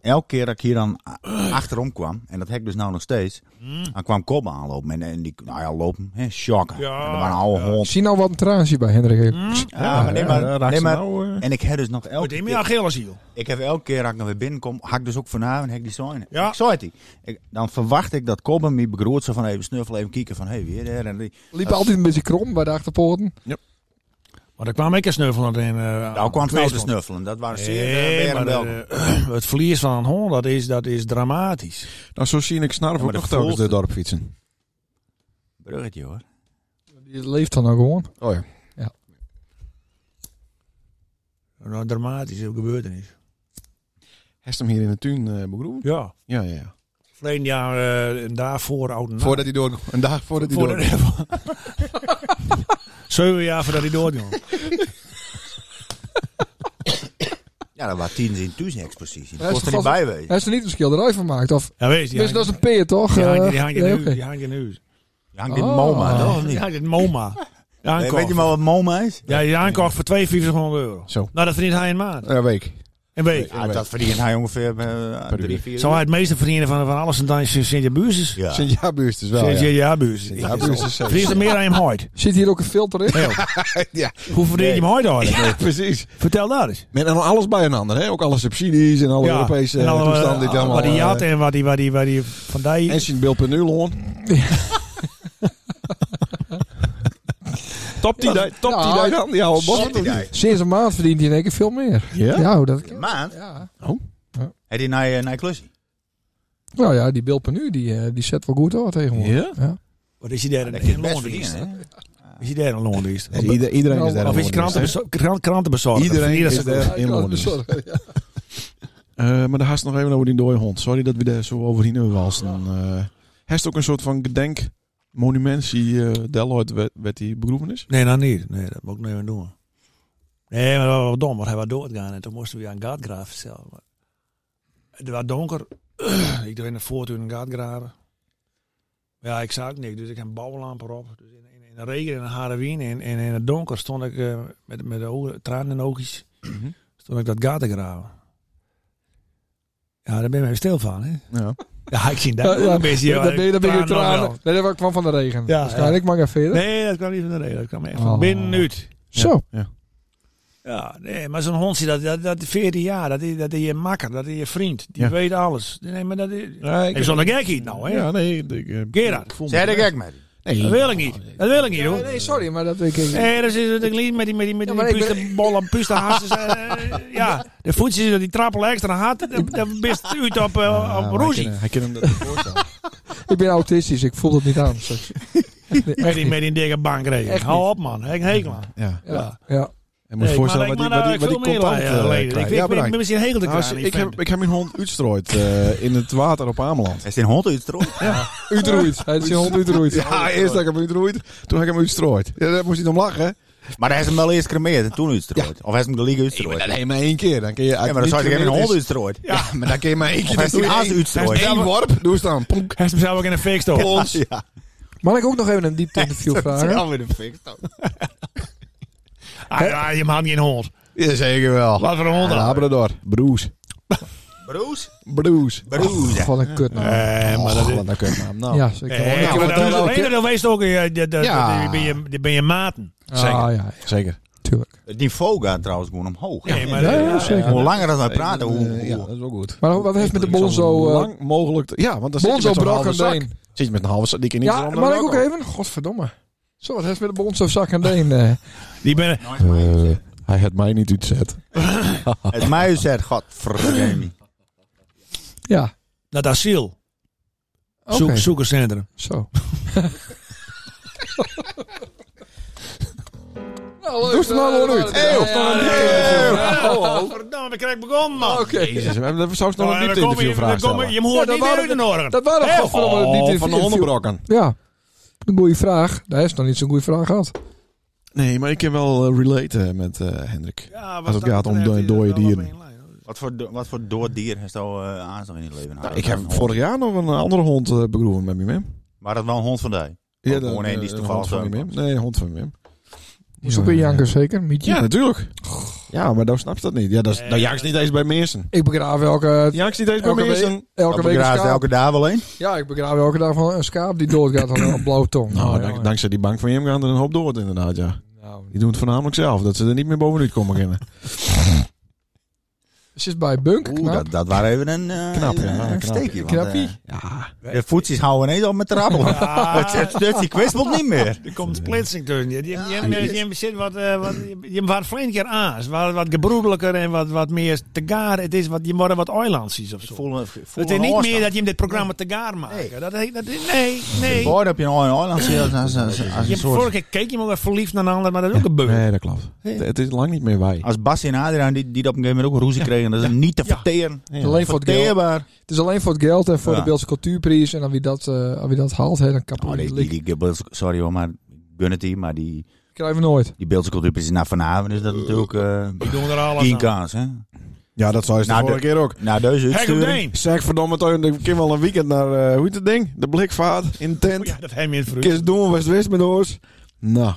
Speaker 5: Elke keer dat ik hier dan a- achterom kwam, en dat hek dus nou nog steeds,
Speaker 3: Hmm.
Speaker 5: dan kwam Kobe aanlopen. En, en die, nou ja, lopen, hè, shocken.
Speaker 3: Ja,
Speaker 5: En dat was een oude
Speaker 3: ja.
Speaker 5: hond.
Speaker 2: Zie nou wat een traantje bij Hendrik heeft.
Speaker 5: Ja, maar nee, maar,
Speaker 4: Ja, raakt
Speaker 5: nee,
Speaker 4: ze
Speaker 5: maar-
Speaker 4: nou, eh?
Speaker 5: En ik heb dus nog
Speaker 3: Wat
Speaker 5: elke
Speaker 3: deed
Speaker 5: keer,
Speaker 3: je aan gele ziel?
Speaker 5: ik heb elke keer dat ik nog weer binnenkom, hak ik dus ook vanavond, hek die zoin.
Speaker 3: Ja.
Speaker 5: Ik zei het die. Ik- Dan verwacht ik dat Kobe me begroet, zo van even snuffelen, even kijken van, hé, hey, weer daar en die.
Speaker 2: Liep altijd een beetje krom bij de achterpoorten.
Speaker 3: Maar daar kwam ik een snuffel aan in.
Speaker 5: Nou kwam het nou te snuffelen, dat waren zeer eh,
Speaker 3: Nee,
Speaker 5: weer
Speaker 3: maar
Speaker 5: en welkom.
Speaker 3: eh, het verlies van een hond, dat is, dat is dramatisch.
Speaker 4: Nou, zo zie ik snarf
Speaker 5: Ja,
Speaker 4: ook
Speaker 5: maar
Speaker 4: nog
Speaker 5: de
Speaker 4: telkens
Speaker 5: volgende-
Speaker 4: de dorp fietsen.
Speaker 5: Bruggetje hoor.
Speaker 2: Die leeft dan ook gewoon.
Speaker 4: Oh ja.
Speaker 3: Nou, Een dramatische gebeurtenis.
Speaker 4: Herst hem hier in de tuin eh begroeven?
Speaker 3: Ja.
Speaker 4: Ja, ja, ja.
Speaker 3: Verleden jaar eh, en daarvoor oud en
Speaker 4: Voordat hij door... Een dag voordat hij
Speaker 3: Voor
Speaker 4: door...
Speaker 3: de- Zeven jaar voordat hij doorging.
Speaker 5: Ja, dat waren tien in tussen expositie.
Speaker 2: Ja,
Speaker 5: Dat
Speaker 2: is
Speaker 5: kost er niet
Speaker 2: vast-
Speaker 5: bij wezen.
Speaker 2: Hij is er niet een schilderij van gemaakt. Of,
Speaker 3: Ja, weet je.
Speaker 2: dus dat is een peer, toch?
Speaker 3: die hangt,
Speaker 2: Eh,
Speaker 3: die hangt in
Speaker 2: nee,
Speaker 3: huis.
Speaker 2: oké.
Speaker 3: Die hangt in huis.
Speaker 5: Je hangt in
Speaker 2: Oh.
Speaker 5: MoMA, toch? of niet?
Speaker 3: Die hangt in MoMA. Ja,
Speaker 5: Nee,
Speaker 3: aankocht.
Speaker 5: Weet je maar wat MoMA is?
Speaker 3: Ja, je aankocht voor 5200 euro.
Speaker 4: Zo.
Speaker 3: Nou, dat verdient hij een maand.
Speaker 4: Een week.
Speaker 3: Een week.
Speaker 5: Ja, dat verdient hij ongeveer eh
Speaker 4: Per uur.
Speaker 5: drie, vier
Speaker 3: Zal hij het meeste verdienen van, van alles en dan is Sint-Jabuurses?
Speaker 5: Ja.
Speaker 4: Sint-Jabuurs dus wel,
Speaker 3: Sint-
Speaker 4: ja.
Speaker 3: Sint-Jabuurses.
Speaker 4: Sint-Jabuurs is zeker.
Speaker 3: Verdient er meer dan je hem hooit?
Speaker 2: Zit hier ook een filter in?
Speaker 3: Hoe verdient je hem hooit eigenlijk?
Speaker 4: Precies.
Speaker 3: Vertel dat eens.
Speaker 4: Met en alles bij een ander, hè? Ook alle subsidies en alle Europese
Speaker 3: en
Speaker 4: eh,
Speaker 3: alle-
Speaker 4: toestanden. die het allemaal,
Speaker 3: Wat hij
Speaker 4: eh,
Speaker 3: had en wat hij, wat hij, wat hij van die...
Speaker 4: En sint beeld nu loon. Top die
Speaker 2: Ja.
Speaker 4: daar, top die daar nou. dan. Ja, al bos.
Speaker 2: Sinds een maand verdient hij in één keer veel meer.
Speaker 4: Ja?
Speaker 2: Ja, hoe dat kan.
Speaker 5: Maand?
Speaker 2: Ja.
Speaker 5: Heb je naar je- naar je klusje?
Speaker 2: Nou ja, die Bill Penu, die, eh, die zet wel goed hoor tegenwoordig.
Speaker 4: Ja?
Speaker 3: Wat is hij daar
Speaker 5: Dat
Speaker 3: in-
Speaker 5: kun je
Speaker 3: in
Speaker 5: het best
Speaker 3: Londen? geweest,
Speaker 5: verdienen,
Speaker 3: hè?
Speaker 5: hè?
Speaker 3: Is hij daar in Londen? geweest?
Speaker 4: Nee, ieder- iedereen is daar.
Speaker 3: Nou, Of
Speaker 4: een
Speaker 3: is hij
Speaker 4: loon, dus, hè?
Speaker 3: krantenbezo- kran- krantenbezorger?
Speaker 4: Iedereen
Speaker 3: Verdienen
Speaker 4: is
Speaker 3: ze-
Speaker 4: daar in
Speaker 2: kan het
Speaker 4: Londen.
Speaker 2: bezorgen.
Speaker 4: Eh, maar daar haast nog even over die dode hond. Sorry dat we daar zo overheen hebben walsen. Eh heeft ook een soort van gedenkmonumentie eh Deloitte werd, werd die begroevenis.
Speaker 3: Nee, nou niet. Nee, dat moet ik niet meer doen. Nee, maar dat was wel dom, want hij was doodgaan en toen moesten we aan gaatgraven zelf. Maar het was donker. ik doe in de voortuin een gaatgraven. Ja, ik zag niks, dus ik heb een bouwlamp erop. Dus in, in, in de regen en de harde wind en, en in het donker stond ik eh, met, met de ogen, tranen in de oogjes.
Speaker 4: Mhm.
Speaker 3: Stond Toen heb ik dat gaten graven. Ja, daar ben je even stil van, hè?
Speaker 4: Ja.
Speaker 3: Ja, ik zie dat.
Speaker 2: Ja,
Speaker 3: ook
Speaker 2: ja,
Speaker 3: een beetje,
Speaker 2: dat- nee, dat ben je tranen.
Speaker 3: wel.
Speaker 2: Nee, dat kwam van de regen.
Speaker 3: Ja,
Speaker 2: Waarschijnlijk, maar ik even verder.
Speaker 3: Nee, dat kwam niet van de reden. Dat kwam echt van
Speaker 2: Oh.
Speaker 3: binnenuit.
Speaker 2: Zo.
Speaker 3: Ja, nee, maar zo'n hondje, dat, dat, dat 14 jaar, dat is, dat is je makker, dat is je vriend. Die
Speaker 4: Ja.
Speaker 3: weet alles. Nee, maar dat is...
Speaker 4: Ja, ik-
Speaker 3: Hij is zo'n gekkie nou, hè?
Speaker 4: Ja, nee. Ik, eh,
Speaker 3: Gerard.
Speaker 4: ik voel me-
Speaker 5: Zij de gek met.
Speaker 3: Dat wil ik niet. Dat wil ik niet, hoor.
Speaker 2: Nee, sorry, maar dat weet ik niet.
Speaker 3: Nee, dat is het lied met die, met die, met
Speaker 2: Ja,
Speaker 3: die
Speaker 2: maar ik ben-
Speaker 3: puistenbollen, puistenhazen. eh, ja, de voetjes, die trappel extra hard. Dat- Dat best uit op, eh,
Speaker 4: Ah,
Speaker 3: op
Speaker 4: hij
Speaker 3: Roesie.
Speaker 4: kan- Hij kan hem dat niet voorstellen.
Speaker 2: Ik ben autistisch, ik voel dat niet aan. straks. Nee,
Speaker 3: Met
Speaker 2: echt
Speaker 3: die,
Speaker 2: niet.
Speaker 3: met die dikke bankregen.
Speaker 2: Echt
Speaker 3: Hou op, man. Heb ik een hekel aan.
Speaker 4: Ja.
Speaker 3: Ja.
Speaker 2: Ja.
Speaker 4: Hij moet
Speaker 3: Nee,
Speaker 4: voorstellen
Speaker 3: maar
Speaker 4: wat
Speaker 3: ik-
Speaker 4: die,
Speaker 3: maar
Speaker 4: wat
Speaker 3: daar
Speaker 4: die, wat die
Speaker 3: heb ik veel
Speaker 4: contant
Speaker 3: meer, eh,
Speaker 4: eh,
Speaker 3: leden.
Speaker 4: krijgt.
Speaker 3: Ik-
Speaker 4: Ja,
Speaker 3: ik- ik
Speaker 4: bedankt.
Speaker 3: ben misschien heel te
Speaker 4: Nou,
Speaker 3: kraan,
Speaker 4: ik, heb,
Speaker 3: vind.
Speaker 4: ik heb mijn hond uitstrooid eh, in het water op Ameland.
Speaker 5: Is dit een hond uit het rood?
Speaker 2: Uitroeit. Hij is je hond uitroeit.
Speaker 4: Ja, eerst dat ik hem uitroeid, toen heb ik hem uitstrooid. Ja, daar moest hij om lachen.
Speaker 5: Maar hij is hem wel eerst cremeerd en toen uit het rood. Of hij is hem de league uit het rood.
Speaker 4: Nee, maar één keer. Dan kun je,
Speaker 5: Ja, maar dan zou ik
Speaker 4: je
Speaker 5: hem in een hond uit het rood.
Speaker 4: Ja, maar dan kun je maar één keer.
Speaker 5: Of hij is
Speaker 4: dan doe
Speaker 5: die
Speaker 4: je
Speaker 5: haas
Speaker 4: één-
Speaker 5: uitstrooid.
Speaker 4: Eén worp, doe staan. Ponk,
Speaker 3: Hij is mezelf ook in een fake stoel.
Speaker 4: plons.
Speaker 5: Ja.
Speaker 2: Mag ik ook nog even een diepte interview vragen?
Speaker 5: weer een fik.
Speaker 3: Ah, ja, je maakt niet een hond.
Speaker 4: Ja, zeker wel.
Speaker 3: Wat voor een hond dan?
Speaker 4: Labrador. Broes. Eh,
Speaker 5: Broes?
Speaker 4: Broes. Oh,
Speaker 5: Broes.
Speaker 2: Wat een kut nou.
Speaker 3: Eh, maar dat
Speaker 4: Och,
Speaker 3: is...
Speaker 4: wat een kutnaam. Nou.
Speaker 2: Ja, zeker.
Speaker 3: Eh,
Speaker 2: Ik heb
Speaker 3: maar
Speaker 2: het
Speaker 3: dat is
Speaker 2: wel
Speaker 3: alleen,
Speaker 2: ook-
Speaker 3: dat wees ook, eh, dat- dat- dat-
Speaker 4: Ja.
Speaker 3: die ben je- die ben je maten.
Speaker 2: Ah, ja, ja,
Speaker 4: Zeker.
Speaker 2: tuurlijk.
Speaker 5: Het niveau gaat trouwens gewoon omhoog.
Speaker 3: Nee, maar
Speaker 2: Ja, ja,
Speaker 3: eh,
Speaker 2: zeker.
Speaker 5: Hoe langer dat wij praten, hoe...
Speaker 4: Eh,
Speaker 5: hoe-
Speaker 4: ja, dat is wel goed.
Speaker 2: Maar wat heeft met de
Speaker 4: Ik zal
Speaker 2: Bonzo...
Speaker 4: zo
Speaker 2: eh,
Speaker 4: lang mogelijk. te- ja, want dan zit je
Speaker 2: Bonzo
Speaker 4: met zo'n halve
Speaker 2: Brak en
Speaker 4: zak.
Speaker 2: Deen.
Speaker 4: Zit je met een halve zak. Die kan niet
Speaker 2: Ja, mag ik ook even? Godverdomme. Zo, wat heeft met de Bonzo zak en Deen? eh?
Speaker 3: Die ben...
Speaker 4: Eh, hij had mij niet uitzet.
Speaker 5: Het mij zegt, godverdomme.
Speaker 2: Ja,
Speaker 3: Dat asiel.
Speaker 2: oké.
Speaker 3: Zoek- Zoekerscentrum.
Speaker 2: Zo. Nou, leuk.
Speaker 4: Doe ze nou gewoon uit. Hey,
Speaker 2: Ja, ja, ja,
Speaker 4: Hey,
Speaker 2: ja.
Speaker 3: Verdomme, ik krijg begonnen, man.
Speaker 2: Oké.
Speaker 4: Jezus, we hebben zou ze nog een
Speaker 3: Nou,
Speaker 4: diepte
Speaker 3: dan kom je-
Speaker 4: interview vragen
Speaker 3: dan kom je-
Speaker 4: stellen.
Speaker 3: Je moet
Speaker 2: Ja,
Speaker 3: het
Speaker 2: dat
Speaker 3: niet
Speaker 2: waren
Speaker 3: meer in de oren.
Speaker 2: Dat waren
Speaker 3: Hey,
Speaker 2: godverdomme
Speaker 4: Oh,
Speaker 2: diepte
Speaker 4: van de
Speaker 2: interview.
Speaker 4: hondenbrokken.
Speaker 2: Ja, een goede vraag. Hij heeft nog niet zo'n goede vraag gehad.
Speaker 4: Nee, maar ik kan wel eh, relaten met eh, Hendrik.
Speaker 3: Ja, wat
Speaker 4: Als het
Speaker 3: dat
Speaker 4: gaat om
Speaker 3: betreft
Speaker 4: de-
Speaker 3: is
Speaker 4: dode
Speaker 3: het wel
Speaker 4: dieren.
Speaker 3: op één lijn, hoor.
Speaker 5: Wat voor, do- wat voor dood dier heeft al eh aanstaan in het leven?
Speaker 4: Nou, ik heb vorig jaar nog een andere hond eh, begroeven met mijn mem.
Speaker 5: Maar dat wel een hond van die. Oh, gewoon een die is
Speaker 4: eh, hond
Speaker 5: toevallig
Speaker 4: van
Speaker 5: zo.
Speaker 4: mijn mem. Nee, een hond van mijn mem.
Speaker 2: Moest ook weer janken zeker, Mietje?
Speaker 4: Ja, natuurlijk. Ja, maar dan snap je dat niet. Ja, dat, is-
Speaker 3: Nee.
Speaker 4: dat jaagt niet eens bij Meersen.
Speaker 2: Ik begraaf elke,
Speaker 4: Jaagt niet eens bij
Speaker 2: elke week,
Speaker 4: Meersen.
Speaker 2: elke week een
Speaker 5: graag
Speaker 2: schaap.
Speaker 5: elke dag wel een.
Speaker 2: Ja, ik begraaf elke dag van een schaap die doodgaat van een blauwe tong.
Speaker 4: Nou,
Speaker 2: Ja,
Speaker 4: dank-
Speaker 2: ja.
Speaker 4: dankzij die bank van hem gaan er een hoop dood inderdaad, ja.
Speaker 2: Nou,
Speaker 4: Die doen het voornamelijk zelf, dat ze er niet meer bovenuit komen kennen.
Speaker 2: Zit bij Bunk,
Speaker 5: Oeh,
Speaker 2: knap.
Speaker 5: dat, dat waren even een, eh,
Speaker 4: Knap, ja,
Speaker 5: een,
Speaker 4: knap.
Speaker 5: een steekje. want,
Speaker 2: Knappie.
Speaker 5: eh, de voetjes houden ineens op met trappelen. Het,
Speaker 3: Ah,
Speaker 5: het, het, die kwist wordt niet meer.
Speaker 3: Er komt splitsing tussen. Je, je, je,
Speaker 5: Ja,
Speaker 3: je, je zit wat, eh, wat, je, je wordt flink keer aan. Ze waren wat gebroedelijker en wat, wat meer te gaar. Het is wat, je wordt wat oilandsies of zo.
Speaker 5: Voel,
Speaker 3: het is niet meer dat je hem dit programma te gaar maakt. Dat, dat, nee, nee.
Speaker 5: Boord heb je een eiland als, als, als, als
Speaker 3: Je
Speaker 5: een
Speaker 3: hebt vorige
Speaker 5: soort...
Speaker 3: keer keek je hem ook wel verliefd naar een ander, maar dat is ook een beul.
Speaker 4: Nee, dat klopt. Het, het is lang niet meer wij.
Speaker 5: Als Bas en Adriaan die, die dat op een gegeven moment ook roezie kregen, dat is niet te
Speaker 3: Ja.
Speaker 5: verteren.
Speaker 2: Alleen voor het geld.
Speaker 5: Verteerbaar.
Speaker 2: Het is alleen voor het geld en voor
Speaker 5: Ja.
Speaker 2: de Beeldse Cultuurprijs. En aan wie dat, eh, aan wie dat haalt, hè, dan kappen
Speaker 5: Oh,
Speaker 2: we
Speaker 5: die,
Speaker 2: die
Speaker 5: die,
Speaker 2: lik.
Speaker 5: die Gibbels- sorry hoor, maar ik gun het hier, maar die,
Speaker 2: Krijgen we nooit.
Speaker 5: die beeldse cultuur is na vanavond is dat natuurlijk eh
Speaker 3: Die doen er alles
Speaker 5: geen
Speaker 3: aan.
Speaker 5: kans. Hè?
Speaker 4: Ja, dat zou je
Speaker 5: Nou,
Speaker 4: de vorige keer ook.
Speaker 5: Nou, deze
Speaker 3: Hek op
Speaker 5: uitsturing.
Speaker 3: deen.
Speaker 4: Zeg verdomme, toch, ik kan wel een weekend naar, eh, hoe heet het ding? De blikvaart, in de
Speaker 3: Oh
Speaker 4: tent.
Speaker 3: Ja, dat hebben we in het vroeg.
Speaker 4: Kist doen, West-West met ons. Nou. En
Speaker 5: Ja,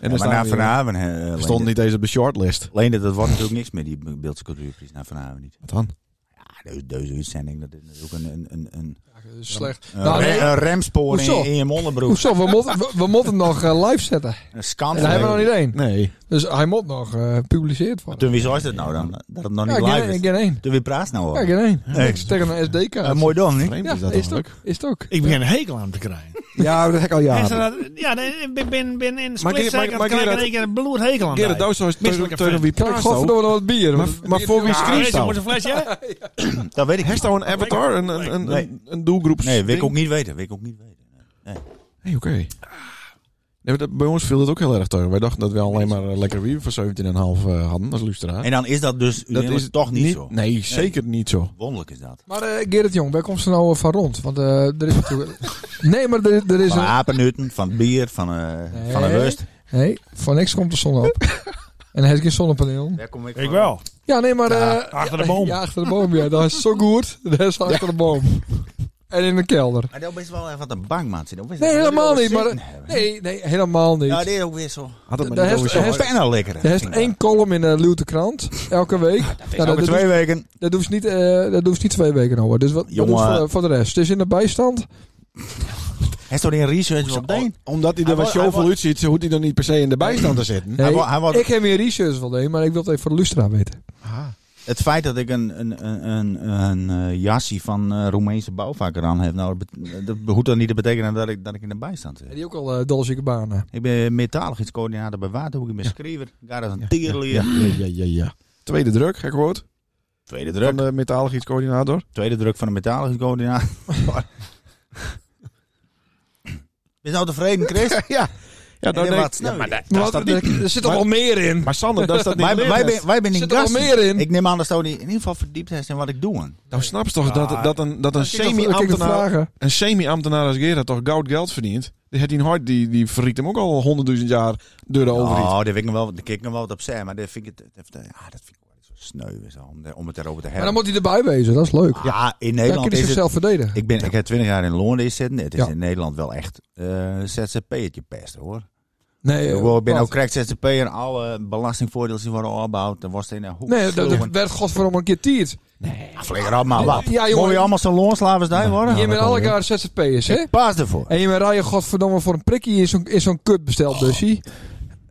Speaker 4: dan
Speaker 5: maar
Speaker 4: staan
Speaker 5: na
Speaker 4: we hier.
Speaker 5: vanavond eh,
Speaker 4: stond
Speaker 5: Leendert-
Speaker 4: niet eens op de shortlist.
Speaker 5: Leendert, dat wordt natuurlijk niks meer, die beeldse cultuurprijs na vanavond niet.
Speaker 4: Wat dan?
Speaker 5: Ja, deze, deze uitzending, dat is natuurlijk een, een, een, een,
Speaker 2: Ja, dat is slecht.
Speaker 5: een,
Speaker 2: Nou,
Speaker 5: re-
Speaker 2: nee.
Speaker 5: een remspoor
Speaker 2: Hoezo?
Speaker 5: in, in je mondenbroek.
Speaker 2: Hoezo, we moeten, we, we moeten nog eh, live zetten.
Speaker 5: Een
Speaker 2: En
Speaker 5: scandal.
Speaker 2: daar hebben we nog niet één.
Speaker 4: Nee.
Speaker 2: Dus hij moet nog eh gepubliceerd worden.
Speaker 5: Toen wie zou is dat nou dan? Dat het nog
Speaker 2: Ja,
Speaker 5: niet live
Speaker 2: geen-
Speaker 5: is.
Speaker 2: geen één.
Speaker 5: Toen wie praat nou
Speaker 2: Ja,
Speaker 5: al?
Speaker 2: geen één.
Speaker 5: Nee.
Speaker 2: Tegen een
Speaker 5: Eh,
Speaker 2: SD-kaart.
Speaker 5: mooi dan, niet?
Speaker 4: Vreemd
Speaker 2: Ja,
Speaker 4: is dat
Speaker 2: is het
Speaker 4: dan
Speaker 2: ook. Is het ook.
Speaker 3: Ik begin een hekel aan hem te krijgen.
Speaker 4: Ja, dat heb ik al
Speaker 2: Ah,
Speaker 3: Ja,
Speaker 4: jaren.
Speaker 3: dat, ja nee, ik ben, ben, ben in
Speaker 4: Maar
Speaker 3: split
Speaker 4: Gerard-
Speaker 3: second
Speaker 4: maar
Speaker 3: krijg ik in
Speaker 4: Gerard-
Speaker 3: één keer een bloed hekel aan
Speaker 4: Gerrit
Speaker 3: hem.
Speaker 4: Douwstra is
Speaker 3: Misselijke
Speaker 4: tegen tegen wie
Speaker 2: Kijk,
Speaker 4: praat zo.
Speaker 2: godverdomme nog wat bier.
Speaker 4: Maar,
Speaker 2: want het
Speaker 4: maar
Speaker 2: bier-
Speaker 4: voor wie
Speaker 3: Ah,
Speaker 4: schreef
Speaker 3: je moet een
Speaker 4: nou?
Speaker 3: flesje hè?
Speaker 5: Dat weet ik
Speaker 4: Heeft
Speaker 5: niet.
Speaker 4: nou een avatar, een, een, een,
Speaker 5: Nee.
Speaker 4: een, een doelgroeps...
Speaker 5: Nee, weet ik
Speaker 4: ding?
Speaker 5: ook niet weten. Weet ik ook niet weten.
Speaker 4: Nee, oké. Nee, maar dat- bij ons viel het ook heel erg tegen. Wij dachten dat we alleen maar eh, lekker bier voor 17,5 eh, hadden als luisteraar.
Speaker 5: En dan is dat dus dat is toch niet, zo.
Speaker 4: Nee, zeker niet zo.
Speaker 5: Wonderlijk is dat.
Speaker 2: Maar eh, Gerrit Jong, waar komt ze nou eh, van rond? Want eh, er is natuurlijk... Nee, maar er, er is
Speaker 5: Van
Speaker 2: een...
Speaker 5: apennutten, van bier, van, eh
Speaker 2: Nee.
Speaker 5: van een rust.
Speaker 2: Nee, van niks komt de zon op. En hij is geen zonnepaneel.
Speaker 5: Daar kom
Speaker 3: Ik wel.
Speaker 2: Ja, nee, maar... eh,
Speaker 3: achter de boom.
Speaker 2: Ja, achter de boom, ja. Dat is zo goed. Dat is achter de boom. en in de kelder.
Speaker 5: Maar dat is wel even wat een bang, man. Zit.
Speaker 2: Nee, helemaal niet, maar- Nee, nee, helemaal niet.
Speaker 5: Ja, dit is ook weer zo.
Speaker 4: Had het maar
Speaker 2: Daar
Speaker 4: niet
Speaker 2: heeft-
Speaker 4: over
Speaker 5: Dat
Speaker 2: heeft-
Speaker 5: is bijna lekker.
Speaker 2: Er is één column in de Luwte krant, elke week. Nou, dat,
Speaker 5: Nou,
Speaker 2: dat,
Speaker 5: twee
Speaker 2: doe,
Speaker 5: weken.
Speaker 2: dat doe ze niet, eh, dat doen ze niet twee weken over. Dus wat, wat
Speaker 5: Jongen.
Speaker 2: doen ze voor, voor de rest? Het is in de bijstand.
Speaker 5: Hij stond in research op
Speaker 4: Om-
Speaker 5: Deen.
Speaker 4: Omdat hij er
Speaker 5: Hij
Speaker 4: wat
Speaker 5: wa- hij
Speaker 4: zoveel
Speaker 5: wa-
Speaker 4: uitziet, zo hoeft hij dan niet per se in de bijstand te zitten.
Speaker 2: Nee,
Speaker 5: wa- hij wa-
Speaker 2: ik heb meer research wel deed, maar ik wil het even voor de Lustra weten.
Speaker 5: Het feit dat ik een, een, een, een, een eh, jasje van eh, Roemeense bouwvakker aan heb, nou, dat bet- dat hoeft dan niet te betekenen dat ik, dat ik in de bijstand zit.
Speaker 2: Die ook al eh dolzieke banen.
Speaker 5: Ik ben meertaligheidscoördinator bij Waterhoek, ik ben schrijver, Gareth een tierleer.
Speaker 4: Ja, ja, ja, ja, ja. Tweede druk, gek woord.
Speaker 5: Tweede
Speaker 4: Van
Speaker 5: druk.
Speaker 4: de metalig iets coördinator.
Speaker 5: Tweede druk van de meertaligheidscoördinator. ben je nou tevreden, Chris?
Speaker 4: ja. Ja,
Speaker 5: En
Speaker 4: dan
Speaker 5: dan
Speaker 4: denk-
Speaker 5: wat sneu
Speaker 4: ja, maar,
Speaker 5: je.
Speaker 4: daar- daar staat niet-
Speaker 2: er, er zit toch wel meer in?
Speaker 4: maar Sander, daar staat niet
Speaker 5: wij,
Speaker 4: in.
Speaker 5: wij, ben, wij ben
Speaker 2: Er
Speaker 5: in
Speaker 2: zit toch wel
Speaker 5: gast.
Speaker 2: meer in?
Speaker 5: Ik neem aan dat Stoney in ieder geval verdiept heeft in wat ik doe.
Speaker 4: Nou, snap je toch dat, dat een, dat een
Speaker 2: Kijk, dat- kijk, dat
Speaker 4: semi-ambtenaar
Speaker 2: vragen.
Speaker 4: een semi-ambtenaar als Gerard toch goud geld verdient. Die had die hart, die, die verriekt hem ook al honderdduizend jaar door de overheid.
Speaker 5: Oh, daar weet ik nog wel, daar kijk ik nog wel wat op zijn, maar dat vind ik, het- het- ja, dat vind ik wel zo sneu weer zo, om, de- om het erover te
Speaker 2: Maar
Speaker 5: hebben.
Speaker 2: dan moet hij erbij wezen, dat is leuk.
Speaker 5: Ja, in
Speaker 2: Dan
Speaker 5: Nederland
Speaker 2: kun je
Speaker 5: is het...
Speaker 2: zichzelf verdedigen.
Speaker 5: Ik, ben, ik heb twintig jaar in Londen zitten. Het is
Speaker 2: Ja.
Speaker 5: in Nederland wel echt eh ZZP'ertje pesten hoor.
Speaker 2: Nee,
Speaker 5: Ik
Speaker 2: eh,
Speaker 5: bedoel, ik ben
Speaker 2: wat?
Speaker 5: ook krijgt ZZP'er alle belastingvoordelen die worden opgebouwd. Dan was het in een hoek.
Speaker 2: Nee, dat- dat
Speaker 5: sloegen.
Speaker 2: werd godverdomme een keer tiert.
Speaker 5: Ja, Flikker op maar wat.
Speaker 2: Ja, jongen.
Speaker 5: Mogen we allemaal zo'n loonslavers daar worden?
Speaker 2: je bent
Speaker 4: dat
Speaker 2: alle
Speaker 4: kan
Speaker 2: elkaar ZZP'ers, hè?
Speaker 5: Ik paas ervoor.
Speaker 2: En je bent rijden godverdomme voor een prikkie in zo'n, in zo'n kut besteld busje.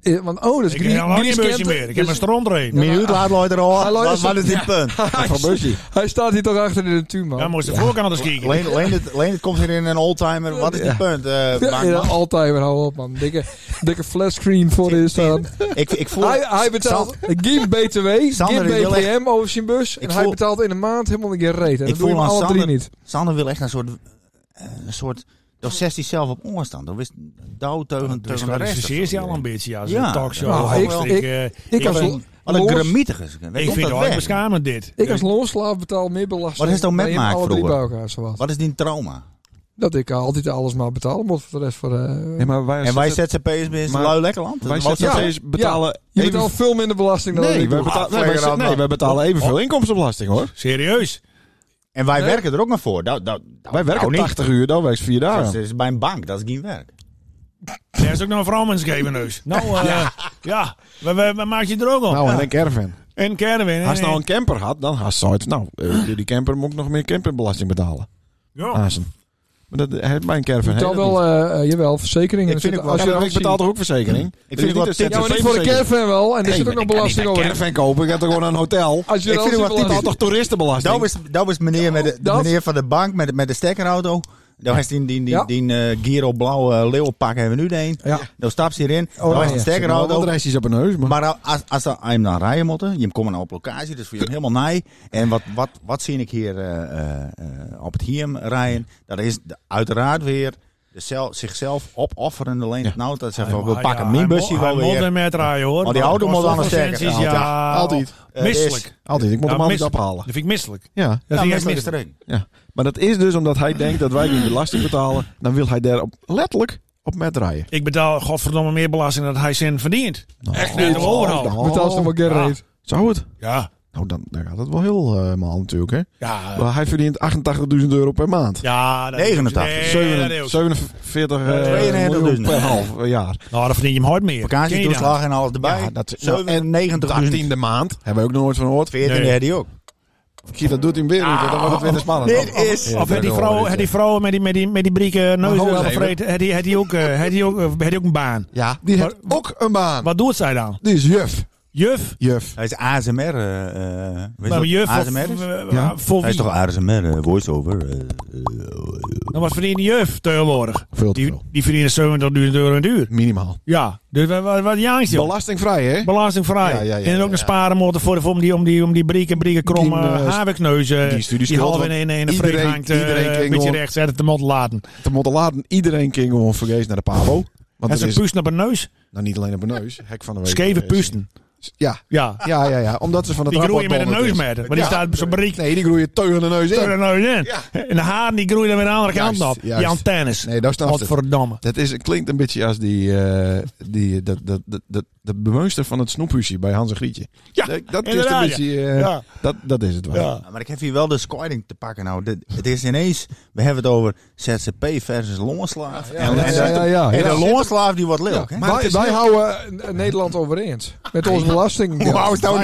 Speaker 2: Eh, Want oh, dat is
Speaker 3: Ik heb
Speaker 2: Gries-
Speaker 3: al lang geen
Speaker 2: Grieskent.
Speaker 3: busje meer. Ik heb
Speaker 2: Dus-
Speaker 3: een stront erin.
Speaker 5: Minuut laat Lloyd er al.
Speaker 2: Ah, Lloyd
Speaker 5: Wat
Speaker 2: is-
Speaker 5: wat is dit punt?
Speaker 4: Van Bushy.
Speaker 2: Hij staat hier toch achter in de tuin, man.
Speaker 3: Daar moest de voorkant eens kijken.
Speaker 5: Leen, Leen, het, Leen, het komt hier in een oldtimer. Wat is dit punt? eh,
Speaker 2: Ja,
Speaker 5: Bankman?
Speaker 2: ja, altijd weer, hou op, man. Dikke, dikke flatscreen voor je staan.
Speaker 5: Ik, ik voel...
Speaker 2: Hij, hij betaalt geen BTW, geen
Speaker 5: Sander, die wil
Speaker 2: BPM over zijn bus.
Speaker 5: Ik
Speaker 2: En hij
Speaker 5: voel-
Speaker 2: betaalt in een maand helemaal een keer reet. En dat doen
Speaker 5: aan
Speaker 2: alle drie niet.
Speaker 5: Sander wil echt een soort... eh, Een soort... Dan zet hij zelf op onstand. Dan wist douwteugen
Speaker 3: Dus
Speaker 5: tegen de
Speaker 3: dat
Speaker 5: rest.
Speaker 3: is hij al een beetje, ja. Zo'n
Speaker 5: Ja.
Speaker 3: talkshow.
Speaker 2: Nou, ik-
Speaker 3: Of
Speaker 2: ik-
Speaker 3: eh,
Speaker 2: Ik als,
Speaker 3: ben-
Speaker 2: lo-
Speaker 5: Wat een
Speaker 2: loons-
Speaker 5: gremietig is.
Speaker 3: ik vind het ook beschamend dit.
Speaker 2: ik als loonslaaf betaal meer belasting.
Speaker 5: Wat is het dan met
Speaker 2: dan je
Speaker 5: Maak
Speaker 2: alle drie bij
Speaker 5: vroeger?
Speaker 2: elkaar, zowat.
Speaker 5: Wat is die trauma?
Speaker 2: Dat ik altijd alles maar betalen moet voor de rest van... eh,
Speaker 4: Ja, maar wij als
Speaker 5: En wij
Speaker 4: ZZ
Speaker 5: ZZP'ers zijn
Speaker 4: Maar-
Speaker 5: lui lekker land.
Speaker 4: wij
Speaker 5: Wat-
Speaker 2: ja.
Speaker 4: ZZP'ers betalen...
Speaker 2: je
Speaker 4: even-
Speaker 2: betaalt veel minder belasting dan
Speaker 4: Nee,
Speaker 2: ik
Speaker 4: wij
Speaker 2: doe.
Speaker 4: betaal-
Speaker 5: Ah,
Speaker 4: nee, wij
Speaker 5: flikker
Speaker 4: z-
Speaker 5: op,
Speaker 4: nee,
Speaker 5: man.
Speaker 4: wij betalen evenveel inkomstenbelasting hoor.
Speaker 3: Serieus.
Speaker 5: En wij
Speaker 2: Nee.
Speaker 5: werken er ook maar voor. Dat, dat, dat-
Speaker 4: Wij werken
Speaker 5: nou niet.
Speaker 4: 80 uur, dan werkt 4
Speaker 5: Dat is,
Speaker 4: dagen.
Speaker 5: dat is bij een bank, dat is geen werk.
Speaker 3: Er is ook nog een vrouwmens geven neus. Nou, eh, ja. We, we, we maak je er ook op.
Speaker 4: Nou,
Speaker 3: Ja.
Speaker 4: en een caravan.
Speaker 3: En Kerwin.
Speaker 4: Als
Speaker 3: en-
Speaker 4: nou een camper had, dan had ze het. Nou, eh, door die camper moet ik nog meer camperbelasting betalen.
Speaker 3: Ja.
Speaker 4: Aasen. Maar dat hij heeft mijn caravan.
Speaker 2: Betaal
Speaker 4: heeft dat
Speaker 2: wel, eh, eh, jawel, verzekeringen.
Speaker 5: Ik vind
Speaker 2: Er
Speaker 5: ook
Speaker 2: zit-
Speaker 4: niet.
Speaker 5: wel-
Speaker 2: als
Speaker 4: Ja,
Speaker 2: je
Speaker 4: maar
Speaker 2: dat
Speaker 4: ik betaal
Speaker 2: ziet-
Speaker 4: toch ook verzekering?
Speaker 5: Ik vind het wel tip-
Speaker 2: Ja, maar niet voor de caravan wel. En er
Speaker 4: Nee,
Speaker 2: zit ook
Speaker 4: maar
Speaker 2: nog
Speaker 4: ik kan
Speaker 2: belasting
Speaker 4: niet
Speaker 2: over.
Speaker 4: een caravan kopen, ik heb toch gewoon een hotel?
Speaker 2: Als je
Speaker 5: Ik
Speaker 2: er al die
Speaker 5: vind het wel
Speaker 4: Ik betaal
Speaker 2: belasting-
Speaker 4: toch toeristenbelasting?
Speaker 5: Dat was, dat was meneer, met de, de
Speaker 2: Dat-
Speaker 5: meneer van de bank met, met de stekkerauto. Daar is die, die, die,
Speaker 2: Ja.
Speaker 5: die eh, Giro blauwe leeuwpak hebben we nu de een.
Speaker 2: Ja.
Speaker 5: Dan stapt ze hierin. Oh, dan is
Speaker 4: ja.
Speaker 5: een
Speaker 4: Wel wat
Speaker 5: stekkerauto.
Speaker 4: reisjes op een neus, maar...
Speaker 5: Maar als, als ze hem dan rijden moeten, je komt nou op locatie, dus voor je hem helemaal naai. En wat, wat, wat zie ik hier eh, eh, eh, op het hiem rijden? Dat is de- uiteraard weer de zel- zichzelf opofferende leent.
Speaker 4: Ja.
Speaker 5: Nou,
Speaker 3: Ja,
Speaker 5: dat zegt van, we
Speaker 3: Ah, ja,
Speaker 5: pakken
Speaker 3: hij
Speaker 5: mijn busje
Speaker 3: mo-
Speaker 5: wel
Speaker 3: hij moet
Speaker 5: weer.
Speaker 3: er met rijden hoor.
Speaker 5: Maar die auto moet dan een sterker
Speaker 3: Ja,
Speaker 5: auto.
Speaker 3: ja,
Speaker 4: Altijd.
Speaker 5: Eh,
Speaker 3: Misselijk.
Speaker 5: dus-
Speaker 4: Altijd, ik moet
Speaker 3: Ja,
Speaker 4: hem altijd
Speaker 3: misselijk.
Speaker 4: ophalen.
Speaker 3: Dat vind ik misselijk.
Speaker 4: Ja,
Speaker 3: Ja,
Speaker 5: Ja,
Speaker 3: vind
Speaker 5: mis-
Speaker 3: ik
Speaker 5: mis
Speaker 3: misselijk.
Speaker 5: erin.
Speaker 4: ja. Maar dat is dus omdat hij denkt dat wij die belasting betalen. Dan wil hij daar op, letterlijk op met rijden.
Speaker 3: Ik betaal godverdomme meer belasting dan hij zin verdient. Echt net
Speaker 4: Oh,
Speaker 3: overal.
Speaker 4: nou,
Speaker 2: Betaal ze maar geen
Speaker 3: Ja.
Speaker 2: reet.
Speaker 4: Zou het?
Speaker 3: Ja.
Speaker 4: Nou, dan, dan gaat het wel helemaal natuurlijk, hè?
Speaker 3: Ja.
Speaker 4: Maar hij verdient 88.000 euro per maand.
Speaker 3: Ja, dat
Speaker 5: 89.
Speaker 3: Nee, dat is ook-
Speaker 4: 47, 47 eh,
Speaker 5: 92.000.
Speaker 4: miljoen per half jaar.
Speaker 3: Nou, dan verdien je hem hard meer. Ken je dat?
Speaker 5: Vakantietoeslag en alles erbij.
Speaker 4: Ja, dat is- nou,
Speaker 5: en 90
Speaker 4: 18 e maand. Hebben we ook nog nooit van gehoord.
Speaker 5: 14
Speaker 3: Nee.
Speaker 5: had hij ook.
Speaker 4: Kijk, dat doet hij weer niet. Dan wordt het weer te spannend.
Speaker 5: Dit is-
Speaker 4: Ja,
Speaker 3: Of had die
Speaker 4: dat
Speaker 3: vrouw,
Speaker 4: hoor ik,
Speaker 3: had
Speaker 4: ja. Nou,
Speaker 3: die vrouw met die, met die, met die brieke neus
Speaker 4: ho,
Speaker 3: willen
Speaker 4: even.
Speaker 3: vreten, had die, had die ook, eh, had die ook, eh, had die ook een baan?
Speaker 4: Ja, die heeft
Speaker 3: Maar-
Speaker 4: ook een baan.
Speaker 3: Wat doet zij dan?
Speaker 4: Die is juf.
Speaker 3: Juf?
Speaker 4: Juf.
Speaker 5: Hij is ASMR. eh, eh, weet je
Speaker 3: Maar
Speaker 5: wat
Speaker 3: Nou, juf of,
Speaker 5: ASMR is?
Speaker 3: eh,
Speaker 4: Ja.
Speaker 3: voor
Speaker 5: Hij is
Speaker 3: wie?
Speaker 5: toch ASMR, eh, voice-over. eh, eh,
Speaker 3: Dan wat verdient die juf tegenwoordig?
Speaker 4: Veel te
Speaker 3: Die,
Speaker 4: veel.
Speaker 3: die verdienen 70.000 euro een uur.
Speaker 4: Minimaal.
Speaker 3: Ja, dus wat, wat, wat jankt je?
Speaker 4: Belastingvrij, hè?
Speaker 3: Belastingvrij.
Speaker 4: Ja, ja, ja,
Speaker 3: en dan ook
Speaker 4: ja,
Speaker 3: een
Speaker 4: ja.
Speaker 3: sparenmotor voor, voor om die, om die, om die brieken, brieken kromme
Speaker 4: Die, eh,
Speaker 3: havikneuzen.
Speaker 4: die studieschuld,
Speaker 3: half in
Speaker 4: want
Speaker 3: een in een
Speaker 4: iedereen-
Speaker 3: vreemd hangt. eh,
Speaker 4: iedereen
Speaker 3: een
Speaker 4: ging
Speaker 3: beetje
Speaker 4: gewoon-
Speaker 3: rechts uit de mot laten.
Speaker 4: Te moeten laten iedereen ging gewoon vergees naar de Pavo. Want
Speaker 3: En
Speaker 4: dat
Speaker 3: zijn
Speaker 4: is
Speaker 3: puisten op een neus.
Speaker 4: nou niet alleen op mijn neus. Hek van de week.
Speaker 3: Scheve
Speaker 4: eh,
Speaker 3: puisten.
Speaker 4: Ja,
Speaker 3: Ja,
Speaker 4: ja, ja, ja. Omdat ze van het
Speaker 3: die groeien met een
Speaker 4: rapport donderd
Speaker 3: neusmeter. Maar die
Speaker 4: Ja.
Speaker 3: staat zo'n beriek
Speaker 4: is. Nee, die groeien teugen de neus
Speaker 3: er
Speaker 4: in.
Speaker 3: nou in. En de haren die groeien met de andere kant
Speaker 4: Juist,
Speaker 3: op. Die
Speaker 4: juist.
Speaker 3: antennes.
Speaker 4: Nee, daar staat
Speaker 3: Wat
Speaker 4: het.
Speaker 3: verdomme.
Speaker 4: Dat is, klinkt een beetje als die, eh, die, dat, dat, dat, dat, de bemeester van het snoephuisje bij Hans en Grietje.
Speaker 3: Ja,
Speaker 4: dat, dat is een
Speaker 3: inderdaad,
Speaker 4: beetje, eh,
Speaker 3: Ja.
Speaker 4: dat, dat is het wel.
Speaker 3: Ja.
Speaker 5: Ja, Maar ik heb hier wel de scoring te pakken. Nou, dit, het is ineens, we hebben het over ZZP versus Longenslaaf. en,
Speaker 4: ja,
Speaker 5: en-
Speaker 4: ja, ja, ja.
Speaker 5: en
Speaker 4: Ja.
Speaker 5: de Longenslaaf die wordt leuk. hè?
Speaker 4: Maar het
Speaker 2: wij
Speaker 4: is
Speaker 2: wij
Speaker 4: heel-
Speaker 2: houden eh, Nederland overeind. Met onze belasting.
Speaker 5: nou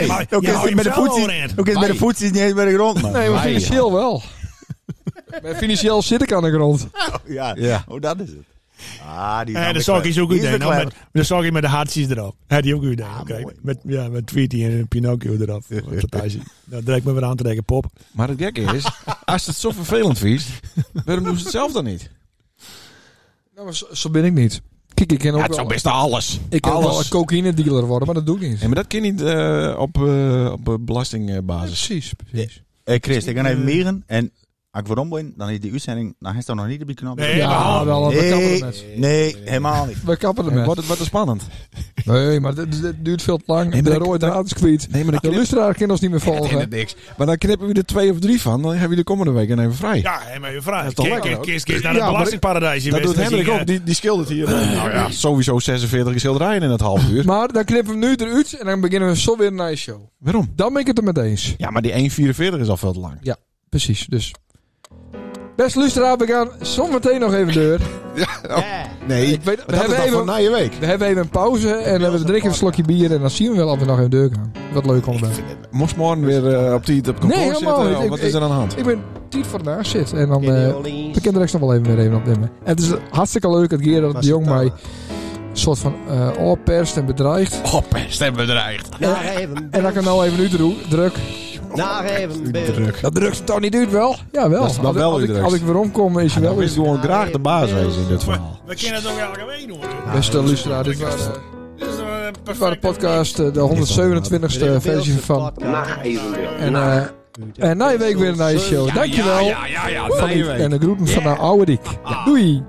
Speaker 3: niet? Ook is het met de voetsies- ook
Speaker 5: is met de voetjes niet eens bij de grond, man.
Speaker 2: Nee, maar financieel wel. Maar financieel zit ik aan de grond.
Speaker 5: Ja,
Speaker 4: Ja.
Speaker 5: oh, dat is het. Ah, die
Speaker 3: En de zak is Ah, ook goed. hè. Nou, met- De zak is met de hartjes erop. Had die ook goed. hè. Kijk,
Speaker 5: mooi.
Speaker 3: Met, ja, met Tweety en een Pinocchio erop. Fantastisch. Nou, direct me weer aan te denken, pop.
Speaker 4: Maar het gekke is, als het zo vervelend vies, waarom doen ze het zelf dan niet?
Speaker 2: Nou, maar zo, zo ben ik niet. Kijk, ik ken ook wel,
Speaker 4: alles.
Speaker 2: ik kan ook wel een cocaïne dealer worden, maar dat doe ik niet.
Speaker 4: Nee, maar dat kan niet eh, op, eh, op eh, belastingbasis.
Speaker 2: Precies, precies.
Speaker 5: Hey Chris, ik ga even mieren. En als ik weer om ben, dan is die uitzending... Nou, hij staat nog niet op die knop.
Speaker 3: Nee,
Speaker 5: nee,
Speaker 2: Ja, wel, we kappen er met.
Speaker 5: nee, helemaal niet.
Speaker 2: We kappen er
Speaker 4: Eh,
Speaker 2: met.
Speaker 4: Wordt het wat spannend.
Speaker 2: Nee, maar dit, dit duurt veel te lang.
Speaker 4: Nee, maar
Speaker 2: de
Speaker 4: dat-
Speaker 2: rode
Speaker 4: dat-
Speaker 2: draad is kwijt.
Speaker 4: Nee, maar dan
Speaker 2: De
Speaker 4: knip-
Speaker 2: luisteraar kan ons niet meer volgen.
Speaker 4: niks. Maar dan knippen we er twee of drie van. Dan hebben we de komende week en even vrij.
Speaker 3: Ja, hé, maar je vraagt.
Speaker 4: toch
Speaker 3: Kijk,
Speaker 4: lekker
Speaker 3: kijk,
Speaker 4: ook?
Speaker 3: kijk, kijk naar
Speaker 4: Ja,
Speaker 3: het
Speaker 4: maar
Speaker 3: belastingparadijs. hier
Speaker 4: dat doet
Speaker 3: wezen.
Speaker 4: Hendrik
Speaker 3: Dus ik,
Speaker 4: ook. Die, die schildert hier nou ja, sowieso 46 schilderijen in het half uur.
Speaker 2: Maar dan knippen we hem nu eruit en dan beginnen we zo weer een nieuwe show.
Speaker 4: Waarom?
Speaker 2: Dan ben ik het er met eens.
Speaker 4: Ja, maar die 1,44 is al veel te lang.
Speaker 2: Precies, dus. Best luisteraar, we gaan zometeen nog even deur.
Speaker 4: Nee,
Speaker 2: Ik weet, we, hebben even,
Speaker 4: na je week.
Speaker 2: we hebben even een pauze en we drinken een slokje bier en dan zien we wel of we nog even deur gaan. Wat leuk om eh, te doen.
Speaker 4: Moest morgen weer eh, op die op kantoor
Speaker 2: Nee, helemaal
Speaker 4: zitten.
Speaker 2: niet.
Speaker 4: of
Speaker 2: Ik-
Speaker 4: wat
Speaker 2: ik-
Speaker 4: is er aan de hand?
Speaker 2: Ik ben tien voor naast zit en dan eh we kunnen er nog wel even weer even opnemen. En het is hartstikke leuk dat Gerard de Jong mij een soort van eh opperst en bedreigt.
Speaker 4: Oppest en bedreigd.
Speaker 1: Naar even.
Speaker 2: En dat kan nou even nu druk.
Speaker 1: Naar even. Beeld.
Speaker 2: Dat drukt ze toch niet uit wel? Ja, wel.
Speaker 4: Dat is
Speaker 2: Als,
Speaker 4: wel wel
Speaker 2: als,
Speaker 4: u
Speaker 2: ik,
Speaker 4: drukt.
Speaker 2: als ik weer omkom is je
Speaker 4: Dan
Speaker 6: nou,
Speaker 2: wel
Speaker 4: is nou-
Speaker 2: eens.
Speaker 4: gewoon graag de baas wezen in dit verhaal.
Speaker 3: eh, We kunnen het ook elke week doen. hoor.
Speaker 2: Beste luisteraar, dit was, eh,
Speaker 3: Dit is een eh,
Speaker 2: dit was de
Speaker 3: perfecte-
Speaker 2: podcast, eh, de 127ste versie van.
Speaker 1: Naar even. beeld.
Speaker 2: En, eh en na je week weer een nice show. Dankjewel.
Speaker 6: ja, ja.
Speaker 2: Van u. En de groeten van de oude Diek. Doei.